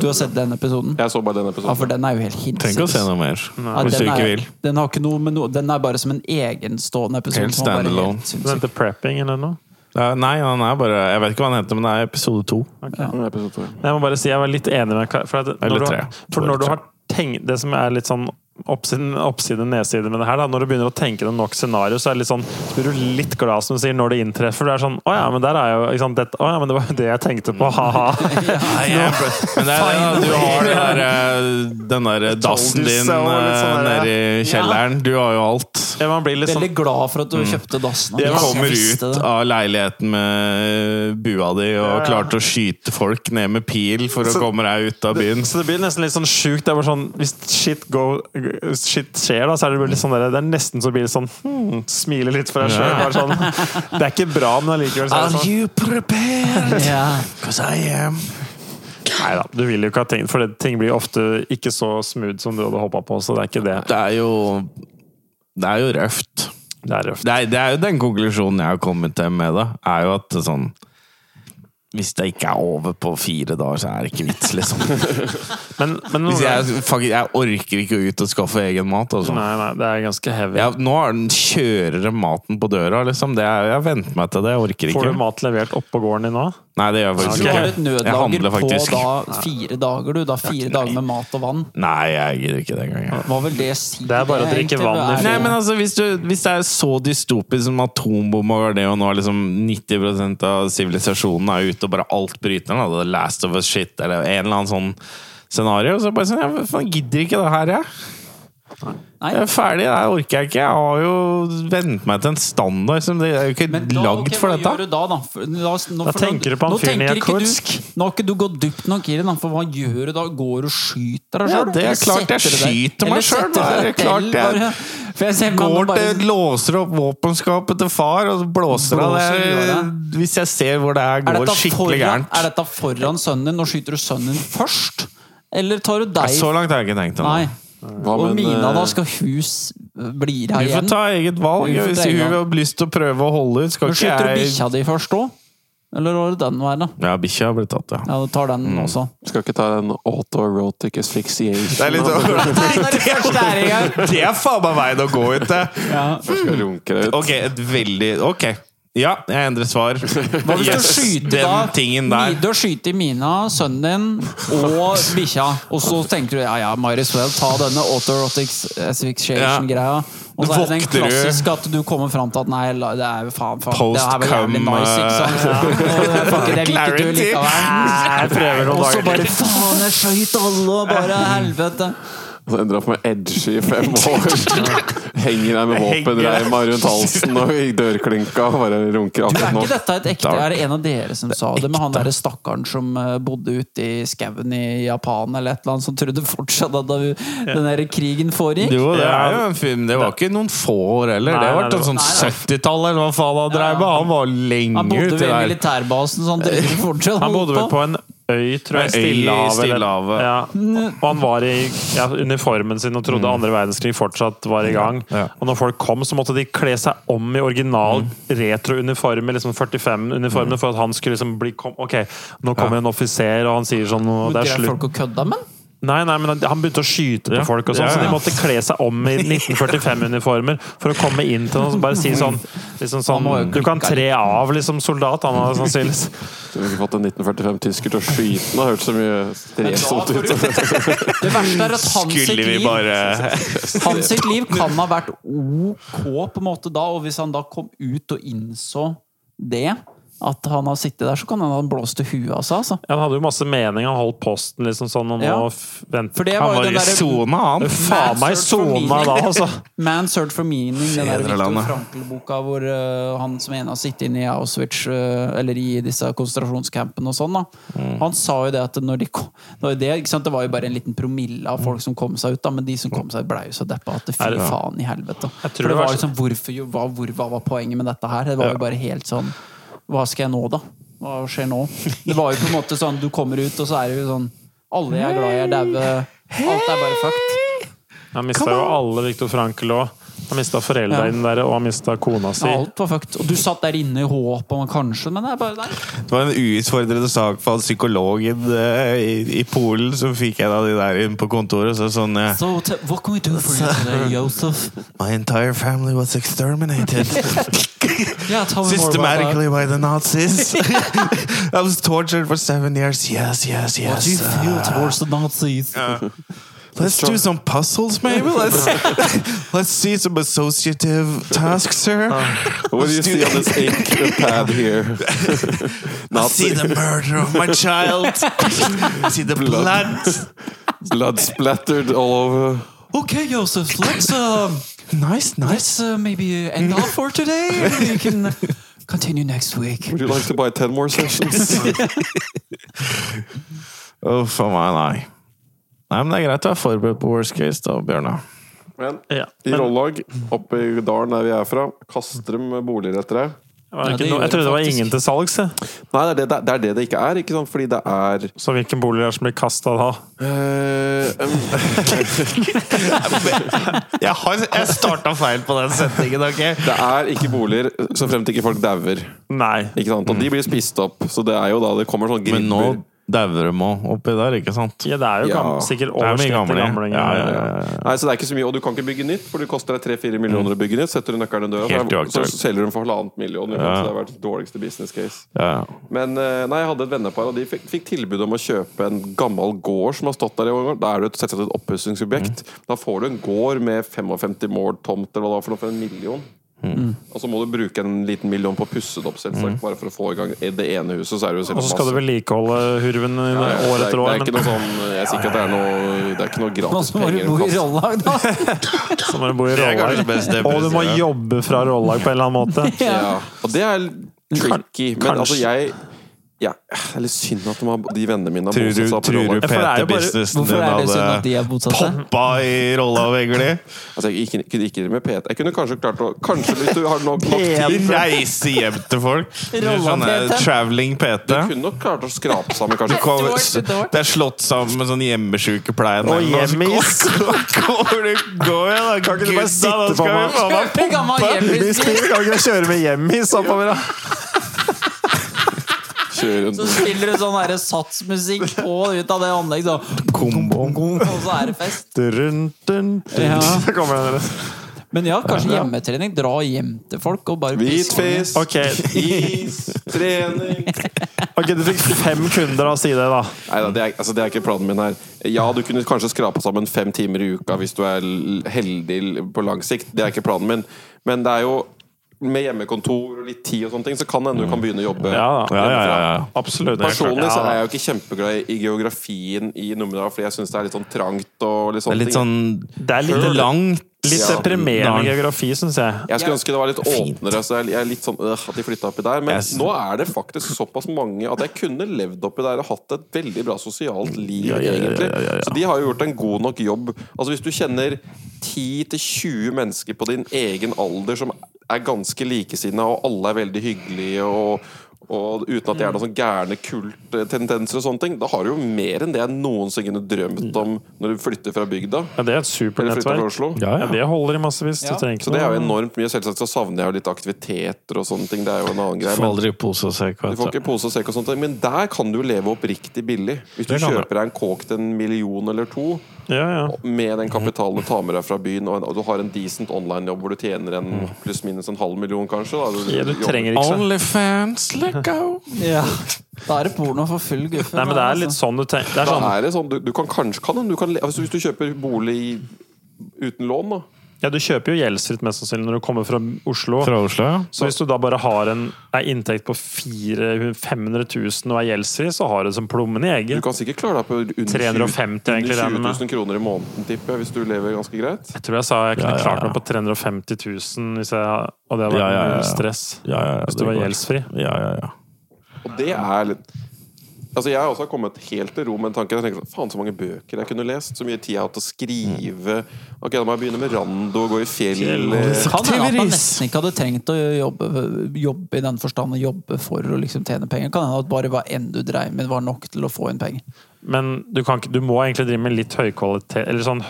[SPEAKER 1] Du har sett den episoden?
[SPEAKER 4] Jeg så bare den
[SPEAKER 1] Ja, for
[SPEAKER 4] episoden.
[SPEAKER 1] den er jo helt
[SPEAKER 5] Trenger ikke å se
[SPEAKER 1] hinsides.
[SPEAKER 5] noe mer
[SPEAKER 1] Ja,
[SPEAKER 5] hvis du
[SPEAKER 1] den,
[SPEAKER 5] ikke
[SPEAKER 1] er,
[SPEAKER 5] vil.
[SPEAKER 1] den har ikke noe med noe Den er bare som en egenstående episode.
[SPEAKER 5] Helt
[SPEAKER 1] som var bare
[SPEAKER 5] standalone.
[SPEAKER 1] helt
[SPEAKER 2] Den
[SPEAKER 1] sinnssyk.
[SPEAKER 2] heter prepping eller noe?
[SPEAKER 5] Ja, Nei, han er bare Jeg vet ikke hva han heter, men det er episode to.
[SPEAKER 2] Mm.
[SPEAKER 4] Ja, episode to, ja.
[SPEAKER 2] Nei, Jeg må bare si jeg var litt enig med Kar- For, at når
[SPEAKER 5] Eller
[SPEAKER 2] du,
[SPEAKER 5] tre.
[SPEAKER 2] har- for når du har tenkt Det som er litt sånn oppsiden, oppside, nedside med det her, da, når du begynner å tenke deg nok scenario, så er det litt sånn Så blir du litt glad som du sier når det inntreffer. Du er sånn Å ja, men der er jo ikke sant, dette, Å ja, men det var jo det jeg tenkte på, ha-ha.
[SPEAKER 5] Nei, jeg, men det er, du har det der, eh, den der dassen
[SPEAKER 2] Told you
[SPEAKER 5] din
[SPEAKER 2] so, litt
[SPEAKER 5] eh,
[SPEAKER 2] sånn der,
[SPEAKER 5] nede i kjelleren. Du har jo alt.
[SPEAKER 2] Ja, man blir litt sånn
[SPEAKER 1] Veldig glad for at du kjøpte dassen.
[SPEAKER 5] Du
[SPEAKER 1] Jeg
[SPEAKER 5] Mm. kommer ut
[SPEAKER 1] visste det.
[SPEAKER 5] av leiligheten med bua di
[SPEAKER 2] ja.
[SPEAKER 5] og klarte å skyte folk ned med pil for å
[SPEAKER 2] Så-
[SPEAKER 5] komme deg ut av byen.
[SPEAKER 2] Så det blir nesten litt sånn sjukt. Det er bare sånn, hvis shit, go, shit skjer, da, så er det, bare litt sånn der, det er nesten så blir det sånn hmm, Smile litt for deg sjøl. Sånn, det er ikke bra, men allikevel så er det sånn.
[SPEAKER 5] you prepared?
[SPEAKER 1] Ja.
[SPEAKER 5] Because I am.
[SPEAKER 2] Nei da, du vil jo ikke ha ting For det, ting blir ofte ikke så smooth som du hadde håpa på, så det er ikke det.
[SPEAKER 5] Det er jo Det er jo røft.
[SPEAKER 2] Det er røft.
[SPEAKER 5] Det er, det er jo den konklusjonen jeg har kommet til med det. Er jo at det sånn Hvis det ikke er over på fire dager, så er det ikke vits, liksom.
[SPEAKER 2] Men, men
[SPEAKER 5] Hvis jeg, fuck, jeg orker ikke å ut og skaffe egen mat. Altså.
[SPEAKER 2] Nei, nei, det er ganske heavy.
[SPEAKER 5] Jeg, nå er den, kjører de maten på døra, liksom. Det er, jeg venter meg til det. Jeg orker
[SPEAKER 2] Får
[SPEAKER 5] ikke.
[SPEAKER 2] du mat levert oppå gården din nå?
[SPEAKER 5] Nei, det gjør jeg
[SPEAKER 1] Så
[SPEAKER 5] faktisk
[SPEAKER 1] du
[SPEAKER 2] Ok.
[SPEAKER 1] har et
[SPEAKER 5] Jeg
[SPEAKER 1] nødlager
[SPEAKER 5] handler
[SPEAKER 1] på
[SPEAKER 5] faktisk.
[SPEAKER 1] da fire dager, du. Da fire dager med mat og vann.
[SPEAKER 5] Nei, jeg gidder ikke det engang. jeg.
[SPEAKER 1] Hva vil det si?
[SPEAKER 2] Det er bare å drikke
[SPEAKER 1] egentlig?
[SPEAKER 2] vann i
[SPEAKER 1] Er det-
[SPEAKER 5] Nei, men altså, hvis, du, hvis det er så dystopisk som atombomba var det, og nå er liksom 90 av sivilisasjonen er ute og bare alt bryter ned, da, The Last of Us shit, eller en eller annen sånn scenario, så bare sånn, jeg faen, gidder ikke det her, jeg.
[SPEAKER 1] Nei.
[SPEAKER 5] Jeg er ferdig, det her orker jeg ikke. Jeg har jo vent meg til en standard som det er jo ikke
[SPEAKER 1] Men da-
[SPEAKER 5] lagd
[SPEAKER 1] ok,
[SPEAKER 5] for
[SPEAKER 1] hva gjør
[SPEAKER 5] dette.
[SPEAKER 1] du da, da? For- La oss, nå,
[SPEAKER 2] Da
[SPEAKER 1] for nå-
[SPEAKER 2] tenker du på han
[SPEAKER 1] nå
[SPEAKER 2] fyren i
[SPEAKER 1] tenker ikke du-
[SPEAKER 2] Jakutsk.
[SPEAKER 1] Nå har ikke du gått dypt nok i det, da, for hva gjør du da? Går du og skyter deg
[SPEAKER 5] Ja,
[SPEAKER 1] selv?
[SPEAKER 5] det er
[SPEAKER 1] Eller
[SPEAKER 5] klart jeg
[SPEAKER 1] setter du deg-
[SPEAKER 5] skyter meg
[SPEAKER 1] eller
[SPEAKER 5] selv,
[SPEAKER 1] setter
[SPEAKER 5] da er
[SPEAKER 1] du
[SPEAKER 5] det
[SPEAKER 1] deg
[SPEAKER 5] klart
[SPEAKER 1] til,
[SPEAKER 5] jeg-
[SPEAKER 1] bare- For jeg ser man
[SPEAKER 5] Går
[SPEAKER 1] bare-
[SPEAKER 5] til, låser opp våpenskapet til far og så blåser av det.
[SPEAKER 1] Blåser
[SPEAKER 5] Hvis jeg ser hvor det her
[SPEAKER 1] Er
[SPEAKER 5] går
[SPEAKER 1] dette
[SPEAKER 5] skikkelig
[SPEAKER 1] foran-
[SPEAKER 5] gærent.
[SPEAKER 1] Er dette foran sønnen din? Nå skyter du sønnen din først? Eller tar du
[SPEAKER 5] Nei,
[SPEAKER 1] deg
[SPEAKER 5] Så langt har jeg ikke tenkt ennå.
[SPEAKER 1] Nei.
[SPEAKER 4] Hva
[SPEAKER 1] Og
[SPEAKER 4] med en,
[SPEAKER 1] Mina, da?
[SPEAKER 4] eh,
[SPEAKER 1] Skal hus bli her
[SPEAKER 5] Vi får
[SPEAKER 1] igjen?
[SPEAKER 5] ta eget valg.
[SPEAKER 1] Vi får
[SPEAKER 5] Hvis
[SPEAKER 1] ta
[SPEAKER 5] hun
[SPEAKER 1] eget valg.
[SPEAKER 5] har lyst til å prøve å holde ut, skal
[SPEAKER 1] Men
[SPEAKER 5] ikke
[SPEAKER 1] Slutter du
[SPEAKER 5] jeg
[SPEAKER 1] bikkja di først òg? Eller var det den være?
[SPEAKER 5] Ja, bikkja har blitt tatt, ja.
[SPEAKER 1] Ja, du tar den
[SPEAKER 5] Mm.
[SPEAKER 1] også.
[SPEAKER 4] Skal ikke ta en autoerotic asphyxiation.
[SPEAKER 5] Det er litt sånn
[SPEAKER 1] Nei, når du først er i gang!
[SPEAKER 5] Det er faen meg veien å gå ut til!
[SPEAKER 4] Skal runke deg ut.
[SPEAKER 5] Ok, et veldig Ok. Ja, jeg endrer svar.
[SPEAKER 1] Hva hvis du skyter da?
[SPEAKER 5] den tingen der.
[SPEAKER 1] Mi- Du skyter Mina, sønnen din og bikkja, og så tenker du ja ja, might as well ta denne autoerotics asphyxiation-greia. Og så er det den
[SPEAKER 5] Vokter du?
[SPEAKER 1] klassiske at du kommer fram til at nei, la- det er jo faen, faen Det her var jævlig
[SPEAKER 5] Post-cum, eh,
[SPEAKER 1] nice, ikke sant? Og det er fuck, det liker du
[SPEAKER 5] Clarity.
[SPEAKER 1] likevel.
[SPEAKER 2] Jeg prøver noen
[SPEAKER 1] Og så
[SPEAKER 2] dager
[SPEAKER 1] bare
[SPEAKER 2] til.
[SPEAKER 1] faen, jeg skøyt alle, og bare helvete.
[SPEAKER 4] Så endra opp med edgy i fem år. Henger deg med våpenreima rundt halsen og i dørklinka og bare runker
[SPEAKER 1] Er
[SPEAKER 4] akkurat nå.
[SPEAKER 1] ikke dette et ekte Er det en av dere som sa det? Men han derre stakkaren som eh, bodde ute i skauen i Japan, eller et eller annet, som trodde fortsatt at da den der krigen foregikk?
[SPEAKER 5] Jo, det er jo en film. Det var ikke noen få år heller.
[SPEAKER 2] Nei,
[SPEAKER 5] Det
[SPEAKER 2] nei,
[SPEAKER 5] var
[SPEAKER 2] det var-
[SPEAKER 5] sånn 70-tall eller hva faen han dreiv med. Han var
[SPEAKER 1] Han
[SPEAKER 5] lenge
[SPEAKER 1] bodde
[SPEAKER 5] uti
[SPEAKER 1] ved
[SPEAKER 5] der.
[SPEAKER 1] militærbasen, så han drev fortsatt
[SPEAKER 2] Han bodde vel på en øy, tror jeg.
[SPEAKER 5] En øy i
[SPEAKER 2] Stillehavet. eller-
[SPEAKER 5] Stillehavet.
[SPEAKER 2] Ja. Og han var i ja, uniformen sin og trodde andre verdenskrig fortsatt var i gang.
[SPEAKER 5] Mm. Ja. Mm.
[SPEAKER 2] Og når folk kom, så måtte de kle seg om i original retro-uniformer, liksom 45-uniformer, for at han skulle liksom bli kom, Ok, nå kommer en offiser, og han sier sånn og Det er
[SPEAKER 1] Greier
[SPEAKER 2] slutt.
[SPEAKER 1] folk å kødde med han?
[SPEAKER 2] Nei, nei, men han begynte å skyte på
[SPEAKER 5] Ja.
[SPEAKER 2] folk, og sånn,
[SPEAKER 5] Ja,
[SPEAKER 2] så de
[SPEAKER 5] ja.
[SPEAKER 2] måtte kle seg om i 1945-uniformer for å komme inn til noen og bare si sånn, liksom sånn
[SPEAKER 1] Han var jo
[SPEAKER 2] Du kan
[SPEAKER 1] klikka
[SPEAKER 2] tre av liksom soldat, han hadde sannsynligvis.
[SPEAKER 4] Skulle ikke fått en 1945-tysker til å skyte den. Det har hørt så mye strevsomt ut.
[SPEAKER 1] Det verste er at hans sitt
[SPEAKER 5] Skulle vi
[SPEAKER 1] liv
[SPEAKER 5] bare
[SPEAKER 1] Hans sitt liv kan ha vært ok på en måte da, og hvis han da kom ut og innså det, at han har sittet der, så kan han ha blåst i huet av seg, altså.
[SPEAKER 2] Han hadde jo masse mening, han holdt posten liksom sånn om
[SPEAKER 1] Ja.
[SPEAKER 2] å f- vente
[SPEAKER 1] For det
[SPEAKER 5] Han
[SPEAKER 1] var jo
[SPEAKER 5] var
[SPEAKER 1] den
[SPEAKER 5] i
[SPEAKER 1] derre
[SPEAKER 5] sona, han.
[SPEAKER 2] Faen meg
[SPEAKER 1] Man's search for
[SPEAKER 2] sona da,
[SPEAKER 1] meaning.
[SPEAKER 2] altså!
[SPEAKER 1] Man's Search for Meaning, den der Viktor
[SPEAKER 5] Fedrelandet.
[SPEAKER 1] Frankl-boka hvor eh, han som ene har sittet inne i Auschwitz, eh, eller i disse konsentrasjonscampene og sånn, da.
[SPEAKER 2] Mm.
[SPEAKER 1] Han sa jo det at når de kom når det, ikke sant? det var jo bare en liten promille av folk som kom seg ut, da, men de som kom seg ut, blei jo så deppa at det fy
[SPEAKER 2] Mm. Er det-
[SPEAKER 1] faen i helvete.
[SPEAKER 2] tror
[SPEAKER 1] For
[SPEAKER 2] det
[SPEAKER 1] det
[SPEAKER 2] var
[SPEAKER 1] var
[SPEAKER 2] så-
[SPEAKER 1] liksom hvorfor, jo, hva, hvor, hva var poenget med dette her? Det var jo bare helt sånn Hva skal jeg nå, da? Hva skjer nå? Det var jo på en måte sånn, du kommer ut, og så er det jo sånn Alle jeg er glad i, er daue. Alt er bare fucked.
[SPEAKER 2] Han mista jo alle Viktor Frankl òg. Han mista foreldra
[SPEAKER 1] Ja.
[SPEAKER 2] inn der, og han mista kona si.
[SPEAKER 1] Ja, alt var fucked. Og du satt der inne i håp om kanskje, men det er bare nei.
[SPEAKER 5] Det var en uutfordrende sak for han psykologen eh, i, i Polen som fikk en av de der inn på kontoret. Så sånn eh,
[SPEAKER 1] So, t- what can we do for you today, Joseph?
[SPEAKER 5] My entire family was exterminated
[SPEAKER 1] Yeah, tell me more about that.
[SPEAKER 5] systematically by the Nazis. I was tortured for seven years. Yes, yes,
[SPEAKER 1] What do you
[SPEAKER 5] yes. uh,
[SPEAKER 1] feel towards the Nazis?
[SPEAKER 5] Let's do some puzzles, maybe. Let's let's see some associative tasks, sir.
[SPEAKER 4] What do you see on this ink pad here?
[SPEAKER 5] see
[SPEAKER 4] Nazi
[SPEAKER 5] the murder of my child. see the blood.
[SPEAKER 4] blood splattered all over.
[SPEAKER 1] Okay, Joseph, let's um,
[SPEAKER 5] Nice,
[SPEAKER 1] let's
[SPEAKER 5] nice.
[SPEAKER 1] uh, maybe end off for today. and We can continue next week.
[SPEAKER 4] Would you like to buy 10 more sessions?
[SPEAKER 5] Oh, for meg, nei. Nei, men Det er greit å være forberedt på worst case, da, Bjørnar.
[SPEAKER 4] Men
[SPEAKER 2] Ja.
[SPEAKER 4] i
[SPEAKER 2] Men
[SPEAKER 4] Rollag, oppe i dalen der vi er fra, kaster de boliger etter deg.
[SPEAKER 2] det var
[SPEAKER 1] Ja,
[SPEAKER 2] ikke
[SPEAKER 1] det
[SPEAKER 2] noe- jeg
[SPEAKER 1] gjorde
[SPEAKER 2] trodde det var
[SPEAKER 1] det faktisk.
[SPEAKER 2] ingen til salgs. jeg.
[SPEAKER 4] Nei, det er det det, det, er det, det ikke er. ikke sant? Fordi det er
[SPEAKER 2] Så hvilken bolig er det som blir kasta da?
[SPEAKER 4] eh, em,
[SPEAKER 5] Jeg, har- jeg starta feil på den setningen. ok?
[SPEAKER 4] Det er ikke boliger så fremt ikke folk dauer.
[SPEAKER 2] Nei.
[SPEAKER 4] Ikke sant? Og de blir spist opp. Så det er jo da det kommer sånn
[SPEAKER 5] Men
[SPEAKER 4] griper.
[SPEAKER 5] nå dauer de òg oppi der, ikke sant?
[SPEAKER 2] Ja, det er jo
[SPEAKER 4] Ja.
[SPEAKER 2] gam- sikkert
[SPEAKER 5] Det er mye
[SPEAKER 2] overskudd til
[SPEAKER 5] gamle.
[SPEAKER 2] gamlinger.
[SPEAKER 5] Ja, ja, ja, ja.
[SPEAKER 4] Nei, så det er ikke så mye, og du kan ikke bygge nytt, for det koster deg 3-4 millioner å bygge nytt. Setter du nøkkelen i døra,
[SPEAKER 5] Helt
[SPEAKER 4] så er- så,
[SPEAKER 5] uaktuelt.
[SPEAKER 4] selger du den for halvannet million. ikke sant?
[SPEAKER 5] Ja.
[SPEAKER 4] Så det har vært dårligste business case.
[SPEAKER 5] Ja, ja.
[SPEAKER 4] Men eh, nei, jeg hadde et vennepar, og de fikk, fikk tilbud om å kjøpe en gammel gård som har stått der i år. Da er du et- selvsagt et oppussingsobjekt. Da får du en gård med 55 mål tomt, eller hva det var for noe, for en million. Og så må du bruke en liten million på å pusse det opp, selvsagt, bare for å få i gang det ene huset. Så er det jo
[SPEAKER 2] Og så skal du
[SPEAKER 4] masse-
[SPEAKER 2] vedlikeholde hurven i
[SPEAKER 4] Ja, ja,
[SPEAKER 2] år
[SPEAKER 4] det er-
[SPEAKER 2] etter år.
[SPEAKER 4] Det er ikke
[SPEAKER 2] Men
[SPEAKER 4] noe sånn Jeg er sikker at det er noe Det er ikke noe gratis
[SPEAKER 1] Nå må du
[SPEAKER 4] penger.
[SPEAKER 1] bo i
[SPEAKER 4] å kaste.
[SPEAKER 1] rollag, da.
[SPEAKER 2] så må du bo i
[SPEAKER 5] er kanskje best det,
[SPEAKER 2] rollag. Og du må
[SPEAKER 5] president.
[SPEAKER 2] jobbe fra rollag på en eller annen måte.
[SPEAKER 4] Ja. Og det er tricky. Men
[SPEAKER 2] kanskje.
[SPEAKER 4] altså, jeg ja, Det er litt synd at de, har, de vennene mine har
[SPEAKER 5] Tror
[SPEAKER 4] bosatt
[SPEAKER 5] du,
[SPEAKER 4] seg opp i
[SPEAKER 5] tror du
[SPEAKER 4] Rollag.
[SPEAKER 2] Ja, for det er jo bare-
[SPEAKER 5] PT-businessen
[SPEAKER 1] Hvorfor
[SPEAKER 5] din
[SPEAKER 1] er det synd at de
[SPEAKER 5] hadde
[SPEAKER 1] er bosatte?
[SPEAKER 5] poppa i rolla og vegler?
[SPEAKER 4] Altså, jeg gikk, kunne ikke med PT. Jeg kunne kanskje klart å Kanskje hvis du har nok nok tid
[SPEAKER 5] Reise hjem til folk. Sånne
[SPEAKER 1] Rolla-PT.
[SPEAKER 5] traveling PT.
[SPEAKER 4] Kunne nok klart å skrape sammen,
[SPEAKER 5] Du
[SPEAKER 4] kanskje.
[SPEAKER 5] kom-
[SPEAKER 1] Det var ikke dårlig.
[SPEAKER 5] Det er slått sammen med sånn hjemmesjukepleien.
[SPEAKER 2] Og
[SPEAKER 5] eller noe, så
[SPEAKER 2] hjemmeis.
[SPEAKER 5] Kommer du går igjen, da? Kan
[SPEAKER 2] ikke du bare sitte på meg?
[SPEAKER 1] Kjøpe gammel hjemmestil,
[SPEAKER 2] Kan ikke kjøre med hjem i oppover, da?
[SPEAKER 4] Kjøre
[SPEAKER 1] så
[SPEAKER 4] rundt.
[SPEAKER 1] spiller du sånn derre satsmusikk på ut av det anlegget, så- og så er det fest.
[SPEAKER 2] Dun, dun, dun.
[SPEAKER 1] Ja.
[SPEAKER 2] Så kommer den der.
[SPEAKER 1] Men ja, kanskje hjemmetrening. Dra hjem til folk og bare pisse på dem.
[SPEAKER 4] Hvitfis,
[SPEAKER 2] Ok,
[SPEAKER 4] is, trening
[SPEAKER 2] ok, du fikk fem kunder av å si det, da.
[SPEAKER 4] Neida, det, er, altså, det er ikke planen min her. Ja, du kunne kanskje skrapa sammen fem timer i uka hvis du er l- heldig l- på lang sikt. Det er ikke planen min. Men det er jo med hjemmekontor og litt tid og sånne ting, så kan det hende du kan begynne å jobbe.
[SPEAKER 2] Ja, da.
[SPEAKER 5] Mm. Ja, ja, ja, ja.
[SPEAKER 2] Absolutt.
[SPEAKER 4] Personlig
[SPEAKER 2] Ja,
[SPEAKER 4] så
[SPEAKER 2] da.
[SPEAKER 4] er jeg jo ikke kjempeglad i geografien i Numedal, fordi jeg syns det er litt sånn trangt og litt
[SPEAKER 5] Det er
[SPEAKER 4] sånne
[SPEAKER 5] litt
[SPEAKER 4] ting.
[SPEAKER 5] sånn
[SPEAKER 2] Det er litt,
[SPEAKER 5] Litt langt.
[SPEAKER 2] litt
[SPEAKER 4] Ja.
[SPEAKER 2] deprimerende
[SPEAKER 5] Nei.
[SPEAKER 2] geografi, syns jeg.
[SPEAKER 4] Jeg skulle ønske det var litt åpnere, så jeg jeg er litt sånn øh, at de flytta oppi der. Men
[SPEAKER 5] Jeg s-
[SPEAKER 4] nå er det faktisk såpass mange at jeg kunne levd oppi der og hatt et veldig bra sosialt liv,
[SPEAKER 5] Ja, ja, ja, ja,
[SPEAKER 4] egentlig.
[SPEAKER 5] ja, ja, ja.
[SPEAKER 4] Så de har jo gjort en god nok jobb. Altså Hvis du kjenner 10-20 mennesker på din egen alder som er ganske likesinnede, og alle er veldig hyggelige og Og uten at jeg
[SPEAKER 5] Mm.
[SPEAKER 4] er noen sånn gærne kulttendenser og sånne ting. Da har du jo mer enn det jeg noensinne kunne drømt
[SPEAKER 5] Mm.
[SPEAKER 4] om når du flytter fra bygda.
[SPEAKER 2] Ja, det er et
[SPEAKER 4] Eller flytter fra
[SPEAKER 2] supernettverk.
[SPEAKER 4] Oslo.
[SPEAKER 5] Ja,
[SPEAKER 2] Ja,
[SPEAKER 5] ja.
[SPEAKER 2] det holder i massevis. Du
[SPEAKER 1] Ja.
[SPEAKER 2] trenger ikke
[SPEAKER 4] Så det er
[SPEAKER 2] noe-
[SPEAKER 4] jo enormt mye. Selvsagt så savner jeg jo litt aktiviteter og sånne ting. Det er jo en annen greie.
[SPEAKER 5] Får
[SPEAKER 4] Men
[SPEAKER 5] aldri pose og
[SPEAKER 4] du
[SPEAKER 5] sekk.
[SPEAKER 4] får
[SPEAKER 2] sånn-
[SPEAKER 5] vet du.
[SPEAKER 4] ikke pose og sekk og sånt, men der kan du jo leve oppriktig billig. Hvis du
[SPEAKER 2] Det kan du.
[SPEAKER 4] kjøper deg en kåk til en million eller to,
[SPEAKER 2] Ja, ja.
[SPEAKER 4] med den kapitalen du tar med deg fra byen, og en, og du har en decent online-jobb hvor du tjener en pluss-minus en halv million, kanskje da.
[SPEAKER 2] Mm. Ja, Du trenger ikke så
[SPEAKER 5] Onlyfans, let go!
[SPEAKER 1] Ja. Da er det porno for full guffe. Altså,
[SPEAKER 2] Nei, men det er litt sånn du tenker. Det er
[SPEAKER 4] Da
[SPEAKER 2] sånn,
[SPEAKER 4] er det sånn, du, du kan kanskje kan, du kan, le- altså, Hvis du kjøper bolig uten lån, da.
[SPEAKER 2] ja, du kjøper jo gjeldsfritt mest sannsynlig når du kommer fra Oslo.
[SPEAKER 5] Fra Oslo, ja.
[SPEAKER 2] Så hvis du da bare har en ei inntekt på 400 500 000 og er gjeldsfri, så har du det som plommen i
[SPEAKER 4] Du
[SPEAKER 2] egget.
[SPEAKER 4] kan sikkert klare deg på under
[SPEAKER 2] 350
[SPEAKER 4] 20
[SPEAKER 2] egentlig, eh. regner jeg med.
[SPEAKER 4] 000 kroner i måneden, tipper jeg, hvis du lever ganske greit.
[SPEAKER 2] Jeg tror jeg sa jeg kunne
[SPEAKER 5] Ja, ja,
[SPEAKER 2] klart
[SPEAKER 5] ja.
[SPEAKER 2] meg på 350 000, hvis jeg, og det hadde vært
[SPEAKER 5] Ja, ja, ja, ja.
[SPEAKER 2] mye stress.
[SPEAKER 5] Ja, ja, ja,
[SPEAKER 2] hvis du
[SPEAKER 5] det
[SPEAKER 2] var
[SPEAKER 5] går.
[SPEAKER 2] gjeldsfri.
[SPEAKER 5] Ja, ja, ja.
[SPEAKER 4] Og det er litt Altså Jeg har også kommet helt til ro med en tanke. Jeg tenker sånn, Faen, så mange bøker jeg kunne lest. Så mye tid jeg har hatt til å skrive. Ok, Da må jeg begynne med Rando og gå i fjellet.
[SPEAKER 1] Kan hende at man
[SPEAKER 5] Aktiveris.
[SPEAKER 1] nesten ikke hadde trengt å jobbe, jobbe i den forstand å jobbe for å liksom tjene penger. Kan hende at bare hva enn du dreiv med, var nok til å få inn penger.
[SPEAKER 2] Men du, kan ikke, du må egentlig drive med litt høykvalitet Eller sånn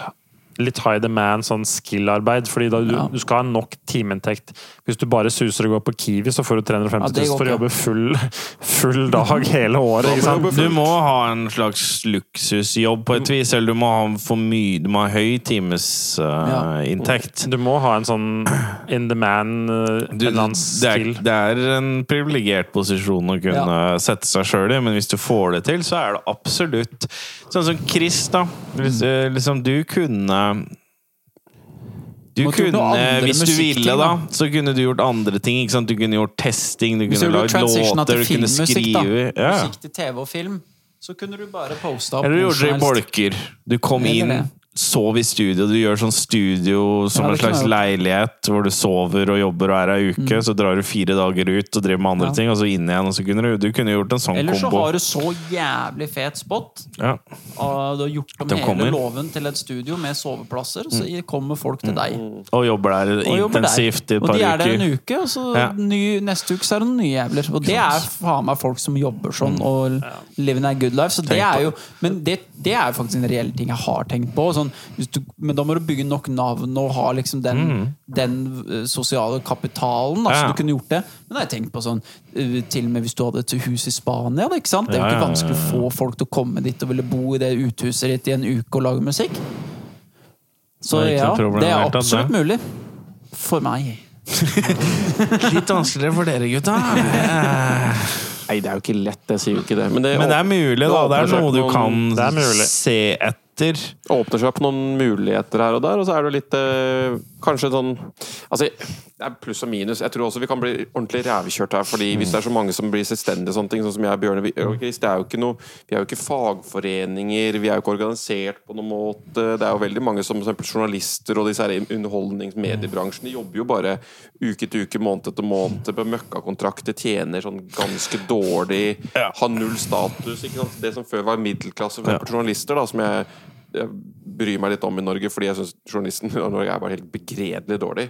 [SPEAKER 2] litt high demand sånn skill-arbeid. Fordi da, du,
[SPEAKER 1] Ja.
[SPEAKER 2] du skal ha nok timeinntekt. Hvis du bare suser og går på Kiwi, så får du 350
[SPEAKER 1] Ja, det
[SPEAKER 2] 000
[SPEAKER 1] går
[SPEAKER 2] for å
[SPEAKER 1] ikke.
[SPEAKER 2] jobbe full, full dag hele året. Ikke sant?
[SPEAKER 5] Du må ha en slags luksusjobb på et vis, eller du må ha for mye Du må ha høy eh,
[SPEAKER 1] Ja.
[SPEAKER 5] timesinntekt.
[SPEAKER 2] Du må ha en sånn in the man, eh, en
[SPEAKER 5] Det,
[SPEAKER 2] eller annen
[SPEAKER 5] er-
[SPEAKER 2] skill.
[SPEAKER 5] det er en privilegert posisjon å kunne sette seg sjøl i, men hvis du får det til, så er det absolutt Sånn som Chris, da. Hvis,
[SPEAKER 1] Mm.
[SPEAKER 5] eh, liksom, du kunne du
[SPEAKER 1] Måtte gjort
[SPEAKER 5] kunne,
[SPEAKER 1] noe andre
[SPEAKER 5] hvis du
[SPEAKER 1] musikkting,
[SPEAKER 5] ville, da,
[SPEAKER 1] da.
[SPEAKER 5] så kunne du gjort andre ting. Ikke sant? Du kunne gjort testing, du
[SPEAKER 1] Hvis du
[SPEAKER 5] kunne
[SPEAKER 1] gjorde
[SPEAKER 5] lagd
[SPEAKER 1] transitiona til
[SPEAKER 5] låter, du kunne
[SPEAKER 1] filmmusikk, da.
[SPEAKER 5] skrive ja.
[SPEAKER 1] Musikk til TV og film. Så kunne du bare posta opp
[SPEAKER 5] Eller du
[SPEAKER 1] hvor
[SPEAKER 5] gjorde
[SPEAKER 1] som
[SPEAKER 5] det i
[SPEAKER 1] helst.
[SPEAKER 5] bolker. Du kom
[SPEAKER 1] Eller
[SPEAKER 5] inn,
[SPEAKER 1] det.
[SPEAKER 5] sov i studio. Du gjør sånn studio som
[SPEAKER 1] Ja,
[SPEAKER 5] en
[SPEAKER 1] det kunne
[SPEAKER 5] slags
[SPEAKER 1] jeg Mm.
[SPEAKER 5] leilighet, hvor du sover og jobber og er ei uke. Så drar du fire dager ut og driver med andre
[SPEAKER 1] Ja.
[SPEAKER 5] ting, og så inn igjen. Og så kunne du, du kunne gjort en sånn
[SPEAKER 1] Eller så
[SPEAKER 5] kombo.
[SPEAKER 1] har du så jævlig fet spot.
[SPEAKER 5] Ja.
[SPEAKER 1] Og du har gjort om
[SPEAKER 5] De
[SPEAKER 1] hele
[SPEAKER 5] kommer. Mm.
[SPEAKER 1] låven til et studio med soveplasser, så kommer folk til deg.
[SPEAKER 5] Og jobber der
[SPEAKER 1] Og jobber der.
[SPEAKER 5] intensivt i et
[SPEAKER 1] Og
[SPEAKER 5] par
[SPEAKER 1] de er der en
[SPEAKER 5] uker.
[SPEAKER 1] uke, og så
[SPEAKER 5] Ja.
[SPEAKER 1] ny, neste uke så er det noen nye jævler. Og det er faen meg folk som jobber sånn og living a good life. Så det
[SPEAKER 5] Mm. på
[SPEAKER 1] er jo, men det, det er jo faktisk en reell ting jeg har tenkt på. Sånn, hvis du, men da må du bygge nok navn og ha liksom den, den eh, sosiale kapitalen. Da,
[SPEAKER 5] Mm. Ja.
[SPEAKER 1] Så du kunne gjort det. Men da har jeg tenkt på sånn eh, til og med hvis du hadde et hus i Spania. Da, ikke sant? Det er
[SPEAKER 5] Ja,
[SPEAKER 1] jo
[SPEAKER 5] ja, ja,
[SPEAKER 1] ikke vanskelig å få folk til å komme dit og ville bo i det uthuset ditt i en uke og lage musikk. Så
[SPEAKER 5] Det er ikke
[SPEAKER 1] ja,
[SPEAKER 5] noe problem
[SPEAKER 1] det er
[SPEAKER 5] i det hele tatt,
[SPEAKER 1] absolutt mulig. For meg.
[SPEAKER 5] Litt vanskeligere for dere, gutta.
[SPEAKER 4] Nei, det er jo ikke lett. Jeg sier jo ikke det. Men det,
[SPEAKER 5] Men det er mulig, da. Det
[SPEAKER 4] åpner
[SPEAKER 5] er
[SPEAKER 4] seg
[SPEAKER 5] noe
[SPEAKER 4] opp
[SPEAKER 5] du
[SPEAKER 4] noen-
[SPEAKER 2] Det er
[SPEAKER 5] kan
[SPEAKER 2] mulig.
[SPEAKER 5] se etter.
[SPEAKER 4] åpner seg opp noen muligheter her og der, og så er det jo litt eh, Kanskje sånn Altså, det er pluss og minus. Jeg tror også vi kan bli ordentlig rævkjørt her, fordi hvis det er så mange som blir selvstendige og sånne ting, sånn som jeg og Bjørne vi, og Chris, det er jo ikke noe, Vi er jo ikke fagforeninger, vi er jo ikke organisert på noen måte. Det er jo veldig mange som for eksempel journalister og disse her i underholdnings- og mediebransjen, de jobber jo bare uke til uke, måned etter måned på møkkakontrakter, tjener sånn ganske dårlig, har null status. Ikke sant? Det som før var middelklasse for eksempel journalister, da, som jeg jeg bryr meg litt om i Norge, fordi jeg syns journalisten i Norge er bare helt begredelig dårlig.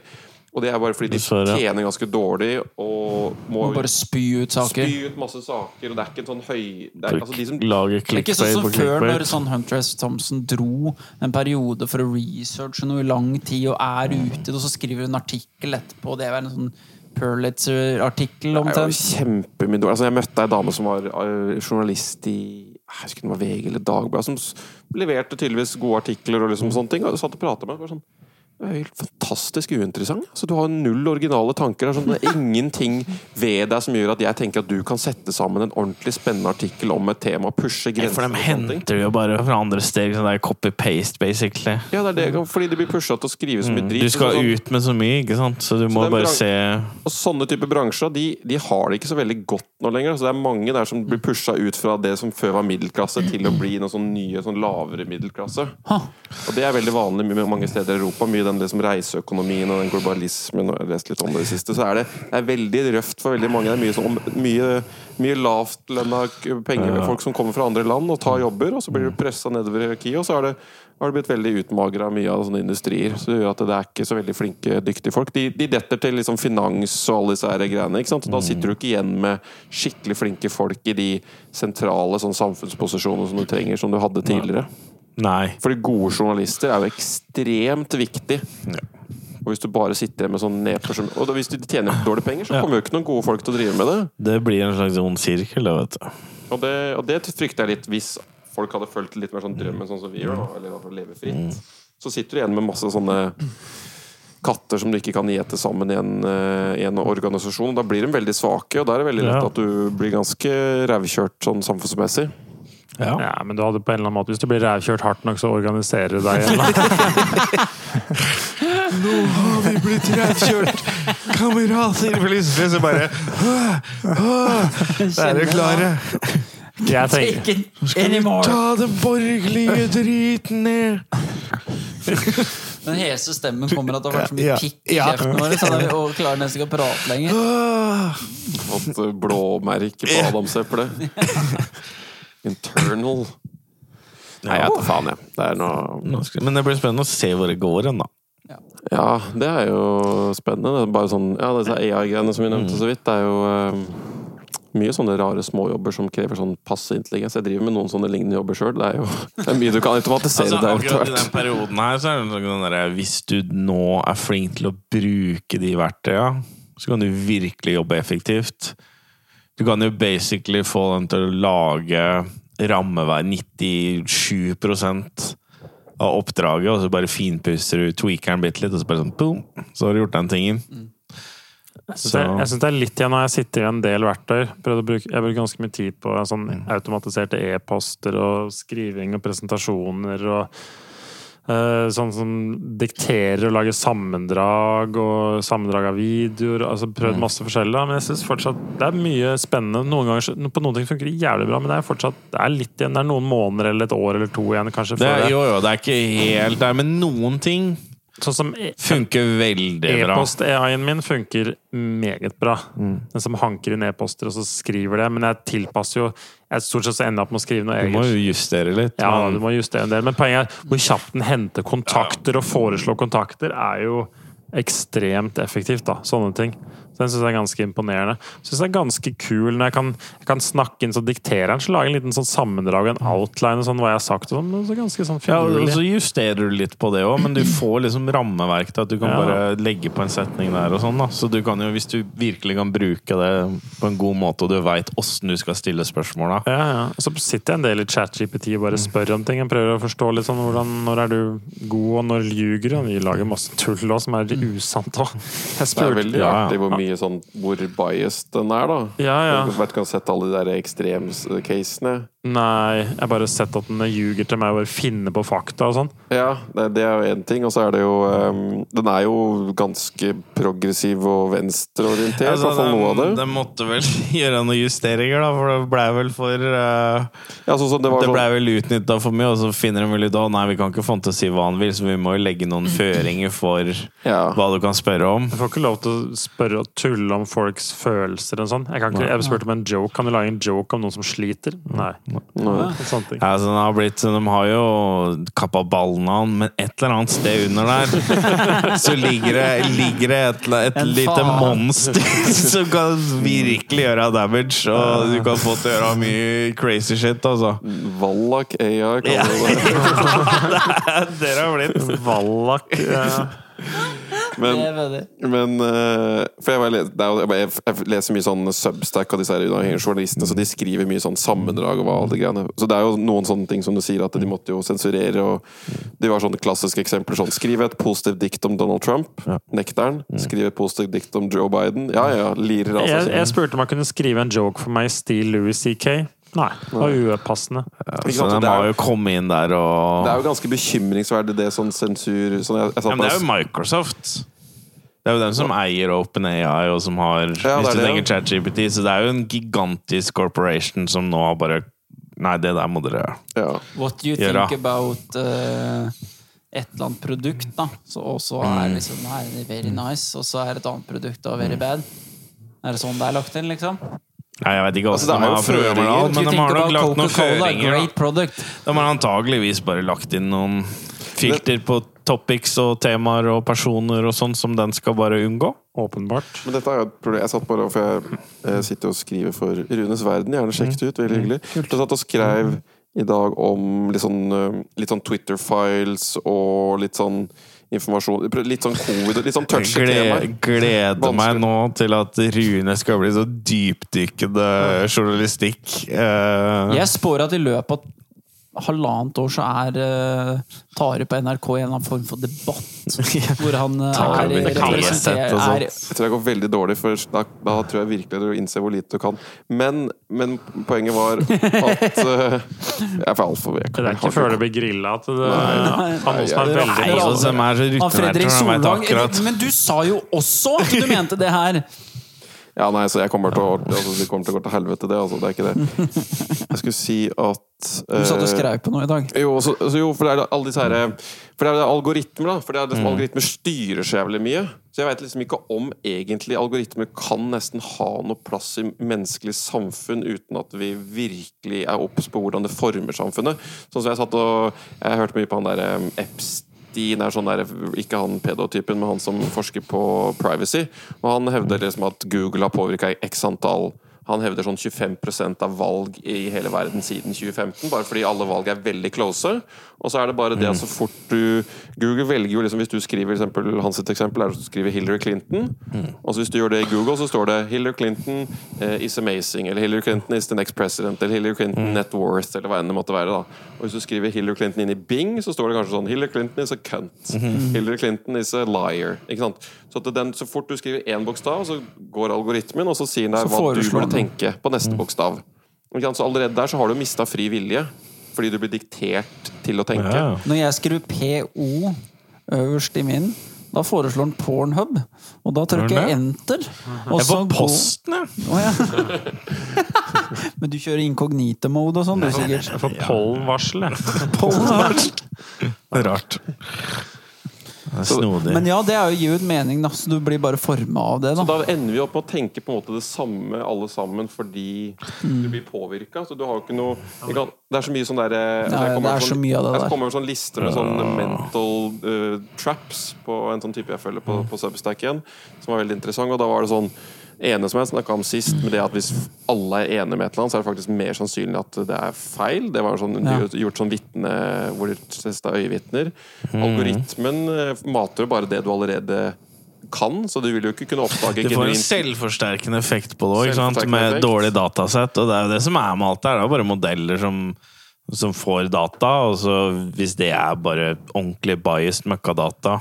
[SPEAKER 4] Og det er bare fordi de
[SPEAKER 5] Dessverre.
[SPEAKER 4] tjener ganske dårlig og må,
[SPEAKER 1] Må bare spy ut saker.
[SPEAKER 4] spy ut masse saker, og det er ikke en sånn høy det er, altså de som,
[SPEAKER 5] Lage
[SPEAKER 1] Det er ikke sånn
[SPEAKER 5] clickbait
[SPEAKER 1] som
[SPEAKER 5] på
[SPEAKER 1] før, når
[SPEAKER 5] clickbait.
[SPEAKER 1] sånn Hunter S. Thompson dro en periode for å researche noe i lang tid og er
[SPEAKER 4] Mm.
[SPEAKER 1] ute, og så skriver du en artikkel etterpå. Det er vel en sånn Perlitzer-artikkel
[SPEAKER 4] Det er jo
[SPEAKER 1] omtrent.
[SPEAKER 4] kjempemye dårlig. Altså, jeg møtte ei dame som var eh, journalist i jeg husker om det var VG eller Dagbladet, som s- leverte tydeligvis gode artikler og liksom
[SPEAKER 5] Mm.
[SPEAKER 4] sånne ting. Og jeg satt og prata med henne. og var Sånn, du er jo helt fantastisk uinteressant. Altså, du har null originale tanker. Det er, sånn, det er ingenting ved deg som gjør at jeg tenker at du kan sette sammen en ordentlig spennende artikkel om et tema, pushe
[SPEAKER 5] For
[SPEAKER 4] grenser
[SPEAKER 5] de
[SPEAKER 4] og sånne ting.
[SPEAKER 5] henter jo bare fra andre steg. Sånn der copy-paste, basically.
[SPEAKER 4] Ja, det er det, fordi de blir pusha til å skrive så mye drit.
[SPEAKER 5] Mm. Du skal
[SPEAKER 4] så sånn-
[SPEAKER 5] ut med så mye, ikke sant? Så du må
[SPEAKER 4] den
[SPEAKER 5] bare
[SPEAKER 4] bra-
[SPEAKER 5] se
[SPEAKER 4] Og sånne type bransjer de, de har det ikke så veldig godt nå lenger. Så det er mange der som blir pusha ut fra det som før var middelklasse, til å bli noen sånn nye, sånn lavere middelklasse.
[SPEAKER 1] Ha.
[SPEAKER 4] Og det er veldig vanlig mye- mange steder i Europa. Mye den liksom reiseøkonomien og den globalismen og jeg har lest litt om det i det siste, så er det, det er veldig røft for veldig mange. Det er mye, sånn, mye, mye lavtlønna k- penger med folk som kommer fra andre land og tar jobber, og så blir du pressa nedover i hierarkiet, og så har det, har det blitt veldig utmagra mye av sånne industrier. Så det gjør at det er ikke så veldig flinke, dyktige folk. De, de detter til liksom finans og alle disse her greiene. Ikke sant? Så da sitter du ikke igjen med skikkelig flinke folk i de sentrale sånn, samfunnsposisjonene som du trenger, som du hadde tidligere.
[SPEAKER 5] Nei.
[SPEAKER 4] Fordi gode journalister er jo ekstremt viktig. Og hvis du bare sitter med sånn neper som Og da, hvis de tjener dårlige penger, så kommer jo ikke noen gode folk til å drive med det.
[SPEAKER 5] Det blir en slags ond sirkel, det, vet du.
[SPEAKER 4] Og det, og det frykter jeg litt hvis folk hadde fulgt litt mer sånn drømmen sånn som vi gjør, da, eller i hvert fall leve fritt. Så sitter du igjen med masse sånne katter som du ikke kan gjete sammen i en, eh, i en organisasjon. og Da blir de veldig svake, og da er det veldig lett
[SPEAKER 2] Ja.
[SPEAKER 4] at du blir ganske rævkjørt sånn samfunnsmessig.
[SPEAKER 5] Ja.
[SPEAKER 2] Ja, men du hadde på en eller annen måte, hvis du blir rævkjørt hardt nok, så organiserer du deg. en Eller? annen.
[SPEAKER 5] Har vi blitt revkjørt? Kamerater! Plutselig så bare Er dere klare?
[SPEAKER 2] Jeg tenker,
[SPEAKER 1] Ikke anymore!
[SPEAKER 5] den borgerlige driten ned!
[SPEAKER 1] Den hese stemmen kommer at det har vært så
[SPEAKER 5] Ja.
[SPEAKER 1] mye pikk i
[SPEAKER 5] Ja.
[SPEAKER 1] kjeften vår, så da er vi og klarer nesten ikke å prate lenger.
[SPEAKER 4] Fått eh, blåmerke på adamseplet. Internal. Nei, jeg tar faen, jeg. Det er noe
[SPEAKER 5] Men det blir spennende å se hvor det går hen, da.
[SPEAKER 4] Ja, det er jo spennende. Det er bare sånn, ja, disse AI-greiene som vi nevnte så vidt, det er jo eh, mye sånne rare småjobber som krever sånn passe intelligens. Jeg driver med noen sånne lignende jobber sjøl. Det er jo det er mye du kan automatisere
[SPEAKER 5] Altså,
[SPEAKER 4] der etter
[SPEAKER 5] akkurat i den
[SPEAKER 4] hvert.
[SPEAKER 5] perioden her, så er det sånn den derre Hvis du nå er flink til å bruke de verktøya, så kan du virkelig jobbe effektivt. Du kan jo basically få dem til å lage rammeverk 97 av oppdraget, og så bare finpusser du, tweaker den bitte litt, og så bare sånn boom, så har du gjort den tingen.
[SPEAKER 2] så det- jeg syns det er litt igjen når jeg sitter i en del verktøy. Prøvde å bruke, jeg bruker ganske mye tid på
[SPEAKER 5] Mm.
[SPEAKER 2] sånn automatiserte e-poster og skriving og presentasjoner og eh, sånn som dikterer og lager sammendrag og sammendrag av videoer. altså
[SPEAKER 5] Mm.
[SPEAKER 2] Prøvd masse forskjellig, da, men jeg synes fortsatt det er mye spennende. Noen ganger, så- på noen ting funker det jævlig bra, men det er fortsatt det er litt igjen. Det er noen måneder eller et år eller to igjen, kanskje.
[SPEAKER 5] Det er,
[SPEAKER 2] før det-
[SPEAKER 5] jo, jo, det er ikke helt der, men noen ting
[SPEAKER 2] Sånn som e-
[SPEAKER 5] funker veldig bra. Mm.
[SPEAKER 2] E-post-AI-en min funker meget bra. Den som hanker inn e-poster, og så skriver det. Men jeg tilpasser jo Jeg stort sett så ender jeg opp med å skrive noe
[SPEAKER 5] Du må
[SPEAKER 2] eget.
[SPEAKER 5] jo justere litt.
[SPEAKER 2] Ja,
[SPEAKER 5] men-
[SPEAKER 2] du må justere en del. Men poenget er hvor kjapt den henter kontakter og foreslår kontakter, er jo ekstremt effektivt, da. Sånne ting. Så den syns jeg er ganske imponerende. Syns jeg er ganske kul når jeg kan, jeg kan snakke inn så dikterer han, så lager jeg en liten sånn sammendrag, en outline og sånn hva jeg har sagt og sånn. men Så ganske sånn
[SPEAKER 5] Ja, og
[SPEAKER 2] finurlig.
[SPEAKER 5] så justerer du litt på det òg, men du får liksom rammeverk til at du kan
[SPEAKER 2] Ja.
[SPEAKER 5] bare legge på en setning der og sånn, da. Så du kan jo, hvis du virkelig kan bruke det på en god måte, og du veit åssen du skal stille spørsmåla
[SPEAKER 2] Ja, ja. Og så sitter jeg en del i ChatGPT og bare spør om ting. Jeg prøver å forstå litt sånn hvordan, når er du god, og når ljuger du? Vi lager masse tull også, som er usant òg. Jeg
[SPEAKER 4] Det er
[SPEAKER 2] spurte
[SPEAKER 4] veldig
[SPEAKER 5] Ja, ja.
[SPEAKER 4] artig hvor mye sånn Hvor biased den er, da.
[SPEAKER 2] Ja, ja.
[SPEAKER 4] Du har vært- kan sett alle de der ekstremcasene.
[SPEAKER 2] Nei, jeg har bare sett at den ljuger til meg og bare finner på fakta og sånn.
[SPEAKER 4] Ja, det, det er jo én ting. Og så er det jo ehm, Den er jo ganske progressiv og venstreorientert, i hvert fall noe av det.
[SPEAKER 5] de måtte vel gjøre noen justeringer, da, for det blei vel for eh,
[SPEAKER 4] Ja, sånn som det var
[SPEAKER 5] Det
[SPEAKER 4] sånn
[SPEAKER 5] blei vel utnytta for mye, og så finner de vel ut at nei, vi kan ikke få han til å si hva han vil, så vi må jo legge noen føringer for
[SPEAKER 4] Ja.
[SPEAKER 5] hva du kan spørre om.
[SPEAKER 2] Jeg får ikke lov til å spørre og tulle om folks følelser og sånn. Jeg, kan ikke, jeg spurte om en joke. Kan du lage en joke om noen som sliter? Nei. Sånne ting.
[SPEAKER 5] Ja, så altså, den har blitt, så de har jo kappa ballen av han, men et eller annet sted under der så ligger det, ligger det et, eller- et
[SPEAKER 1] En
[SPEAKER 5] lite
[SPEAKER 1] faen.
[SPEAKER 5] monster som kan virkelig gjøre damage, og du kan få til å gjøre mye crazy shit, altså.
[SPEAKER 4] Wallach AI, kaller vi det.
[SPEAKER 5] Dere har blitt
[SPEAKER 2] Wallach. eh,
[SPEAKER 1] Det
[SPEAKER 4] Men,
[SPEAKER 1] vet jeg.
[SPEAKER 4] men eh, For jeg, bare les- det er jo- jeg, bare- jeg leser mye sånn Substack av disse her uavhengige journalistene, så de skriver mye sånn sammendrag og hva alle de greiene Så det er jo noen sånne ting som du sier, at de måtte jo sensurere, og de var sånne klassiske eksempler sånn Skriv et positivt dikt om Donald Trump. Nekter'n. Skriv et positivt dikt om Joe Biden. Ja ja, lirer av
[SPEAKER 2] Jeg,
[SPEAKER 4] seg
[SPEAKER 2] jeg spurte om jeg kunne skrive en joke for meg i stil Louis CK. Nei, det var upassende.
[SPEAKER 4] Ikke
[SPEAKER 5] Så
[SPEAKER 4] sant? Så
[SPEAKER 5] de
[SPEAKER 4] det,
[SPEAKER 5] har Altså, jo
[SPEAKER 4] er,
[SPEAKER 5] kommet inn der og
[SPEAKER 4] det er jo ganske bekymringsverdig, det sånn sensur sånn jeg, jeg satt
[SPEAKER 5] Ja, men det
[SPEAKER 4] på-
[SPEAKER 5] er jo Microsoft. Det er jo den som eier OpenAI, og som har
[SPEAKER 4] Ja, det
[SPEAKER 5] Hvis
[SPEAKER 4] er
[SPEAKER 5] du
[SPEAKER 4] det, ja.
[SPEAKER 5] tenker ChatGPT, så det er jo en gigantisk corporation som nå har bare Nei, det der må dere
[SPEAKER 4] ja.
[SPEAKER 1] What you
[SPEAKER 5] Gjør
[SPEAKER 1] think
[SPEAKER 5] det.
[SPEAKER 1] about eh, et eller annet produkt, da. Så også er
[SPEAKER 3] Mm.
[SPEAKER 1] liksom her er det very nice, og så er et annet produkt og very bad. Er det sånn det er lagt inn, liksom?
[SPEAKER 3] Nei, jeg vet ikke
[SPEAKER 4] Altså, det
[SPEAKER 3] hvordan
[SPEAKER 4] er
[SPEAKER 3] de
[SPEAKER 4] jo
[SPEAKER 3] har Frømerdal,
[SPEAKER 1] Du
[SPEAKER 3] men de
[SPEAKER 1] tenker
[SPEAKER 3] har
[SPEAKER 1] bare
[SPEAKER 3] nok lagt noen
[SPEAKER 1] Coca-Cola er
[SPEAKER 3] føringer. da.
[SPEAKER 1] great product.
[SPEAKER 3] De har antageligvis bare lagt inn noen filter på topics og temaer og personer og sånn som den skal bare unngå.
[SPEAKER 2] Åpenbart.
[SPEAKER 4] Men dette er jo et problem. Jeg satt bare, for jeg eh, sitter og skriver for Runes Verden. Gjerne sjekk
[SPEAKER 5] Mm.
[SPEAKER 4] det ut. Veldig hyggelig. Jeg satt og skrev i dag om litt sånn, eh, litt sånn Twitter-files og litt sånn informasjon Litt sånn covid og litt
[SPEAKER 3] Jeg
[SPEAKER 4] sånn touchy
[SPEAKER 3] gleder,
[SPEAKER 4] temaer.
[SPEAKER 3] gleder meg
[SPEAKER 4] Vanskelig.
[SPEAKER 3] nå til at Rune skal bli så dypdykkende journalistikk. Eh,
[SPEAKER 1] Jeg spår at i løpet av halvannet år så er eh, Tare på NRK i en eller annen form for debatt. Hvor han eh,
[SPEAKER 3] Tare
[SPEAKER 1] er,
[SPEAKER 3] blir kalesett
[SPEAKER 1] representerer
[SPEAKER 3] og
[SPEAKER 5] Sånn.
[SPEAKER 1] er
[SPEAKER 3] sånt.
[SPEAKER 4] Jeg tror jeg går veldig dårlig, for da, da tror jeg virkelig du innser hvor lite du kan. Men, men poenget var at eh, Jeg er for altfor vek.
[SPEAKER 2] Det er ikke før det blir grilla at det Han også er
[SPEAKER 4] Nei,
[SPEAKER 2] veldig
[SPEAKER 1] nei,
[SPEAKER 3] Også som er så
[SPEAKER 1] han Fredrik
[SPEAKER 3] rutinert, så han vet
[SPEAKER 1] Solvang
[SPEAKER 3] akkurat.
[SPEAKER 1] Men du sa jo også at du mente det her!
[SPEAKER 4] Ja, nei, så jeg kommer til å altså, Det kommer til å gå til helvete, det. Altså, det er ikke det. Jeg skulle si at
[SPEAKER 1] Du satt og
[SPEAKER 4] eh,
[SPEAKER 1] skrev på noe i dag.
[SPEAKER 4] Jo, så, så jo, for det er da alle disse her, For det er jo det algoritmer, da. For det er liksom, algoritmer styrer så jævlig mye. Så jeg veit liksom ikke om egentlig algoritmer kan nesten ha noe plass i menneskelig samfunn uten at vi virkelig er obs på hvordan det former samfunnet. Sånn som jeg satt og Jeg hørte mye på han derre Epstein. er sånn der, ikke han pedotypen, men han som forsker på privacy. Og han hevder liksom at Google har påvirka x antall han hevder sånn 25 av valg i hele verden siden 2015, bare fordi alle valg er veldig close. Og så er det bare det at så fort du Google velger jo liksom Hvis du skriver for eksempel, hans sitt eksempel er å skrive Hillary Clinton, og så hvis du gjør det i Google, så står det 'Hillary Clinton eh, is amazing', eller 'Hillary Clinton is the next president', eller 'Hillary Clinton net worth', eller hva enn det måtte være. da. Og hvis du skriver Hillary Clinton inn i Bing, så står det kanskje sånn 'Hillary Clinton is a cunt'. Hillary Clinton is a liar. Ikke sant? Så, at den, så fort du skriver én bokstav, så går algoritmen, og så sier den deg
[SPEAKER 1] Så
[SPEAKER 4] hva du
[SPEAKER 1] foreslår den.
[SPEAKER 4] burde tenke tenke på neste bokstav. Ikke sant? Så allerede der så har du mista fri vilje, fordi du blir diktert til å tenke.
[SPEAKER 3] Ja.
[SPEAKER 1] Når jeg skriver PO øverst i min, da foreslår den Pornhub. Og da trykker
[SPEAKER 3] Gjør
[SPEAKER 1] jeg
[SPEAKER 3] den
[SPEAKER 1] enter. Og
[SPEAKER 3] Jeg er på
[SPEAKER 1] så går-
[SPEAKER 3] posten, jeg!
[SPEAKER 1] Å, ja. Men du kjører inkognito-mode og sånn, du sikkert.
[SPEAKER 2] Jeg får pollenvarsel, jeg.
[SPEAKER 1] Pornhub.
[SPEAKER 3] Rart. Det er snodig.
[SPEAKER 1] Men ja, det er jo gir jo ut mening, da. Så du blir bare forma av det,
[SPEAKER 4] Så
[SPEAKER 1] da.
[SPEAKER 4] da ender vi opp med å tenke på en måte det samme alle sammen fordi du blir påvirka. Så du har jo ikke noe ikke sant? Det er så mye sånn derre
[SPEAKER 1] Ja,
[SPEAKER 4] jeg kommer
[SPEAKER 1] det er
[SPEAKER 4] over
[SPEAKER 1] så mye av det
[SPEAKER 4] jeg
[SPEAKER 1] der.
[SPEAKER 4] kommer over sånn lister med sånne mental eh, traps på en sånn type jeg følger på, på Substack igjen, som var veldig interessant. Og da var det sånn ene som jeg snakka om sist, med det at hvis alle er enige med et eller annet, så er det faktisk mer sannsynlig at det er feil. Det var jo sånn,
[SPEAKER 1] Ja.
[SPEAKER 4] gjort- gjort sånn vitne hvor de testa øyevitner. Algoritmen eh, mater jo bare det du allerede kan, så du vil jo ikke kunne oppdage
[SPEAKER 3] Du får en
[SPEAKER 4] genuint-
[SPEAKER 3] selvforsterkende effekt på det også, ikke sant?
[SPEAKER 4] Selvforsterkende
[SPEAKER 3] med
[SPEAKER 4] effekt.
[SPEAKER 3] dårlig datasett. Og det er jo det som er med alt det her. Det er jo bare modeller som, som får data, og så hvis det er bare ordentlig biased møkkadata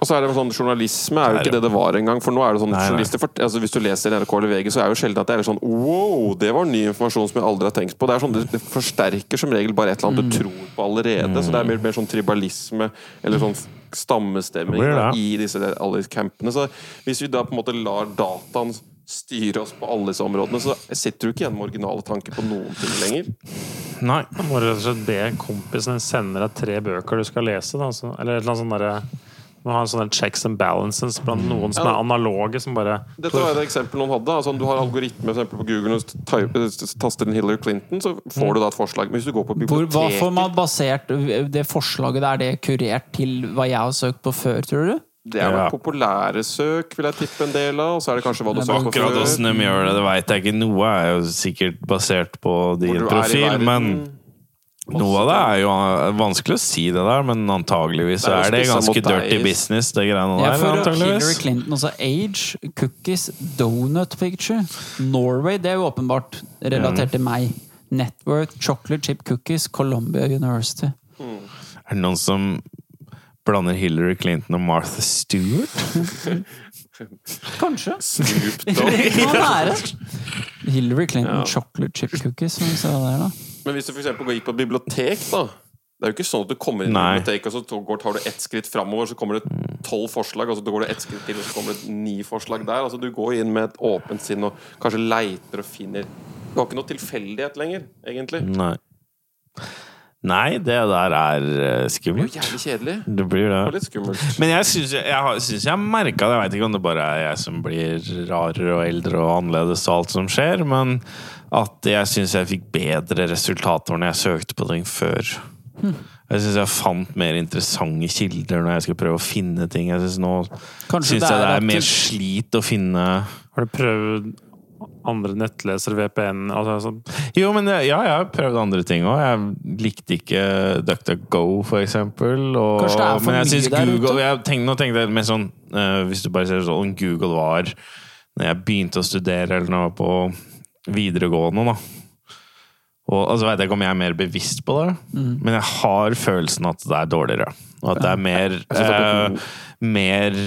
[SPEAKER 4] Og så er det sånn, Journalisme er jo ikke det det var engang. For nå er det sånn
[SPEAKER 3] Nei, nei.
[SPEAKER 4] journalister fort- altså Hvis du leser NRK eller VG, så er det jo sjelden at det er sånn Wow, det var ny informasjon som jeg aldri har tenkt på. Det er sånn, det- det forsterker som regel bare et eller annet du tror på allerede. Så det er mer, mer sånn tribalisme eller sånn stammestemming
[SPEAKER 3] Blir det.
[SPEAKER 4] da, i disse der, alle disse campene. Så hvis vi da på en måte lar dataen styre oss på alle disse områdene, så sitter du ikke igjen med originale tanker på noen ting lenger.
[SPEAKER 3] Nei.
[SPEAKER 2] Du må rett og slett be kompisen din sende deg tre bøker du skal lese. Da. Så, eller et eller annet sånn derre du må ha en sånn der checks and balances blant noen som
[SPEAKER 4] Ja.
[SPEAKER 2] er analoge, som bare
[SPEAKER 4] Dette var et eksempel noen hadde. Altså, om du har algoritme for eksempel, på Google og type- taster inn Hillary Clinton, så får du da et forslag. Men hvis du går på
[SPEAKER 1] Hvor, hva får
[SPEAKER 4] biblioteket
[SPEAKER 1] man basert det forslaget der, det er kurert til hva jeg har søkt på før, tror du?
[SPEAKER 4] Det er vel
[SPEAKER 3] Ja.
[SPEAKER 4] populære søk, vil jeg tippe en del av. Og så er det kanskje hva du
[SPEAKER 1] Men
[SPEAKER 4] sa på
[SPEAKER 3] Akkurat
[SPEAKER 4] før.
[SPEAKER 3] åssen de gjør det, det veit jeg ikke. Noe er jo sikkert basert på
[SPEAKER 4] Hvor
[SPEAKER 3] din
[SPEAKER 4] du er i
[SPEAKER 3] profil,
[SPEAKER 4] verden.
[SPEAKER 3] men noe av det er jo eh, vanskelig å si det der, men antageligvis
[SPEAKER 4] Det
[SPEAKER 3] så
[SPEAKER 4] er jo
[SPEAKER 3] er det
[SPEAKER 4] spissa mot
[SPEAKER 3] ganske
[SPEAKER 4] deg.
[SPEAKER 3] dirty business, det
[SPEAKER 1] Ja,
[SPEAKER 3] greiene der.
[SPEAKER 1] for Hillary
[SPEAKER 3] antageligvis.
[SPEAKER 1] Clinton også. Age, cookies, donut picture. Norway, det er jo åpenbart relatert til meg. Network, chocolate chip cookies, Columbia University.
[SPEAKER 3] Er det noen som blander Hillary Clinton og Martha Stewart?
[SPEAKER 1] Kanskje.
[SPEAKER 4] Snoop Dogg.
[SPEAKER 1] Det kan være. Hillary Clinton, chocolate chip cookies. Som vi sa der, da.
[SPEAKER 4] Men hvis du for eksempel går inn på et bibliotek, da. Det er jo ikke sånn at du kommer inn i
[SPEAKER 3] Nei.
[SPEAKER 4] biblioteket og så to- går, tar du ett skritt framover, så kommer det tolv forslag, og så går du ett skritt til, og så kommer det ni forslag der. Altså Du går inn med et åpent sinn og kanskje leiter og finner Du har ikke noe tilfeldighet lenger, egentlig.
[SPEAKER 3] Nei.
[SPEAKER 5] Nei, det der er eh,
[SPEAKER 4] Det er
[SPEAKER 5] skummelt.
[SPEAKER 4] jo jævlig kjedelig.
[SPEAKER 5] Det blir
[SPEAKER 4] Og
[SPEAKER 5] det.
[SPEAKER 4] litt skummelt.
[SPEAKER 5] Men jeg syns jeg, jeg, har- synes jeg har merka det. Jeg veit ikke om det bare er jeg som blir rarere og eldre og annerledes og alt som skjer, men at jeg syns jeg fikk bedre resultater når jeg søkte på ting før. Jeg syns jeg fant mer interessante kilder når jeg skulle prøve å finne ting. Jeg synes Nå
[SPEAKER 1] Kanskje
[SPEAKER 5] syns jeg det
[SPEAKER 1] at
[SPEAKER 5] er mer
[SPEAKER 1] du-
[SPEAKER 5] slit å finne
[SPEAKER 2] Har du prøvd andre nettlesere, VPN altså, sånn.
[SPEAKER 5] Jo, men det- ja, jeg har prøvd andre ting òg. Jeg likte ikke DuckDuckGo, for eksempel. Og,
[SPEAKER 1] Kanskje det er for
[SPEAKER 5] men jeg
[SPEAKER 1] mye
[SPEAKER 5] synes
[SPEAKER 1] der
[SPEAKER 5] Google,
[SPEAKER 1] ute?
[SPEAKER 5] Jeg tenkte, nå tenkte jeg mer sånn eh, Hvis du bare ser sånn Google var Når jeg begynte å studere, eller når jeg var på videregående, da. Og altså, vet jeg ikke om jeg er mer bevisst på det,
[SPEAKER 1] Mhm.
[SPEAKER 5] men jeg har følelsen at det er dårligere. Og at det er mer, eh, mer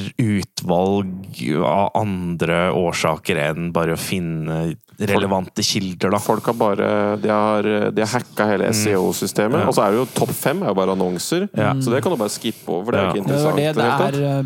[SPEAKER 5] utvalg av andre årsaker enn bare å finne relevante kilder, da.
[SPEAKER 4] Folk har bare De har, de har hacka hele SEO-systemet. Og så er det jo topp fem er jo bare annonser,
[SPEAKER 5] Ja.
[SPEAKER 4] så det kan du bare skippe over. For det er jo
[SPEAKER 5] Ja.
[SPEAKER 1] Det
[SPEAKER 4] ikke
[SPEAKER 1] var
[SPEAKER 4] interessant.
[SPEAKER 1] det
[SPEAKER 4] i
[SPEAKER 1] det
[SPEAKER 4] hele tatt.
[SPEAKER 1] er eh,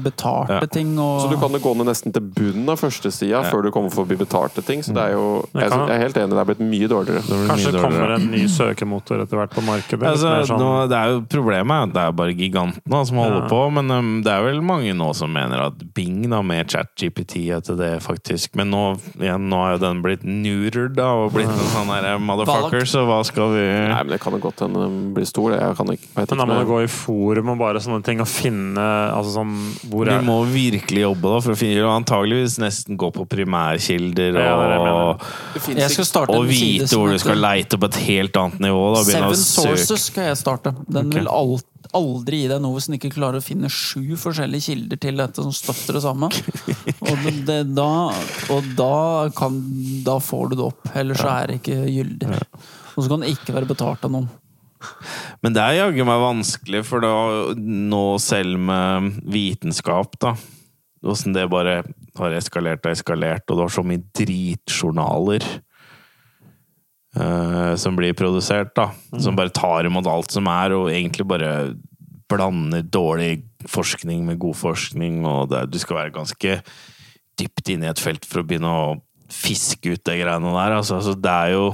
[SPEAKER 1] betalte
[SPEAKER 5] Ja.
[SPEAKER 1] ting og
[SPEAKER 4] Så du kan jo gå ned nesten til bunnen av førstesida før du kommer forbi betalte ting. Så det er jo Jeg,
[SPEAKER 2] kan-
[SPEAKER 4] jeg er helt enig, det er blitt mye dårligere.
[SPEAKER 2] Kanskje
[SPEAKER 5] Mye
[SPEAKER 2] det
[SPEAKER 5] dårligere.
[SPEAKER 2] kommer en ny søkemotor etter hvert på markedet? litt
[SPEAKER 5] Altså,
[SPEAKER 2] mer sånn,
[SPEAKER 5] nå, det er jo Problemet er jo at det er jo bare gigantene da, som holder
[SPEAKER 2] Ja.
[SPEAKER 5] på, men um, det er vel mange nå som mener at Bing da, med ChatGPT etter det, faktisk Men nå, igjen, nå er jo den blitt neutered da, og blitt en sånn derre motherfucker, så hva skal vi
[SPEAKER 4] Nei, men det kan jo godt hende den blir stor. det. Jeg kan ikke, vet
[SPEAKER 2] men da
[SPEAKER 4] ikke
[SPEAKER 2] må
[SPEAKER 4] om
[SPEAKER 2] du
[SPEAKER 4] jeg-
[SPEAKER 2] gå i forum og bare sånne ting og finne altså sånn, hvor
[SPEAKER 5] Du
[SPEAKER 2] er
[SPEAKER 5] må virkelig jobbe da, for å finne Og antageligvis nesten gå på primærkilder
[SPEAKER 2] Ja, det er det jeg mener.
[SPEAKER 5] og,
[SPEAKER 4] Det finnes
[SPEAKER 1] Jeg skal
[SPEAKER 4] ikke-
[SPEAKER 1] starte
[SPEAKER 5] og
[SPEAKER 1] en side
[SPEAKER 5] vite
[SPEAKER 1] som
[SPEAKER 5] hvor du
[SPEAKER 1] heter
[SPEAKER 5] skal leite på et helt annet nivå. Da, begynne
[SPEAKER 1] Seven
[SPEAKER 5] å søke.
[SPEAKER 1] Sources skal jeg starte. Den
[SPEAKER 5] Ok.
[SPEAKER 1] vil al- aldri gi deg noe hvis den ikke klarer å finne sju forskjellige kilder til dette som støtter det samme. Og, det, det, da, og da, kan, da får du det opp, ellers så er det ikke gyldig. Og så kan det ikke være betalt av noen.
[SPEAKER 5] Men det er jaggu meg vanskelig, for da, nå selv med vitenskap, da Åssen det bare har eskalert og eskalert, og du har så mye dritjournaler eh, som blir produsert, da.
[SPEAKER 4] Mm.
[SPEAKER 5] Som bare tar imot alt som er, og egentlig bare blander dårlig forskning med god forskning, og det, du skal være ganske dypt inne i et felt for å begynne å fiske ut de greiene der. Altså, altså det er jo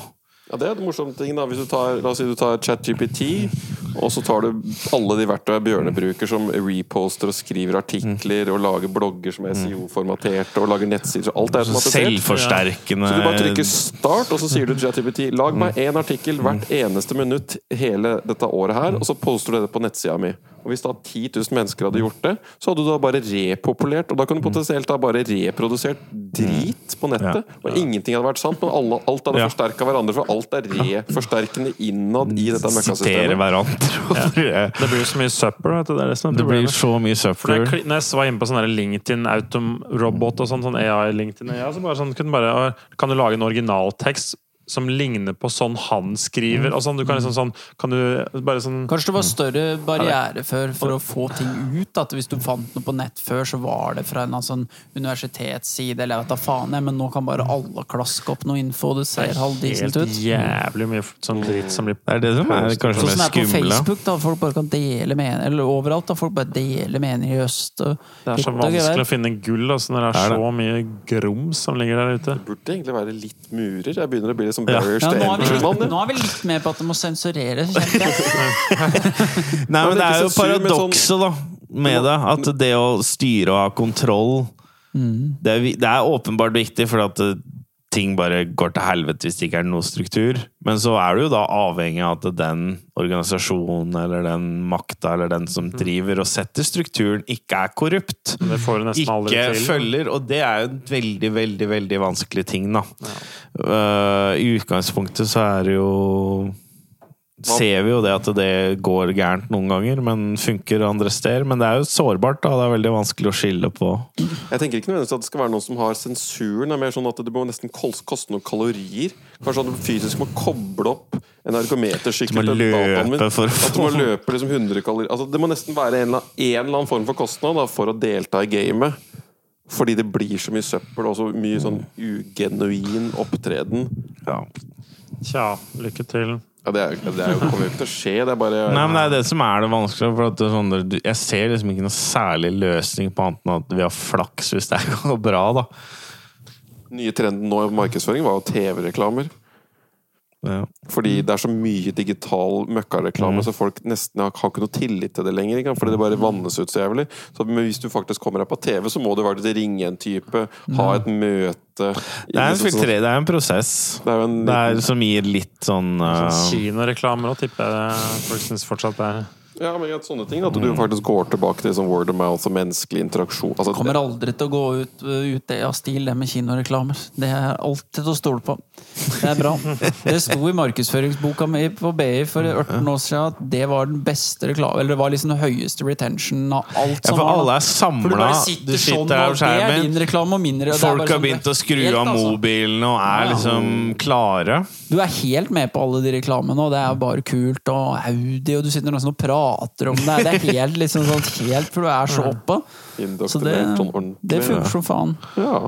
[SPEAKER 4] Ja, det er en morsom ting, da. Hvis du tar, la oss si du tar ChatGPT, og så tar du alle de verktøyene Bjørne bruker, som reposter og skriver artikler og lager blogger som er SIO-formaterte og lager nettsider, så alt er automatisert.
[SPEAKER 5] selvforsterkende
[SPEAKER 4] Så du bare trykker start, og så sier du til ChatGPT lag meg én artikkel hvert eneste minutt hele dette året her, og så poster du det på nettsida mi. Og Hvis da 10 000 mennesker hadde gjort det, så hadde du da bare repopulert. Og da kunne du potensielt da bare reprodusert drit på nettet. Og ingenting hadde vært sant, men alle, alt hadde
[SPEAKER 5] Ja.
[SPEAKER 4] forsterket forsterka hverandre. For alt er reforsterkende innad i dette
[SPEAKER 5] sitere
[SPEAKER 4] møkkasystemet.
[SPEAKER 5] hverandre.
[SPEAKER 2] Det blir jo så mye søppel, vet du. Det er det som er
[SPEAKER 5] Det blir
[SPEAKER 2] problemet.
[SPEAKER 5] så mye
[SPEAKER 2] For når jeg,
[SPEAKER 5] søppel.
[SPEAKER 2] kli- når jeg var inne på sånn der LinkedIn Autom-robot og sånn, sånn AI LinkedIn AI, så bare sånn, kunne bare, «Å, kan du lage en originaltekst som ligner på sånn han skriver? Og sånn, du kan liksom sånn, kan du bare sånn
[SPEAKER 1] Kanskje det var større barriere før for å få ting ut. At hvis du fant noe på nett før, så var det fra en eller annen sånn universitetsside, eller jeg vet da faen, jeg, men nå kan bare alle klaske opp noe info, det ser halvdisent
[SPEAKER 2] helt
[SPEAKER 1] ut.
[SPEAKER 2] jævlig mye sånn dritt som blir
[SPEAKER 5] Det er det som er kanskje
[SPEAKER 1] Sånn som
[SPEAKER 5] mest
[SPEAKER 1] det er på
[SPEAKER 5] skumle.
[SPEAKER 1] Facebook, da folk bare kan dele meninger Eller overalt, da folk bare deler meninger i øst. og
[SPEAKER 2] Det er så
[SPEAKER 1] hytt og
[SPEAKER 2] vanskelig å
[SPEAKER 1] gevær.
[SPEAKER 2] finne gull altså, når det
[SPEAKER 5] Er
[SPEAKER 2] er
[SPEAKER 5] det?
[SPEAKER 2] så mye grums som ligger der ute.
[SPEAKER 4] Burde egentlig være litt murer. Jeg begynner å bli litt som barriers
[SPEAKER 1] ja,
[SPEAKER 4] to
[SPEAKER 1] nå, er vi,
[SPEAKER 4] entry-mann.
[SPEAKER 1] nå er vi litt med på at det må sensureres. kjente jeg.
[SPEAKER 5] Nei,
[SPEAKER 4] det
[SPEAKER 5] men det
[SPEAKER 4] er
[SPEAKER 5] er jo
[SPEAKER 4] ikke sensur, men
[SPEAKER 5] paradokset, da, med det. At det å styre og ha kontroll Det er, vi- det er åpenbart viktig, for at eh, ting bare går til helvete hvis det ikke er noe struktur. Men så er du jo da avhengig av at den organisasjonen eller den makta eller den som driver og setter strukturen, ikke er korrupt.
[SPEAKER 2] Det får du nesten aldri
[SPEAKER 5] ikke
[SPEAKER 2] til.
[SPEAKER 5] følger, og det er jo en veldig, veldig, veldig vanskelig ting, da. Eh, I utgangspunktet så er det jo Ser vi jo det at det går gærent noen ganger, men funker andre steder. Men det er jo sårbart, da. Det er veldig vanskelig å skille på.
[SPEAKER 4] Jeg tenker ikke nødvendigvis at det skal være noen som har sensuren. Det er mer sånn at det må nesten kol- koste noen kalorier. Kanskje at du fysisk må koble opp en ergometersykkel
[SPEAKER 5] Du må
[SPEAKER 4] til dataen
[SPEAKER 5] løpe for å
[SPEAKER 4] At du må
[SPEAKER 5] få-
[SPEAKER 4] løpe liksom 100 kalorier. Altså, det må nesten være en eller annen, en eller annen form for kostnad da, for å delta i gamet. Fordi det blir så mye søppel og så mye sånn ugenuin opptreden.
[SPEAKER 2] Tja, lykke til.
[SPEAKER 4] Ja, det, er, jo- det er jo, kommer jo ikke til å skje. Det er bare
[SPEAKER 5] Nei, men Det er det som er det vanskelige. For at det er sånn, der- du- jeg ser liksom ikke noen særlig løsning på annet enn at vi har flaks hvis det går bra, da.
[SPEAKER 4] nye trenden nå i markedsføring var jo TV-reklamer.
[SPEAKER 5] Ja.
[SPEAKER 4] Fordi
[SPEAKER 5] Mm.
[SPEAKER 4] det er så mye digital møkkareklame, så folk nesten har, har ikke noe tillit til det lenger. Ikke? sant? Fordi det bare
[SPEAKER 5] Mm.
[SPEAKER 4] vannes ut så jævlig. Så, men hvis du faktisk kommer deg på TV, så må du faktisk ringe en type, ha et møte
[SPEAKER 5] Mm. Det er en
[SPEAKER 4] sånn-
[SPEAKER 5] filtre, det er en prosess.
[SPEAKER 4] Det er jo en
[SPEAKER 5] Det er som gir litt sånn
[SPEAKER 2] Sånn
[SPEAKER 5] uh,
[SPEAKER 2] Kinoreklamer og tipper jeg folk syns fortsatt det er
[SPEAKER 4] Ja, men greit, sånne ting. da, At
[SPEAKER 5] Mm.
[SPEAKER 4] du faktisk går tilbake til sånn word of mouth og menneskelig interaksjon. Altså,
[SPEAKER 1] Kommer aldri til å gå ut, eh, ut det av stil, det med kinoreklamer. Det er alltid å stole på. Det er bra. Det sto i markedsføringsboka mi på BI for 18 år siden at det var den beste reklame, eller det var liksom den høyeste retention av alt
[SPEAKER 5] Ja,
[SPEAKER 1] som
[SPEAKER 5] for
[SPEAKER 1] var.
[SPEAKER 5] alle er
[SPEAKER 1] For du
[SPEAKER 5] samla.
[SPEAKER 1] bare
[SPEAKER 5] Du
[SPEAKER 1] sitter sånn,
[SPEAKER 5] sitter der
[SPEAKER 1] og
[SPEAKER 5] på
[SPEAKER 1] det er din
[SPEAKER 5] skjermen.
[SPEAKER 1] reklame og min reklame. Det er
[SPEAKER 5] Folk
[SPEAKER 1] bare
[SPEAKER 5] har
[SPEAKER 1] sånn,
[SPEAKER 5] begynt å skru
[SPEAKER 1] helt,
[SPEAKER 5] av
[SPEAKER 1] altså.
[SPEAKER 5] mobilene og er
[SPEAKER 1] Ja.
[SPEAKER 5] liksom klare.
[SPEAKER 1] Du er helt med på alle de reklamene, og det er bare kult, og Audi, og du sitter nesten og prater om det. Det er helt liksom sånn, helt for du er så oppe. Så det,
[SPEAKER 4] Indoktrinert sånn ordentlig.
[SPEAKER 1] det funker som faen.
[SPEAKER 4] Ja.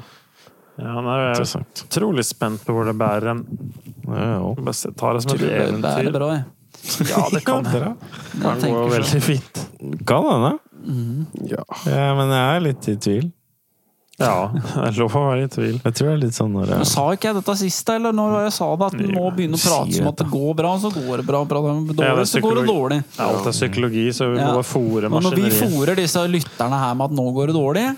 [SPEAKER 2] Ja, nei, jeg er
[SPEAKER 5] Interessant.
[SPEAKER 2] utrolig spent på hvor det bærer en.
[SPEAKER 5] Ja, jo.
[SPEAKER 2] Bare se- tar det som et
[SPEAKER 1] Det er
[SPEAKER 2] eventyr.
[SPEAKER 1] bra, jeg. Ja, det kan jeg.
[SPEAKER 2] Det går
[SPEAKER 1] tenker sånn.
[SPEAKER 2] veldig fint.
[SPEAKER 5] Kan hende.
[SPEAKER 4] ja.
[SPEAKER 5] Ja, men jeg er litt i tvil.
[SPEAKER 2] Ja, det er lov å være i tvil.
[SPEAKER 5] Jeg tror det er litt sånn når
[SPEAKER 1] Men
[SPEAKER 5] jeg
[SPEAKER 1] Sa ikke jeg dette sist, da, eller når var det jeg sa det? At en må begynne å prate som at det går bra, så går det bra. bra det er dårlig,
[SPEAKER 2] Ja, det er
[SPEAKER 1] så går det
[SPEAKER 2] psykologi.
[SPEAKER 1] dårlig.
[SPEAKER 2] Alt er psykologi, så vi må
[SPEAKER 1] Ja.
[SPEAKER 2] bare fòre
[SPEAKER 1] Og når vi
[SPEAKER 2] maskineriet.
[SPEAKER 1] fòrer disse lytterne her med at nå går det dårlig,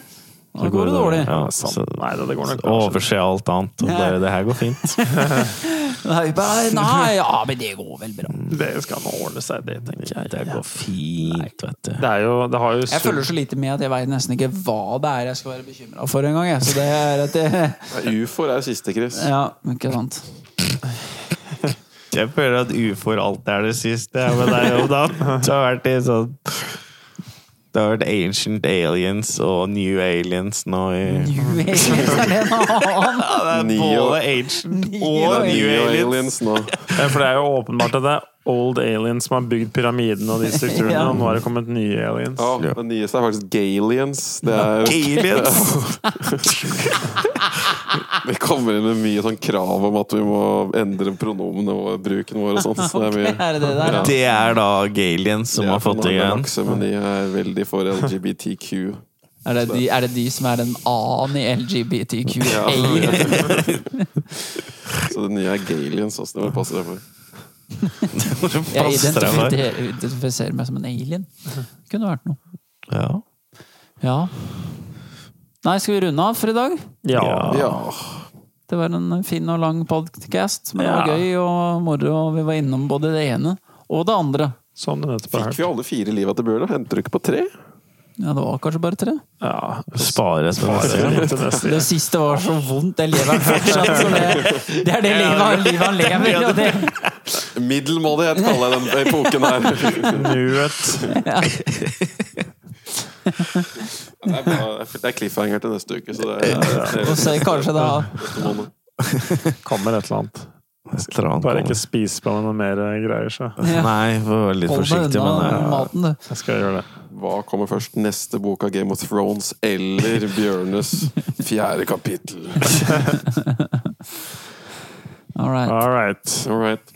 [SPEAKER 1] så går det dårlig.
[SPEAKER 5] Ja,
[SPEAKER 2] Sant.
[SPEAKER 5] så
[SPEAKER 2] Nei, det, det går nok kanskje.
[SPEAKER 5] overse alt annet. Og
[SPEAKER 1] Ja.
[SPEAKER 5] det, det her går fint.
[SPEAKER 1] Nei, bare, nei, ja, men det går vel bra.
[SPEAKER 2] Det skal nå ordne seg, det tenker jeg.
[SPEAKER 5] Det går fint, vet du.
[SPEAKER 2] Det er jo Det har jo
[SPEAKER 1] Jeg følger så lite med at jeg veit nesten ikke hva det er jeg skal være bekymra for engang. jeg. Så det er at det
[SPEAKER 4] Ufoer er siste, Chris.
[SPEAKER 1] Ja, ikke sant.
[SPEAKER 5] Jeg føler at ufor alt er det siste jeg er med deg om dagen. Det har vært i sånn Det har vært Ancient Aliens og New Aliens nå i
[SPEAKER 1] New Aliens er det en annen!
[SPEAKER 5] ja, det er
[SPEAKER 4] Neo-
[SPEAKER 5] både Ancient
[SPEAKER 1] Neo
[SPEAKER 5] og New
[SPEAKER 4] Neo
[SPEAKER 5] Aliens.
[SPEAKER 4] aliens nå.
[SPEAKER 2] Ja, for det er jo åpenbart at det er old aliens som har bygd pyramiden og de strukturene,
[SPEAKER 1] Ja.
[SPEAKER 2] og nå er det kommet nye aliens.
[SPEAKER 4] Ja, Den nyeste er faktisk galiens. Det er,
[SPEAKER 5] Aliens!
[SPEAKER 4] vi kommer inn med mye sånn krav om at vi må endre pronomene og bruken vår og sånt. Så det er
[SPEAKER 1] Det
[SPEAKER 4] mye.
[SPEAKER 1] er det der, ja.
[SPEAKER 5] Det er da Galiens som
[SPEAKER 4] De
[SPEAKER 5] har
[SPEAKER 4] er for
[SPEAKER 5] fått det igjen.
[SPEAKER 4] narkomane, Men de er veldig for LGBTQ.
[SPEAKER 1] Er det, de, er det de som er den annen i LGBTQA?
[SPEAKER 4] Ja, ja. Så det nye er galiens. Også, det må du passe deg for.
[SPEAKER 1] Jeg
[SPEAKER 5] Pass deg for.
[SPEAKER 1] identifiserer, identifiserer meg som en alien. Det kunne vært noe.
[SPEAKER 5] Ja.
[SPEAKER 1] Ja. Nei, skal vi runde av for i dag?
[SPEAKER 2] Ja.
[SPEAKER 4] Ja.
[SPEAKER 1] Det var en fin og lang podcast, men det
[SPEAKER 2] Ja.
[SPEAKER 1] var gøy og moro. og Vi var innom både det ene og det andre.
[SPEAKER 2] Som du nettopp har
[SPEAKER 4] Fikk
[SPEAKER 2] hørt.
[SPEAKER 4] vi alle fire liv etter Bøhler? Henter du ikke på tre?
[SPEAKER 1] Ja, det var kanskje bare tre.
[SPEAKER 2] Ja.
[SPEAKER 5] Spare til neste gang.
[SPEAKER 2] Til neste
[SPEAKER 1] Det
[SPEAKER 2] gang.
[SPEAKER 1] siste var så vondt. Det lever han fortsatt. Så det, det er det livet, han- livet han lever. Og det,
[SPEAKER 4] Middelmådighet kaller jeg den epoken her.
[SPEAKER 2] Nuet.
[SPEAKER 4] Det er, bra. det er cliffhanger til neste uke, så det er
[SPEAKER 1] og så kanskje da
[SPEAKER 2] Kommer et eller annet.
[SPEAKER 5] Et eller annet
[SPEAKER 2] Bare
[SPEAKER 5] kommer.
[SPEAKER 2] ikke spis på meg noe mer greier, så.
[SPEAKER 1] Ja.
[SPEAKER 5] Nei, får være litt
[SPEAKER 1] Hold deg
[SPEAKER 5] forsiktig,
[SPEAKER 1] unna
[SPEAKER 5] men ja.
[SPEAKER 1] maten, du.
[SPEAKER 2] Jeg skal gjøre det.
[SPEAKER 4] Hva kommer først? Neste bok av Game of Thrones eller Bjørnes fjerde kapittel?
[SPEAKER 1] All right.
[SPEAKER 2] All right.
[SPEAKER 4] All right.